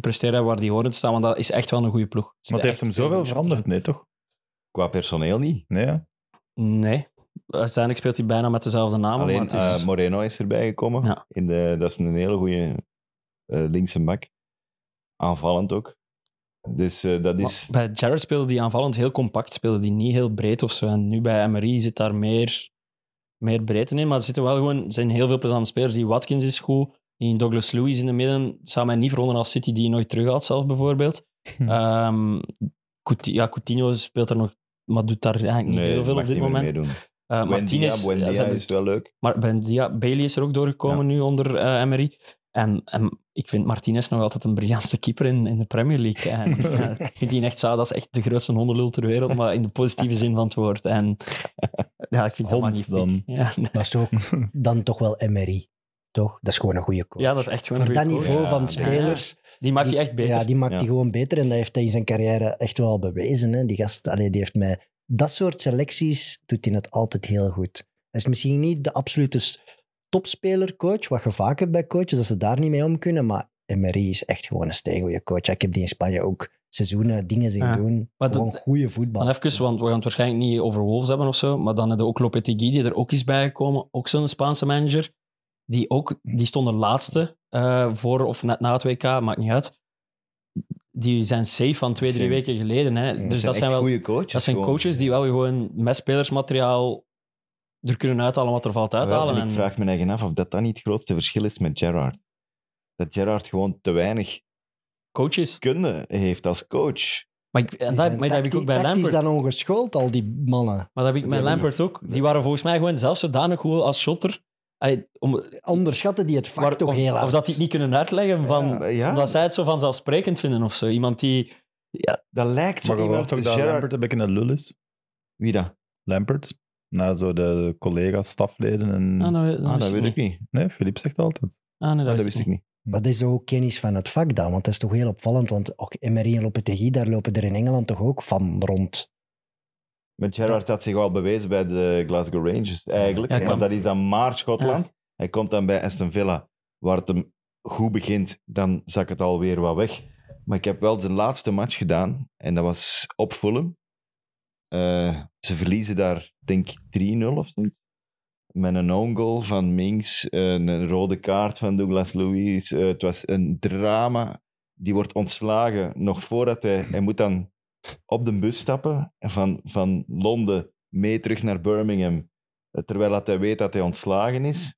Speaker 3: presteren hebben waar die horen te staan, want dat is echt wel een goede ploeg. Er zitten
Speaker 1: Want hij heeft
Speaker 3: echt
Speaker 1: hem
Speaker 3: veel
Speaker 1: zoveel
Speaker 3: goede
Speaker 1: veranderd, nee toch?
Speaker 4: Qua personeel niet.
Speaker 1: Nee, ja.
Speaker 3: Nee. Uiteindelijk speelt hij bijna met dezelfde naam.
Speaker 4: Alleen
Speaker 3: maar het is...
Speaker 4: eh, Moreno is erbij gekomen.
Speaker 3: Ja.
Speaker 4: In de, dat is een hele goede eh, linkse bak. Aanvallend ook. Dus eh, dat
Speaker 3: Maar
Speaker 4: is...
Speaker 3: Bij Jared speelde die aanvallend heel compact, speelde die niet heel breed of zo. En nu bij Emery zit daar meer, meer breedte in. Maar er zitten wel gewoon, er zijn heel veel plezante spelers. Die Watkins is goed, die Douglas Lewis in de midden. Zou mij niet veronderen als City die nooit terughaalt zelf bijvoorbeeld.
Speaker 1: Hm.
Speaker 3: Ehm, Couti- ja, Coutinho speelt er nog, maar doet daar eigenlijk niet heel veel
Speaker 4: mag
Speaker 3: op dit
Speaker 4: niet meer
Speaker 3: moment.
Speaker 4: meedoen.
Speaker 3: Eh Martinez,
Speaker 4: Buendia, Buendia
Speaker 3: ja, ze hebben- Dus
Speaker 4: is wel leuk.
Speaker 3: maar Bendia, Bailey is er ook doorgekomen nu onder eh Emery. En, en ik vind Martinez nog altijd een briljantste keeper in, in de Premier
Speaker 1: <laughs>
Speaker 3: League. En, ja, ik vind die echt zo, dat is echt de grootste hondenlul ter wereld, maar in de positieve zin van het woord. En ja, ik vind dat
Speaker 1: Hond
Speaker 3: magnifiek.
Speaker 1: dan.
Speaker 3: Ja, nee.
Speaker 2: Maar is toch ook dan toch wel MRI, toch? Dat is gewoon een goede coach.
Speaker 3: ja, dat is echt gewoon
Speaker 2: Voor
Speaker 3: een
Speaker 2: dat
Speaker 3: goeie coach.
Speaker 2: niveau
Speaker 4: Ja,
Speaker 2: van
Speaker 4: ja.
Speaker 2: spelers...
Speaker 3: Die maakt die echt beter.
Speaker 2: Ja, die maakt die
Speaker 4: Ja.
Speaker 2: gewoon beter. En dat heeft hij in zijn carrière echt wel bewezen. Hè. Die gast allee, die heeft mij... Dat soort selecties doet hij het altijd heel goed. Hij is misschien niet de absolute s- topspeler-coach, wat je vaak hebt bij coaches, dat ze daar niet mee om kunnen. Maar Emery is echt gewoon een steengoeie coach. Ja, Ik heb die in Spanje ook seizoenen dingen zien
Speaker 3: Ja.
Speaker 2: doen.
Speaker 3: Maar
Speaker 2: gewoon
Speaker 3: dat-
Speaker 2: goede voetbal. Dus
Speaker 3: Dan even, want we gaan het waarschijnlijk niet over Wolves hebben of zo, maar dan hebben we ook Lopetegui, die er ook is bijgekomen. Ook zo'n Spaanse manager. Die, ook, die stond de laatste eh, voor of net na het WK, maakt niet uit. Die zijn safe van twee, drie
Speaker 4: Safe.
Speaker 3: weken geleden. Hè. dus dat zijn, wel,
Speaker 4: goede coaches.
Speaker 3: dat zijn
Speaker 4: gewoon.
Speaker 3: coaches die wel gewoon met spelersmateriaal er kunnen uithalen wat er valt
Speaker 4: Wel,
Speaker 3: uithalen.
Speaker 4: en ik
Speaker 3: en-
Speaker 4: vraag me eigen af of dat dan niet het grootste verschil is met Gerrard. Dat Gerrard gewoon te weinig
Speaker 3: coaches.
Speaker 4: kunde heeft als coach.
Speaker 3: Maar, ik, en
Speaker 2: Die
Speaker 3: daar,
Speaker 2: zijn
Speaker 3: maar dat heb ik ook bij
Speaker 2: tactisch- tactisch
Speaker 3: Lampert.
Speaker 2: dan ongeschoold, al die mannen.
Speaker 3: Maar dat heb ik
Speaker 4: Die
Speaker 3: bij
Speaker 4: hebben
Speaker 3: Lampert
Speaker 4: een-
Speaker 3: ook. Die waren volgens mij gewoon zelfs zodanig goed als shotter. Allee, om,
Speaker 2: Onderschatten die het vak
Speaker 3: Waar-
Speaker 2: toch
Speaker 3: of,
Speaker 2: heel hard.
Speaker 3: of dat die het niet kunnen uitleggen, van,
Speaker 4: Ja, ja.
Speaker 3: omdat zij het zo vanzelfsprekend vinden of zo. Iemand die... Ja,
Speaker 4: Dat lijkt zo
Speaker 1: Maar je
Speaker 4: iemand...
Speaker 1: hoort ook dat
Speaker 4: Gerrard-
Speaker 1: Lampert een beetje een lul is.
Speaker 4: Wie Ah, dat?
Speaker 1: Lampert. Nou, zo de collega's, stafleden en...
Speaker 3: ah, nou, dat,
Speaker 4: Ah,
Speaker 3: wist
Speaker 4: dat
Speaker 3: ik
Speaker 4: weet
Speaker 3: niet.
Speaker 4: ik niet.
Speaker 1: Nee, Filip zegt altijd.
Speaker 3: Ah, nee, dat,
Speaker 4: Ah,
Speaker 3: wist
Speaker 4: Dat wist
Speaker 3: ik
Speaker 4: ik
Speaker 3: niet.
Speaker 4: niet.
Speaker 2: Maar dat is toch ook kennis van het vak dan? Want dat is toch heel opvallend. Want ook Emery en Lopetegui, daar lopen er in Engeland toch ook van rond.
Speaker 4: Maar Gerrard had zich al bewezen bij de Glasgow Rangers eigenlijk.
Speaker 3: Ja, hij
Speaker 4: want
Speaker 3: kwam-
Speaker 4: dat is dan maar Schotland. Hij komt dan bij Aston Villa, waar het hem goed begint. Dan zak het alweer wat weg. Maar ik heb wel zijn laatste match gedaan. En dat was op Fulham. Eh, ze verliezen daar, denk ik, 3-0 of zoiets. Met een own goal van Minks, een rode kaart van Douglas Louise. Eh, het was een drama. Die wordt ontslagen nog voordat hij... Hij moet dan op de bus stappen en van, van Londen mee terug naar Birmingham, eh, terwijl dat hij weet dat hij ontslagen is.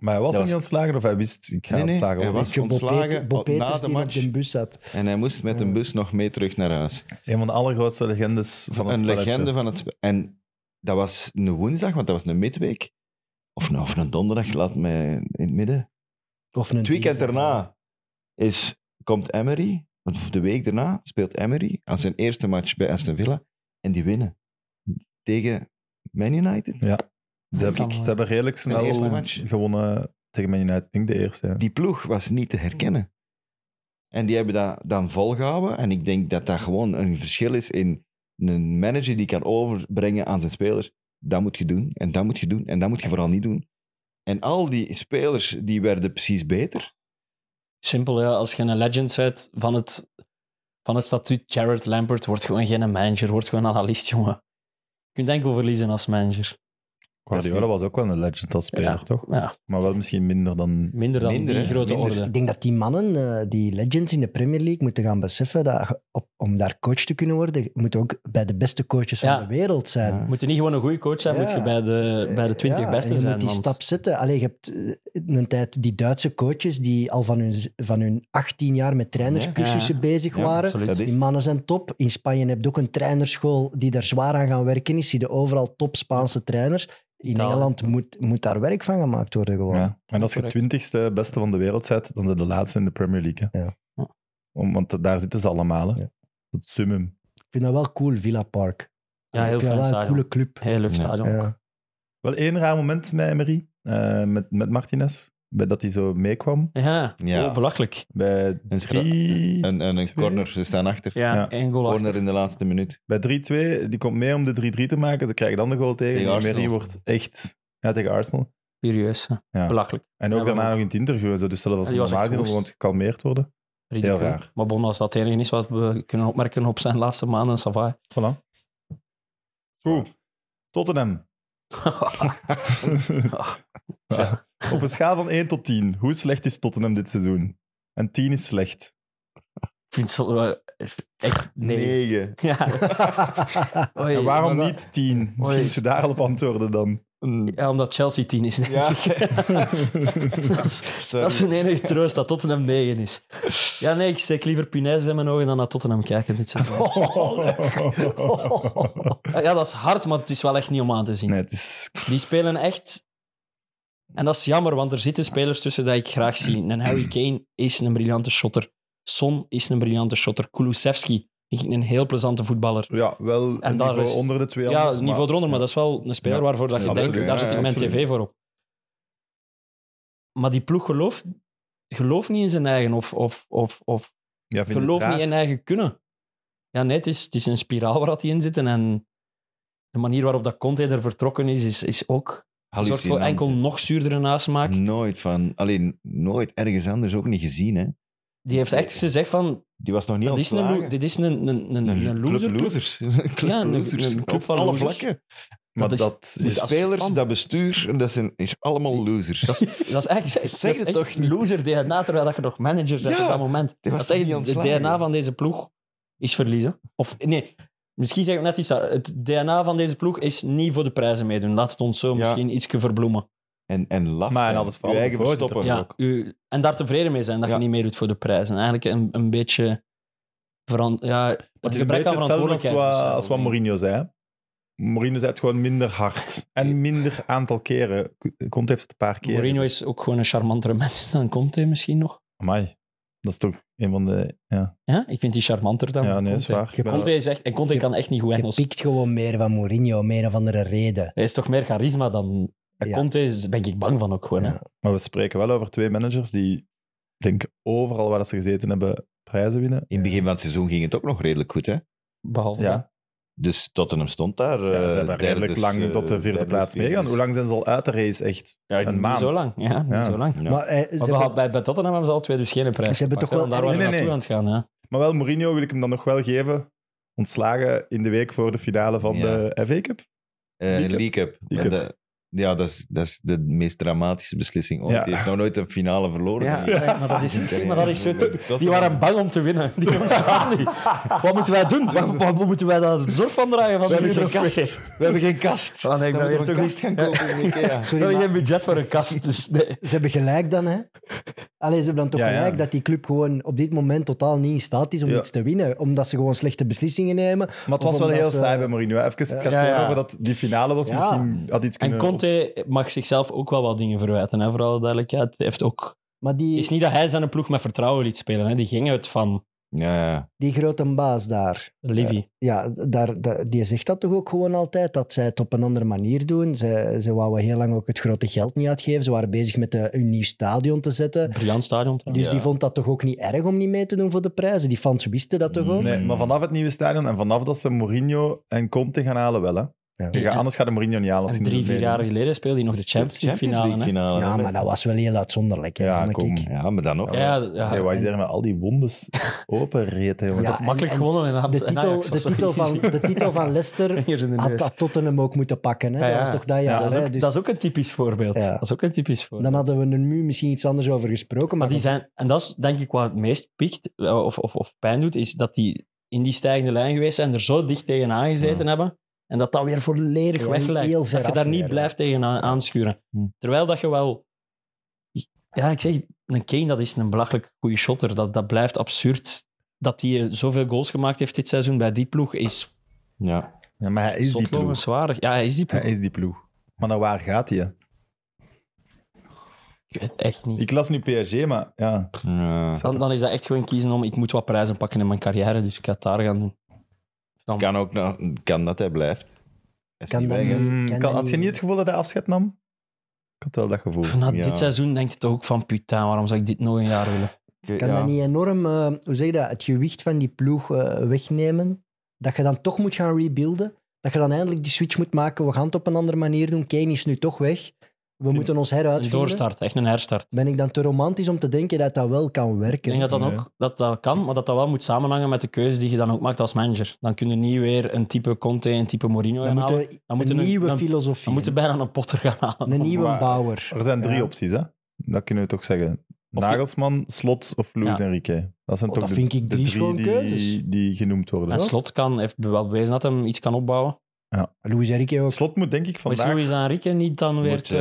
Speaker 1: Maar hij was
Speaker 4: Dat
Speaker 1: er
Speaker 4: was-
Speaker 1: niet ontslagen of hij wist, ik ga
Speaker 4: Nee, nee,
Speaker 1: ontslagen
Speaker 4: hij
Speaker 1: worden.
Speaker 4: was-
Speaker 2: Weet je, Bob
Speaker 4: ontslagen
Speaker 2: Peter- Bob
Speaker 4: op- na
Speaker 2: Peters
Speaker 4: de
Speaker 2: die
Speaker 4: match.
Speaker 2: op de bus zat.
Speaker 4: En hij moest met een bus nog mee terug naar huis.
Speaker 1: Een van de allergrootste legendes van het
Speaker 4: een
Speaker 1: spelletje.
Speaker 4: legende van het spe- En dat was een woensdag, want dat was een midweek. Of, een- of een donderdag, laat mij in het midden.
Speaker 2: Of een
Speaker 4: Het weekend
Speaker 2: dinsdag.
Speaker 4: daarna is, komt Emery, of de week daarna speelt Emery aan zijn eerste match bij Aston Villa. En die winnen tegen Man United.
Speaker 1: Ze hebben, ze hebben redelijk
Speaker 4: Een
Speaker 1: snel
Speaker 4: eerste match.
Speaker 1: gewonnen tegen Man United. Ik denk de eerste. ja.
Speaker 4: die ploeg was niet te herkennen. En die hebben dat dan volgehouden. En ik denk dat dat gewoon een verschil is in een manager die kan overbrengen aan zijn spelers. Dat moet je doen, en dat moet je doen, en dat moet je vooral niet doen. En al die spelers, die werden precies beter.
Speaker 3: Simpel, ja. Als je een legend bent van het, van het statuut Jared Lampert, wordt gewoon geen manager, wordt gewoon analist, jongen. Je kunt enkel verliezen als manager.
Speaker 1: Guardiola was ook wel een legend als speler, toch?
Speaker 3: Ja,
Speaker 1: Maar wel misschien minder dan...
Speaker 3: minder dan
Speaker 4: Minder,
Speaker 3: die
Speaker 4: hè?
Speaker 3: grote
Speaker 4: Minder.
Speaker 3: orde.
Speaker 2: Ik denk dat die mannen, eh, die legends in de Premier League, moeten gaan beseffen dat je op- om daar coach te kunnen worden, je moet ook bij de beste coaches
Speaker 3: Ja.
Speaker 2: van de wereld zijn.
Speaker 4: Ja.
Speaker 3: Moet je niet gewoon een goede coach zijn,
Speaker 2: Ja.
Speaker 3: moet je bij de, Eh, bij de 20
Speaker 2: Ja, en
Speaker 3: beste
Speaker 2: je
Speaker 3: zijn.
Speaker 2: moet die
Speaker 3: want-
Speaker 2: stap zetten. Allee, je hebt eh, een tijd die Duitse coaches die al van hun, van hun 18 jaar met trainerscursussen
Speaker 3: Ja.
Speaker 2: bezig
Speaker 4: Ja,
Speaker 2: waren.
Speaker 3: absoluut.
Speaker 4: Dat is
Speaker 2: Die
Speaker 4: het.
Speaker 2: mannen zijn top. In Spanje heb je ook een trainerschool die daar zwaar aan gaan werken is. Zie je overal top Spaanse trainers. In
Speaker 3: Italië.
Speaker 2: Engeland moet, moet daar werk van gemaakt worden gewoon.
Speaker 1: Ja. En als je
Speaker 3: Correct.
Speaker 1: twintigste beste van de wereld bent, dan zijn de laatste in de Premier League. hè.
Speaker 2: Ja.
Speaker 1: Om- want daar zitten ze allemaal. Hè.
Speaker 2: Ja.
Speaker 1: Het summum.
Speaker 2: Ik vind dat wel cool, Villa Park.
Speaker 3: Ja, heel
Speaker 2: Ik vind dat
Speaker 3: fijn
Speaker 2: wel een
Speaker 3: stadion.
Speaker 2: coole club.
Speaker 3: Heel leuk
Speaker 4: Ja.
Speaker 3: stadion.
Speaker 2: Ja.
Speaker 1: Wel één raar moment met Emery, eh, met, met Martinez, bij dat hij zo meekwam.
Speaker 3: Ja,
Speaker 4: Ja.
Speaker 3: Oh, belachelijk.
Speaker 1: Bij 3-2
Speaker 4: Een stra- En, en een
Speaker 1: Twee.
Speaker 4: corner, ze staan achter.
Speaker 3: Ja,
Speaker 1: Ja.
Speaker 3: één goal achter.
Speaker 4: Corner in de laatste minuut.
Speaker 1: bij 3-2, die komt mee om de 3-3 te maken. Ze krijgen dan de goal tegen.
Speaker 4: Tegen
Speaker 1: en Emery
Speaker 4: Arsenal.
Speaker 1: wordt echt... Ja, tegen Arsenal.
Speaker 3: Serieus, hè.
Speaker 1: Ja.
Speaker 3: belachelijk.
Speaker 1: En ook
Speaker 3: Ja,
Speaker 1: daarna
Speaker 3: waarom?
Speaker 1: nog in het interview. en Zo. Dus zelfs als ze
Speaker 3: Ja, die was
Speaker 1: normaal
Speaker 3: echt
Speaker 1: gezien
Speaker 3: woest.
Speaker 1: gewoon gekalmeerd worden.
Speaker 3: Ridicule.
Speaker 1: Heel raar.
Speaker 3: Maar bon, als dat het enige is wat we kunnen opmerken op zijn laatste maanden, Savai.
Speaker 1: Voilà. Goed. Tottenham. Ja. Op een schaal van 1 tot 10, hoe slecht is Tottenham dit seizoen? En 10 is slecht.
Speaker 3: Ik vind het wel echt nee. <laughs>
Speaker 4: Negen.
Speaker 1: <laughs>
Speaker 3: Ja. Oei,
Speaker 1: en waarom
Speaker 3: maar dat-
Speaker 1: niet 10? Misschien
Speaker 3: Oei.
Speaker 1: moet je daar al op antwoorden
Speaker 3: <laughs>
Speaker 1: dan.
Speaker 3: Ja, omdat Chelsea 10 is, denk
Speaker 4: Ja.
Speaker 3: ik. <laughs> dat, is,
Speaker 4: Sorry.
Speaker 3: dat is hun enige troost, dat Tottenham 9 is. Ja, nee, ik steek liever Punaise in mijn ogen dan naar Tottenham kijken. Dit seizoen.
Speaker 1: <laughs>
Speaker 3: ja, dat is hard, maar het is wel echt niet om aan te zien.
Speaker 1: nee, het is...
Speaker 3: Die spelen echt... En dat is jammer, want er zitten spelers tussen dat ik graag zie. Een Harry Kane is een briljante shotter. Son is een briljante shotter. Kulusevski is een heel plezante voetballer.
Speaker 1: Ja, wel
Speaker 3: En
Speaker 1: een
Speaker 3: daar
Speaker 1: niveau
Speaker 3: is-
Speaker 1: onder de 200.
Speaker 3: Ja, niveau eronder, maar dat is wel een speler
Speaker 1: Ja,
Speaker 3: waarvoor dat je
Speaker 1: absoluut.
Speaker 3: denkt, daar
Speaker 4: Ja,
Speaker 3: zit ik mijn
Speaker 1: absoluut.
Speaker 3: tv voor op. Maar die ploeg gelooft, gelooft niet in zijn eigen of, of, of, of
Speaker 1: Ja, vind je
Speaker 3: gelooft
Speaker 1: het
Speaker 3: niet
Speaker 1: raar?
Speaker 3: in eigen kunnen. Ja, nee, het is, het is een spiraal waar dat die in zitten en de manier waarop dat Conte er vertrokken is, is, is ook zorgt voor
Speaker 4: Hallucinant.
Speaker 3: enkel nog zuurdere nasmaak.
Speaker 4: Nooit van... Alleen, nooit ergens anders ook niet gezien, hè.
Speaker 3: Die heeft echt gezegd van,
Speaker 4: Die was nog niet
Speaker 3: dat is een, lo-
Speaker 4: ontslagen.
Speaker 3: dit is een, een, een,
Speaker 4: Een
Speaker 3: een, loser.
Speaker 4: Club losers. <laughs> Een club
Speaker 3: Ja, een-
Speaker 4: losers.
Speaker 3: een club
Speaker 4: Op
Speaker 3: van
Speaker 4: alle
Speaker 3: losers.
Speaker 4: vlakken.
Speaker 1: Maar
Speaker 3: dat
Speaker 1: dat,
Speaker 3: is-
Speaker 4: De
Speaker 1: is...
Speaker 3: dat is
Speaker 4: spelers,
Speaker 3: spannend.
Speaker 4: dat bestuur, en dat zijn is allemaal losers.
Speaker 3: <laughs> Dat is, dat is echt,
Speaker 4: Zeg
Speaker 3: dat is
Speaker 4: het
Speaker 3: echt
Speaker 4: toch niet.
Speaker 3: loser DNA, terwijl dat je nog manager bent
Speaker 4: Ja,
Speaker 3: op dat moment.
Speaker 4: was
Speaker 3: Dat is echt
Speaker 4: niet
Speaker 3: het
Speaker 4: ontslagen.
Speaker 3: DNA van deze ploeg is verliezen. Of nee, misschien zeg ik net iets. daar. Het DNA van deze ploeg is niet voor de prijzen meedoen. Laat het ons zo misschien iets verbloemen.
Speaker 4: En, en laf.
Speaker 1: Maar en
Speaker 4: zijn.
Speaker 1: altijd
Speaker 4: Uw
Speaker 1: vooral
Speaker 4: eigen
Speaker 1: de voorzitter.
Speaker 4: verstoppen.
Speaker 1: Ja.
Speaker 3: Ja, u, en daar tevreden mee zijn dat
Speaker 4: Ja.
Speaker 3: je niet meedoet voor de prijzen. Eigenlijk een, een beetje verant, ja,
Speaker 1: Het is een
Speaker 3: gebrek
Speaker 1: beetje
Speaker 3: aan
Speaker 1: hetzelfde als wat,
Speaker 3: verantwoordelijkheidsbesef.
Speaker 1: als wat Mourinho zei. hè. Mourinho zei het gewoon minder hard. En minder aantal keren. Komt heeft het een paar keer.
Speaker 3: Mourinho is ook gewoon een charmantere <laughs> mens dan Conte misschien nog.
Speaker 1: Amai. Dat is toch een van de... Ja,
Speaker 3: Ja? Ik vind die charmanter dan
Speaker 1: ja nee,
Speaker 3: Conte.
Speaker 1: is waar. Ik ben-
Speaker 3: Conte is echt, en Conte kan echt niet goed
Speaker 2: Je
Speaker 3: Engels.
Speaker 2: pikt gewoon meer van Mourinho, om een of andere reden.
Speaker 3: Hij is toch meer charisma dan
Speaker 2: Ja.
Speaker 3: Conte, daar ben ik bang van ook gewoon. hè.
Speaker 2: Ja.
Speaker 1: Maar we spreken wel over twee managers die, ik denk overal waar dat ze gezeten hebben, prijzen winnen.
Speaker 4: In het begin van het seizoen ging het ook nog redelijk goed, hè.
Speaker 3: Behalve dat.
Speaker 1: Ja,
Speaker 4: Dus Tottenham stond daar.
Speaker 1: ja,
Speaker 4: eh,
Speaker 1: ze hebben
Speaker 4: derde,
Speaker 1: redelijk lang
Speaker 4: eh,
Speaker 1: tot de vierde
Speaker 4: derde
Speaker 1: plaats
Speaker 4: spelers.
Speaker 1: meegaan. Hoe lang zijn ze al uit de race, echt?
Speaker 3: Ja,
Speaker 1: Een
Speaker 3: niet
Speaker 1: maand.
Speaker 3: zo lang. Ja, niet
Speaker 1: Ja.
Speaker 3: zo lang.
Speaker 4: Ja.
Speaker 2: Maar eh, ze
Speaker 3: Maar
Speaker 2: hebben-
Speaker 3: behalve- bij, bij Tottenham hebben ze al twee dus verschillende prijzen.
Speaker 2: Ze hebben toch
Speaker 3: gepakt, hè,
Speaker 2: wel-
Speaker 3: want daar
Speaker 1: Nee,
Speaker 3: waren we
Speaker 1: nee,
Speaker 3: naartoe aan het gaan.
Speaker 1: Maar wel, Mourinho wil ik hem dan nog wel geven. Ontslagen in de week voor de finale van
Speaker 4: Ja.
Speaker 1: de FA Cup.
Speaker 4: Eh,
Speaker 1: League Cup.
Speaker 4: League Cup.
Speaker 1: League
Speaker 4: En
Speaker 1: Cup.
Speaker 4: de- ja, dat is, dat is de meest dramatische beslissing ooit.
Speaker 1: Ja.
Speaker 4: Die heeft nog nooit een finale verloren.
Speaker 3: Ja,
Speaker 4: Die-
Speaker 3: maar dat is,
Speaker 4: Ja, ja.
Speaker 3: maar dat is zo...
Speaker 4: Tottenham.
Speaker 3: Die waren bang om te winnen. Die ontslaan niet. Wat moeten wij doen? Wat, wat- wat moeten wij daar zorg van dragen? Van die
Speaker 4: We hebben geen
Speaker 3: Europees?
Speaker 4: kast. We hebben geen kast.
Speaker 3: Oh, nee, ik
Speaker 4: Dan
Speaker 3: ben
Speaker 4: moeten
Speaker 3: weer
Speaker 4: we
Speaker 3: toch
Speaker 4: een kast gaan
Speaker 3: niet-
Speaker 4: kopen in Ikea.
Speaker 3: We
Speaker 2: sorry,
Speaker 3: hebben
Speaker 2: maar-
Speaker 3: geen budget voor een kast, dus nee.
Speaker 2: Ze hebben gelijk dan, hè? Allee, ze hebben dan toch
Speaker 1: Ja, ja.
Speaker 2: gelijk dat die club gewoon op dit moment totaal niet in staat is om
Speaker 1: Ja.
Speaker 2: iets te winnen. Omdat ze gewoon slechte beslissingen nemen.
Speaker 1: Maar het was
Speaker 2: Of
Speaker 1: wel
Speaker 2: omdat
Speaker 1: heel
Speaker 2: ze-
Speaker 1: saai bij Mourinho. hè. Even, Het gaat
Speaker 3: Ja,
Speaker 1: gewoon
Speaker 3: ja.
Speaker 1: over dat die finale was.
Speaker 2: Ja.
Speaker 1: Misschien had iets
Speaker 3: En
Speaker 1: kunnen...
Speaker 3: Conte mag zichzelf ook wel wat dingen verwijten, hè, voor alle duidelijkheid. Hij Heeft ook...
Speaker 2: Maar
Speaker 3: Het
Speaker 2: die,
Speaker 3: is niet dat hij zijn ploeg met vertrouwen liet spelen. Hè. Die ging uit van
Speaker 4: Ja, ja.
Speaker 2: die grote baas daar,
Speaker 3: Livy.
Speaker 2: ja, daar, da- die zegt dat toch ook gewoon altijd, dat zij het op een andere manier doen. Ze, ze wouden heel lang ook het grote geld niet uitgeven. Ze waren bezig met eh, een nieuw stadion te zetten.
Speaker 3: Briljant stadion trouwens.
Speaker 2: Dus
Speaker 4: Ja.
Speaker 2: die vond dat toch ook niet erg om niet mee te doen voor de prijzen? Die
Speaker 1: Mm.
Speaker 2: fans wisten dat toch ook?
Speaker 1: Nee, maar vanaf het nieuwe stadion en vanaf dat ze Mourinho en Conte gaan halen wel, hè. Je gaat- anders gaat de Mourinho niet aan. Als
Speaker 3: En
Speaker 1: hij
Speaker 3: drie,
Speaker 1: doet
Speaker 3: vier
Speaker 1: meedoen.
Speaker 3: jaar geleden speelde hij nog de Champions League finale. hè?
Speaker 4: finale.
Speaker 2: Ja,
Speaker 4: hè.
Speaker 2: maar dat was wel heel uitzonderlijk. Hè,
Speaker 1: Ja,
Speaker 2: vond ik.
Speaker 1: kom.
Speaker 4: Ja, maar dan nog.
Speaker 3: Ja, ja, ja.
Speaker 1: Hey, wat is er met al die wondes
Speaker 3: <laughs>
Speaker 1: open reet? hè, jongen?
Speaker 2: Ja,
Speaker 1: Dat-
Speaker 2: en-
Speaker 3: Makkelijk
Speaker 2: en
Speaker 3: gewonnen in Am-
Speaker 2: De
Speaker 3: in
Speaker 2: titel,
Speaker 3: Ajax,
Speaker 2: de
Speaker 3: was dat
Speaker 2: titel, van,
Speaker 3: <laughs> niet?
Speaker 2: de titel van Leicester
Speaker 3: Hier in <laughs> de
Speaker 2: had
Speaker 3: neus.
Speaker 2: dat Tottenham ook moeten pakken. Hè?
Speaker 3: Ja,
Speaker 2: Dat
Speaker 3: ja.
Speaker 2: was toch dat
Speaker 1: Ja,
Speaker 2: jaar.
Speaker 3: dat, is
Speaker 2: hè?
Speaker 3: ook,
Speaker 2: Dus
Speaker 3: dat is ook een typisch voorbeeld.
Speaker 2: Ja.
Speaker 3: Dat is ook een typisch voorbeeld.
Speaker 2: dan hadden we er nu misschien iets anders over gesproken. Maar
Speaker 3: Maar die zijn, en dat is denk ik wat het meest pikt eh, of, of, of pijn doet, is dat die in die stijgende lijn geweest zijn, er zo dicht tegenaan gezeten hebben. En dat dat weer volledig
Speaker 2: Ja,
Speaker 3: weg lijkt.
Speaker 2: heel
Speaker 3: Dat
Speaker 2: ver
Speaker 3: je daar
Speaker 2: afleiden.
Speaker 3: niet blijft tegenaan aanschuren.
Speaker 1: Hm.
Speaker 3: Terwijl dat je wel... Ja, ik zeg, een Kane, dat is een belachelijk goede shotter. Dat, dat blijft absurd. Dat hij eh, zoveel goals gemaakt heeft dit seizoen bij die ploeg, is
Speaker 4: Ja.
Speaker 1: Ja, maar hij is die ploeg.
Speaker 3: zwaar. Ja, hij is die ploeg.
Speaker 1: Hij is die ploeg. Maar naar waar gaat hij? hè?
Speaker 3: Ik weet echt niet. Dus
Speaker 1: Ik las nu PSG, maar ja.
Speaker 4: Ja.
Speaker 3: Dan, dan is dat echt gewoon kiezen om, ik moet wat prijzen pakken in mijn carrière, dus ik ga het daar gaan doen.
Speaker 4: Kan ook nog, kan dat hij blijft. Hij is
Speaker 2: Kan
Speaker 4: niet
Speaker 2: dat
Speaker 4: weg, hè.
Speaker 2: niet.
Speaker 1: Mm,
Speaker 2: ken
Speaker 1: kan-
Speaker 2: dat
Speaker 1: had je
Speaker 2: niet.
Speaker 1: niet het gevoel dat hij afscheid nam? Ik had wel dat gevoel.
Speaker 3: Pff, Na
Speaker 4: Ja.
Speaker 3: dit seizoen denk je toch ook van, putain, waarom zou ik dit nog een jaar willen?
Speaker 4: Ik-
Speaker 2: kan
Speaker 4: ja.
Speaker 2: dat niet enorm eh, hoe zeg je dat, het gewicht van die ploeg eh, wegnemen? Dat je dan toch moet gaan rebuilden? Dat je dan eindelijk die switch moet maken? We gaan het op een andere manier doen. Kane is nu toch weg. We moeten ons
Speaker 3: Een
Speaker 2: heruitvinden.
Speaker 3: doorstart, echt een herstart.
Speaker 2: Ben ik dan te romantisch om te denken dat dat wel kan
Speaker 3: Ik
Speaker 2: werken?
Speaker 3: denk dat dat
Speaker 1: Nee.
Speaker 2: eh,
Speaker 3: ook dat dat kan, maar dat dat wel moet samenhangen met de keuze die je dan ook maakt als manager. Dan kun je niet weer een type Conte, een type Mourinho
Speaker 2: dan
Speaker 3: gaan
Speaker 2: moeten
Speaker 3: halen.
Speaker 2: we
Speaker 3: dan moeten
Speaker 2: een
Speaker 3: een-
Speaker 2: nieuwe
Speaker 3: dan-
Speaker 2: filosofie.
Speaker 3: Dan moet je bijna een potter gaan halen.
Speaker 2: Een nieuwe
Speaker 1: Maar-
Speaker 2: bouwer.
Speaker 1: Er zijn drie
Speaker 2: Ja.
Speaker 1: opties, hè? Dat kunnen we toch zeggen.
Speaker 3: Of-
Speaker 1: Nagelsman, Slot of Luis
Speaker 3: Ja.
Speaker 1: Enrique. Dat zijn
Speaker 2: Oh,
Speaker 1: toch
Speaker 2: dat
Speaker 1: de,
Speaker 2: vind ik
Speaker 1: de
Speaker 2: drie
Speaker 1: drie
Speaker 2: schone
Speaker 1: die,
Speaker 2: keuzes.
Speaker 1: die genoemd worden.
Speaker 3: En Slot kan, heeft wel bewezen dat hem iets kan opbouwen.
Speaker 2: Louis Enrique ook.
Speaker 1: Slot moet denk ik
Speaker 3: Maar is
Speaker 1: vandaag...
Speaker 3: Luis Enrique niet dan weer
Speaker 4: Moet,
Speaker 3: te...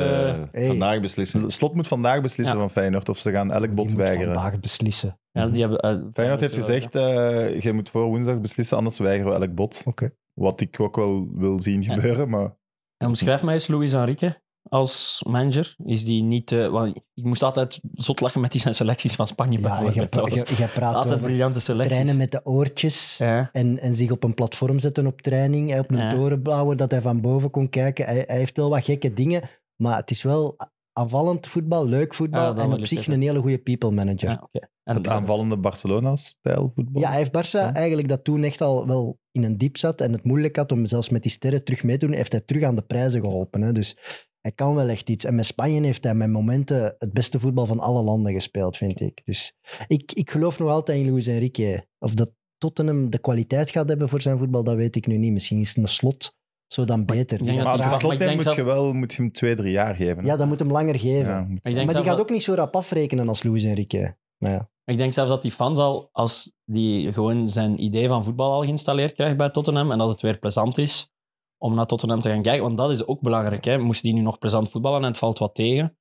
Speaker 4: eh,
Speaker 2: hey.
Speaker 4: vandaag beslissen.
Speaker 1: Slot moet vandaag beslissen
Speaker 3: Ja.
Speaker 1: van Feyenoord of ze gaan elk
Speaker 2: Die
Speaker 1: bot
Speaker 2: moet
Speaker 1: weigeren.
Speaker 2: vandaag beslissen.
Speaker 3: ja, die hebben, eh,
Speaker 1: Feyenoord heeft gezegd, eh je moet voor woensdag beslissen, anders weigeren we elk bot.
Speaker 2: Oké.
Speaker 1: Wat ik ook wel wil zien
Speaker 3: Ja.
Speaker 1: gebeuren, maar...
Speaker 3: En omschrijf mij eens Luis Enrique als manager. Is die niet... eh, want ik moest altijd zot lachen met die zijn selecties van Spanje
Speaker 2: Ja, je,
Speaker 3: bijvoorbeeld. Dat was
Speaker 2: je, je praat
Speaker 3: altijd
Speaker 2: over
Speaker 3: briljante selecties.
Speaker 2: trainen met de oortjes.
Speaker 3: Ja.
Speaker 2: En, en zich op een platform zetten op training, hè, op een
Speaker 3: Ja.
Speaker 2: toren bouwen, dat hij van boven kon kijken. Hij, hij heeft wel wat gekke dingen, maar het is wel aanvallend voetbal, leuk
Speaker 3: Ja,
Speaker 2: voetbal
Speaker 3: dat
Speaker 2: en
Speaker 3: wil
Speaker 2: op
Speaker 3: ik
Speaker 2: zich
Speaker 3: zeggen.
Speaker 2: een hele goede people manager.
Speaker 3: Ja,
Speaker 2: Ja,
Speaker 3: oké. En
Speaker 1: Het
Speaker 3: dat-
Speaker 1: aanvallende Barcelona-stijl voetbal.
Speaker 2: hij heeft Barça
Speaker 1: Ja.
Speaker 2: eigenlijk dat toen echt al wel in een diep zat en het moeilijk had om zelfs met die sterren terug mee te doen, heeft hij terug aan de prijzen geholpen. Hè. Dus hij kan wel echt iets. En met Spanje heeft hij met momenten het beste voetbal van alle landen gespeeld, vind ik. Dus ik, ik geloof nog altijd in Luis Enrique. Of dat Tottenham de kwaliteit gaat hebben voor zijn voetbal, dat weet ik nu niet. Misschien is een slot zo dan beter.
Speaker 3: ik
Speaker 2: Die
Speaker 3: denk
Speaker 1: maar
Speaker 2: gaat
Speaker 1: als je
Speaker 2: daar-
Speaker 3: dat- maar
Speaker 1: Slot
Speaker 3: ik
Speaker 1: neemt,
Speaker 3: denk
Speaker 1: moet,
Speaker 3: zelf-
Speaker 1: je wel, moet je hem twee, drie jaar geven. hè?
Speaker 2: ja, dat moet hem langer geven.
Speaker 1: Ja, moet-
Speaker 3: Ik denk
Speaker 2: maar die
Speaker 3: zelf
Speaker 2: gaat
Speaker 3: dat-
Speaker 2: ook niet zo rap afrekenen als Luis Enrique. Maar ja.
Speaker 3: Ik denk zelfs dat die fans al, als die gewoon zijn idee van voetbal al geïnstalleerd krijgt bij Tottenham en dat het weer plezant is om naar Tottenham te gaan kijken, want dat is ook belangrijk. Hè. Moest die nu nog plezant voetballen en het valt wat tegen.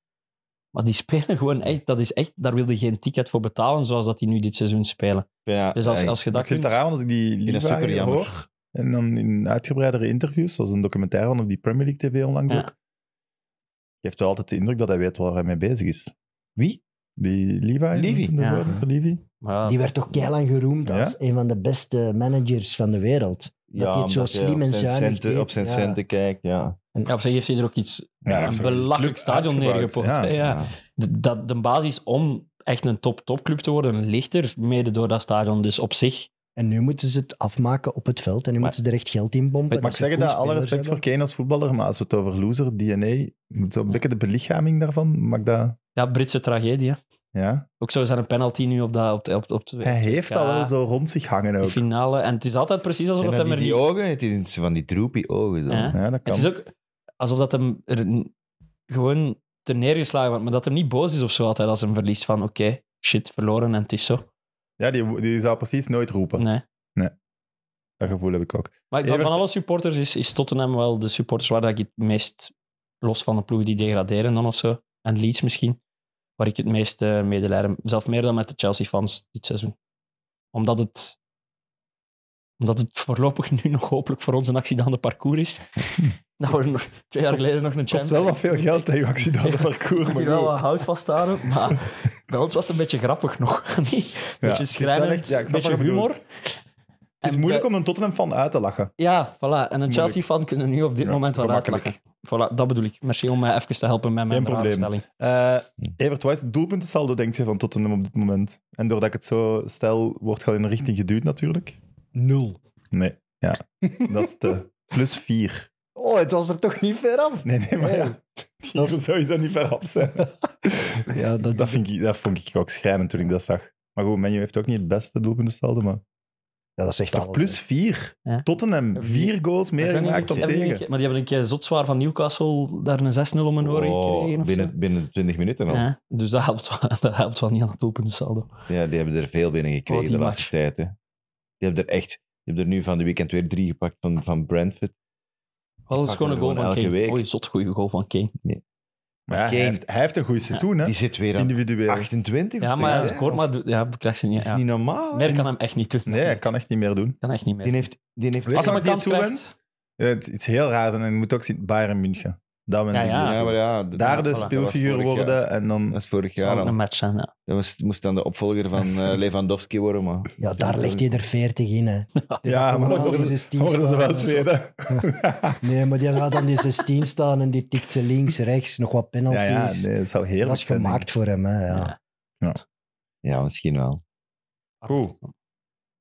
Speaker 3: Maar die spelen gewoon echt, dat is echt, daar wilde geen ticket voor betalen zoals dat die nu dit seizoen spelen.
Speaker 4: Ja, eh,
Speaker 3: Dus als,
Speaker 4: ja,
Speaker 3: als je
Speaker 1: Maar
Speaker 3: dat
Speaker 1: ik vind het
Speaker 3: kunt...
Speaker 1: raar, want als ik die
Speaker 4: vind dat
Speaker 1: Liva
Speaker 4: super jammer.
Speaker 1: hoor, en dan in uitgebreidere interviews, zoals een documentaire van op die Premier League TV onlangs
Speaker 3: Ja.
Speaker 1: ook, geeft wel altijd de indruk dat hij weet waar hij mee bezig is.
Speaker 4: Wie?
Speaker 1: Die Levi?
Speaker 4: Levy.
Speaker 1: noemde
Speaker 3: Ja.
Speaker 1: hem voor, Dr. Levy.
Speaker 3: Maar ja,
Speaker 2: Die werd toch keilang geroemd
Speaker 1: Ja?
Speaker 2: als een van de beste managers van de wereld.
Speaker 4: Ja,
Speaker 2: dat hij het zo
Speaker 4: omdat hij
Speaker 2: slim
Speaker 4: op
Speaker 2: en
Speaker 4: zijn
Speaker 2: zuinig
Speaker 4: centen-
Speaker 2: deed.
Speaker 4: Op zijn
Speaker 2: Ja.
Speaker 4: centen kijkt, ja.
Speaker 3: ja, op zich heeft hij er ook iets,
Speaker 1: Ja, hij heeft
Speaker 3: een
Speaker 1: er een
Speaker 3: belachelijk
Speaker 1: club
Speaker 3: stadion
Speaker 1: uitgebouwd,
Speaker 3: neergepot.
Speaker 1: ja.
Speaker 3: hè, ja. de, dat- de basis om echt een top-topclub te worden ligt er mede door dat stadion. Dus op zich,
Speaker 2: En nu moeten ze het afmaken op het veld en nu
Speaker 3: Maar-
Speaker 2: moeten ze er echt geld in pompen.
Speaker 1: Mag ik zeggen dat alle respect voor Kane als voetballer, maar als we het over loser, DNA, zo'n
Speaker 3: Ja.
Speaker 1: beetje de belichaming daarvan, mag dat...
Speaker 3: ja, Britse tragedie. hè.
Speaker 1: Ja.
Speaker 3: Ook zo is er een penalty nu op, dat, op, de- op, op de-
Speaker 1: Hij heeft al
Speaker 3: Ja.
Speaker 1: wel zo rond zich hangen
Speaker 3: de
Speaker 1: ook.
Speaker 3: finale. En het is altijd precies alsof
Speaker 4: Zijn
Speaker 3: dat
Speaker 4: dat
Speaker 3: hem
Speaker 4: niet
Speaker 3: er
Speaker 4: die
Speaker 3: niet-
Speaker 4: ogen? Het is van die droepie ogen. Zo.
Speaker 3: Ja.
Speaker 1: Ja, dat kan.
Speaker 3: Het is ook alsof dat hem er n- gewoon te neergeslagen wordt. Maar dat hem niet boos is of zo altijd als hem verliest. Van oké, shit, verloren en het is zo.
Speaker 1: Ja, die, die zou precies nooit roepen.
Speaker 3: Nee.
Speaker 1: Dat gevoel heb ik ook.
Speaker 3: Maar van,
Speaker 1: Evert-
Speaker 3: van alle supporters is, is Tottenham wel de supporters waar ik het meest, los van de ploegen die degraderen dan of zo, en Leeds misschien, waar ik het meest eh, medelijden, zelf meer dan met de Chelsea-fans dit seizoen. Omdat het, omdat het voorlopig nu nog hopelijk voor ons een accidente
Speaker 1: <laughs>
Speaker 3: parcours is. Dat we nog, twee jaar geleden nog een
Speaker 1: Het kost wel
Speaker 3: Champions
Speaker 1: wat veel geld, hè, je <laughs> accidenten
Speaker 3: Ja.
Speaker 1: parcours. Maar
Speaker 3: Ik moet hier wel
Speaker 1: goed.
Speaker 3: wat hout vasthouden,
Speaker 1: <laughs>
Speaker 3: maar bij ons was het een beetje grappig nog. <laughs> niet?
Speaker 1: Ja,
Speaker 3: beetje
Speaker 1: het is wel
Speaker 3: schrijnend,
Speaker 1: echt- ja, ik snap
Speaker 3: beetje
Speaker 1: wat je bedoelt.
Speaker 3: humor.
Speaker 1: Het is
Speaker 3: En eh,
Speaker 1: moeilijk om een Tottenham-fan uit te lachen.
Speaker 3: Ja, voilà. En een
Speaker 1: moeilijk.
Speaker 3: Chelsea-fan kunnen nu op dit
Speaker 1: Ja,
Speaker 3: moment wel
Speaker 1: gemakkelijk.
Speaker 3: uitlachen. Voilà, dat bedoel ik. Merci om mij even te helpen met mijn
Speaker 1: Geen probleem.
Speaker 3: raadstelling.
Speaker 1: Eh Evert, wat is het doelpuntensaldo, denk je, van Tottenham op dit moment? En doordat ik het zo stel, wordt het al in een richting geduwd natuurlijk.
Speaker 4: <laughs>
Speaker 2: Nul.
Speaker 1: Nee, ja. Dat is de plus 4.
Speaker 2: Oh, het was er toch niet ver af.
Speaker 1: Nee, nee,
Speaker 4: Oh,
Speaker 1: maar ja. Die
Speaker 2: Dat
Speaker 1: zou sowieso niet ver af
Speaker 4: <laughs>
Speaker 1: zijn.
Speaker 2: Ja, dat,
Speaker 1: dat, vind ik, dat vond ik ook schrijnend toen ik dat zag. Maar goed, Menu heeft ook niet het beste doelpuntensaldo, maar...
Speaker 2: ja, dat is echt eh,
Speaker 1: Daar
Speaker 2: alles,
Speaker 1: plus vier.
Speaker 3: Ja.
Speaker 1: Tottenham, vier goals meer
Speaker 3: Zijn die
Speaker 1: gemaakt
Speaker 3: een
Speaker 1: dan
Speaker 3: keer- hebben die een
Speaker 1: tegen.
Speaker 3: keer- Maar die hebben een keer zotzwaar van Newcastle daar een 6-0 om hun oren gekregen.
Speaker 4: Oh,
Speaker 3: of zo.
Speaker 4: binnen, binnen 20 minuten al. Ja.
Speaker 3: Ja, dus dat helpt, wel- <laughs> dat helpt wel niet aan het doelpunt saldo.
Speaker 4: die hebben er veel binnen gekregen
Speaker 3: Oh, die
Speaker 4: de laatste tijd. Hè. Die hebben er echt... Die hebben er nu van de weekend weer drie gepakt van, van Brentford.
Speaker 3: Wel, dat is
Speaker 4: pakken
Speaker 3: gewoon een
Speaker 4: er
Speaker 3: goal
Speaker 4: gewoon
Speaker 3: van Kane.
Speaker 4: elke week.
Speaker 3: Oei, zot goede goal van Kane.
Speaker 1: Maar ja, hij,
Speaker 4: Kane-
Speaker 1: heeft, hij heeft een goed seizoen, hè?
Speaker 4: Die zit weer aan
Speaker 1: Individueel.
Speaker 4: 28 of
Speaker 3: Ja,
Speaker 4: zo,
Speaker 3: maar hij
Speaker 4: hè?
Speaker 3: scoort, maar ja, krijgt ze niet.
Speaker 4: Dat is
Speaker 3: Ja.
Speaker 4: niet normaal. hè.
Speaker 3: Meer kan hem echt niet doen.
Speaker 1: Nee, hij kan echt niet meer doen.
Speaker 3: Kan echt niet
Speaker 4: Die
Speaker 3: meer.
Speaker 4: heeft... Die heeft
Speaker 1: Weet
Speaker 3: Als
Speaker 1: je
Speaker 3: hij
Speaker 1: wat
Speaker 3: een
Speaker 1: die
Speaker 3: kans
Speaker 1: toewent?
Speaker 3: krijgt...
Speaker 1: Ja, het het is heel raar en je moet ook zien, Bayern München. Dat wens
Speaker 3: Ja,
Speaker 1: ik
Speaker 3: ja.
Speaker 1: niet.
Speaker 4: ja, maar ja, d-
Speaker 1: Daar de
Speaker 4: voilà.
Speaker 1: speelfiguur
Speaker 4: Dat was vorig
Speaker 1: worden
Speaker 4: jaar.
Speaker 1: en dan...
Speaker 4: Dat was vorig
Speaker 3: zou
Speaker 4: jaar
Speaker 3: ook
Speaker 4: al.
Speaker 3: een match zijn, ja.
Speaker 4: Dat was, moest dan de opvolger van eh,
Speaker 3: <laughs>
Speaker 4: Lewandowski worden, maar...
Speaker 2: Ja, daar legt hij er 40 in. Hè.
Speaker 1: Ja,
Speaker 2: maar
Speaker 1: maar
Speaker 2: dan
Speaker 1: worden,
Speaker 2: is het team
Speaker 1: <laughs> worden ze
Speaker 2: staan.
Speaker 1: wel
Speaker 4: <laughs>
Speaker 1: tweede.
Speaker 2: Nee, maar die gaat dan die 16 staan en die tikt ze links, rechts, nog wat
Speaker 1: Ja,
Speaker 2: penalties.
Speaker 1: ja, nee, het zou heerlijk
Speaker 2: dat is
Speaker 1: zijn, denk ik.
Speaker 2: gemaakt voor hem. Hè, ja.
Speaker 4: Ja, misschien wel.
Speaker 1: Goed.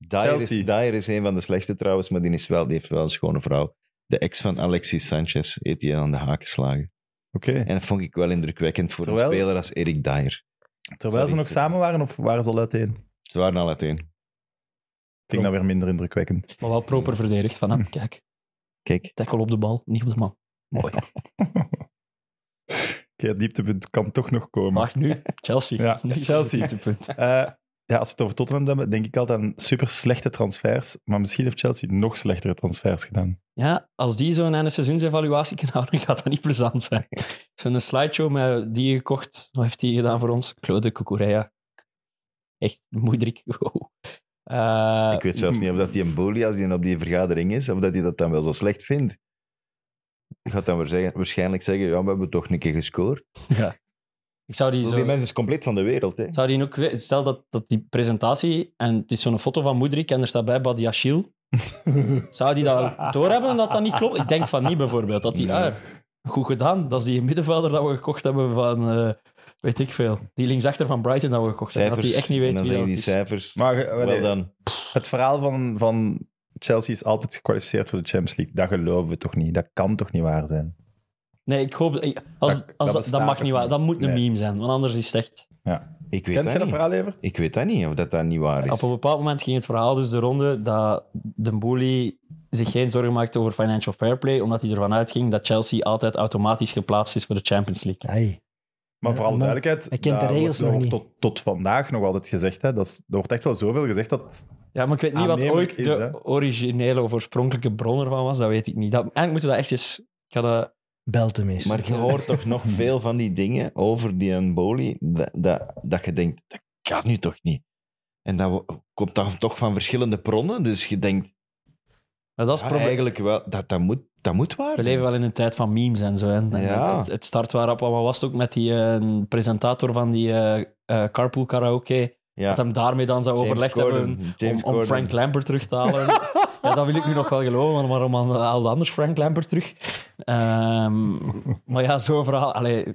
Speaker 4: Dyer is,
Speaker 1: Chelsea.
Speaker 4: Dyer is een van de slechtste trouwens, maar die, is wel, die heeft wel een schone vrouw. De ex van Alexis Sanchez heeft die aan de haak geslagen.
Speaker 1: Oké.
Speaker 4: En dat vond ik wel indrukwekkend voor
Speaker 1: Terwijl-
Speaker 4: een speler als Erik Dyer.
Speaker 1: Terwijl ze nog samen waren of waren ze al uiteen?
Speaker 4: Ze waren al uiteen.
Speaker 1: Vind ik dat weer minder indrukwekkend.
Speaker 3: Maar wel proper verdedigd van hem. Kijk,
Speaker 4: Kijk,
Speaker 3: tackle op de bal, niet op de man. Mooi.
Speaker 1: Oké, het dieptepunt kan toch nog komen.
Speaker 3: Maar nu, <laughs> Chelsea.
Speaker 1: Ja,
Speaker 3: Nu
Speaker 1: Chelsea.
Speaker 3: het dieptepunt.
Speaker 1: Eh, ja, als we het over Tottenham hebben, denk ik altijd aan super slechte transfers. Maar misschien heeft Chelsea nog slechtere transfers gedaan.
Speaker 3: Ja, als die zo'n einde seizoensevaluatie kan houden, <laughs> gaat dat niet plezant zijn. Zo'n slideshow met die gekocht, wat heeft die gedaan voor ons? Claude Kukureya. Echt moederik. <laughs> Wow. Eh,
Speaker 4: ik weet zelfs niet of dat die een bolie als die op die vergadering is, of dat hij dat dan wel zo slecht vindt. Ik ga dan weer zeggen, waarschijnlijk zeggen, ja, we hebben toch een keer gescoord.
Speaker 3: ik zou die
Speaker 4: Die,
Speaker 3: zo...
Speaker 4: mensen is compleet van de wereld,
Speaker 1: Hm.
Speaker 4: hè.
Speaker 3: Zou die ook, we- stel dat, dat die presentatie, en het is zo'n foto van Moedrik en er staat bij Badi
Speaker 1: <laughs>
Speaker 3: Achil. zou die dat doorhebben dat dat niet klopt? Ik denk van niet bijvoorbeeld. Dat die, ah, goed gedaan, dat is die middenvelder dat we gekocht hebben van, eh, weet ik veel, die linksachter van Brighton dat we gekocht hebben. Dat die echt niet
Speaker 4: en
Speaker 3: weet
Speaker 4: dan
Speaker 3: wie
Speaker 4: zeggen
Speaker 3: dat
Speaker 4: die
Speaker 3: is.
Speaker 4: cijfers.
Speaker 1: Maar eh,
Speaker 4: wel
Speaker 1: nee,
Speaker 4: dan.
Speaker 1: het verhaal van, van Chelsea is altijd gekwalificeerd voor de Champions League. Dat geloven we toch niet? Dat kan toch niet waar zijn?
Speaker 3: Nee, ik hoop... ik- Als, als,
Speaker 1: Dat- dat
Speaker 3: dat, dat,
Speaker 1: bestaat
Speaker 3: mag
Speaker 1: toch
Speaker 3: niet waar.
Speaker 1: niet?
Speaker 3: Dat moet een
Speaker 1: Nee.
Speaker 3: meme zijn, want anders is het echt...
Speaker 4: Ik
Speaker 1: Kent
Speaker 4: weet dat
Speaker 1: jij dat
Speaker 4: niet.
Speaker 1: verhaal, Evert?
Speaker 4: Ik weet dat niet, of dat dat niet waar is.
Speaker 3: Op een bepaald moment ging het verhaal dus de ronde dat de Boelie zich geen zorgen maakte over financial fair play, omdat hij ervan uitging dat Chelsea altijd automatisch geplaatst is voor de Champions League.
Speaker 2: Ai.
Speaker 1: Maar
Speaker 2: Ja,
Speaker 1: vooral
Speaker 2: maar
Speaker 1: duidelijkheid,
Speaker 2: hij kent de
Speaker 1: dat
Speaker 2: regels
Speaker 1: wordt- dat
Speaker 2: nog
Speaker 1: wordt tot, tot vandaag nog altijd gezegd. Hè. Dat is, er wordt echt wel zoveel gezegd dat
Speaker 3: Ja, maar ik weet niet wat
Speaker 1: Aannemelijk
Speaker 3: ooit
Speaker 1: is,
Speaker 3: de
Speaker 1: hè?
Speaker 3: originele of oorspronkelijke bron ervan was, dat weet ik niet. Dat, eigenlijk moeten we dat echt eens... Ik ga dat-
Speaker 2: Belt hem eens.
Speaker 4: Maar je hoort toch
Speaker 3: <laughs>
Speaker 4: nog veel van die dingen over die emboli, dat, dat, dat je denkt, dat kan nu toch niet? En dat wo- komt dan toch van verschillende bronnen, dus je denkt,
Speaker 3: dat is
Speaker 4: ja,
Speaker 3: het probleem.
Speaker 4: eigenlijk wel, dat, dat, moet, dat moet waar
Speaker 3: We
Speaker 4: zijn.
Speaker 3: leven wel in een tijd van memes en zo. Hè. Dan
Speaker 4: Ja.
Speaker 3: Het, het start waarop allemaal was het ook met die eh, presentator van die eh, eh, carpool karaoke,
Speaker 4: Ja,
Speaker 3: dat hem daarmee dan zou
Speaker 4: James
Speaker 3: overlegd
Speaker 4: Corden,
Speaker 3: hebben
Speaker 4: James
Speaker 3: om, om
Speaker 4: Corden.
Speaker 3: Frank Lampert terug te halen. ja, dat wil ik nu nog wel geloven, maar waarom haalde anders Frank Lampert terug? Ehm, maar ja, zo'n verhaal. Allee,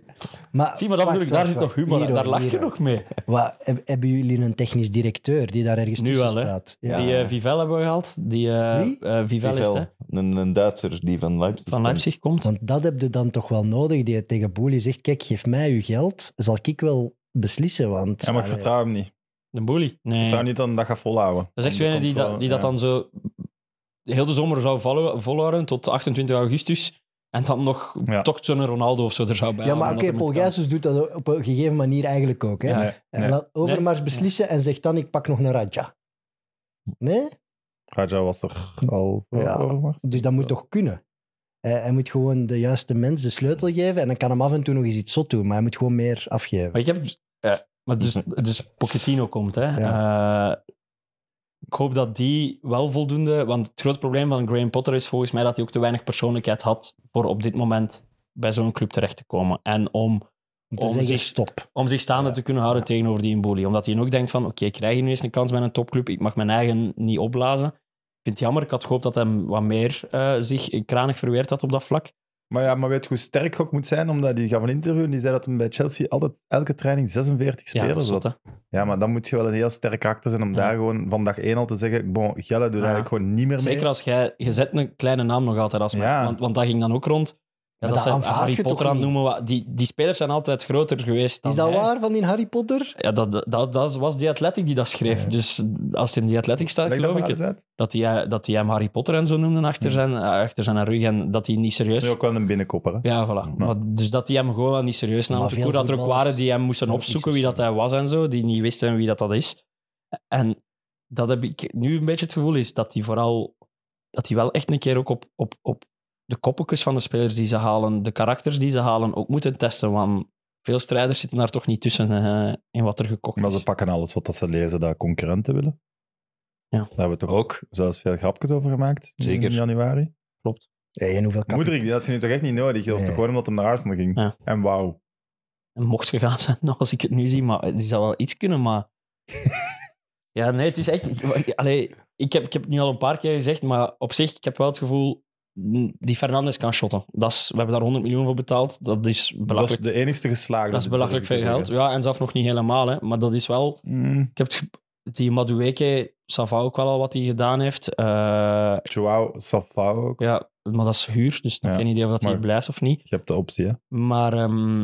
Speaker 2: maar,
Speaker 3: zie maar, dat bedoel ik, daar zit nog humor. in, daar lacht je nog mee.
Speaker 2: Wat, heb- hebben jullie een technisch directeur die daar ergens
Speaker 3: Nu
Speaker 2: tussen
Speaker 3: wel, hè?
Speaker 2: staat? Ja.
Speaker 3: Die eh, Vivel hebben we gehaald. Die eh,
Speaker 2: Wie?
Speaker 3: eh, Vivel is,
Speaker 4: Vel,
Speaker 3: hè,
Speaker 4: een, een Duitser die van Leipzig
Speaker 3: van
Speaker 4: komt.
Speaker 3: Leipzig komt.
Speaker 2: Want dat heb je dan toch wel nodig, die tegen Boelie zegt, kijk, geef mij uw geld, zal ik wel beslissen, want...
Speaker 1: Ja, maar ik
Speaker 2: Allee,
Speaker 1: vertrouw hem niet. Ik
Speaker 3: De boelie. Nee.
Speaker 1: vertrouw niet dat hij dat gaat volhouden.
Speaker 3: Dat is echt
Speaker 1: Om de
Speaker 3: zo'n die, dat,
Speaker 1: controle-
Speaker 3: die dat
Speaker 1: ja.
Speaker 3: dan zo heel de zomer zou vallen- volhouden tot 28 augustus. En dan nog
Speaker 1: Ja.
Speaker 3: toch zo'n Ronaldo of zo er zou bij.
Speaker 2: Ja, maar
Speaker 3: halen,
Speaker 2: oké,
Speaker 3: omdat
Speaker 2: Paul
Speaker 3: hem het
Speaker 2: Gijsens doet dat op een gegeven manier eigenlijk ook. Hè?
Speaker 3: Ja.
Speaker 1: Nee,
Speaker 2: Hij
Speaker 1: nee.
Speaker 2: laat Overmars beslissen en zegt dan, ik pak nog een Radja. Nee?
Speaker 1: Raja was er al voor
Speaker 2: Ja.
Speaker 1: Overmars.
Speaker 2: Dus dat moet toch kunnen? Hij, hij moet gewoon de juiste mens de sleutel geven en dan kan hem af en toe nog eens iets zot doen, maar hij moet gewoon meer afgeven.
Speaker 3: kan. Maar ik heb... Ja, maar dus, dus Pochettino komt, hè. Eh, ik hoop dat die wel voldoende... Want het groot probleem van Graham Potter is volgens mij dat hij ook te weinig persoonlijkheid had voor op dit moment bij zo'n club terecht te komen. En om
Speaker 2: Om te
Speaker 3: om
Speaker 2: zeggen,
Speaker 3: zich-
Speaker 2: stop.
Speaker 3: om zich staande te kunnen houden tegenover die Mboli. Omdat hij ook denkt van, oké, ik krijg hier nu eens een kans bij een topclub. Ik mag mijn eigen niet opblazen. Ik vind het jammer. Ik eh, had gehoopt dat hij wat meer eh, zich kranig verweerd had op dat vlak.
Speaker 1: Maar ja, maar weet je hoe sterk Gok moet zijn? Omdat die gaf een interview en die zei dat hem bij Chelsea altijd elke training 46
Speaker 3: Ja, dat
Speaker 1: spelers
Speaker 3: is zot,
Speaker 1: had. Ja, maar dan moet je wel een heel sterk karakter zijn om
Speaker 3: Ja.
Speaker 1: daar gewoon van dag één al te zeggen, bon, Gelle doet
Speaker 3: Ja.
Speaker 1: eigenlijk gewoon niet meer
Speaker 3: Zeker
Speaker 1: mee.
Speaker 3: als jij... Je zet een kleine naam nog altijd als mij.
Speaker 1: Ja.
Speaker 3: Want, want dat ging dan ook rond. Ja,
Speaker 2: Maar
Speaker 3: dat
Speaker 2: dat
Speaker 3: ze
Speaker 2: aanvaard
Speaker 3: Harry
Speaker 2: je
Speaker 3: Potter
Speaker 2: toch
Speaker 3: aan het noemen. wa- Die, die spelers zijn altijd groter geweest dan
Speaker 2: Is dat
Speaker 3: hij.
Speaker 2: waar van in Harry Potter?
Speaker 3: Ja, dat, dat, dat was die Athletic die dat schreef.
Speaker 2: Ja.
Speaker 3: Dus als het in die Athletic staat,
Speaker 1: Leg dat
Speaker 3: geloof
Speaker 1: maar
Speaker 3: ik het.
Speaker 1: eens uit.
Speaker 3: Dat hij, dat hij hem Harry Potter en zo noemde achter zijn, achter zijn rug. En dat hij niet serieus...
Speaker 1: Nu ook wel een binnenkopper. hè.
Speaker 3: Ja, voilà. Maar dus dat die hem gewoon wel niet serieus nam.
Speaker 2: Maar
Speaker 3: Want ik
Speaker 2: veel
Speaker 3: hoorde dat er ook
Speaker 2: voetballers
Speaker 3: waren die hem moesten
Speaker 2: zijn ook niet
Speaker 3: opzoeken wie dat hij was en zo, die niet wisten wie dat, dat is. En dat heb ik nu een beetje het gevoel is dat hij vooral, dat hij wel echt een keer ook op, op, op de koppeltjes van de spelers die ze halen, de karakters die ze halen, ook moeten testen. Want veel strijders zitten daar toch niet tussen eh, in wat er gekocht
Speaker 1: Maar
Speaker 3: is.
Speaker 1: ze pakken alles wat dat ze lezen dat concurrenten willen.
Speaker 3: Ja.
Speaker 1: Daar hebben we toch ook zelfs veel grapjes over gemaakt
Speaker 4: Zeker.
Speaker 1: in januari.
Speaker 2: Hey, en hoeveel kapitaal?
Speaker 1: Moederik, die had ze nu toch echt niet nodig. Dat was
Speaker 2: Nee.
Speaker 1: toch gewoon omdat hem naar Arsenal ging.
Speaker 3: Ja.
Speaker 1: En wauw.
Speaker 3: En mocht gegaan zijn, <laughs> nou, als ik het nu zie, maar die zou wel iets kunnen, maar... <laughs> ja, nee, het is echt... ik- Allee, ik, heb, ik heb het nu al een paar keer gezegd, maar op zich, ik heb wel het gevoel... mm, Die Fernandes kan shotten. Dat is, we hebben daar 100 miljoen voor betaald. Dat is
Speaker 1: Dat is
Speaker 3: belachelijk, dat
Speaker 1: de enigste geslaagde.
Speaker 3: is, belachelijk veel
Speaker 1: durf ik te
Speaker 3: geld.
Speaker 1: zeggen.
Speaker 3: Ja, en zelf nog niet helemaal, hè. Maar dat is wel...
Speaker 1: Mm,
Speaker 3: Ik heb het ge- die Madueke, Sava ook wel al wat hij gedaan heeft. Eh,
Speaker 1: Joao Safao ook.
Speaker 3: ja, maar dat is huur, dus nog
Speaker 1: Ja,
Speaker 3: geen idee of dat hij
Speaker 1: maar-
Speaker 3: blijft of niet.
Speaker 1: Je hebt de optie, hè.
Speaker 3: Maar ehm,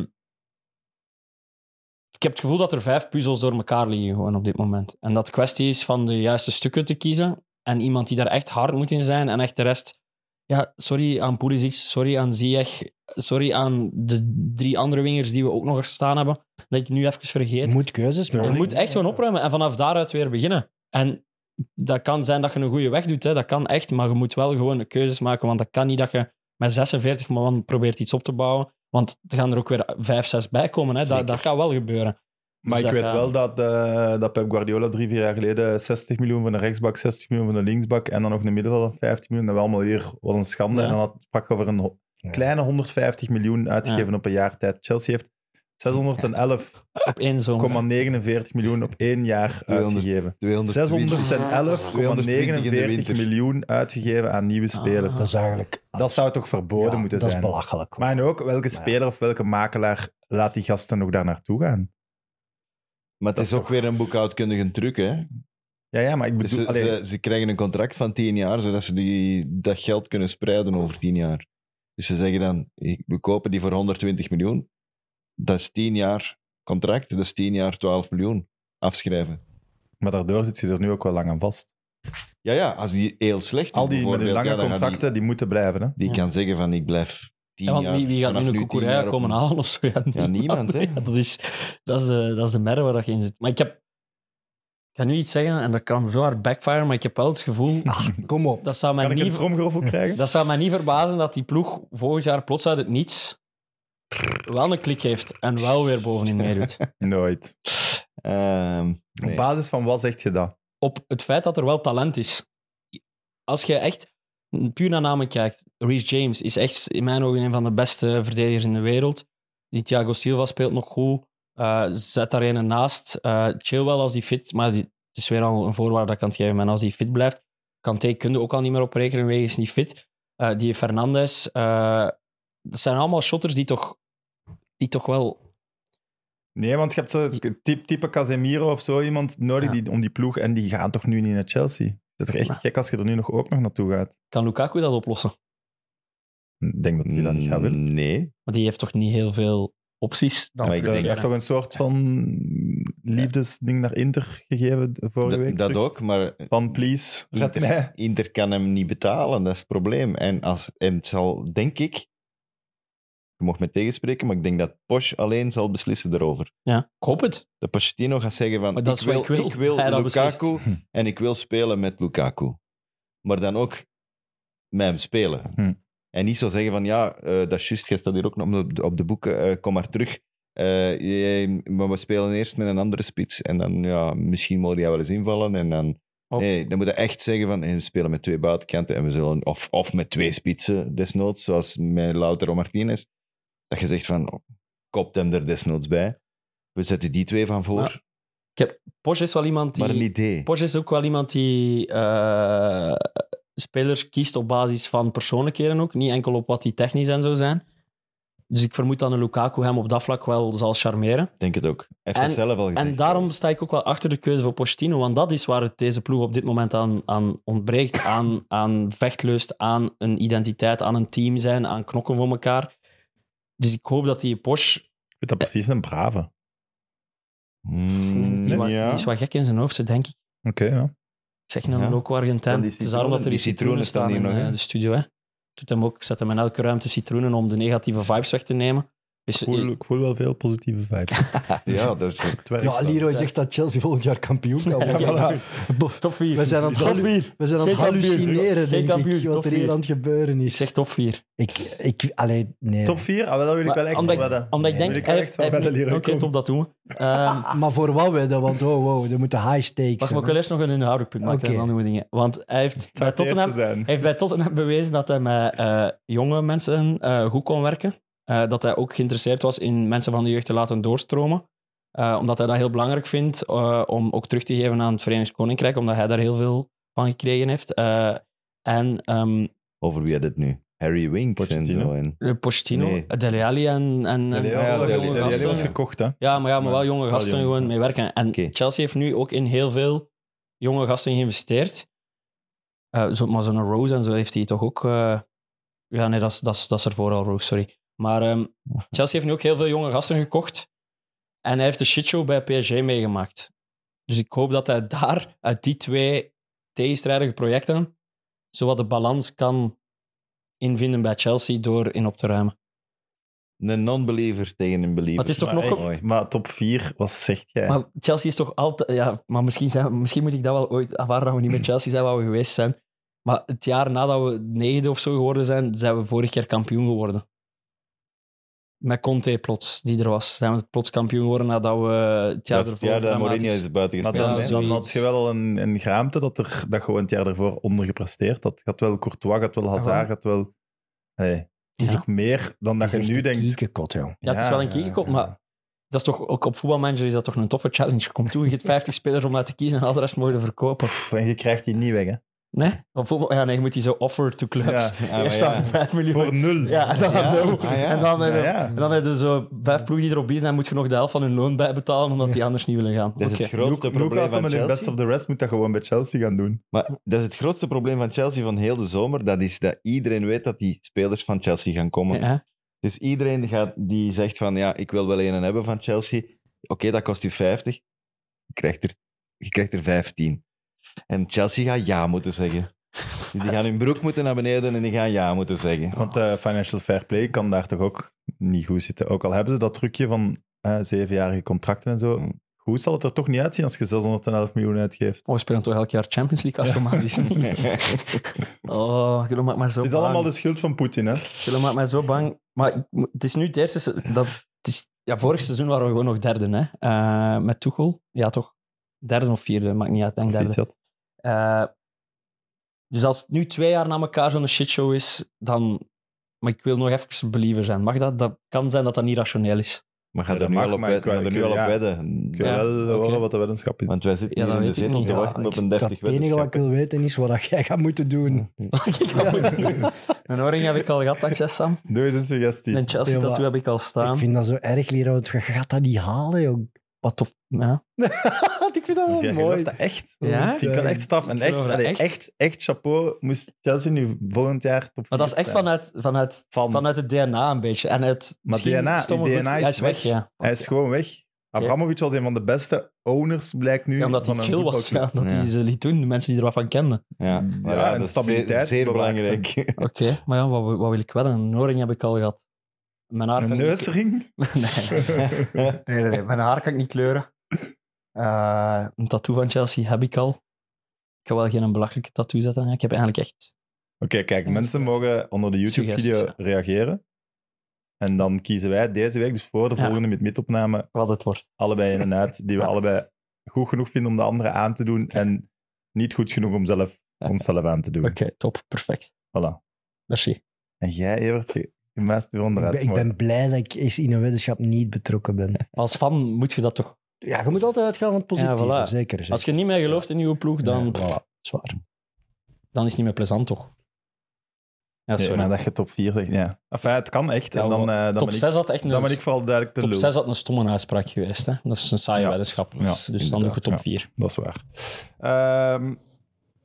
Speaker 3: ik heb het gevoel dat er vijf puzzels door elkaar liggen gewoon op dit moment. En dat het kwestie is van de juiste stukken te kiezen. En iemand die daar echt hard moet in zijn en echt de rest... Ja, sorry aan Pulisic, sorry aan Ziyech, sorry aan de drie andere wingers die we ook nog eens staan hebben, dat ik nu even vergeet.
Speaker 2: Je moet keuzes maken.
Speaker 3: Je moet echt gewoon opruimen en vanaf daaruit weer beginnen. En dat kan zijn dat je een goede weg doet, hè. dat kan echt, maar je moet wel gewoon keuzes maken, want dat kan niet dat je met 46 man probeert iets op te bouwen, want er gaan er ook weer 5, 6 bij komen. Hè. Dat,
Speaker 2: Zeker.
Speaker 3: dat gaat wel gebeuren.
Speaker 1: Maar
Speaker 3: Dus
Speaker 1: ik
Speaker 3: dat
Speaker 1: weet
Speaker 3: gaat-
Speaker 1: wel dat, eh, dat Pep Guardiola drie, vier jaar geleden 60 miljoen van de rechtsbak, 60 miljoen van de linksbak en dan nog een middenveld van 15 miljoen. Dat was allemaal hier wat een schande.
Speaker 3: Ja.
Speaker 1: En dan had, sprak over een ho-
Speaker 2: Ja.
Speaker 1: kleine 150 miljoen uitgegeven op een jaar tijd. Chelsea heeft 611,49
Speaker 3: Op één zomer.
Speaker 1: miljoen op één
Speaker 2: <laughs>
Speaker 1: jaar
Speaker 4: 200.
Speaker 1: uitgegeven.
Speaker 4: 220.
Speaker 1: 611,49 miljoen uitgegeven aan nieuwe
Speaker 3: Ah.
Speaker 1: spelers.
Speaker 2: Dat is eigenlijk...
Speaker 1: Dat zou toch verboden
Speaker 2: Ja,
Speaker 1: moeten
Speaker 2: dat
Speaker 1: zijn?
Speaker 2: Dat is belachelijk.
Speaker 1: Maar en ook, welke speler of welke makelaar laat die gasten nog daar naartoe gaan?
Speaker 4: Maar het is ook weer een boekhoudkundige truc, hè?
Speaker 1: Ja, ja, maar ik
Speaker 4: Dus
Speaker 1: bedoel...
Speaker 4: ze,
Speaker 1: allee,
Speaker 4: ze, ze krijgen een contract van 10 jaar, zodat ze die, dat geld kunnen spreiden over 10 jaar. Dus ze zeggen dan: we kopen die voor 120 miljoen. Dat is 10 jaar contract, dat is 10 jaar 12 miljoen afschrijven.
Speaker 1: Maar daardoor zit hij er nu ook wel lang aan vast.
Speaker 4: Ja, ja, als die heel slecht is,
Speaker 1: Al die met hun
Speaker 4: bijvoorbeeld,
Speaker 1: lange
Speaker 4: ja, dan gaat
Speaker 1: contracten, die... moeten blijven. Hè?
Speaker 4: Die, die
Speaker 3: Ja.
Speaker 4: kan zeggen: van ik blijf 10
Speaker 3: Ja, want
Speaker 4: jaar.
Speaker 3: wie, wie gaat nu
Speaker 4: vanaf
Speaker 3: een
Speaker 4: 10
Speaker 3: Kukurea
Speaker 4: jaar op
Speaker 3: komen
Speaker 4: een-
Speaker 3: halen of zo? Ja,
Speaker 4: niemand, hè.
Speaker 3: Ja, dat, is, dat, is de, dat is de merre waar dat je in zit. Maar ik heb... Ik ga nu iets zeggen en dat kan zo hard backfire, maar ik heb wel het gevoel...
Speaker 2: Ah, kom op.
Speaker 3: Dat zou mij
Speaker 1: Kan ik een
Speaker 3: niet... <laughs>
Speaker 1: tromgeroffel krijgen?
Speaker 3: Dat zou mij niet verbazen dat die ploeg volgend jaar plots uit het niets wel een klik heeft en wel weer bovenin meedoet.
Speaker 1: Nooit.
Speaker 4: Ehm, nee.
Speaker 1: Op basis van wat zeg je dat?
Speaker 3: Op het feit dat er wel talent is. Als je echt puur naar namen kijkt, Reece James is echt in mijn ogen een van de beste verdedigers in de wereld. Die Thiago Silva speelt nog goed. Eh, zet daar een naast. Eh Chilwell als die fit, maar die, het is weer al een voorwaarde dat ik aan het geven ben. Als hij fit blijft, Kanté kun je ook al niet meer op rekenen wegens niet fit. Eh, die Fernandes. eh, dat zijn allemaal shotters die toch, die toch wel
Speaker 1: Nee, want je hebt zo type, type Casemiro of zo iemand nodig die, om die ploeg. En die gaan toch nu niet naar Chelsea? Het is toch echt
Speaker 3: Maar-
Speaker 1: gek als je er nu nog ook nog naartoe gaat?
Speaker 3: Kan Lukaku dat oplossen?
Speaker 1: Ik denk dat hij dat niet gaat willen.
Speaker 4: Mm, Nee.
Speaker 3: Maar die heeft toch niet heel veel opties?
Speaker 4: Maar ik
Speaker 1: Hij
Speaker 4: denk-
Speaker 1: heeft toch een soort van liefdesding naar Inter gegeven vorige
Speaker 4: Dat,
Speaker 1: week?
Speaker 4: dat
Speaker 1: terug?
Speaker 4: ook, maar
Speaker 1: Van please, red mij.
Speaker 4: Inter, Inter kan hem niet betalen, dat is het probleem. En, als, en het zal, denk ik, je mag me tegenspreken, maar ik denk dat Posch alleen zal beslissen daarover.
Speaker 3: Ja, ik hoop het.
Speaker 4: Dat Pochettino gaat zeggen van,
Speaker 3: Maar
Speaker 4: ik
Speaker 3: dat
Speaker 4: wil,
Speaker 3: is wat
Speaker 4: ik
Speaker 3: ik wil.
Speaker 4: wil,
Speaker 3: Hij dat
Speaker 4: Lukaku en ik wil spelen met Lukaku. Maar dan ook met hem spelen.
Speaker 1: Hm.
Speaker 4: En niet zo zeggen van, ja, eh, dat is juist, jij staat hier ook nog op de, op de boeken, eh, kom maar terug. Eh, je- maar we spelen eerst met een andere spits. En dan, ja, misschien mogen die wel eens invallen. En dan
Speaker 3: Op-
Speaker 4: Nee, dan moet je echt zeggen van eh, we spelen met twee buitenkanten en we zullen, of, of met twee spitsen desnoods, zoals met Lautaro Martinez. Dat je zegt van oh, kopt hem er desnoods bij. We zetten die twee van voor.
Speaker 3: Maar
Speaker 4: Maar,
Speaker 3: Porsche is wel iemand die...
Speaker 4: een idee.
Speaker 3: Porsche is ook wel iemand die eh, spelers kiest op basis van persoonlijkheden ook, niet enkel op wat die technisch en zo zijn. Dus ik vermoed dat een Lukaku hem op dat vlak wel zal charmeren.
Speaker 4: denk het ook. Hij heeft het zelf al gezegd.
Speaker 3: En daarom sta ik ook wel achter de keuze voor Pochettino, want dat is waar het deze ploeg op dit moment aan, aan
Speaker 4: <coughs>
Speaker 3: ontbreekt. Aan, aan vechtlust, aan een identiteit, aan een team zijn, aan knokken voor elkaar. Dus ik hoop dat die Porsche
Speaker 1: Ik vind dat precies een brave. Oké,
Speaker 4: Hmm,
Speaker 3: die, wa-
Speaker 4: ja.
Speaker 3: die is wat gek in zijn hoofd, zit, denk ik.
Speaker 1: ja.
Speaker 3: Zeg nou
Speaker 4: Ja.
Speaker 3: ook ook Argentijn.
Speaker 4: En die
Speaker 3: Het is daarom dat er die
Speaker 4: citroenen-
Speaker 3: citroenen
Speaker 4: die citroenen
Speaker 3: staan
Speaker 4: staan
Speaker 3: in
Speaker 4: hier nog,
Speaker 3: eh,
Speaker 4: hè?
Speaker 3: de studio. Hè. Doet hem ook, ik zet hem in elke ruimte citroenen om de negatieve vibes weg te nemen. Dus,
Speaker 1: Ik voel, ik voel wel veel positieve
Speaker 4: <laughs>
Speaker 1: vibes.
Speaker 4: Ah, ja, dat is...
Speaker 1: Het werkt
Speaker 2: Ja,
Speaker 1: wel.
Speaker 2: Leroy zegt dat Chelsea volgend jaar kampioen kan worden.
Speaker 1: <laughs> Ja,
Speaker 2: Bo-
Speaker 3: Top 4.
Speaker 2: We zijn aan het
Speaker 3: top
Speaker 2: hallu-
Speaker 3: 4.
Speaker 2: We zijn aan het
Speaker 3: Geen kampioen.
Speaker 2: hallucineren,
Speaker 3: Geen
Speaker 2: denk ik,
Speaker 3: kampioen,
Speaker 2: wat
Speaker 3: top
Speaker 2: er hier
Speaker 3: vier.
Speaker 2: aan het gebeuren
Speaker 3: Ik
Speaker 2: is.
Speaker 3: zeg top 4.
Speaker 2: Ik, ik, allee, nee.
Speaker 1: Top 4? Ah, wel, dat wil ik wel echt
Speaker 3: omdat,
Speaker 1: wel, hè.
Speaker 3: omdat
Speaker 1: wil
Speaker 2: Nee,
Speaker 3: ik denk,
Speaker 1: ik
Speaker 3: hij
Speaker 1: echt
Speaker 3: heeft-
Speaker 1: wel
Speaker 3: hij
Speaker 1: bij de
Speaker 3: heeft niet-
Speaker 1: leren
Speaker 3: Oké,
Speaker 1: komen.
Speaker 3: top, dat doen we. Ehm,
Speaker 2: Maar voor wat we dat? Want oh, wow, er moeten high stakes
Speaker 3: Wacht,
Speaker 2: zijn.
Speaker 3: maar ik wil eerst nog een inhoudelijk punt maken
Speaker 2: Oké.
Speaker 3: en dan doen we dingen. Want hij heeft
Speaker 1: Het zou
Speaker 3: bij
Speaker 1: het eerste
Speaker 3: Tottenham, hij
Speaker 1: zijn.
Speaker 3: heeft bij Tottenham bewezen dat hij met eh, jonge mensen eh, goed kon werken. Eh, dat hij ook geïnteresseerd was in mensen van de jeugd te laten doorstromen. Eh, omdat hij dat heel belangrijk vindt eh, om ook terug te geven aan het Verenigd Koninkrijk, omdat hij daar heel veel van gekregen heeft. Eh, en ehm
Speaker 4: Over wie had het nu? Harry Winks en
Speaker 1: Pochettino.
Speaker 4: zo. En...
Speaker 3: Postino,
Speaker 4: Nee.
Speaker 3: Dele Alli en, en, en
Speaker 1: Ja,
Speaker 4: Ja,
Speaker 1: ja, Dele-
Speaker 4: Dele- Dele-
Speaker 1: Dele- Dele
Speaker 4: gasten.
Speaker 1: was gekocht, hè.
Speaker 3: Ja, maar, ja, maar wel jonge
Speaker 1: Wel
Speaker 3: gasten
Speaker 1: jong.
Speaker 3: gewoon mee werken. En
Speaker 4: Oké.
Speaker 3: Chelsea heeft nu ook in heel veel jonge gasten geïnvesteerd. Eh, zo, maar zo'n Rose en zo heeft hij toch ook... eh, Ja, nee, dat is- dat is- dat is ervoor al Rose, sorry. Maar ehm, Chelsea heeft nu ook heel veel jonge gasten gekocht. En hij heeft de shitshow bij PSG meegemaakt. Dus ik hoop dat hij daar, uit die twee tegenstrijdige projecten, zowat de balans kan invinden bij Chelsea door in op te ruimen.
Speaker 4: Een non-believer tegen een believer.
Speaker 3: Maar het is toch
Speaker 1: Maar
Speaker 3: nog...
Speaker 1: echt,
Speaker 3: een-
Speaker 4: Mooi.
Speaker 1: Maar top 4, wat zeg jij?
Speaker 3: Maar Chelsea is toch altijd... Ja, maar misschien, zijn, misschien moet ik dat wel ooit ervaren dat we niet met Chelsea zijn waar we geweest zijn. Maar het jaar nadat we negende of zo geworden zijn, zijn we vorig jaar kampioen geworden. Met Conte plots, die er was. Zijn we plots kampioen geworden nadat we het jaar
Speaker 4: dat is het
Speaker 3: ervoor... dus-
Speaker 4: jaar dat
Speaker 3: dramatisch-
Speaker 4: Mourinho is
Speaker 1: Maar
Speaker 4: buitengespeeld.
Speaker 1: dan,
Speaker 3: Ja,
Speaker 4: hè?
Speaker 1: dan had
Speaker 3: zoiets.
Speaker 1: je wel een, een geraamte dat, er, dat gewoon het jaar daarvoor ondergepresteerd had. Je had wel Courtois, je had wel Hazard, je had wel... Nee, het is
Speaker 3: Ah, Ja.
Speaker 1: ook meer dan dat je nu denkt.
Speaker 2: Kiekekot, joh.
Speaker 3: Ja, het is
Speaker 1: Ja,
Speaker 3: wel een kiekekop,
Speaker 2: ja, ja.
Speaker 3: maar... Dat is toch, ook op voetbalmanager is dat toch een toffe challenge. Je komt toe, je hebt 50 spelers om uit te kiezen en al de rest mogen verkopen.
Speaker 1: Pff, en je krijgt die niet weg, hè.
Speaker 3: Nee? Op voetbal, ja, nee, je moet die zo offer to clubs.
Speaker 4: Ja, Ah, maar
Speaker 3: Eerst
Speaker 4: ja.
Speaker 3: dan 5 miljoen.
Speaker 1: Voor nul.
Speaker 3: Ja, en dan,
Speaker 4: Ja,
Speaker 3: nul.
Speaker 4: ah ja.
Speaker 3: En dan, eh,
Speaker 1: Ja, ja.
Speaker 3: En dan heb je zo vijf ploegen die erop bieden en moet je nog de helft van hun loon bijbetalen omdat die anders niet willen gaan.
Speaker 4: Dat is
Speaker 3: Oké.
Speaker 4: het grootste probleem
Speaker 1: Lucas
Speaker 4: van
Speaker 1: met hun
Speaker 4: Chelsea.
Speaker 1: best of the rest moet dat gewoon bij Chelsea gaan doen.
Speaker 4: Maar dat is het grootste probleem van Chelsea van heel de zomer. Dat is dat iedereen weet dat die spelers van Chelsea gaan komen.
Speaker 3: Ja,
Speaker 4: Dus iedereen gaat, die zegt van ja, ik wil wel een hebben van Chelsea. Oké, dat kost u 50. Je krijgt, er, je krijgt er 15. En Chelsea gaat ja moeten zeggen. Die gaan hun broek moeten naar beneden en die gaan ja moeten
Speaker 3: <laughs>
Speaker 4: zeggen.
Speaker 1: Want eh, financial fair play kan daar toch ook niet goed zitten. Ook al hebben ze dat trucje van eh, zevenjarige contracten en zo.
Speaker 4: Mm.
Speaker 1: Hoe zal het er toch niet uitzien als je 611 miljoen uitgeeft?
Speaker 3: Oh, we spelen toch elk jaar Champions League automatisch? Oh, jullie maken mij zo
Speaker 1: Het is
Speaker 3: bang.
Speaker 1: allemaal de schuld van Poetin, hè?
Speaker 3: Jullie maken mij zo bang. Maar ik moet- het is nu het eerste... se- Dat, het is, ja, vorig seizoen waren we gewoon nog derde, hè. eh, met Tuchel. Ja, toch? Derde of vierde, maakt niet uit. Denk derde.
Speaker 1: Proficiat.
Speaker 3: Eh, dus als het nu twee jaar na elkaar zo'n shitshow is, dan... Maar ik wil nog even believer zijn. Mag dat? Dat kan zijn dat dat niet rationeel is.
Speaker 4: Maar gaat
Speaker 1: Ja,
Speaker 4: er
Speaker 1: dat
Speaker 4: nu
Speaker 1: mag,
Speaker 4: al op
Speaker 1: maar ik
Speaker 4: wedden. Gaat er
Speaker 1: wil-
Speaker 4: nu al op
Speaker 1: ja.
Speaker 4: wedden.
Speaker 1: Ik wil
Speaker 3: Ja,
Speaker 1: wel
Speaker 3: oké.
Speaker 1: horen wat de weddenschap is.
Speaker 4: Want wij zitten
Speaker 3: Ja,
Speaker 4: hier
Speaker 3: dat
Speaker 4: in de
Speaker 3: weet ik
Speaker 4: zetel
Speaker 3: niet.
Speaker 4: te
Speaker 3: Ja,
Speaker 4: wachten op
Speaker 2: ik-
Speaker 4: een
Speaker 2: dat
Speaker 4: 30
Speaker 2: het enige wat ik
Speaker 4: weddenschap.
Speaker 2: wil weten is wat dat jij gaat moeten doen.
Speaker 3: Ik ga het doen. Een oring heb ik al gehad, dankzij Sam.
Speaker 1: Doe eens een suggestie.
Speaker 3: Een Chelsea
Speaker 2: Ja, maar-
Speaker 3: tattoo heb ik al
Speaker 2: Ik
Speaker 3: staan.
Speaker 2: vind dat zo erg, Leroy. want Je gaat dat niet halen, joh.
Speaker 3: Wat op. Ja.
Speaker 2: <laughs> ik vind dat wel
Speaker 1: Jij gelooft
Speaker 2: mooi.
Speaker 1: dat echt?
Speaker 3: Ja?
Speaker 1: Ik vind
Speaker 2: eh,
Speaker 1: het wel echt straf. En
Speaker 3: Oh, Ik
Speaker 1: echt,
Speaker 3: geloof dat
Speaker 1: allee, echt.
Speaker 3: echt.
Speaker 1: echt, chapeau, moest Chelsea nu volgend jaar top
Speaker 3: Maar dat is
Speaker 1: vier
Speaker 3: echt
Speaker 1: zijn.
Speaker 3: vanuit, vanuit,
Speaker 1: Van-
Speaker 3: vanuit het DNA een beetje. En het,
Speaker 1: Maar
Speaker 3: misschien
Speaker 1: DNA
Speaker 3: stomme
Speaker 1: DNA
Speaker 3: goed-
Speaker 1: is
Speaker 3: Hij is weg,
Speaker 1: weg.
Speaker 3: ja.
Speaker 1: Hij is gewoon weg. Abramovic was een van de beste owners, blijkt nu.
Speaker 3: Ja, omdat hij
Speaker 1: van een
Speaker 3: chill was, ja,
Speaker 1: voetbalclub.
Speaker 3: omdat hij
Speaker 4: Ja.
Speaker 3: ze liet doen, de mensen die er wat van kenden.
Speaker 4: Ja, maar
Speaker 1: Ja, en
Speaker 4: dat is
Speaker 1: stabiliteit
Speaker 4: zeer, zeer
Speaker 1: bewaakt, hè.
Speaker 4: belangrijk.
Speaker 3: Oké, maar ja, wat, wat wil ik wel? Een oring heb ik al gehad. Mijn haar
Speaker 1: Een
Speaker 3: kan ik niet-
Speaker 1: neusring?
Speaker 3: <laughs> nee, <laughs> nee, nee, nee, mijn haar kan ik niet kleuren. Eh, een tattoo van Chelsea heb ik al. Ik ga wel geen belachelijke tattoo zetten. Ja, Ik heb eigenlijk echt
Speaker 1: Oké, kijk,
Speaker 3: Ja,
Speaker 1: mensen
Speaker 3: dat is
Speaker 1: mogen onder de YouTube-video
Speaker 3: Suggesties,
Speaker 1: reageren. En dan kiezen wij deze week, dus voor de
Speaker 3: Ja.
Speaker 1: volgende met midopname,
Speaker 3: wat het wordt.
Speaker 1: allebei in en uit, die we
Speaker 3: Ja.
Speaker 1: allebei goed genoeg vinden om de andere aan te doen en niet goed genoeg om zelf, onszelf aan te doen.
Speaker 3: Oké, top, perfect.
Speaker 1: Voilà.
Speaker 3: Merci.
Speaker 1: En jij, Evert, je je muist weer
Speaker 2: Ik
Speaker 1: onderuit.
Speaker 2: ben, ik ben blij dat ik eens in een weddenschap niet
Speaker 1: <laughs>
Speaker 2: betrokken ben.
Speaker 3: Als fan moet je dat toch
Speaker 2: Ja, je moet altijd uitgaan van het positieve,
Speaker 3: Ja, voilà.
Speaker 2: zeker. zeker.
Speaker 3: Als je niet meer gelooft in uw ploeg, dan
Speaker 2: Ja, voilà, zwaar.
Speaker 3: dan is het niet meer plezant, toch? Ja,
Speaker 1: Ja,
Speaker 3: sorry.
Speaker 1: maar dat je top 4 zegt, ja. Enfin, het kan echt.
Speaker 3: Ja,
Speaker 1: en dan, eh, dan
Speaker 3: top
Speaker 1: ben ik,
Speaker 3: 6 had echt een,
Speaker 1: dan ben ik vooral duidelijk de
Speaker 3: top
Speaker 1: lul.
Speaker 3: 6 had een stomme uitspraak geweest. Hè? Dat is een saaie
Speaker 1: Ja.
Speaker 3: weddenschap.
Speaker 1: Ja,
Speaker 3: Dus, dus dan doe ik
Speaker 1: inderdaad,
Speaker 3: top
Speaker 1: ja.
Speaker 3: 4.
Speaker 1: Dat is waar. Ehm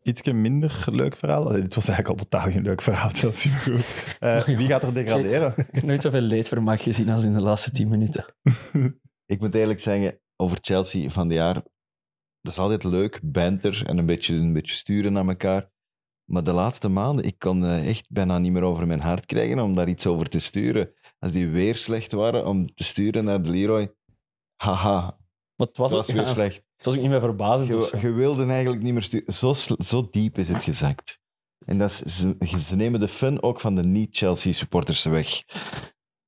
Speaker 1: ietsje minder leuk verhaal. Allee, dit was eigenlijk al totaal geen leuk verhaal, <laughs> Chelsea. Maar goed.
Speaker 3: Oh,
Speaker 1: Eh, wie gaat er degraderen?
Speaker 3: Ik heb nooit zoveel leedvermaak gezien als in de laatste 10 minuten.
Speaker 4: Ik moet eerlijk zeggen, over Chelsea van het jaar, dat is altijd leuk, banter en een beetje, een beetje sturen naar elkaar. Maar de laatste maanden, ik kon eh, echt bijna niet meer over mijn hart krijgen om daar iets over te sturen. Als die weer slecht waren, om te sturen naar de Leroy, haha,
Speaker 3: Maar het
Speaker 4: dat
Speaker 3: was,
Speaker 4: was
Speaker 3: ook,
Speaker 4: weer
Speaker 3: ja,
Speaker 4: slecht.
Speaker 3: het was ook niet meer verbazend. dus- of zo.
Speaker 4: Je, je wilde eigenlijk niet meer sturen. Zo, sl- zo diep is het gezakt. En dat is, ze, ze nemen de fun ook van de niet-Chelsea-supporters weg.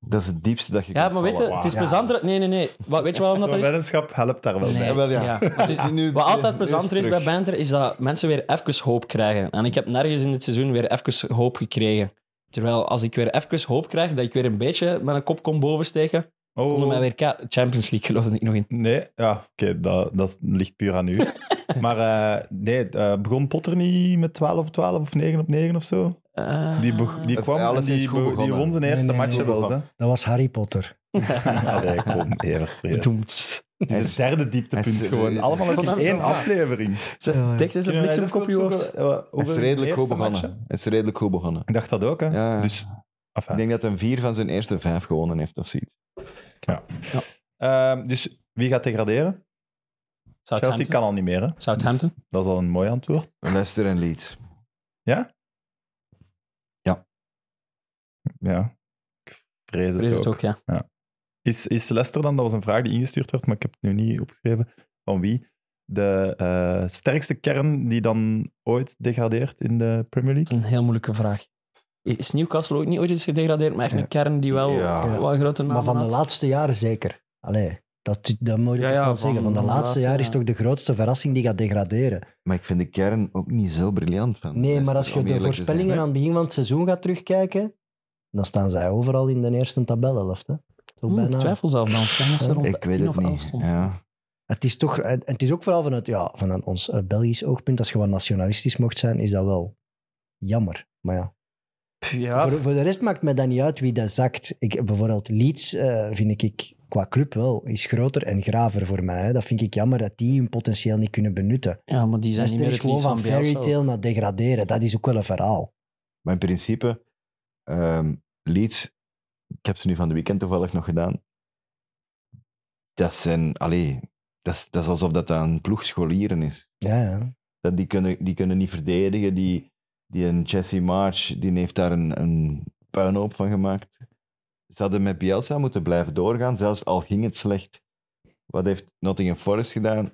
Speaker 4: Dat is het diepste dat je
Speaker 3: Ja,
Speaker 4: kunt
Speaker 3: maar weet je,
Speaker 4: vallen.
Speaker 3: het is plezanter... Nee, nee, nee. Wa- Weet je waarom dat,
Speaker 1: Zo'n
Speaker 3: dat is?
Speaker 1: weddenschap helpt daar wel bij.
Speaker 3: Nee,
Speaker 4: wel, ja.
Speaker 3: maar
Speaker 4: <laughs>
Speaker 3: het is-
Speaker 4: Nu-
Speaker 3: wat altijd
Speaker 4: nu
Speaker 3: plezanter is
Speaker 4: terug.
Speaker 3: bij Banter, is dat mensen weer even hoop krijgen. En ik heb nergens in dit seizoen weer even hoop gekregen. Terwijl als ik weer even hoop krijg, dat ik weer een beetje mijn kop kon bovensteken, konden mij
Speaker 1: Oh,
Speaker 3: weer ka- Champions League geloofde ik nog in.
Speaker 1: nee, ja, oké, dat, dat ligt puur aan
Speaker 3: <laughs>
Speaker 1: u. maar eh, nee, eh, begon Potter niet met 12 op 12 of 9 op 9 of zo?
Speaker 3: Eh,
Speaker 1: Die, be- die
Speaker 4: Het-
Speaker 1: kwam en
Speaker 4: alles is
Speaker 1: die,
Speaker 4: goed
Speaker 1: be- die
Speaker 4: begonnen.
Speaker 1: won zijn eerste
Speaker 2: Nee, nee,
Speaker 1: match
Speaker 2: goed
Speaker 1: wel eens.
Speaker 2: Dat was Harry Potter.
Speaker 1: hè. <laughs> Allee, kom,
Speaker 3: <laughs>
Speaker 1: Evert. weer.
Speaker 3: Bedoemd.
Speaker 1: Dit is het derde dieptepunt
Speaker 4: Hij is-
Speaker 1: gewoon. Allemaal ook
Speaker 3: Vond
Speaker 1: in
Speaker 3: hem zo-
Speaker 1: één
Speaker 3: ja.
Speaker 1: aflevering.
Speaker 3: Zes
Speaker 2: Ja, ja.
Speaker 3: tekst is een bliksemkopje hoofd.
Speaker 1: Eh,
Speaker 4: Hij is redelijk goed begonnen. Hij is redelijk goed begonnen.
Speaker 1: Ik dacht dat ook, hè.
Speaker 4: Ja, ja.
Speaker 1: Dus, enfin.
Speaker 4: Ik denk dat hij vier van zijn eerste vijf gewonnen heeft of zoiets.
Speaker 1: Ehm, dus wie gaat degraderen? Chelsea kan al niet meer, hè. Dus
Speaker 3: Southampton.
Speaker 1: Dat is al een mooi antwoord.
Speaker 4: Leicester en Leeds.
Speaker 1: Ja, ik vrees het,
Speaker 3: Vrees
Speaker 1: ook.
Speaker 3: het ook, ja.
Speaker 1: Is, is Leicester dan, dat was een vraag die ingestuurd werd, maar ik heb het nu niet opgeschreven, van wie de eh, sterkste kern die dan ooit degradeert in de Premier
Speaker 3: Dat is
Speaker 1: League?
Speaker 3: een heel moeilijke vraag. Is Newcastle ook niet ooit eens gedegradeerd, maar echt een
Speaker 4: Ja.
Speaker 3: kern die wel
Speaker 4: Ja.
Speaker 3: wel een grote naam
Speaker 2: Maar van de
Speaker 3: had?
Speaker 2: laatste jaren zeker. Allee, dat, dat moet je
Speaker 3: Ja,
Speaker 2: toch
Speaker 3: ja,
Speaker 2: wel
Speaker 3: van-
Speaker 2: zeggen. Van de laatste jaren is
Speaker 3: ja.
Speaker 2: toch de grootste verrassing die gaat degraderen.
Speaker 4: Maar ik vind de kern ook niet zo briljant van.
Speaker 2: Nee, maar
Speaker 4: Leicester,
Speaker 2: als je
Speaker 4: om
Speaker 2: de
Speaker 4: eerlijk te zijn.
Speaker 2: voorspellingen aan het begin van het seizoen gaat terugkijken, dan staan zij overal in de eerste tabelhelft. Hè. Toch
Speaker 3: Oeh, ik
Speaker 2: bijna.
Speaker 3: Hmm, twijfel zelf dan. Ik denk dat ze rond
Speaker 4: Ik weet
Speaker 3: 10
Speaker 4: het
Speaker 3: of 11
Speaker 4: niet.
Speaker 3: stonden.
Speaker 4: Ja.
Speaker 2: Het is, toch, en het is ook vooral vanuit, ja, vanuit ons eh, Belgisch oogpunt, als je wat nationalistisch mocht zijn, is dat wel jammer. Maar ja,
Speaker 3: Ja,
Speaker 2: voor, voor de rest maakt mij dat niet uit wie dat zakt. Ik, bijvoorbeeld Leeds eh, vind ik qua club wel, is groter en graver voor mij. Hè. Dat vind ik jammer dat die hun potentieel niet kunnen benutten.
Speaker 3: ja maar die zijn niet
Speaker 2: Leicester
Speaker 3: meer
Speaker 2: is
Speaker 3: het
Speaker 2: gewoon
Speaker 3: liefst
Speaker 2: van
Speaker 3: van Bielsa.
Speaker 2: fairytale naar degraderen. Dat is ook wel een verhaal.
Speaker 4: Maar in principe, ehm, Leeds, ik heb ze nu van de weekend toevallig nog gedaan. Dat zijn, allee, dat is, dat is alsof dat een ploeg scholieren is.
Speaker 2: Ja, ja.
Speaker 4: Dat die, kunnen, die kunnen niet verdedigen. Die, die een Jesse March die heeft daar een, een puinhoop van gemaakt. Ze hadden met Bielsa moeten blijven doorgaan, zelfs al ging het slecht. Wat heeft Nottingham Forest gedaan?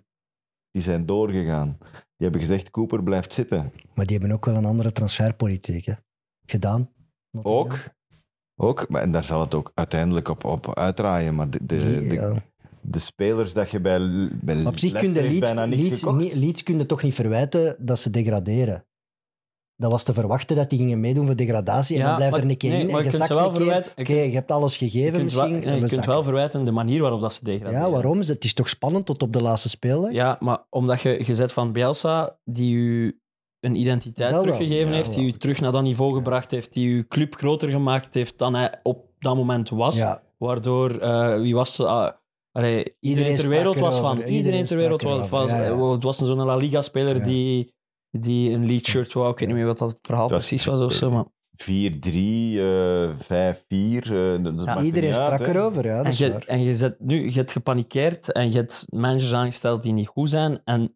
Speaker 4: Die zijn doorgegaan. Die hebben gezegd, Cooper blijft zitten.
Speaker 2: Maar die hebben ook wel een andere transferpolitiek hè. gedaan.
Speaker 4: Ook. Ook, maar- en daar zal het ook uiteindelijk op, op uitdraaien. Maar de, de, de,
Speaker 2: Ja.
Speaker 4: de spelers dat je bij, L- bij
Speaker 2: Maar op eh, zich
Speaker 4: Leicester
Speaker 2: kun je
Speaker 4: heeft
Speaker 2: Leeds,
Speaker 4: bijna niks
Speaker 2: Leeds,
Speaker 4: gekocht.
Speaker 2: niet- Leeds kun je toch niet verwijten dat ze degraderen. Dat was te verwachten dat die gingen meedoen voor degradatie. En
Speaker 3: Ja,
Speaker 2: dan blijft
Speaker 3: maar-
Speaker 2: er een keer
Speaker 3: nee,
Speaker 2: in.
Speaker 3: maar
Speaker 2: En
Speaker 3: je
Speaker 2: je
Speaker 3: kunt
Speaker 2: zakt
Speaker 3: ze wel
Speaker 2: een keer. Oké,
Speaker 3: verwijten- je kunt-
Speaker 2: je hebt alles
Speaker 3: Je
Speaker 2: gegeven
Speaker 3: kunt, wel,
Speaker 2: misschien.
Speaker 3: nee,
Speaker 2: en
Speaker 3: je
Speaker 2: we
Speaker 3: kunt
Speaker 2: zakken.
Speaker 3: wel verwijten de manier waarop dat ze degraderen.
Speaker 2: Ja, waarom? Het is toch spannend tot op de laatste speeldag?
Speaker 3: Ja, maar omdat je gezet van Bielsa, die u een identiteit
Speaker 2: Dat wel,
Speaker 3: teruggegeven
Speaker 2: ja,
Speaker 3: heeft, die u
Speaker 2: wel.
Speaker 3: terug naar dat niveau gebracht heeft, die uw club groter gemaakt heeft dan hij op dat moment was.
Speaker 2: Ja,
Speaker 3: Waardoor, eh, wie was ze? Ah, allee, iedereen,
Speaker 2: Iedereen
Speaker 3: ter wereld
Speaker 2: sprak
Speaker 3: was van.
Speaker 2: erover,
Speaker 3: Iedereen,
Speaker 2: iedereen
Speaker 3: ter wereld
Speaker 2: sprak
Speaker 3: was van.
Speaker 2: erover, ja,
Speaker 3: Het was zo'n La Liga-speler
Speaker 2: Ja.
Speaker 3: die, die een lead shirt wou. Ik weet niet meer wat dat verhaal
Speaker 4: Dat is-
Speaker 3: precies was of zo, maar...
Speaker 4: 4-3, eh 5-4. eh, dat- dat maakt er
Speaker 2: iedereen
Speaker 4: niet uit,
Speaker 2: sprak
Speaker 4: hè.
Speaker 2: erover. Ja, dat
Speaker 3: En
Speaker 2: is
Speaker 3: je,
Speaker 2: waar.
Speaker 3: en je zet nu, je hebt gepanikeerd en je hebt managers aangesteld die niet goed zijn. En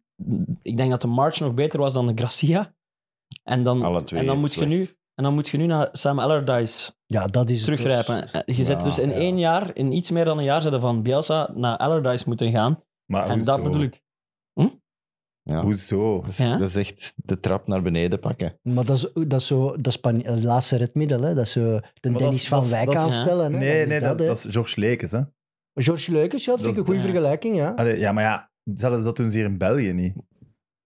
Speaker 3: ik denk dat de March nog beter was dan de Gracia. En dan,
Speaker 4: Alle twee
Speaker 3: en dan, moet,
Speaker 4: even
Speaker 3: je nu,
Speaker 4: slecht.
Speaker 3: en dan moet je nu naar Sam Allardyce
Speaker 2: ja, dat is het dus.
Speaker 3: teruggrijpen. En Je zet
Speaker 4: Ja,
Speaker 3: dus in
Speaker 2: ja.
Speaker 3: één jaar, in iets meer dan een jaar, zetten van Bielsa naar Allardyce moeten gaan.
Speaker 1: Maar
Speaker 3: en
Speaker 1: hoezo?
Speaker 3: dat bedoel ik.
Speaker 4: Ja.
Speaker 1: Hoezo?
Speaker 4: Dat, is,
Speaker 3: Ja.
Speaker 4: dat is echt de trap naar beneden pakken.
Speaker 2: Maar dat is, dat is zo, dat is pan- het laatste redmiddel. Hè? Dat is zo de
Speaker 1: dat
Speaker 2: Dennis
Speaker 1: is-
Speaker 2: van
Speaker 1: dat is-
Speaker 2: Wijk
Speaker 1: dat is-
Speaker 2: aanstellen. hè.
Speaker 1: Nee, nee, dat,
Speaker 2: hè.
Speaker 1: dat is George Lekes, hè.
Speaker 2: George Leukens, ja, dat
Speaker 1: dat
Speaker 2: vind ik
Speaker 1: is-
Speaker 2: een goede
Speaker 3: ja.
Speaker 2: vergelijking. Ja.
Speaker 1: Allee, ja, maar ja, zelfs dat doen ze hier in België niet.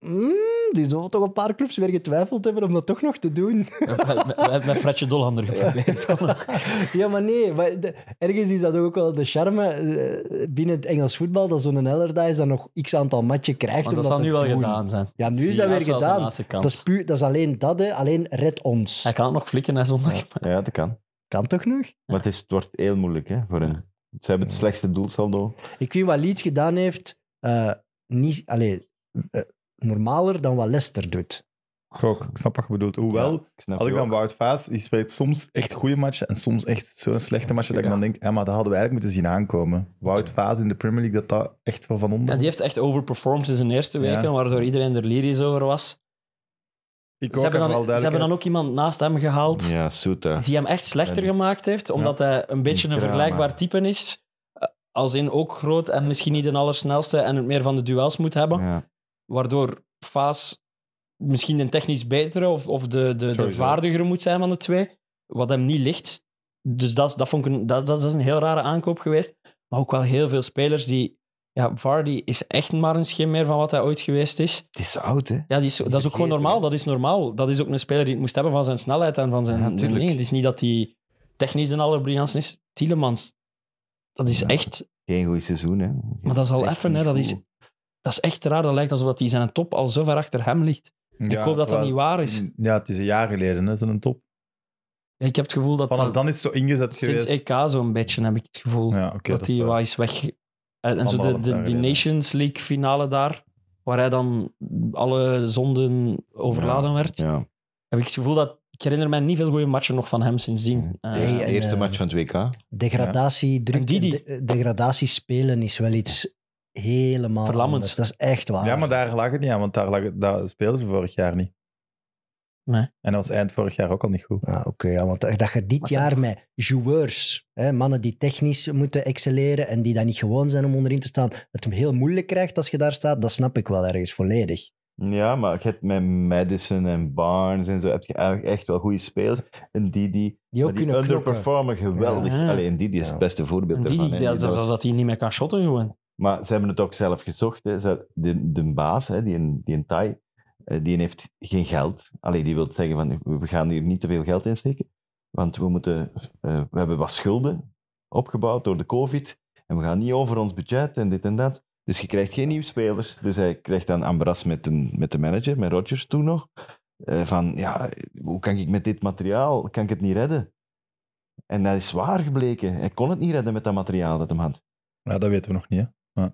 Speaker 2: Mm, die zullen toch een paar clubs weer getwijfeld hebben om dat toch nog te doen. <laughs>
Speaker 3: We hebben met Fredje Dolhander geprobeerd.
Speaker 2: ja, maar nee. Maar de- ergens is dat ook wel de charme eh, binnen het Engels voetbal, dat zo'n Allardyce dan nog x aantal matchen krijgt. om
Speaker 3: Want dat zal
Speaker 2: te
Speaker 3: nu wel
Speaker 2: doen.
Speaker 3: gedaan zijn.
Speaker 2: Ja, nu is
Speaker 3: Via
Speaker 2: dat weer
Speaker 3: is wel zijn
Speaker 2: gedaan.
Speaker 3: laatste kans.
Speaker 2: Dat is, puur, dat is alleen dat, hè. alleen red ons.
Speaker 3: Hij kan het nog flikken, hè, zondag. maar-
Speaker 4: Ja, dat kan.
Speaker 2: Kan toch nog?
Speaker 4: Maar het, is, het wordt heel moeilijk hè, voor hen. Ze hebben het slechtste doelsaldo.
Speaker 2: Ik vind wat Leeds gedaan heeft, eh, niet, allee, eh, normaler dan wat Leicester doet.
Speaker 1: Ik ook. Ik snap wat je bedoelt. Hoewel,
Speaker 4: Ja, snap
Speaker 1: had ik
Speaker 4: je
Speaker 1: dan
Speaker 4: ook.
Speaker 1: Wout Vaas, die speelt soms echt goede matchen en soms echt zo'n slechte matchen dat ik
Speaker 3: Ja.
Speaker 1: dan denk, ja, maar dat hadden we eigenlijk moeten zien aankomen. Wout Vaas in de Premier League, dat dat echt wel van onder...
Speaker 3: Ja, die heeft echt overperformed in zijn eerste weken,
Speaker 1: Ja.
Speaker 3: waardoor iedereen er lyrisch over was.
Speaker 1: ik
Speaker 3: Ze hebben, dan, ze hebben dan ook iemand naast hem gehaald
Speaker 4: Ja, Soeta.
Speaker 3: die hem echt slechter
Speaker 4: Dat is-
Speaker 3: gemaakt heeft, omdat hij een beetje een
Speaker 4: Drama.
Speaker 3: vergelijkbaar type is. Eh, Als in ook groot en misschien niet de allersnelste en het meer van de duels moet hebben.
Speaker 4: Ja.
Speaker 3: Waardoor Faas misschien een technisch betere of, of de, de, de
Speaker 1: Sowieso.
Speaker 3: vaardigere moet zijn van de twee. Wat hem niet ligt. Dus dat, is- dat, vond ik een, dat, dat is een heel rare aankoop geweest. Maar ook wel heel veel spelers die... Ja, Vardy is echt maar een schim meer van wat hij ooit geweest is.
Speaker 4: Het is oud, hè?
Speaker 3: Ja, die is, dat is ook gewoon
Speaker 4: vergeten,
Speaker 3: normaal.
Speaker 4: hè.
Speaker 3: Dat is normaal. Dat is ook een speler die het moest hebben van zijn snelheid en van zijn
Speaker 4: Ja,
Speaker 3: zijn
Speaker 4: tuurlijk.
Speaker 3: dingen. Het is niet dat hij technisch de allerbriljantste is. Tielemans, dat is
Speaker 4: Ja.
Speaker 3: echt...
Speaker 4: Geen goed seizoen, hè?
Speaker 3: Maar dat is al
Speaker 4: Echt
Speaker 3: even,
Speaker 4: niet
Speaker 3: hè. Dat is,
Speaker 4: goed.
Speaker 3: dat is echt raar. Dat lijkt alsof dat hij zijn top al zo ver achter hem ligt. Ik hoop dat dat niet waar is.
Speaker 1: Mm, Ja, het is een jaar geleden, hè, een top.
Speaker 3: Ja, ik heb het gevoel dat,
Speaker 1: Vanaf
Speaker 3: dat
Speaker 1: dan is het zo ingezet
Speaker 3: sinds
Speaker 1: geweest.
Speaker 3: EK zo'n beetje, heb ik het gevoel.
Speaker 1: Ja, oké.
Speaker 3: dat hij
Speaker 1: is
Speaker 3: wat
Speaker 1: waar.
Speaker 3: is weg. eh, En, en zo de,
Speaker 1: Anderhalf
Speaker 3: de,
Speaker 1: jaar
Speaker 3: die
Speaker 1: geleden.
Speaker 3: Nations League finale daar, waar hij dan alle zonden overladen werd,
Speaker 4: Ja.
Speaker 3: heb ik het gevoel dat... Ik herinner mij niet veel goede matchen nog van hem
Speaker 1: Mm.
Speaker 3: sindsdien. Eh,
Speaker 4: Eerste-
Speaker 2: en,
Speaker 4: eerste
Speaker 2: eh,
Speaker 4: match van het WK.
Speaker 2: Degradatie, druk,
Speaker 3: En Didi.
Speaker 2: de- eh, degradatie spelen is wel iets helemaal
Speaker 3: Verlammend.
Speaker 2: anders. Dat is echt waar.
Speaker 1: Ja, maar daar lag het niet aan, want daar, lag, het- daar speelden ze vorig jaar niet.
Speaker 3: Nee.
Speaker 1: En dat was eind vorig jaar ook al niet goed.
Speaker 2: Ah, Oké, ja, want dat dat je dit
Speaker 3: Maar het zijn
Speaker 2: jaar met joueurs, hè, mannen die technisch moeten excelleren en die dat niet gewoon zijn om onderin te staan, het hem heel moeilijk krijgt als je daar staat, dat snap ik wel ergens volledig.
Speaker 4: Ja, maar je hebt met Madison en Barnes en zo heb je eigenlijk echt wel goede spelers. En die die,
Speaker 2: Die ook
Speaker 4: maar die
Speaker 2: kunnen kloppen.
Speaker 4: underperformen geweldig.
Speaker 3: Ja.
Speaker 4: Alleen die, die is
Speaker 2: Ja.
Speaker 4: het beste voorbeeld
Speaker 3: en die,
Speaker 4: ervan. hè.
Speaker 3: dat,
Speaker 4: Die
Speaker 3: dat,
Speaker 4: was-
Speaker 3: dat hij niet meer kan shotten gewoon.
Speaker 4: Maar ze hebben het ook zelf gezocht. Hè. Ze- De, de baas, hè, die, een- die een Thai, eh, die heeft geen geld. Allee, die wil zeggen van, we gaan hier niet te veel geld in steken. Want we, moeten, eh, we hebben wat schulden opgebouwd door de covid. En we gaan niet over ons budget en dit en dat. Dus je krijgt geen nieuwe spelers. Dus hij krijgt dan ambras met, een, met de manager, met Rodgers toen nog. eh, van, ja, hoe kan ik met dit materiaal, kan ik het niet redden? En dat is waar gebleken. Hij kon het niet redden met dat materiaal dat hem had.
Speaker 1: Ja, dat weten we nog niet, hè.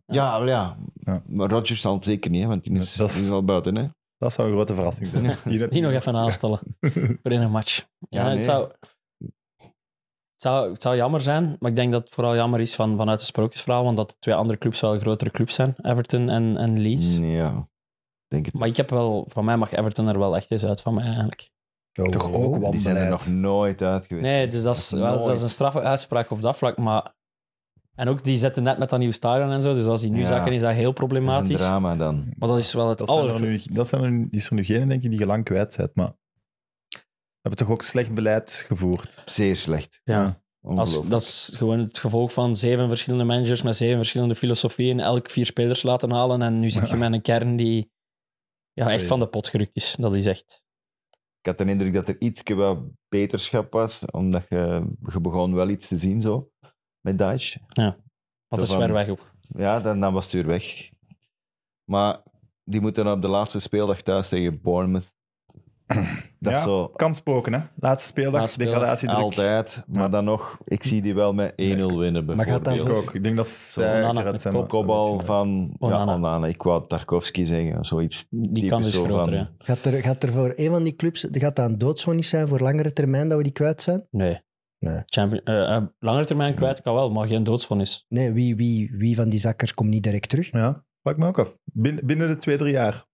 Speaker 4: Ja, wel ja.
Speaker 1: Ja.
Speaker 4: Maar Rodgers zal het zeker niet, hè, want die is,
Speaker 1: Nee, dat is-
Speaker 4: die is al buiten. Hè?
Speaker 1: Dat zou een grote verrassing
Speaker 3: <laughs>
Speaker 1: zijn. Die,
Speaker 3: Die nog even
Speaker 4: <laughs>
Speaker 3: aanstellen voor in een match. Ja,
Speaker 4: Ja, nee.
Speaker 3: het, zou, het, zou, het zou jammer zijn, maar ik denk dat het vooral jammer is van, vanuit de sprookjesverhaal, want dat de twee andere clubs wel grotere clubs zijn, Everton en, en Leeds.
Speaker 4: Ja, denk het.
Speaker 3: Maar ik heb wel, van mij mag Everton er wel echt eens uit van mij eigenlijk.
Speaker 2: Oh,
Speaker 1: Toch ook wel.
Speaker 4: die zijn er nog
Speaker 1: wanbeleid.
Speaker 4: nooit uit geweest.
Speaker 3: Nee, dus dat is, wel-
Speaker 4: Nooit.
Speaker 3: dat is een straffe uitspraak op dat vlak, maar... En ook die zetten net met dat nieuwe stadion en zo, dus als die nu
Speaker 4: Ja.
Speaker 3: zakken is dat heel
Speaker 4: dat is een
Speaker 3: problematisch.
Speaker 4: drama dan.
Speaker 3: Maar dat is wel het
Speaker 1: Dat, zijn er
Speaker 3: aller...
Speaker 1: nu, dat zijn er nu, is er nu geen, denk ik, die je lang kwijt bent, maar... We hebben toch ook slecht beleid gevoerd.
Speaker 4: Zeer slecht.
Speaker 3: Ja. Als,
Speaker 4: Ongelooflijk.
Speaker 3: dat is gewoon het gevolg van zeven verschillende managers met zeven verschillende filosofieën. Elk vier spelers laten halen. En nu zit je met een kern die ja, echt van de pot gerukt is. Dat is echt.
Speaker 4: Ik had de indruk dat er iets wat beterschap was, omdat je, je begon wel iets te zien zo. Met Daesh.
Speaker 3: Want dat is
Speaker 4: Daarvan-
Speaker 3: ver weg ook.
Speaker 4: Ja, dan, dan was het weer weg. Maar die moeten dan op de laatste speeldag thuis tegen Bournemouth. Dat
Speaker 1: Ja,
Speaker 4: is zo
Speaker 1: Kan spoken, hè. Laatste speeldag,
Speaker 3: Laatste speeldag,
Speaker 1: degradatie
Speaker 4: altijd. Maar dan nog, ik zie die wel met 1-0 winnen bijvoorbeeld.
Speaker 2: Maar gaat dat
Speaker 1: Ik ook. Ik denk dat zij
Speaker 3: Onana
Speaker 1: eruit
Speaker 3: met
Speaker 1: zijn.
Speaker 3: kop.
Speaker 4: kopbal van
Speaker 3: Onana.
Speaker 4: Ja, Onana. Ik wou Tarkovsky zeggen, zoiets.
Speaker 3: Die kan
Speaker 4: typisch
Speaker 3: dus
Speaker 4: zo
Speaker 3: groter.
Speaker 4: van-
Speaker 3: hè.
Speaker 2: Gaat er, gaat er voor een van die clubs, gaat dat een doodzonde zijn voor langere termijn dat we die kwijt zijn?
Speaker 3: Nee.
Speaker 2: Nee.
Speaker 3: Champion, eh, eh, lange termijn kwijt kan wel, maar geen doodsvonnis.
Speaker 2: Nee, wie, wie, wie van die zakkers komt niet direct terug?
Speaker 1: Ja, pak me ook af. Binnen, binnen de twee, drie jaar.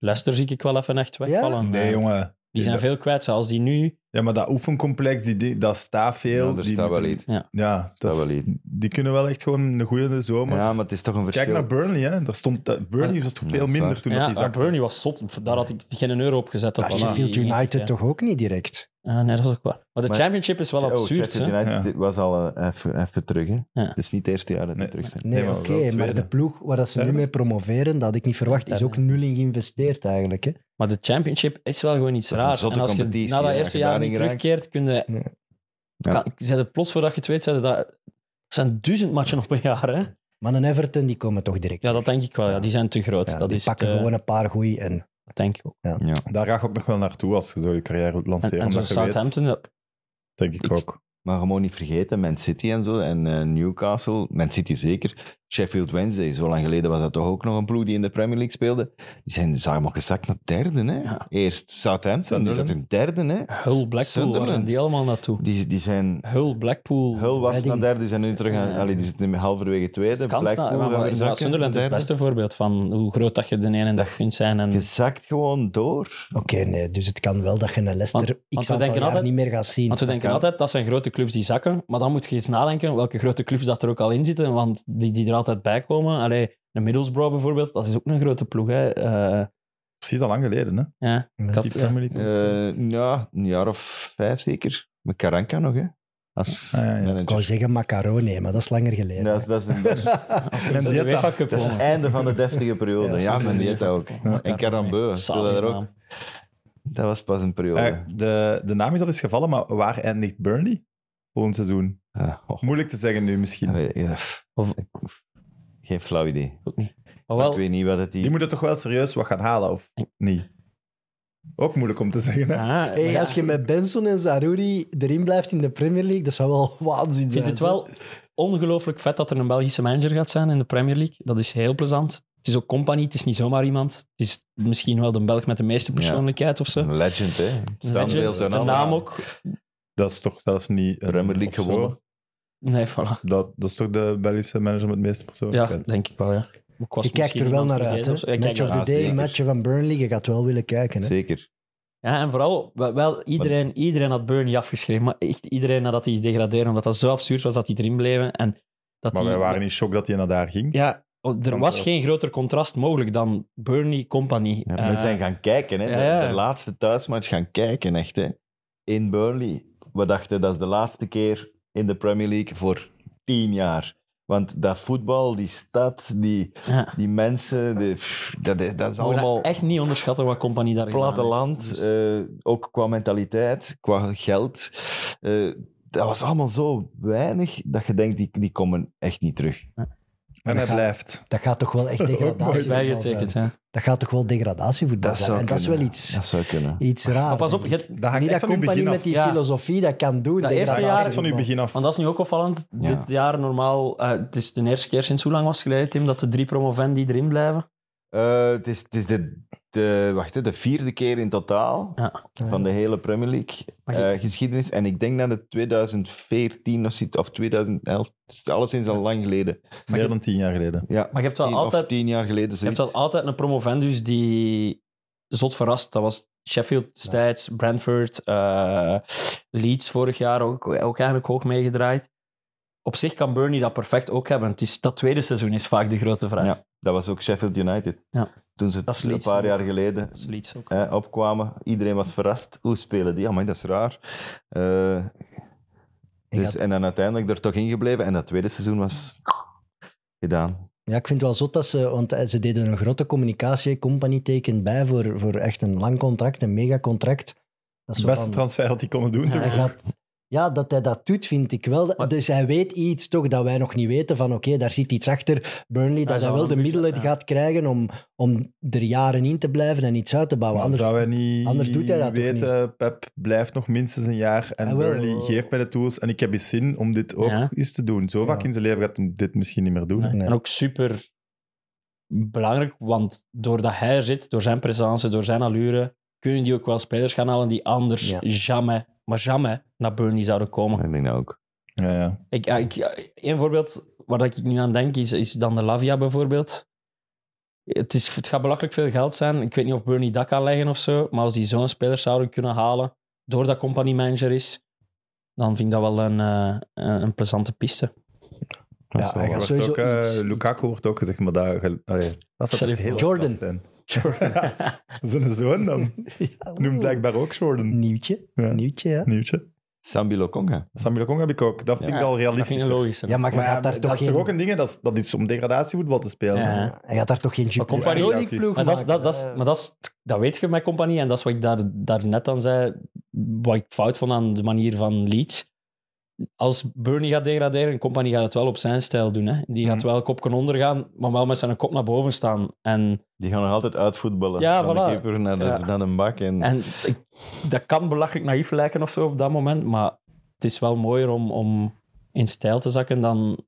Speaker 3: Leicester zie ik wel even echt wegvallen.
Speaker 1: Nee,
Speaker 3: Eh,
Speaker 1: jongen.
Speaker 3: Die zijn veel kwijt. Als die nu
Speaker 1: Ja, maar dat oefencomplex, die, ding- dat staat veel.
Speaker 4: Ja, er
Speaker 1: die
Speaker 4: staat wel
Speaker 1: moeten-
Speaker 4: iets.
Speaker 1: Ja, dat
Speaker 4: staat wel
Speaker 1: is-
Speaker 4: iets.
Speaker 1: die kunnen wel echt gewoon een goede zomer.
Speaker 4: Ja, maar het is toch een verschil.
Speaker 1: Kijk naar Burnley, hè. Daar stond, dat- Burnley was toch
Speaker 4: Ja,
Speaker 1: veel
Speaker 4: dat is
Speaker 1: minder
Speaker 4: waar.
Speaker 1: toen dat
Speaker 3: ja,
Speaker 1: die zakte.
Speaker 3: Burnley was zot. Daar had ik geen euro op gezet. Dat was
Speaker 2: Ah, Sheffield
Speaker 3: die-
Speaker 2: United
Speaker 3: ja.
Speaker 2: toch ook niet direct.
Speaker 3: Ah, nee, dat is ook waar. Maar de
Speaker 4: Maar-
Speaker 3: championship is wel
Speaker 4: Oh,
Speaker 3: absurd.
Speaker 4: Sheffield
Speaker 3: hè.
Speaker 4: United dit was al eh, even, even terug. Hè.
Speaker 3: Ja.
Speaker 4: Het is niet het eerste jaar dat die
Speaker 1: Nee.
Speaker 4: terug zijn.
Speaker 2: Nee,
Speaker 1: Nee, maar
Speaker 2: oké,
Speaker 1: wel tweede.
Speaker 2: maar de ploeg waar dat ze nu
Speaker 1: Derde.
Speaker 2: mee promoveren, dat had ik niet verwacht, is ook
Speaker 3: Derde.
Speaker 2: nul in geïnvesteerd eigenlijk. Hè.
Speaker 3: Maar de championship is wel gewoon iets
Speaker 4: Dat is een
Speaker 3: raars.
Speaker 4: zotte
Speaker 3: En als je
Speaker 4: competitie,
Speaker 3: na dat
Speaker 4: hè.
Speaker 3: eerste
Speaker 4: Als je
Speaker 3: jaar
Speaker 4: daarin
Speaker 3: niet
Speaker 4: geraakt.
Speaker 3: terugkeert, kun je...
Speaker 2: Nee.
Speaker 4: Ja.
Speaker 3: Kan- zeiden plots voordat je het weet, zeiden dat... Er zijn duizend matchen op een jaar, hè?
Speaker 2: Maar een Everton, die komen toch direct.
Speaker 3: Ja, dat denk ik wel. Ja. Die zijn te groot.
Speaker 2: Ja,
Speaker 3: dat
Speaker 2: die
Speaker 3: is
Speaker 2: pakken
Speaker 3: te-
Speaker 2: gewoon een paar goeie en
Speaker 3: Dat denk ik ook.
Speaker 1: Daar ga ik ook nog wel naartoe als je zo je carrière wilt
Speaker 3: En,
Speaker 1: lanceren.
Speaker 3: en zo'n
Speaker 1: omdat je weet,
Speaker 3: Southampton... ja,
Speaker 1: denk ik
Speaker 3: Ik-
Speaker 1: ook.
Speaker 4: Maar gewoon niet vergeten, Man City en zo, en eh, Newcastle, Man City zeker, Sheffield Wednesday, zo lang geleden was dat toch ook nog een ploeg die in de Premier League speelde. Die zijn zijn maar gezakt naar derde, hè.
Speaker 3: Ja.
Speaker 4: Eerst Southampton, die zat in
Speaker 1: Sunderland.
Speaker 4: derde, hè.
Speaker 3: Hull, Blackpool, waar zijn
Speaker 4: Sunderland.
Speaker 3: die allemaal naartoe?
Speaker 4: Die, die zijn...
Speaker 3: Hull, Blackpool...
Speaker 4: Hull was
Speaker 2: Reading.
Speaker 4: naar derde, die zijn nu terug aan...
Speaker 3: Ja.
Speaker 4: allee, die zitten nu halverwege tweede.
Speaker 3: Het kan
Speaker 4: Blackpool
Speaker 3: staan, maar, maar
Speaker 4: gaan weer
Speaker 3: inderdaad,
Speaker 4: zakken,
Speaker 3: Sunderland is Hmm. het
Speaker 4: derde.
Speaker 3: beste voorbeeld van hoe groot dat je de ene dag kunt zijn. En,
Speaker 4: Je zakt gewoon door.
Speaker 2: Oké, nee, dus het kan wel dat je een Leicester x
Speaker 3: Want- want we
Speaker 2: aantal
Speaker 3: denken
Speaker 2: jaar
Speaker 3: altijd-
Speaker 2: niet meer gaat zien.
Speaker 3: want we denken
Speaker 4: kan.
Speaker 3: altijd, dat zijn grote clubs die zakken. Maar dan moet je eens nadenken welke grote clubs dat er ook al in zitten. Want die, die er altijd bij komen. Allee, de Middlesbrough bijvoorbeeld, dat is ook een grote ploeg. Hè. Eh,
Speaker 1: Precies al lang geleden, hè.
Speaker 3: ja.
Speaker 2: Nee.
Speaker 3: Ik had-
Speaker 1: Die Premier
Speaker 3: Oh.
Speaker 1: League.
Speaker 4: Eh, ja, een jaar of vijf zeker. Met Karanka nog, hè. Als
Speaker 1: Ah, ja, ja.
Speaker 4: manager.
Speaker 2: Ik wou zeggen macaroni, maar dat is langer geleden.
Speaker 4: Dat is, dat is
Speaker 3: <laughs>
Speaker 4: een best...
Speaker 1: En
Speaker 3: de
Speaker 1: Dieta.
Speaker 3: UEFA Cup
Speaker 4: Dat is het
Speaker 3: wonnen.
Speaker 4: einde van de deftige periode.
Speaker 2: Ja,
Speaker 4: Ja,
Speaker 2: zo
Speaker 4: men
Speaker 2: is
Speaker 4: deed dat ook.
Speaker 1: Ja.
Speaker 4: En Carambeu, speelde daar ook. Dat was pas een periode.
Speaker 1: Eh, de, de naam is al eens gevallen, maar waar eindigt Burnley volgend seizoen?
Speaker 4: Ah, oh,
Speaker 1: Moeilijk te zeggen nu misschien.
Speaker 4: dat Ah, weet ik- ja, pff.
Speaker 3: Of-
Speaker 4: Ik- Geen flauw idee.
Speaker 3: Ook niet. Maar
Speaker 4: ik
Speaker 3: wel,
Speaker 4: weet niet wat het die...
Speaker 1: Die moeten toch wel serieus wat gaan halen, of niet? Ook moeilijk om te zeggen, hè?
Speaker 3: ah, maar
Speaker 2: Hey,
Speaker 3: ja,
Speaker 2: als je met Benson en Zaruri erin blijft in de Premier League, dat zou wel <laughs> waanzin
Speaker 3: ik
Speaker 2: zijn.
Speaker 3: vind het
Speaker 2: hè.
Speaker 3: wel ongelooflijk vet dat er een Belgische manager gaat zijn in de Premier League. Dat is heel plezant. Het is ook compagnie, het is niet zomaar iemand. Het is misschien wel de Belg met de meeste persoonlijkheid of zo.
Speaker 4: Een legend, hè. Standbeeld
Speaker 3: Legend,
Speaker 4: zijn
Speaker 3: de
Speaker 4: allemaal.
Speaker 3: naam ook.
Speaker 1: Dat is toch zelfs niet... een-
Speaker 4: Premier League
Speaker 1: of zo.
Speaker 4: gewonnen.
Speaker 3: Nee, voilà.
Speaker 1: Dat, dat is toch de Belgische manager met het meeste
Speaker 3: Ja,
Speaker 1: persoonlijkheid?
Speaker 3: denk ik wel, ja. Ik was
Speaker 2: Je kijkt
Speaker 3: misschien
Speaker 2: er wel
Speaker 3: iemand
Speaker 2: naar uit.
Speaker 3: vergeten of zo.
Speaker 2: Hè?
Speaker 3: Ik kijk dus-
Speaker 2: Match of
Speaker 3: er-
Speaker 4: naar
Speaker 2: the
Speaker 4: uit.
Speaker 2: day, match
Speaker 4: Zeker.
Speaker 2: van Burnley, je gaat wel willen kijken. Hè?
Speaker 4: Zeker.
Speaker 3: Ja, en vooral, wel- wel iedereen, iedereen had Burnley afgeschreven, maar echt iedereen nadat die degradeerden, omdat dat zo absurd was dat die erin bleven. En dat
Speaker 1: Maar
Speaker 3: die,
Speaker 1: wij waren in shock dat hij naar daar ging.
Speaker 3: Ja, oh, er
Speaker 1: Want,
Speaker 3: was
Speaker 1: eh,
Speaker 3: geen groter contrast mogelijk dan Burnley Company.
Speaker 4: Ja,
Speaker 3: Eh,
Speaker 4: we zijn gaan kijken, hè. De,
Speaker 3: ja, ja.
Speaker 4: de laatste thuismatch gaan kijken, echt, hè. In Burnley. We dachten, dat is de laatste keer in de Premier League voor tien jaar. Want dat voetbal, die stad, die,
Speaker 3: ja.
Speaker 4: die mensen, de, pff, dat, is- dat is
Speaker 3: We mogen dat
Speaker 4: allemaal...
Speaker 3: echt niet onderschatten wat Company daar gedaan heeft.
Speaker 4: platteland,
Speaker 3: Dus-
Speaker 4: eh, ook qua mentaliteit, qua geld. eh, dat was allemaal zo weinig dat je denkt, die, die komen echt niet terug.
Speaker 1: En hij
Speaker 2: Ja.
Speaker 1: blijft.
Speaker 2: Dat gaat toch
Speaker 3: <laughs>
Speaker 2: wel echt
Speaker 1: mooi.
Speaker 2: degradatie
Speaker 3: Bijgetekend, ja.
Speaker 2: Dat gaat toch wel degradatievoetbal
Speaker 4: Dat
Speaker 2: zijn.
Speaker 4: zou
Speaker 2: en dat is wel
Speaker 4: kunnen.
Speaker 2: iets,
Speaker 4: Dat zou kunnen.
Speaker 2: iets raar.
Speaker 3: Maar pas op, je-
Speaker 1: Dat hangt
Speaker 2: niet
Speaker 1: echt van
Speaker 2: dat
Speaker 1: uw
Speaker 2: compagnie
Speaker 1: begin
Speaker 2: met
Speaker 1: af.
Speaker 2: die
Speaker 3: Ja.
Speaker 2: filosofie dat kan doen.
Speaker 3: Dat eerste
Speaker 1: Dat
Speaker 3: jaar-
Speaker 1: hangt van uw begin af.
Speaker 3: want dat is nu ook opvallend.
Speaker 4: Ja.
Speaker 3: Dit jaar normaal, eh, het is de eerste keer sinds hoe lang was het geleden, Tim, dat de drie promovendi erin blijven.
Speaker 4: Eh, het is, het is de, de, wacht, hè, de vierde keer in totaal
Speaker 3: Ja.
Speaker 4: van de hele Premier League
Speaker 3: Maar je-
Speaker 4: eh, geschiedenis. En ik denk dat het 2014 of zoiets- of 2011, het is alleszins al lang geleden.
Speaker 1: Meer dan tien jaar geleden.
Speaker 4: Ja,
Speaker 3: Maar je hebt wel
Speaker 4: tien,
Speaker 3: altijd-
Speaker 4: Of tien jaar geleden
Speaker 3: Je hebt
Speaker 4: zoiets.
Speaker 3: wel altijd een promovendus die zot verrast. Dat was Sheffield destijds, Brentford, eh, Leeds vorig jaar ook, ook eigenlijk hoog meegedraaid. Op zich kan Burnley dat perfect ook hebben. Het is, dat tweede seizoen is vaak de grote vraag.
Speaker 4: Ja, dat was ook Sheffield United.
Speaker 3: Ja.
Speaker 4: Toen ze
Speaker 3: Dat is
Speaker 4: een
Speaker 3: Leeds,
Speaker 4: paar
Speaker 3: hè.
Speaker 4: jaar geleden
Speaker 3: Dat is Leeds ook.
Speaker 4: eh, opkwamen. Iedereen was verrast. Hoe spelen die? Amai, dat is raar. Eh,
Speaker 2: Ik
Speaker 4: dus,
Speaker 2: had-
Speaker 4: En dan uiteindelijk er toch ingebleven. En dat tweede seizoen was gedaan.
Speaker 2: Ja, ik vind het wel zot dat ze... Want eh, ze deden een grote communicatie. Company tekent bij voor, voor echt een lang contract, een megacontract. Dat is
Speaker 1: Het
Speaker 2: zo
Speaker 1: beste
Speaker 2: van-
Speaker 1: transfer dat hij kon doen.
Speaker 3: Ja.
Speaker 1: toch?
Speaker 2: Hij gaat- ja, dat hij dat doet, vind ik wel.
Speaker 3: Maar-
Speaker 2: dus hij weet iets toch dat wij nog niet weten van oké, daar zit iets achter Burnley, dat
Speaker 3: zou
Speaker 2: hij wel
Speaker 3: wel
Speaker 2: de
Speaker 3: een
Speaker 2: middelen
Speaker 3: beetje- ja.
Speaker 2: gaat krijgen om, om er jaren in te blijven en iets uit te bouwen.
Speaker 1: Maar
Speaker 2: Anders,
Speaker 1: zou hij niet
Speaker 2: anders doet hij dat ook
Speaker 1: weten, Pep blijft nog minstens een jaar en
Speaker 2: Ah, wel.
Speaker 1: Burnley geeft mij de tools en ik heb eens zin om dit ook
Speaker 3: Ja.
Speaker 1: eens te doen. Zo vaak
Speaker 2: Ja.
Speaker 1: in zijn leven gaat hij dit misschien niet meer doen.
Speaker 3: Nee.
Speaker 2: Nee.
Speaker 3: En ook super belangrijk, want doordat hij er zit, door zijn presence, door zijn allure, kunnen die ook wel spelers gaan halen die anders
Speaker 2: Ja.
Speaker 3: jamais, maar jamais naar Burnley zouden komen.
Speaker 4: Ik denk dat ook.
Speaker 1: Ja, ja.
Speaker 3: Ik, ja, ik, ja, één voorbeeld waar dat ik nu aan denk is, is dan de Lavia bijvoorbeeld. Het, is, het gaat belachelijk veel geld zijn. Ik weet niet of Bernie dat kan leggen of zo. Maar als die zo'n speler zouden kunnen halen, doordat company manager is, dan vind ik dat wel een, eh, een een plezante piste.
Speaker 4: Dat
Speaker 2: Ja, hij
Speaker 4: is wel waar.
Speaker 2: gaat
Speaker 1: Wordt
Speaker 2: sowieso
Speaker 1: ook, eh,
Speaker 2: iets-
Speaker 1: Lukaku wordt ook gezegd, maar daar, allee, dat zou
Speaker 3: Sorry,
Speaker 1: toch heel
Speaker 2: Jordan.
Speaker 1: lastig
Speaker 2: <laughs>
Speaker 1: zijn. <laughs> Zijn zoon dan. Noemt blijkbaar ook Jordan.
Speaker 2: Nieuwtje,
Speaker 1: Ja.
Speaker 2: nieuwtje, ja.
Speaker 1: Nieuwtje.
Speaker 4: Sambi Lokonga.
Speaker 1: Samuel Kong heb ik ook. Dat vind ik al
Speaker 3: Dat vind
Speaker 1: realistisch.
Speaker 3: ik logisch.
Speaker 2: Ja, maar je
Speaker 1: Maar ja,
Speaker 2: gaat daar
Speaker 1: dat
Speaker 2: toch
Speaker 1: is
Speaker 2: geen...
Speaker 1: toch ook een ding, hè? dat is, dat is om degradatievoetbal te spelen.
Speaker 3: Ja.
Speaker 2: Ja, Hij gaat daar toch geen Jupiler
Speaker 3: Compagnie
Speaker 1: ook
Speaker 2: League
Speaker 1: is.
Speaker 2: ploeg
Speaker 3: Maar, dat, is-
Speaker 2: maken?
Speaker 3: dat, dat, is-
Speaker 2: Eh,
Speaker 3: maar dat, is- dat weet je met compagnie. En dat is wat ik daar, daarnet aan zei. Wat ik fout vond aan de manier van Leeds. Als Burnley gaat degraderen, en compagnie gaat het wel op zijn stijl doen. Hè. Die gaat
Speaker 1: Mhm.
Speaker 3: wel kopken ondergaan, maar wel met zijn kop naar boven staan. En,
Speaker 4: Die gaan nog altijd uitvoetballen.
Speaker 3: Ja,
Speaker 4: van
Speaker 3: voilà.
Speaker 4: de keeper naar de,
Speaker 3: Ja.
Speaker 4: naar de bak. En,
Speaker 3: en ik- dat kan belachelijk naïef lijken of zo op dat moment. Maar het is wel mooier om, om in stijl te zakken dan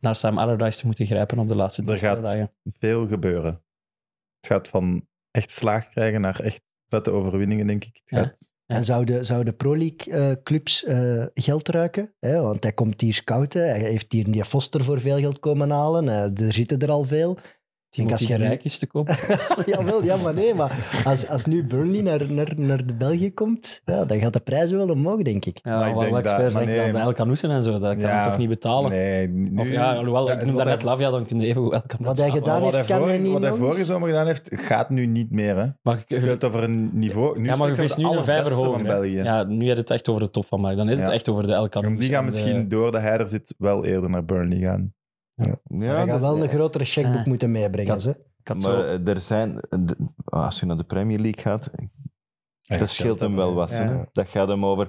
Speaker 3: naar Sam Allardyce te moeten grijpen op de laatste
Speaker 1: Er
Speaker 3: drie
Speaker 1: gaat
Speaker 3: speeldagen.
Speaker 1: veel gebeuren. Het gaat van echt slaag krijgen naar echt vette overwinningen, denk ik. Het
Speaker 3: Ja.
Speaker 1: gaat...
Speaker 3: Ja.
Speaker 2: En zouden, zouden pro-league-clubs eh, geld ruiken? Hè? Want hij komt hier scouten. Hij heeft hier die Foster voor veel geld komen halen. eh, er zitten er al veel. denk als
Speaker 3: Timothy
Speaker 2: je-
Speaker 3: Rijk is te koop.
Speaker 2: <laughs> Jawel, ja, maar nee. Maar als, als nu Burnley naar, naar, naar de België komt, ja, dan gaat de prijs wel omhoog, denk ik.
Speaker 3: Ja,
Speaker 1: Maar ik
Speaker 3: wel
Speaker 1: denk
Speaker 3: wat
Speaker 1: dat-
Speaker 3: experts
Speaker 1: maar
Speaker 3: denken
Speaker 1: nee,
Speaker 3: aan de
Speaker 1: maar-
Speaker 3: El Canoessen en zo. Dat kan
Speaker 1: Ja.
Speaker 3: je toch niet betalen?
Speaker 1: Nee, nu...
Speaker 3: Of ja, alhoewel, ik
Speaker 1: Ja,
Speaker 3: noem
Speaker 1: wat
Speaker 3: daarnet
Speaker 1: hij-
Speaker 3: Lavia, dan kun je even goed El Canoessen
Speaker 2: Wat hij
Speaker 3: halen.
Speaker 2: gedaan
Speaker 1: Wat hij,
Speaker 2: heeft, kan hij
Speaker 1: vorig,
Speaker 2: niet
Speaker 1: wat hij
Speaker 2: anders.
Speaker 1: vorige zomer gedaan heeft, gaat nu niet meer. Hè. Het
Speaker 3: Maar je-
Speaker 1: speelt over een niveau. Nu
Speaker 3: ja, maar
Speaker 1: spreken
Speaker 3: je
Speaker 1: we
Speaker 3: vis
Speaker 1: de
Speaker 3: nu een vijver
Speaker 1: allerbeste
Speaker 3: hoger.
Speaker 1: van
Speaker 3: hè.
Speaker 1: België.
Speaker 3: Ja, nu heb je het echt over de top van mij. Dan is het
Speaker 1: Ja.
Speaker 3: echt over de El Canoessen.
Speaker 1: Die gaan
Speaker 3: en de-
Speaker 1: misschien, doordat hij er zit, wel eerder naar Burnley gaan.
Speaker 2: Ja, hij
Speaker 4: dat
Speaker 2: gaat
Speaker 4: is-
Speaker 2: wel een grotere checkboek
Speaker 3: Ah.
Speaker 2: moeten meebrengen.
Speaker 3: Ja.
Speaker 2: Ze.
Speaker 3: Ik had
Speaker 4: dus- Maar
Speaker 3: zo...
Speaker 4: eh, er zijn, de- als je naar de Premier League gaat, dat scheelt hem wel wat.
Speaker 1: Ja.
Speaker 4: hè. Dat gaat hem over.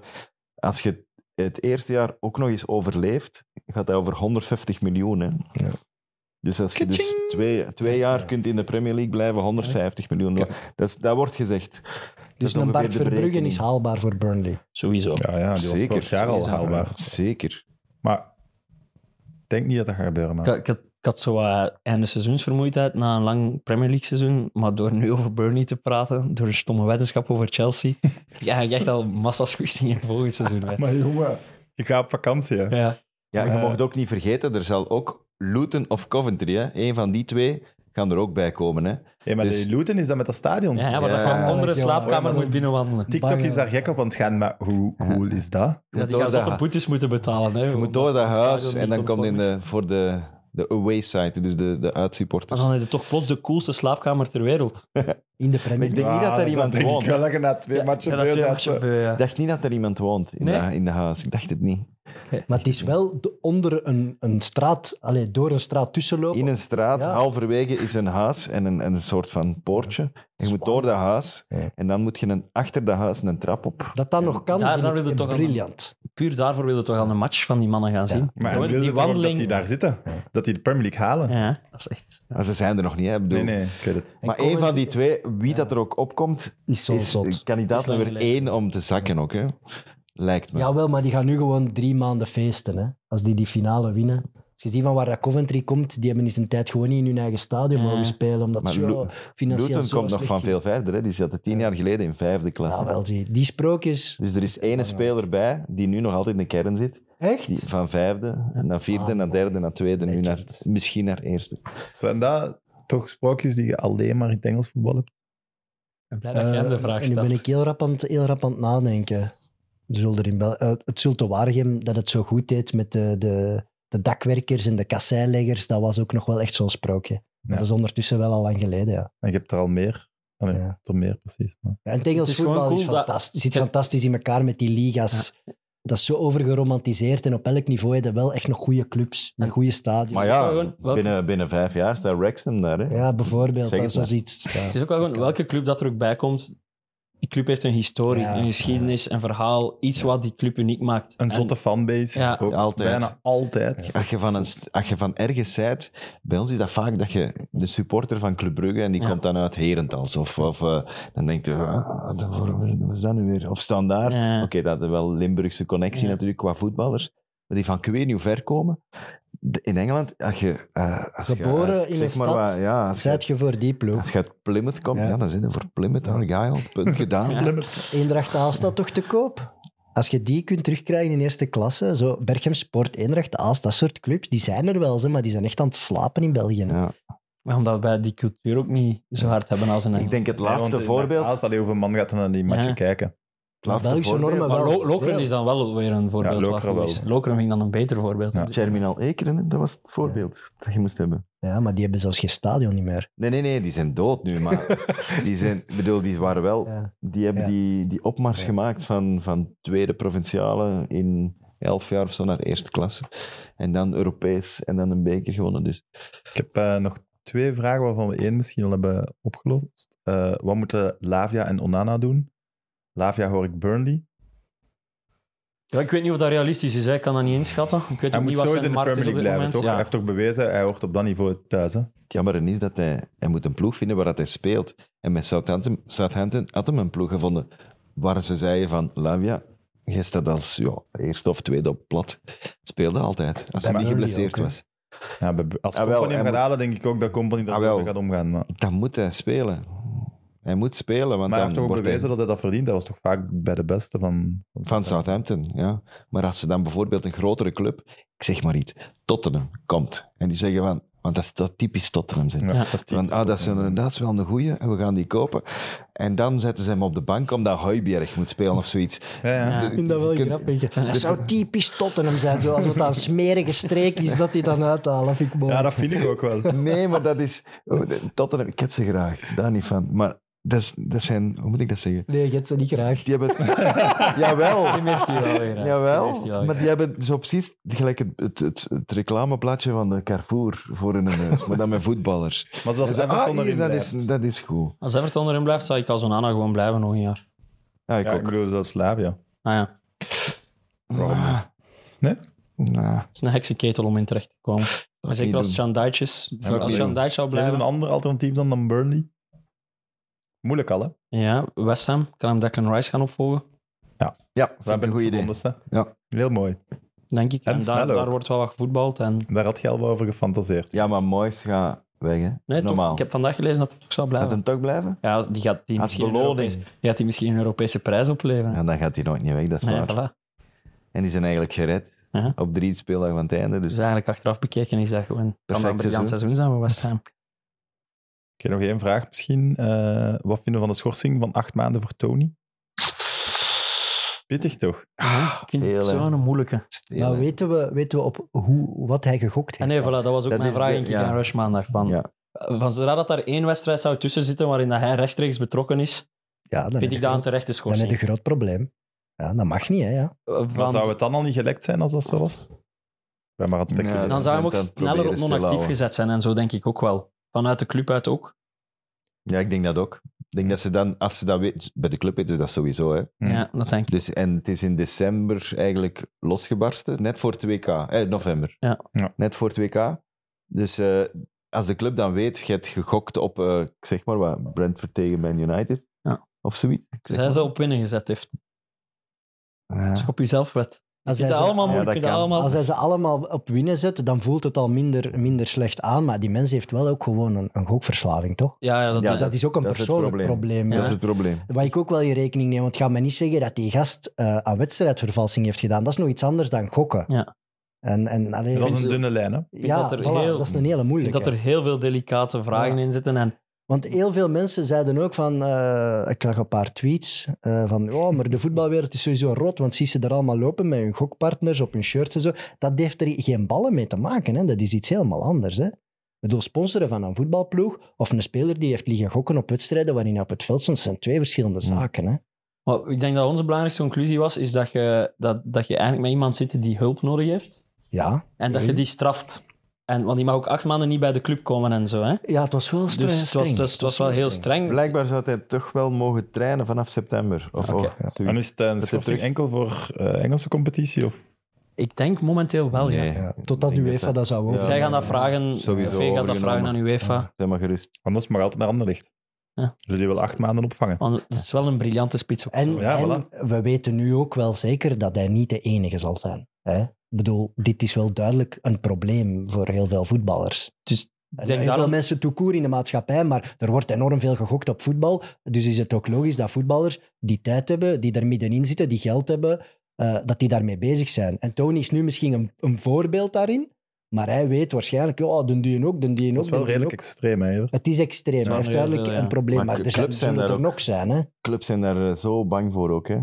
Speaker 4: Als je het eerste jaar ook nog eens overleeft, gaat hij over 150 miljoen. Hè.
Speaker 2: Ja.
Speaker 4: Dus als je dus twee, twee jaar kunt in de Premier League blijven, 150 miljoen. Dat, is- dat wordt gezegd.
Speaker 2: Dus een Bart Verbruggen is haalbaar voor Burnley.
Speaker 3: Sowieso.
Speaker 1: Ja, ja, die was
Speaker 4: Zeker.
Speaker 1: vorig jaar al
Speaker 3: Sowieso.
Speaker 1: haalbaar.
Speaker 4: Zeker.
Speaker 1: Maar ik denk niet dat dat gaat gebeuren.
Speaker 3: Ik,
Speaker 1: Maar.
Speaker 3: had- ik had, ik had zo eh einde seizoensvermoeidheid na een lang Premier League seizoen. Maar door nu over Burnley te praten, door de stomme wetenschap over Chelsea, <laughs> ja, ik echt al massa's goestingen volgend seizoen. hè.
Speaker 1: Maar jongen, ik ga op vakantie. hè.
Speaker 3: Ja.
Speaker 4: Ja, je
Speaker 1: Eh.
Speaker 4: mag het ook niet vergeten, er zal ook Luton of Coventry, hè. een van die twee, gaan er ook bij komen. Hè.
Speaker 1: Hey, maar
Speaker 4: Dus-
Speaker 1: die Luton is dat met dat stadion.
Speaker 3: Ja, maar
Speaker 4: Ja.
Speaker 3: dat je onder een
Speaker 2: Ja.
Speaker 3: slaapkamer moet binnenwandelen.
Speaker 1: TikTok
Speaker 2: Bang,
Speaker 1: is daar gek op aan het gaan, maar hoe cool is dat?
Speaker 4: Je
Speaker 3: Ja, die
Speaker 4: moet door
Speaker 3: gaan
Speaker 4: dat
Speaker 3: zotte
Speaker 4: ha-
Speaker 3: boetes moeten betalen. Hè,
Speaker 4: Je moet door
Speaker 3: omdat
Speaker 4: dat
Speaker 3: het stadion
Speaker 4: huis
Speaker 3: niet
Speaker 4: en dan komt
Speaker 3: conform
Speaker 4: in
Speaker 3: is.
Speaker 4: de, voor de, de away side, dus de, de
Speaker 3: Maar
Speaker 4: uitsupporters.
Speaker 3: dan heb je toch plots de coolste slaapkamer ter wereld.
Speaker 2: In de Premier
Speaker 4: Maar ik
Speaker 2: League.
Speaker 4: denk niet dat daar iemand
Speaker 1: denk
Speaker 4: woont.
Speaker 1: Ik wel Ah, dat je na twee matchen eh,
Speaker 3: Ja,
Speaker 1: beu
Speaker 3: dat twee
Speaker 1: bent,
Speaker 3: matchen
Speaker 1: hè.
Speaker 3: beu, ja.
Speaker 4: Ik dacht niet dat er iemand woont in,
Speaker 3: Nee?
Speaker 4: de, in de huis. Ik dacht het niet.
Speaker 2: Maar het is wel de- onder een, een straat, allez, door een straat tussenlopen.
Speaker 4: In een straat,
Speaker 2: Ja.
Speaker 4: halverwege is een huis en een, en een soort van poortje. En je moet door dat huis
Speaker 2: Ja.
Speaker 4: en dan moet je een, achter dat huis een trap op.
Speaker 2: Dat dat nog kan,
Speaker 3: Daar-
Speaker 2: vind
Speaker 3: daar
Speaker 2: ik
Speaker 3: wil je toch aan-
Speaker 2: briljant.
Speaker 3: Puur daarvoor wil je toch aan een match van die mannen gaan zien.
Speaker 1: Maar
Speaker 3: Gewoon
Speaker 1: hij wil
Speaker 3: die
Speaker 1: toch ook dat
Speaker 3: wandeling.
Speaker 1: die daar zitten. Dat die de Premier League halen.
Speaker 3: Ja, dat is echt...
Speaker 4: Maar ze zijn er nog niet, hè? Ik bedoel.
Speaker 1: Nee, nee, ik weet het.
Speaker 4: Maar
Speaker 2: En
Speaker 4: één van
Speaker 2: Coventry-
Speaker 4: die twee, wie dat er ook opkomt,
Speaker 2: Is zo
Speaker 4: is
Speaker 2: zot.
Speaker 4: kandidaat
Speaker 3: Is lang
Speaker 4: nummer
Speaker 3: geleden.
Speaker 4: één om te zakken ook, hè? Lijkt me.
Speaker 2: Jawel, maar die gaan nu gewoon drie maanden feesten. Hè? Als die die finale winnen. Als je ziet van waar dat Coventry komt, die hebben eens een tijd gewoon niet in hun eigen stadion
Speaker 3: Ja.
Speaker 2: mogen spelen. Omdat
Speaker 4: Maar
Speaker 2: ze zo
Speaker 4: Lu-
Speaker 2: financieel
Speaker 4: Luton
Speaker 2: zo
Speaker 4: komt nog
Speaker 2: slecht
Speaker 4: van
Speaker 2: ging.
Speaker 4: veel verder. Hè? Die zaten tien jaar geleden in vijfde
Speaker 2: Ja,
Speaker 4: klasse.
Speaker 2: wel, zie. Die sprookjes.
Speaker 4: Dus er is één speler bij die nu nog altijd in de kern zit.
Speaker 2: Echt?
Speaker 4: Die van vijfde, naar vierde,
Speaker 2: Ah,
Speaker 4: naar derde, naar tweede, nu naar,
Speaker 2: Legend.
Speaker 4: misschien naar eerste.
Speaker 1: Zijn dat toch sprookjes die je alleen maar in het Engels voetbal hebt?
Speaker 3: Ik ben blij dat jij hem de
Speaker 2: Eh,
Speaker 3: vraag
Speaker 2: en nu
Speaker 3: stelt.
Speaker 2: ben ik heel rap aan het, heel rap aan het nadenken. Er zullen er in Bel- eh, het zult te waargen dat het zo goed deed met de, de, de dakwerkers en de kasseileggers. Dat was ook nog wel echt zo'n sprookje. Maar
Speaker 1: Ja.
Speaker 2: Dat is ondertussen wel al lang geleden, ja.
Speaker 1: En je hebt er al meer. Ah, nee,
Speaker 2: Ja.
Speaker 1: tot meer precies. Maar.
Speaker 2: Ja, En het
Speaker 3: Het
Speaker 2: Engels
Speaker 3: is gewoon
Speaker 2: voetbal is
Speaker 3: cool dat-
Speaker 2: fantastisch. zit
Speaker 3: Ja.
Speaker 2: fantastisch in elkaar met die liga's. Dat is zo overgeromantiseerd. En op elk niveau heb je wel echt nog goede clubs. Met
Speaker 3: Ja.
Speaker 2: goede stadions.
Speaker 4: Maar
Speaker 3: wel
Speaker 4: ja,
Speaker 3: gewoon- welke-
Speaker 4: binnen, binnen vijf jaar staat Wrexham daar. Hè?
Speaker 2: Ja, bijvoorbeeld. Dat
Speaker 4: Zeg het
Speaker 2: is
Speaker 4: maar.
Speaker 2: zoiets. Ja.
Speaker 3: Het is ook wel gewoon, welke club dat er ook bij komt, die club heeft een historie,
Speaker 2: Ja.
Speaker 3: een geschiedenis, een verhaal. Iets wat die club uniek maakt.
Speaker 1: Een
Speaker 3: En-
Speaker 1: zotte fanbase.
Speaker 3: Ja.
Speaker 1: ook
Speaker 4: Altijd.
Speaker 1: Bijna altijd.
Speaker 4: Als je, van een, st- als je van ergens zijt, bij ons is dat vaak dat je de supporter van Club Brugge en die
Speaker 3: Ja.
Speaker 4: komt dan uit Herentals. Of, of eh, dan denkt je, ah, dat- waarom- wat is dat nu weer? Of standaard.
Speaker 3: Ja.
Speaker 4: Oké, dat is wel Limburgse connectie
Speaker 3: Ja.
Speaker 4: natuurlijk qua voetballers. Maar die van ik weet niet hoe ver komen. De- in Engeland, als je... eh, als je
Speaker 2: Geboren
Speaker 4: uit-
Speaker 2: in
Speaker 4: zeg
Speaker 2: een
Speaker 4: maar
Speaker 2: stad,
Speaker 4: wat, ja, als je-
Speaker 2: Zijt je voor die ploeg?
Speaker 4: Als je uit Plymouth komt,
Speaker 2: Ja.
Speaker 4: ja. dan zit je voor Plymouth Argyle. Punt gedaan.
Speaker 3: Ja.
Speaker 2: Eendracht Aalst toch te koop? Als je die kunt terugkrijgen in eerste klasse, zo Berchem Sport, Eendracht Aalst, dat soort clubs, die zijn er wel, ze, maar die zijn echt aan het slapen in België. hè.
Speaker 4: Ja.
Speaker 3: Maar omdat wij die cultuur ook niet zo hard hebben als in
Speaker 4: Ik
Speaker 3: Engeland.
Speaker 4: denk het
Speaker 1: Nee, want
Speaker 4: laatste
Speaker 1: in-
Speaker 4: voorbeeld.
Speaker 1: Als dat hoeveel man gaat dan naar die matchen
Speaker 3: Ja.
Speaker 1: kijken.
Speaker 2: Maar
Speaker 4: laatste
Speaker 2: Belgische
Speaker 4: voorbeeld.
Speaker 2: normen
Speaker 3: Maar
Speaker 2: wel.
Speaker 3: Lo- Lokeren is dan wel weer een voorbeeld.
Speaker 1: Ja,
Speaker 3: wat
Speaker 1: Lokeren
Speaker 3: goed is.
Speaker 1: wel.
Speaker 3: Lokeren vind ik dan een beter voorbeeld.
Speaker 1: Ja.
Speaker 4: Terminal Ekeren, hè, dat was het voorbeeld dat je moest hebben.
Speaker 2: Ja, maar die hebben zelfs geen stadion niet meer.
Speaker 4: Nee, nee, nee, die zijn dood
Speaker 1: <laughs>
Speaker 4: nu, maar die zijn, ik bedoel, die waren wel,
Speaker 2: Ja.
Speaker 4: die hebben
Speaker 2: Ja.
Speaker 4: die, die opmars
Speaker 2: Ja.
Speaker 4: gemaakt van, van tweede provinciale in elf jaar of zo naar eerste klasse. En dan Europees en dan een beker gewonnen. Dus
Speaker 1: Ik heb eh, nog twee vragen waarvan we één misschien al hebben opgelost. Eh, wat moeten Lavia en Onana doen? Lavia hoor ik Burnley.
Speaker 3: Ja, ik weet niet of dat realistisch is, hè. ik kan dat niet inschatten. Ik weet
Speaker 1: Hij
Speaker 3: ook
Speaker 1: moet
Speaker 3: niet wat
Speaker 1: sowieso in
Speaker 3: zijn
Speaker 1: de
Speaker 3: markt
Speaker 1: Premier
Speaker 3: is op
Speaker 1: League
Speaker 3: dit
Speaker 1: blijven,
Speaker 3: moment.
Speaker 1: toch? Hij
Speaker 3: Ja.
Speaker 1: heeft toch bewezen, hij hoort op dat niveau thuis. Hè?
Speaker 4: het jammer is dat hij, hij moet een ploeg vinden waar dat hij speelt. En met Southampton, Southampton had hem een ploeg gevonden waar ze zeiden van, Lavia, jij staat als ja, eerste of tweede op plat. Speelde altijd, als hij
Speaker 2: Bij
Speaker 4: niet
Speaker 2: Burnley
Speaker 4: geblesseerd
Speaker 2: ook, hè.
Speaker 4: was.
Speaker 1: Ja, bij- als
Speaker 4: Ah, wel,
Speaker 1: Company hem
Speaker 4: hij
Speaker 1: gaat
Speaker 4: moet-
Speaker 1: halen, denk ik ook dat Company daar
Speaker 4: Ah,
Speaker 1: zo
Speaker 4: wel.
Speaker 1: mee gaat omgaan. Maar,
Speaker 4: Dan moet hij spelen. Hij moet spelen, want
Speaker 1: maar hij heeft
Speaker 4: dan
Speaker 1: toch ook
Speaker 4: wordt hij...
Speaker 1: bewezen dat hij dat verdient? Dat was toch vaak bij de beste van...
Speaker 4: Van Southampton, ja. Maar als ze dan bijvoorbeeld een grotere club, ik zeg maar iets, Tottenham komt. En die zeggen van, want dat is dat typisch Tottenham zijn.
Speaker 1: Ja,
Speaker 3: Ja.
Speaker 1: dat
Speaker 4: Van, ah, dat is, een, dat is wel een goeie, en we gaan die kopen. En dan zetten ze hem op de bank omdat Heuberg moet spelen of zoiets.
Speaker 1: Ja, ja.
Speaker 3: Ja.
Speaker 4: De-
Speaker 3: Ik
Speaker 2: vind dat wel
Speaker 4: je kunt-
Speaker 2: grappig.
Speaker 4: Dus-
Speaker 2: Dat zou typisch Tottenham zijn, zoals wat daar smerige streek is, dat die dan uithalen. Vind ik mooi.
Speaker 1: Ja, dat vind ik ook wel.
Speaker 4: Nee, maar dat is... oh, Tottenham, ik heb ze graag, daar niet van. Maar dat, is, dat zijn, hoe moet ik dat zeggen?
Speaker 2: Nee, je hebt ze niet graag.
Speaker 1: <laughs>
Speaker 4: Die hebben... Jawel.
Speaker 3: Tim heeft hier wel weer. hè. Tim heeft
Speaker 4: Jawel,
Speaker 3: hier wel
Speaker 4: maar
Speaker 3: weer.
Speaker 4: die hebben zo precies gelijk het, het, het, het reclamebladje van de Carrefour voor hun neus, maar dan met
Speaker 3: <laughs>
Speaker 4: voetballers. <laughs>
Speaker 1: Maar zoals
Speaker 4: En ze-
Speaker 1: Everton
Speaker 4: ah, hier,
Speaker 1: erin
Speaker 4: dat
Speaker 1: blijft.
Speaker 4: is, dat is goed.
Speaker 3: Als Everton erin blijft, zou ik als Onana gewoon blijven nog een jaar.
Speaker 4: Ja, ik
Speaker 1: Ja, ik
Speaker 4: ook. Ah.
Speaker 1: bedoel, zelfs Lavia.
Speaker 3: Ah ja,
Speaker 1: Waarom niet? Nee?
Speaker 4: Nou,
Speaker 3: het is een heksenketel om in terecht te komen.
Speaker 4: dat
Speaker 3: Maar
Speaker 4: niet
Speaker 3: zeker als
Speaker 4: doen.
Speaker 3: Jan Duits is.
Speaker 4: Zou ik
Speaker 3: Als
Speaker 4: niet
Speaker 3: Jan
Speaker 4: doen.
Speaker 3: Duits zou
Speaker 1: Er is een
Speaker 3: blijven.
Speaker 1: ander alternatief dan, dan Burnley. Moeilijk al, hè?
Speaker 3: Ja, West Ham. Kan hem Declan Rice gaan opvolgen,
Speaker 4: Ja, vind
Speaker 1: Daar
Speaker 4: ik
Speaker 1: ben
Speaker 4: een
Speaker 1: ik
Speaker 4: goed idee.
Speaker 1: gevonden.
Speaker 4: Ja.
Speaker 1: Heel mooi.
Speaker 3: denk ik.
Speaker 1: En
Speaker 3: En, daar,
Speaker 1: snel ook.
Speaker 3: daar wordt wel wat gevoetbald. En...
Speaker 1: Daar had je al wel over gefantaseerd.
Speaker 4: Ja, maar Moyes gaat weg, hè.
Speaker 3: Nee, toch,
Speaker 4: Normaal.
Speaker 3: ik heb vandaag gelezen dat hij toch zou
Speaker 4: Gaat
Speaker 3: blijven.
Speaker 4: hem toch blijven?
Speaker 3: Ja, die gaat die,
Speaker 4: Als
Speaker 3: misschien een
Speaker 4: beloning.
Speaker 3: Europese- die, gaat die misschien een Europese prijs opleveren.
Speaker 4: Ja, dan gaat hij nooit niet weg, dat is
Speaker 3: nee,
Speaker 4: waar.
Speaker 3: voilà.
Speaker 4: En die zijn eigenlijk gered.
Speaker 3: Ja.
Speaker 4: Op drie speeldagen van het einde,
Speaker 3: Dus
Speaker 4: dus
Speaker 3: eigenlijk achteraf bekeken is dat gewoon kan dat
Speaker 4: Perfect
Speaker 3: een briljant seizoen
Speaker 4: seizoen.
Speaker 3: zijn voor West Ham.
Speaker 1: Oké, nog één vraag misschien. Eh, wat vinden we van de schorsing van acht maanden voor Tony? Pittig toch?
Speaker 3: Ik vind het
Speaker 4: heel, hè.
Speaker 3: zo'n moeilijke.
Speaker 4: Ja, Ah,
Speaker 2: Maar weten we, weten we op hoe, wat hij gegokt
Speaker 3: En
Speaker 2: heeft?
Speaker 3: Ah, nee, voilà, dat was ook
Speaker 4: Dat
Speaker 3: mijn
Speaker 4: is
Speaker 3: vraag
Speaker 4: de-
Speaker 3: in Kick
Speaker 4: ja.
Speaker 3: and Rush maandag. Van,
Speaker 4: Ja.
Speaker 3: van zodra dat daar één wedstrijd zou tussen zitten waarin dat hij rechtstreeks betrokken is,
Speaker 2: Ja, dan
Speaker 3: vind
Speaker 2: heb
Speaker 3: ik
Speaker 2: je-
Speaker 3: dat een terechte
Speaker 2: Dan heb je
Speaker 3: schorsing. Eh,
Speaker 2: een groot probleem. Ja, dat mag niet, hè. Ja.
Speaker 1: Maar
Speaker 3: Van,
Speaker 1: zou het dan al niet gelekt zijn als dat zo was? Ik ben maar aan het speculeren.
Speaker 4: Nee,
Speaker 3: dan zou hij hem ook
Speaker 4: Dat
Speaker 3: sneller
Speaker 4: proberen
Speaker 3: op
Speaker 4: stil
Speaker 3: non-actief
Speaker 4: houden.
Speaker 3: gezet zijn en zo denk ik ook wel. Vanuit de club uit ook.
Speaker 4: ja, ik denk dat ook. Ik denk dat ze dan, als ze dat weten, bij de club weten ze dat sowieso, hè.
Speaker 1: Hmm.
Speaker 3: Ja, dat denk ik.
Speaker 4: Dus, en het is in december eigenlijk losgebarsten, net voor het WK. Eh, november.
Speaker 3: Ja.
Speaker 1: Ja.
Speaker 4: Net voor het WK. Dus eh, als de club dan weet, je hebt gegokt op, eh, ik zeg maar wat, Brentford tegen Man United.
Speaker 3: Ja.
Speaker 4: Of zoiets. Ik
Speaker 3: Dus
Speaker 4: zeg
Speaker 3: hij
Speaker 4: maar.
Speaker 3: zou op winnen gezet heeft.
Speaker 4: Ja.
Speaker 3: Als je op jezelf wet.
Speaker 2: Als
Speaker 3: Ik vind
Speaker 2: hij
Speaker 3: dat allemaal
Speaker 2: ze,
Speaker 4: Ja,
Speaker 3: moeilijk.
Speaker 4: dat
Speaker 3: ik vind dat
Speaker 4: kan.
Speaker 3: allemaal... dus-
Speaker 2: als hij ze allemaal op winnen zet, dan voelt het al minder, minder slecht aan. Maar die mens heeft wel ook gewoon een, een gokverslaving, toch?
Speaker 3: Ja, ja, dat
Speaker 4: Ja,
Speaker 2: dus dat, is ook een
Speaker 4: dat is het
Speaker 2: persoonlijk
Speaker 4: probleem.
Speaker 2: probleem.
Speaker 4: Dat
Speaker 2: hè.
Speaker 4: is het probleem.
Speaker 2: Wat ik ook wel in rekening neem, want ga me niet zeggen dat die gast eh, aan wedstrijdvervalsing heeft gedaan. Dat is nog iets anders dan gokken.
Speaker 3: Ja.
Speaker 2: En, en alleen,
Speaker 1: Dat is een dunne lijn, hè?
Speaker 2: ja,
Speaker 3: dat er
Speaker 2: voilà,
Speaker 3: heel-
Speaker 2: dat is een hele
Speaker 3: Ik denk
Speaker 2: moeilijke.
Speaker 3: dat er heel veel delicate vragen
Speaker 2: Ja.
Speaker 3: in zitten. En
Speaker 2: Want heel veel mensen zeiden ook van, eh, ik zag een paar tweets eh, van, oh, maar de voetbalwereld is sowieso rot, want zie ze er allemaal lopen met hun gokpartners op hun shirts en zo. Dat heeft er geen ballen mee te maken, hè. dat is iets helemaal anders. Hè. Ik bedoel, sponsoren van een voetbalploeg of een speler die heeft liggen gokken op wedstrijden waarin hij op het veld stond, dat zijn twee verschillende zaken. Hè.
Speaker 3: wat ik denk dat onze belangrijkste conclusie was, is dat je, dat, dat je eigenlijk met iemand zit die hulp nodig heeft.
Speaker 2: Ja.
Speaker 3: En dat je die straft. En, want die mag ook acht maanden niet bij de club komen en zo. Hè?
Speaker 2: ja, het was wel streng.
Speaker 3: Dus het was,
Speaker 2: streng.
Speaker 3: het was, het was wel heel streng.
Speaker 4: Blijkbaar zou hij toch wel mogen trainen vanaf september. Of
Speaker 3: Oké.
Speaker 4: oh, ja,
Speaker 1: En
Speaker 4: zoiets.
Speaker 1: is het een
Speaker 4: hij
Speaker 1: schorsing
Speaker 4: terug-
Speaker 1: enkel voor eh, Engelse competitie? Of?
Speaker 3: Ik denk momenteel wel, ja.
Speaker 4: Nee,
Speaker 2: Ja,
Speaker 4: ik
Speaker 2: totdat
Speaker 4: denk
Speaker 2: UEFA
Speaker 4: dat-
Speaker 2: dat zou over.
Speaker 4: Ja,
Speaker 3: Zij gaan
Speaker 4: nee,
Speaker 3: dat vragen,
Speaker 4: Sowieso
Speaker 3: Sowieso gaat dat
Speaker 4: overgenomen.
Speaker 3: vragen aan UEFA.
Speaker 4: Zeg maar gerust.
Speaker 1: Anders mag altijd naar Anderlicht.
Speaker 3: Ja.
Speaker 1: Zullen die wel acht maanden opvangen?
Speaker 3: Want het is wel een briljante spits ook.
Speaker 2: En,
Speaker 1: Ja,
Speaker 2: en we weten nu ook wel zeker dat hij niet de enige zal zijn. Hè? Ik bedoel, dit is wel duidelijk een probleem voor heel veel voetballers.
Speaker 3: Dus
Speaker 2: En
Speaker 3: denk
Speaker 2: heel
Speaker 3: daarom-
Speaker 2: veel mensen toekoer in de maatschappij, maar er wordt enorm veel gegokt op voetbal. Dus is het ook logisch dat voetballers die tijd hebben, die er middenin zitten, die geld hebben, eh, dat die daarmee bezig zijn. En Tony is nu misschien een, een voorbeeld daarin, maar hij weet waarschijnlijk, ja, doen die ook, doen die ook.
Speaker 1: Dat is wel
Speaker 2: doen die
Speaker 1: redelijk
Speaker 2: ook.
Speaker 1: extreem, hè? Evert?
Speaker 2: Het is extreem, hij
Speaker 3: maar
Speaker 2: heeft
Speaker 3: heel
Speaker 2: duidelijk
Speaker 3: veel, ja.
Speaker 2: een probleem,
Speaker 4: Maar
Speaker 2: maar, er zijn,
Speaker 4: clubs zijn
Speaker 2: zullen
Speaker 4: daar
Speaker 2: er
Speaker 4: ook-
Speaker 2: nog zijn. Hè?
Speaker 4: Clubs zijn daar eh, zo bang voor ook. Hè.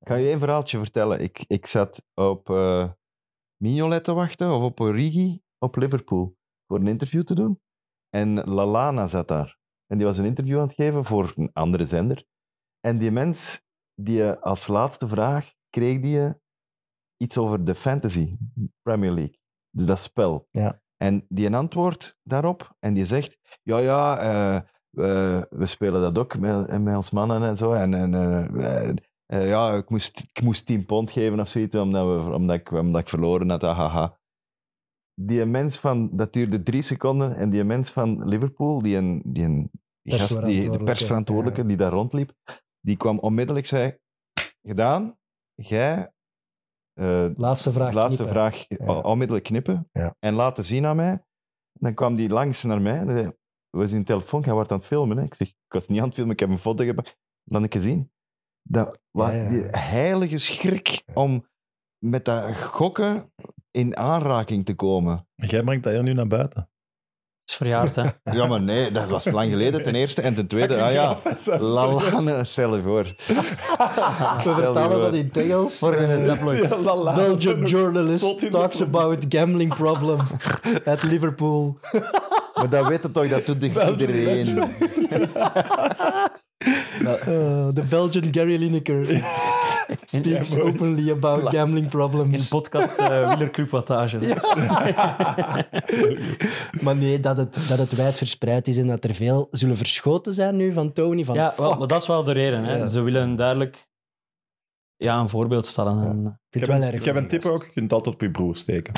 Speaker 4: Ik ga je één verhaaltje vertellen. Ik, ik zat op eh Mignolet te wachten of op Origi op Liverpool voor een interview te doen. En Lalana zat daar. En die was een interview aan het geven voor een andere zender. En die mens, die eh, als laatste vraag kreeg die eh, iets over de Fantasy Premier League. Dus dat spel.
Speaker 2: Ja.
Speaker 4: En die een antwoord daarop en die zegt: Ja, ja, eh, we- we spelen dat ook met, eh, met ons mannen en zo. En, en eh, eh, eh, ja, ik moest, ik moest 10 pond geven of zoiets, omdat, we, omdat, ik, omdat ik verloren had. Hahaha. Die mens van, dat duurde drie seconden, en die mens van Liverpool, die, een, die, een, die gast, die, de
Speaker 2: Persverantwoordelijke,
Speaker 4: persverantwoordelijke die daar rondliep, die kwam onmiddellijk zei: Gedaan, jij, eh,
Speaker 2: Laatste vraag.
Speaker 4: laatste
Speaker 2: knippen.
Speaker 4: vraag, o- onmiddellijk knippen
Speaker 2: Ja.
Speaker 4: en laten zien aan mij. Dan kwam die langs naar mij en die zei: We zijn telefoon, jij wordt aan het filmen. Hè? Ik zeg: Ik was niet aan het filmen, ik heb een foto gepakt. Dan heb ik gezien. Dat was
Speaker 2: ja,
Speaker 4: die
Speaker 2: ja.
Speaker 4: heilige schrik om met dat gokken in aanraking te
Speaker 2: <laughs>
Speaker 4: komen.
Speaker 1: Jij brengt dat heel nu naar buiten.
Speaker 3: is verjaard, hè?
Speaker 4: Ja, maar nee, dat was lang geleden, ten eerste. En ten tweede, ah
Speaker 2: <laughs>
Speaker 4: ja, Lalane, stel je voor.
Speaker 2: We vertalen dat in Tegels.
Speaker 3: Voor een tabloid.
Speaker 2: <laughs> Belgian
Speaker 1: Zot in
Speaker 2: journalist
Speaker 1: de
Speaker 2: talks
Speaker 1: ploeg.
Speaker 2: about gambling problem <laughs> at Liverpool.
Speaker 4: Maar dat weten toch, dat doet
Speaker 1: België,
Speaker 4: iedereen.
Speaker 2: Uh, the Belgian Gary
Speaker 1: <laughs>
Speaker 2: Lineker
Speaker 3: In, in,
Speaker 2: speaks openly about gambling problems.
Speaker 3: podcast eh, Wielerclub Wattage.
Speaker 2: Maar nee, dat het, dat het wijdverspreid is en dat er veel zullen verschoten zijn nu van Tony. Van,
Speaker 3: Ja,
Speaker 2: fuck,
Speaker 3: wel, maar dat is wel de reden. Hè.
Speaker 2: Ja.
Speaker 3: Ze willen duidelijk ja, een voorbeeld stellen. En,
Speaker 1: Ik
Speaker 2: vind het
Speaker 1: heb,
Speaker 2: wel
Speaker 1: een,
Speaker 2: erg
Speaker 1: ik heb een tip
Speaker 2: geweest.
Speaker 1: ook, je kunt altijd op je broer steken.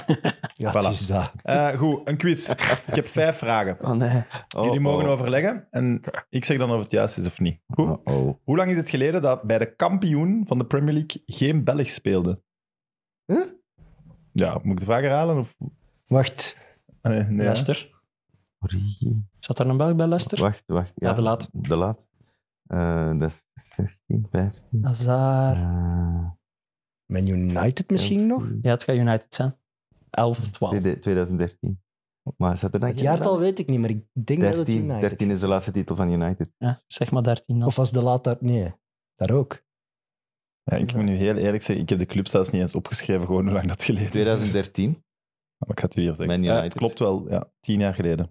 Speaker 2: Ja,
Speaker 1: Voilà.
Speaker 2: het is dat.
Speaker 1: Eh, goed, een quiz. Ik heb vijf vragen.
Speaker 3: oh nee.
Speaker 4: Oh,
Speaker 1: Jullie mogen
Speaker 4: oh.
Speaker 1: overleggen en ik zeg dan of het juist is of niet. Goed?
Speaker 4: Oh, oh.
Speaker 1: Hoe lang is het geleden dat bij de kampioen van de Premier League geen Belg speelde?
Speaker 2: Huh?
Speaker 1: Ja, moet ik de vraag herhalen? Of...
Speaker 2: Wacht,
Speaker 1: Ah, nee, nee, hè?
Speaker 3: Leicester.
Speaker 4: Origi.
Speaker 3: Zat er een Belg bij Leicester?
Speaker 4: Wacht, wacht.
Speaker 3: Ja, de laat.
Speaker 4: De laat. Eh, dat is <laughs> 16, 15.
Speaker 3: Azar.
Speaker 4: eh,
Speaker 2: Man United misschien nog?
Speaker 4: 11,
Speaker 3: Ja, het gaat United zijn. 11, 12.
Speaker 4: 2013. Maar zat er dan
Speaker 2: Het
Speaker 4: geen
Speaker 2: jaartal
Speaker 4: Belg?
Speaker 2: weet ik niet, maar ik denk dat het
Speaker 4: 13,
Speaker 2: United
Speaker 4: 13 is de laatste titel van United.
Speaker 3: Ja, zeg maar 13 dan.
Speaker 2: Of was de laatste... Nee, daar ook.
Speaker 1: Ja, ik moet nu heel eerlijk zeggen, ik heb de club zelfs niet eens opgeschreven, gewoon hoe lang dat geleden is.
Speaker 4: 2013.
Speaker 1: Maar ik ga het u hier zeggen.
Speaker 4: Man
Speaker 1: Ja, het
Speaker 4: United.
Speaker 1: klopt wel, ja, tien jaar geleden.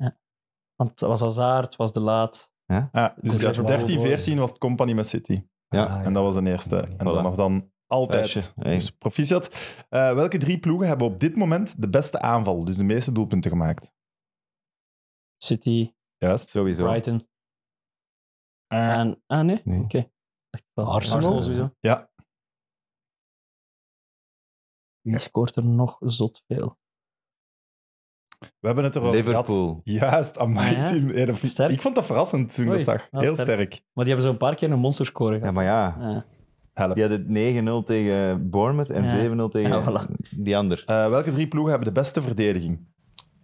Speaker 3: Want het was Azar, het was de laat.
Speaker 1: Ah, dus
Speaker 2: Goed,
Speaker 1: ja,
Speaker 2: dat was
Speaker 1: 13,
Speaker 2: wel
Speaker 1: 14 was het Company met City.
Speaker 4: Ja,
Speaker 2: Ah,
Speaker 1: En dat was de eerste. En
Speaker 4: Voilà.
Speaker 1: vanaf dan altijd.
Speaker 4: Thuisje, hè.
Speaker 1: Dus proficiat. Eh, welke drie ploegen hebben op dit moment de beste aanval, dus de meeste doelpunten gemaakt?
Speaker 3: City,
Speaker 1: Juist.
Speaker 4: Sowieso.
Speaker 3: Brighton. En, ah, nee?
Speaker 4: Nee.
Speaker 3: Oké. Echt wel.
Speaker 2: Arsenal?
Speaker 3: sowieso.
Speaker 1: Ja.
Speaker 3: Wie scoort er nog zot veel?
Speaker 1: We hebben het erover gehad.
Speaker 4: Liverpool.
Speaker 1: Juist, amai
Speaker 3: Ja.
Speaker 1: team. Ja, dat-
Speaker 3: Sterk.
Speaker 1: Ik vond dat verrassend toen ik dat
Speaker 3: Oei,
Speaker 1: zag.
Speaker 3: wel
Speaker 1: Heel
Speaker 3: sterk.
Speaker 1: sterk.
Speaker 3: Maar die hebben zo'n paar keer een monsterscore
Speaker 4: Ja,
Speaker 3: gehad. Ah.
Speaker 4: maar ja.
Speaker 3: Ja.
Speaker 1: Help.
Speaker 4: Die had het 9-0 tegen Bournemouth en
Speaker 3: Ja.
Speaker 4: 7-0 tegen
Speaker 3: Ja,
Speaker 4: die ander.
Speaker 1: Eh, welke drie ploegen hebben de beste verdediging?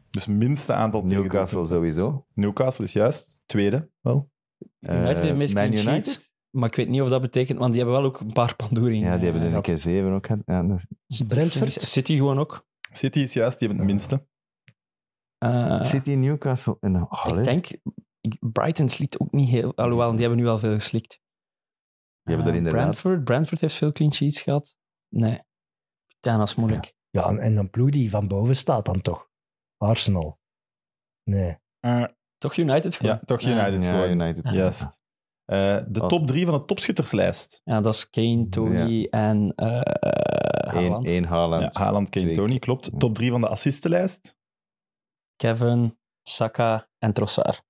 Speaker 1: Dus minste aantal
Speaker 4: Newcastle
Speaker 1: tegendoelpunten.
Speaker 4: sowieso.
Speaker 1: Newcastle is juist tweede. Wel.
Speaker 3: United heeft
Speaker 4: Eh,
Speaker 3: meest
Speaker 4: Man
Speaker 3: clean
Speaker 4: United?
Speaker 3: sheets. Maar ik weet niet of dat betekent, want die hebben wel ook een paar pandoeringen.
Speaker 4: Ja, die hebben er
Speaker 3: eh,
Speaker 4: een keer 7 ook gehad. Ja, dat-
Speaker 3: gehad.
Speaker 2: Brentford?
Speaker 3: City gewoon ook.
Speaker 1: City is juist, die hebben het minste.
Speaker 3: Eh,
Speaker 4: City, Newcastle en dan... Oh,
Speaker 3: ik
Speaker 4: allee.
Speaker 3: denk, ik- Brighton slikt ook niet heel... Alhoewel, die hebben nu al veel geslikt.
Speaker 4: Die hebben er
Speaker 3: Eh,
Speaker 4: inderdaad...
Speaker 3: Brentford, Brentford heeft veel clean sheets gehad. Nee. Pitana is moeilijk.
Speaker 2: Ja, en- en een ploeg die van boven staat dan toch? Arsenal. Nee.
Speaker 3: Eh, Toch United gewoon.
Speaker 1: Ja, toch United
Speaker 4: Ja,
Speaker 1: gewoon.
Speaker 4: United.
Speaker 3: Ja.
Speaker 1: Juist. Eh, de
Speaker 4: Oh.
Speaker 1: top drie van de topschutterslijst.
Speaker 3: Ja, dat is Kane, Tony en eh
Speaker 4: Eén,
Speaker 3: Haaland.
Speaker 4: één Haaland.
Speaker 1: Ja, Haaland, Kane,
Speaker 4: Twee.
Speaker 1: Tony, klopt. Top drie van de assistenlijst.
Speaker 3: Kevin, Saka en Trossard.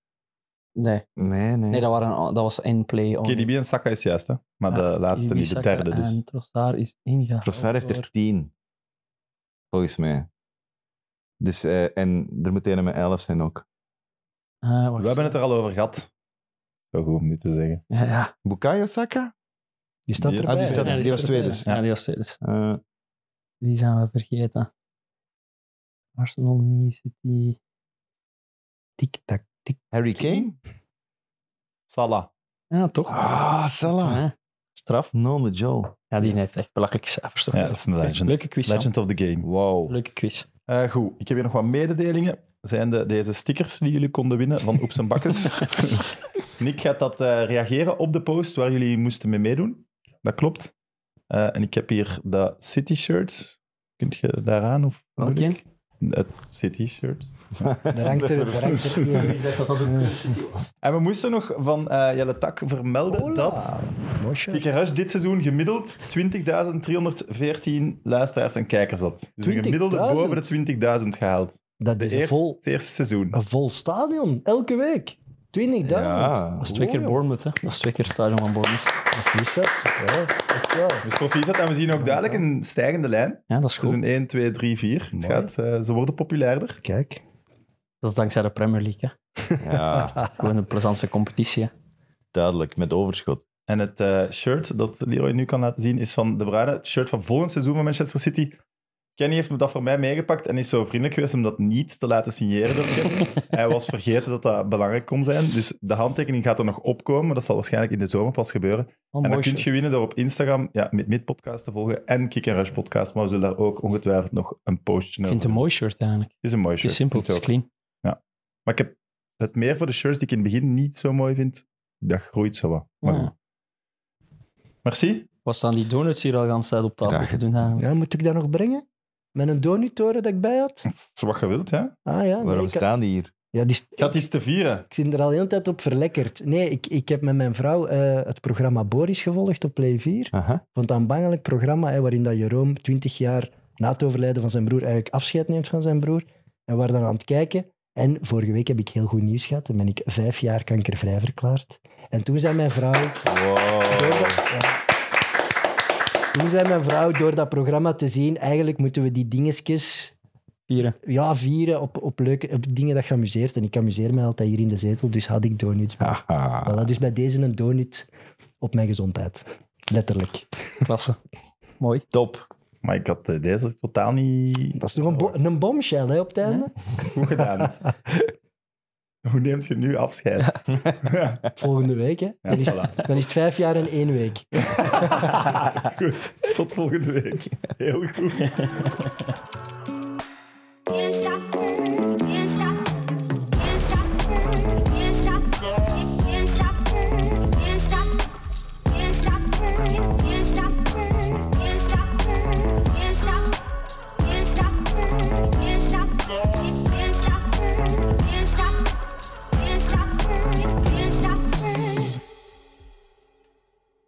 Speaker 3: Nee,
Speaker 4: Nee, nee.
Speaker 3: nee dat, waren, dat was in play. only.
Speaker 1: KDB en Saka is juist, hè? Maar
Speaker 3: Oh, Ja,
Speaker 1: de laatste
Speaker 3: KDB,
Speaker 1: niet, de
Speaker 3: Saka
Speaker 1: derde dus.
Speaker 3: En Trossard is ingehaald.
Speaker 4: Trossard heeft
Speaker 3: door-
Speaker 4: er tien. Volgens mij. Dus, eh, en er moet een met elf zijn ook.
Speaker 3: Ah, wacht
Speaker 1: We hebben het er al over gehad. Zo goed om niet te zeggen.
Speaker 3: Ja, ja.
Speaker 4: Bukayo Saka?
Speaker 2: Die staat
Speaker 1: Die-
Speaker 2: erbij.
Speaker 4: Ah, die, staat,
Speaker 1: Ja,
Speaker 4: die,
Speaker 1: die
Speaker 4: was tweede.
Speaker 3: Ja, die was tweede. dus.
Speaker 4: Eh,
Speaker 3: Wie zijn we vergeten? Arsenal, niet, City.
Speaker 4: <laughs>
Speaker 2: Tik-tak, tik.
Speaker 4: Harry Kane?
Speaker 1: Salah.
Speaker 3: Ja, toch.
Speaker 4: Ah, Salah.
Speaker 3: Ja, straf.
Speaker 4: Non de Joel.
Speaker 3: Ja, die heeft echt belachelijke cijfers. Toch?
Speaker 1: Ja, dat is een legend.
Speaker 3: Leuke quiz. Sam.
Speaker 1: Legend of the game.
Speaker 4: Wow.
Speaker 3: Leuke quiz.
Speaker 1: Eh, goed, ik heb hier nog wat mededelingen. Zijn de, deze stickers die jullie konden winnen van Oeps en
Speaker 2: <laughs>
Speaker 1: Bakkes. Nick gaat dat eh, reageren op de post waar jullie moesten mee meedoen. Dat klopt. Eh, en ik heb hier de City shirt. Kunt je daaraan? Of moet ik?
Speaker 3: Welke?
Speaker 1: Het City shirt.
Speaker 2: Daar hangt er... Daar hangt er
Speaker 3: Ik dacht dat dat een City was.
Speaker 1: En we moesten nog van eh Jelle Tak vermelden
Speaker 2: Hola.
Speaker 1: dat
Speaker 2: Mooi shirt.
Speaker 1: Kick Rush dit seizoen gemiddeld 20.314 luisteraars en kijkers had. Dus een gemiddelde
Speaker 2: 20.000?
Speaker 1: boven de 20.000 gehaald.
Speaker 2: Dat
Speaker 1: De
Speaker 2: is
Speaker 1: eerste,
Speaker 2: een vol,
Speaker 1: Het eerste seizoen.
Speaker 2: een vol stadion. Elke week. 20.000.
Speaker 4: Ja.
Speaker 3: Dat
Speaker 1: Oh,
Speaker 3: is twee keer Bournemouth, hè. Dat is twee keer het stadion van Bournemouth.
Speaker 2: Dat is niet zo. Ja, echt wel.
Speaker 1: Dus profiel zat en we zien ook duidelijk een stijgende lijn.
Speaker 3: Ja, dat is goed.
Speaker 1: Seizoen 1, 2, 3, 4. Het
Speaker 2: Mooi.
Speaker 1: gaat, eh, ze worden populairder.
Speaker 2: Kijk.
Speaker 3: Dat is dankzij de Premier League, hè.
Speaker 4: Ja,
Speaker 3: Dat is gewoon een plezantste competitie, hè.
Speaker 4: duidelijk, met overschot.
Speaker 1: En het eh, shirt dat Leroy nu kan laten zien is van De Bruyne. Het shirt van volgend seizoen van Manchester City. Kenny heeft me dat voor mij meegepakt en is zo vriendelijk geweest om dat niet te laten signeren. door Kenny.
Speaker 3: <laughs>
Speaker 1: Hij was vergeten dat dat belangrijk kon zijn. Dus de handtekening gaat er nog opkomen. maar Dat zal waarschijnlijk in de zomer pas gebeuren.
Speaker 3: Oh,
Speaker 1: en
Speaker 3: mooi
Speaker 1: dan kun je
Speaker 3: shirt.
Speaker 1: winnen door op Instagram ja, Mid Mid Podcast te volgen en Kick Rush Podcast. Maar we zullen daar ook ongetwijfeld nog een postje
Speaker 3: Ik
Speaker 1: over
Speaker 3: vind het een
Speaker 1: doen.
Speaker 3: mooi shirt, eigenlijk.
Speaker 1: Het is een mooi
Speaker 3: Het is
Speaker 1: shirt.
Speaker 3: simpel,
Speaker 1: vind
Speaker 3: het
Speaker 1: ik
Speaker 3: is
Speaker 1: ook.
Speaker 3: clean.
Speaker 1: Maar ik heb het meer voor de shirts die ik in het begin niet zo mooi vind. Dat groeit zo wat. Maar
Speaker 3: Ja.
Speaker 1: goed. Merci.
Speaker 3: Wat staan die donuts hier al de hele tijd op tafel
Speaker 4: Ja,
Speaker 3: te doen? eigenlijk?
Speaker 2: Ja, moet ik dat nog brengen? Met een donutoren dat ik bij had?
Speaker 1: Zo wat je wilt, hè?
Speaker 2: Ah ja. nee,
Speaker 4: Waarom
Speaker 2: ik had-
Speaker 4: staan die hier?
Speaker 2: Ja, die,
Speaker 1: Ik had iets te vieren.
Speaker 2: Ik zit er al de hele tijd op verlekkerd. Nee, ik, ik heb met mijn vrouw eh, het programma Boris gevolgd op Play 4. Ik
Speaker 4: Aha.
Speaker 2: vond het een bangelijk programma hè, waarin dat Jeroen 20 jaar na het overlijden van zijn broer eigenlijk afscheid neemt van zijn broer. En we waren dan aan het kijken. En vorige week heb ik heel goed nieuws gehad. Dan ben ik vijf jaar kankervrij verklaard. En toen zei mijn vrouw... Door
Speaker 4: Wow.
Speaker 2: dat- ja. Toen zei mijn vrouw, door dat programma te zien, eigenlijk moeten we die dingetjes
Speaker 3: Vieren.
Speaker 2: ja, vieren op, op leuke op dingen dat je amuseert. En ik amuseer me altijd hier in de zetel, dus had ik donuts. bij.
Speaker 4: Haha.
Speaker 2: Voilà, dus bij deze een donut op mijn gezondheid. Letterlijk.
Speaker 3: Klasse. Mooi.
Speaker 4: Top.
Speaker 1: Maar ik had eh, deze totaal niet
Speaker 2: Dat is nog een,
Speaker 1: Oh.
Speaker 2: bo- een bombshell hè, op het einde.
Speaker 1: goed gedaan. Hoe neemt je nu afscheid?
Speaker 2: Volgende week, hè.
Speaker 1: Ja,
Speaker 2: Dan is,
Speaker 1: voilà.
Speaker 2: dan is het vijf jaar en één week.
Speaker 1: Goed. Tot volgende week. Heel goed.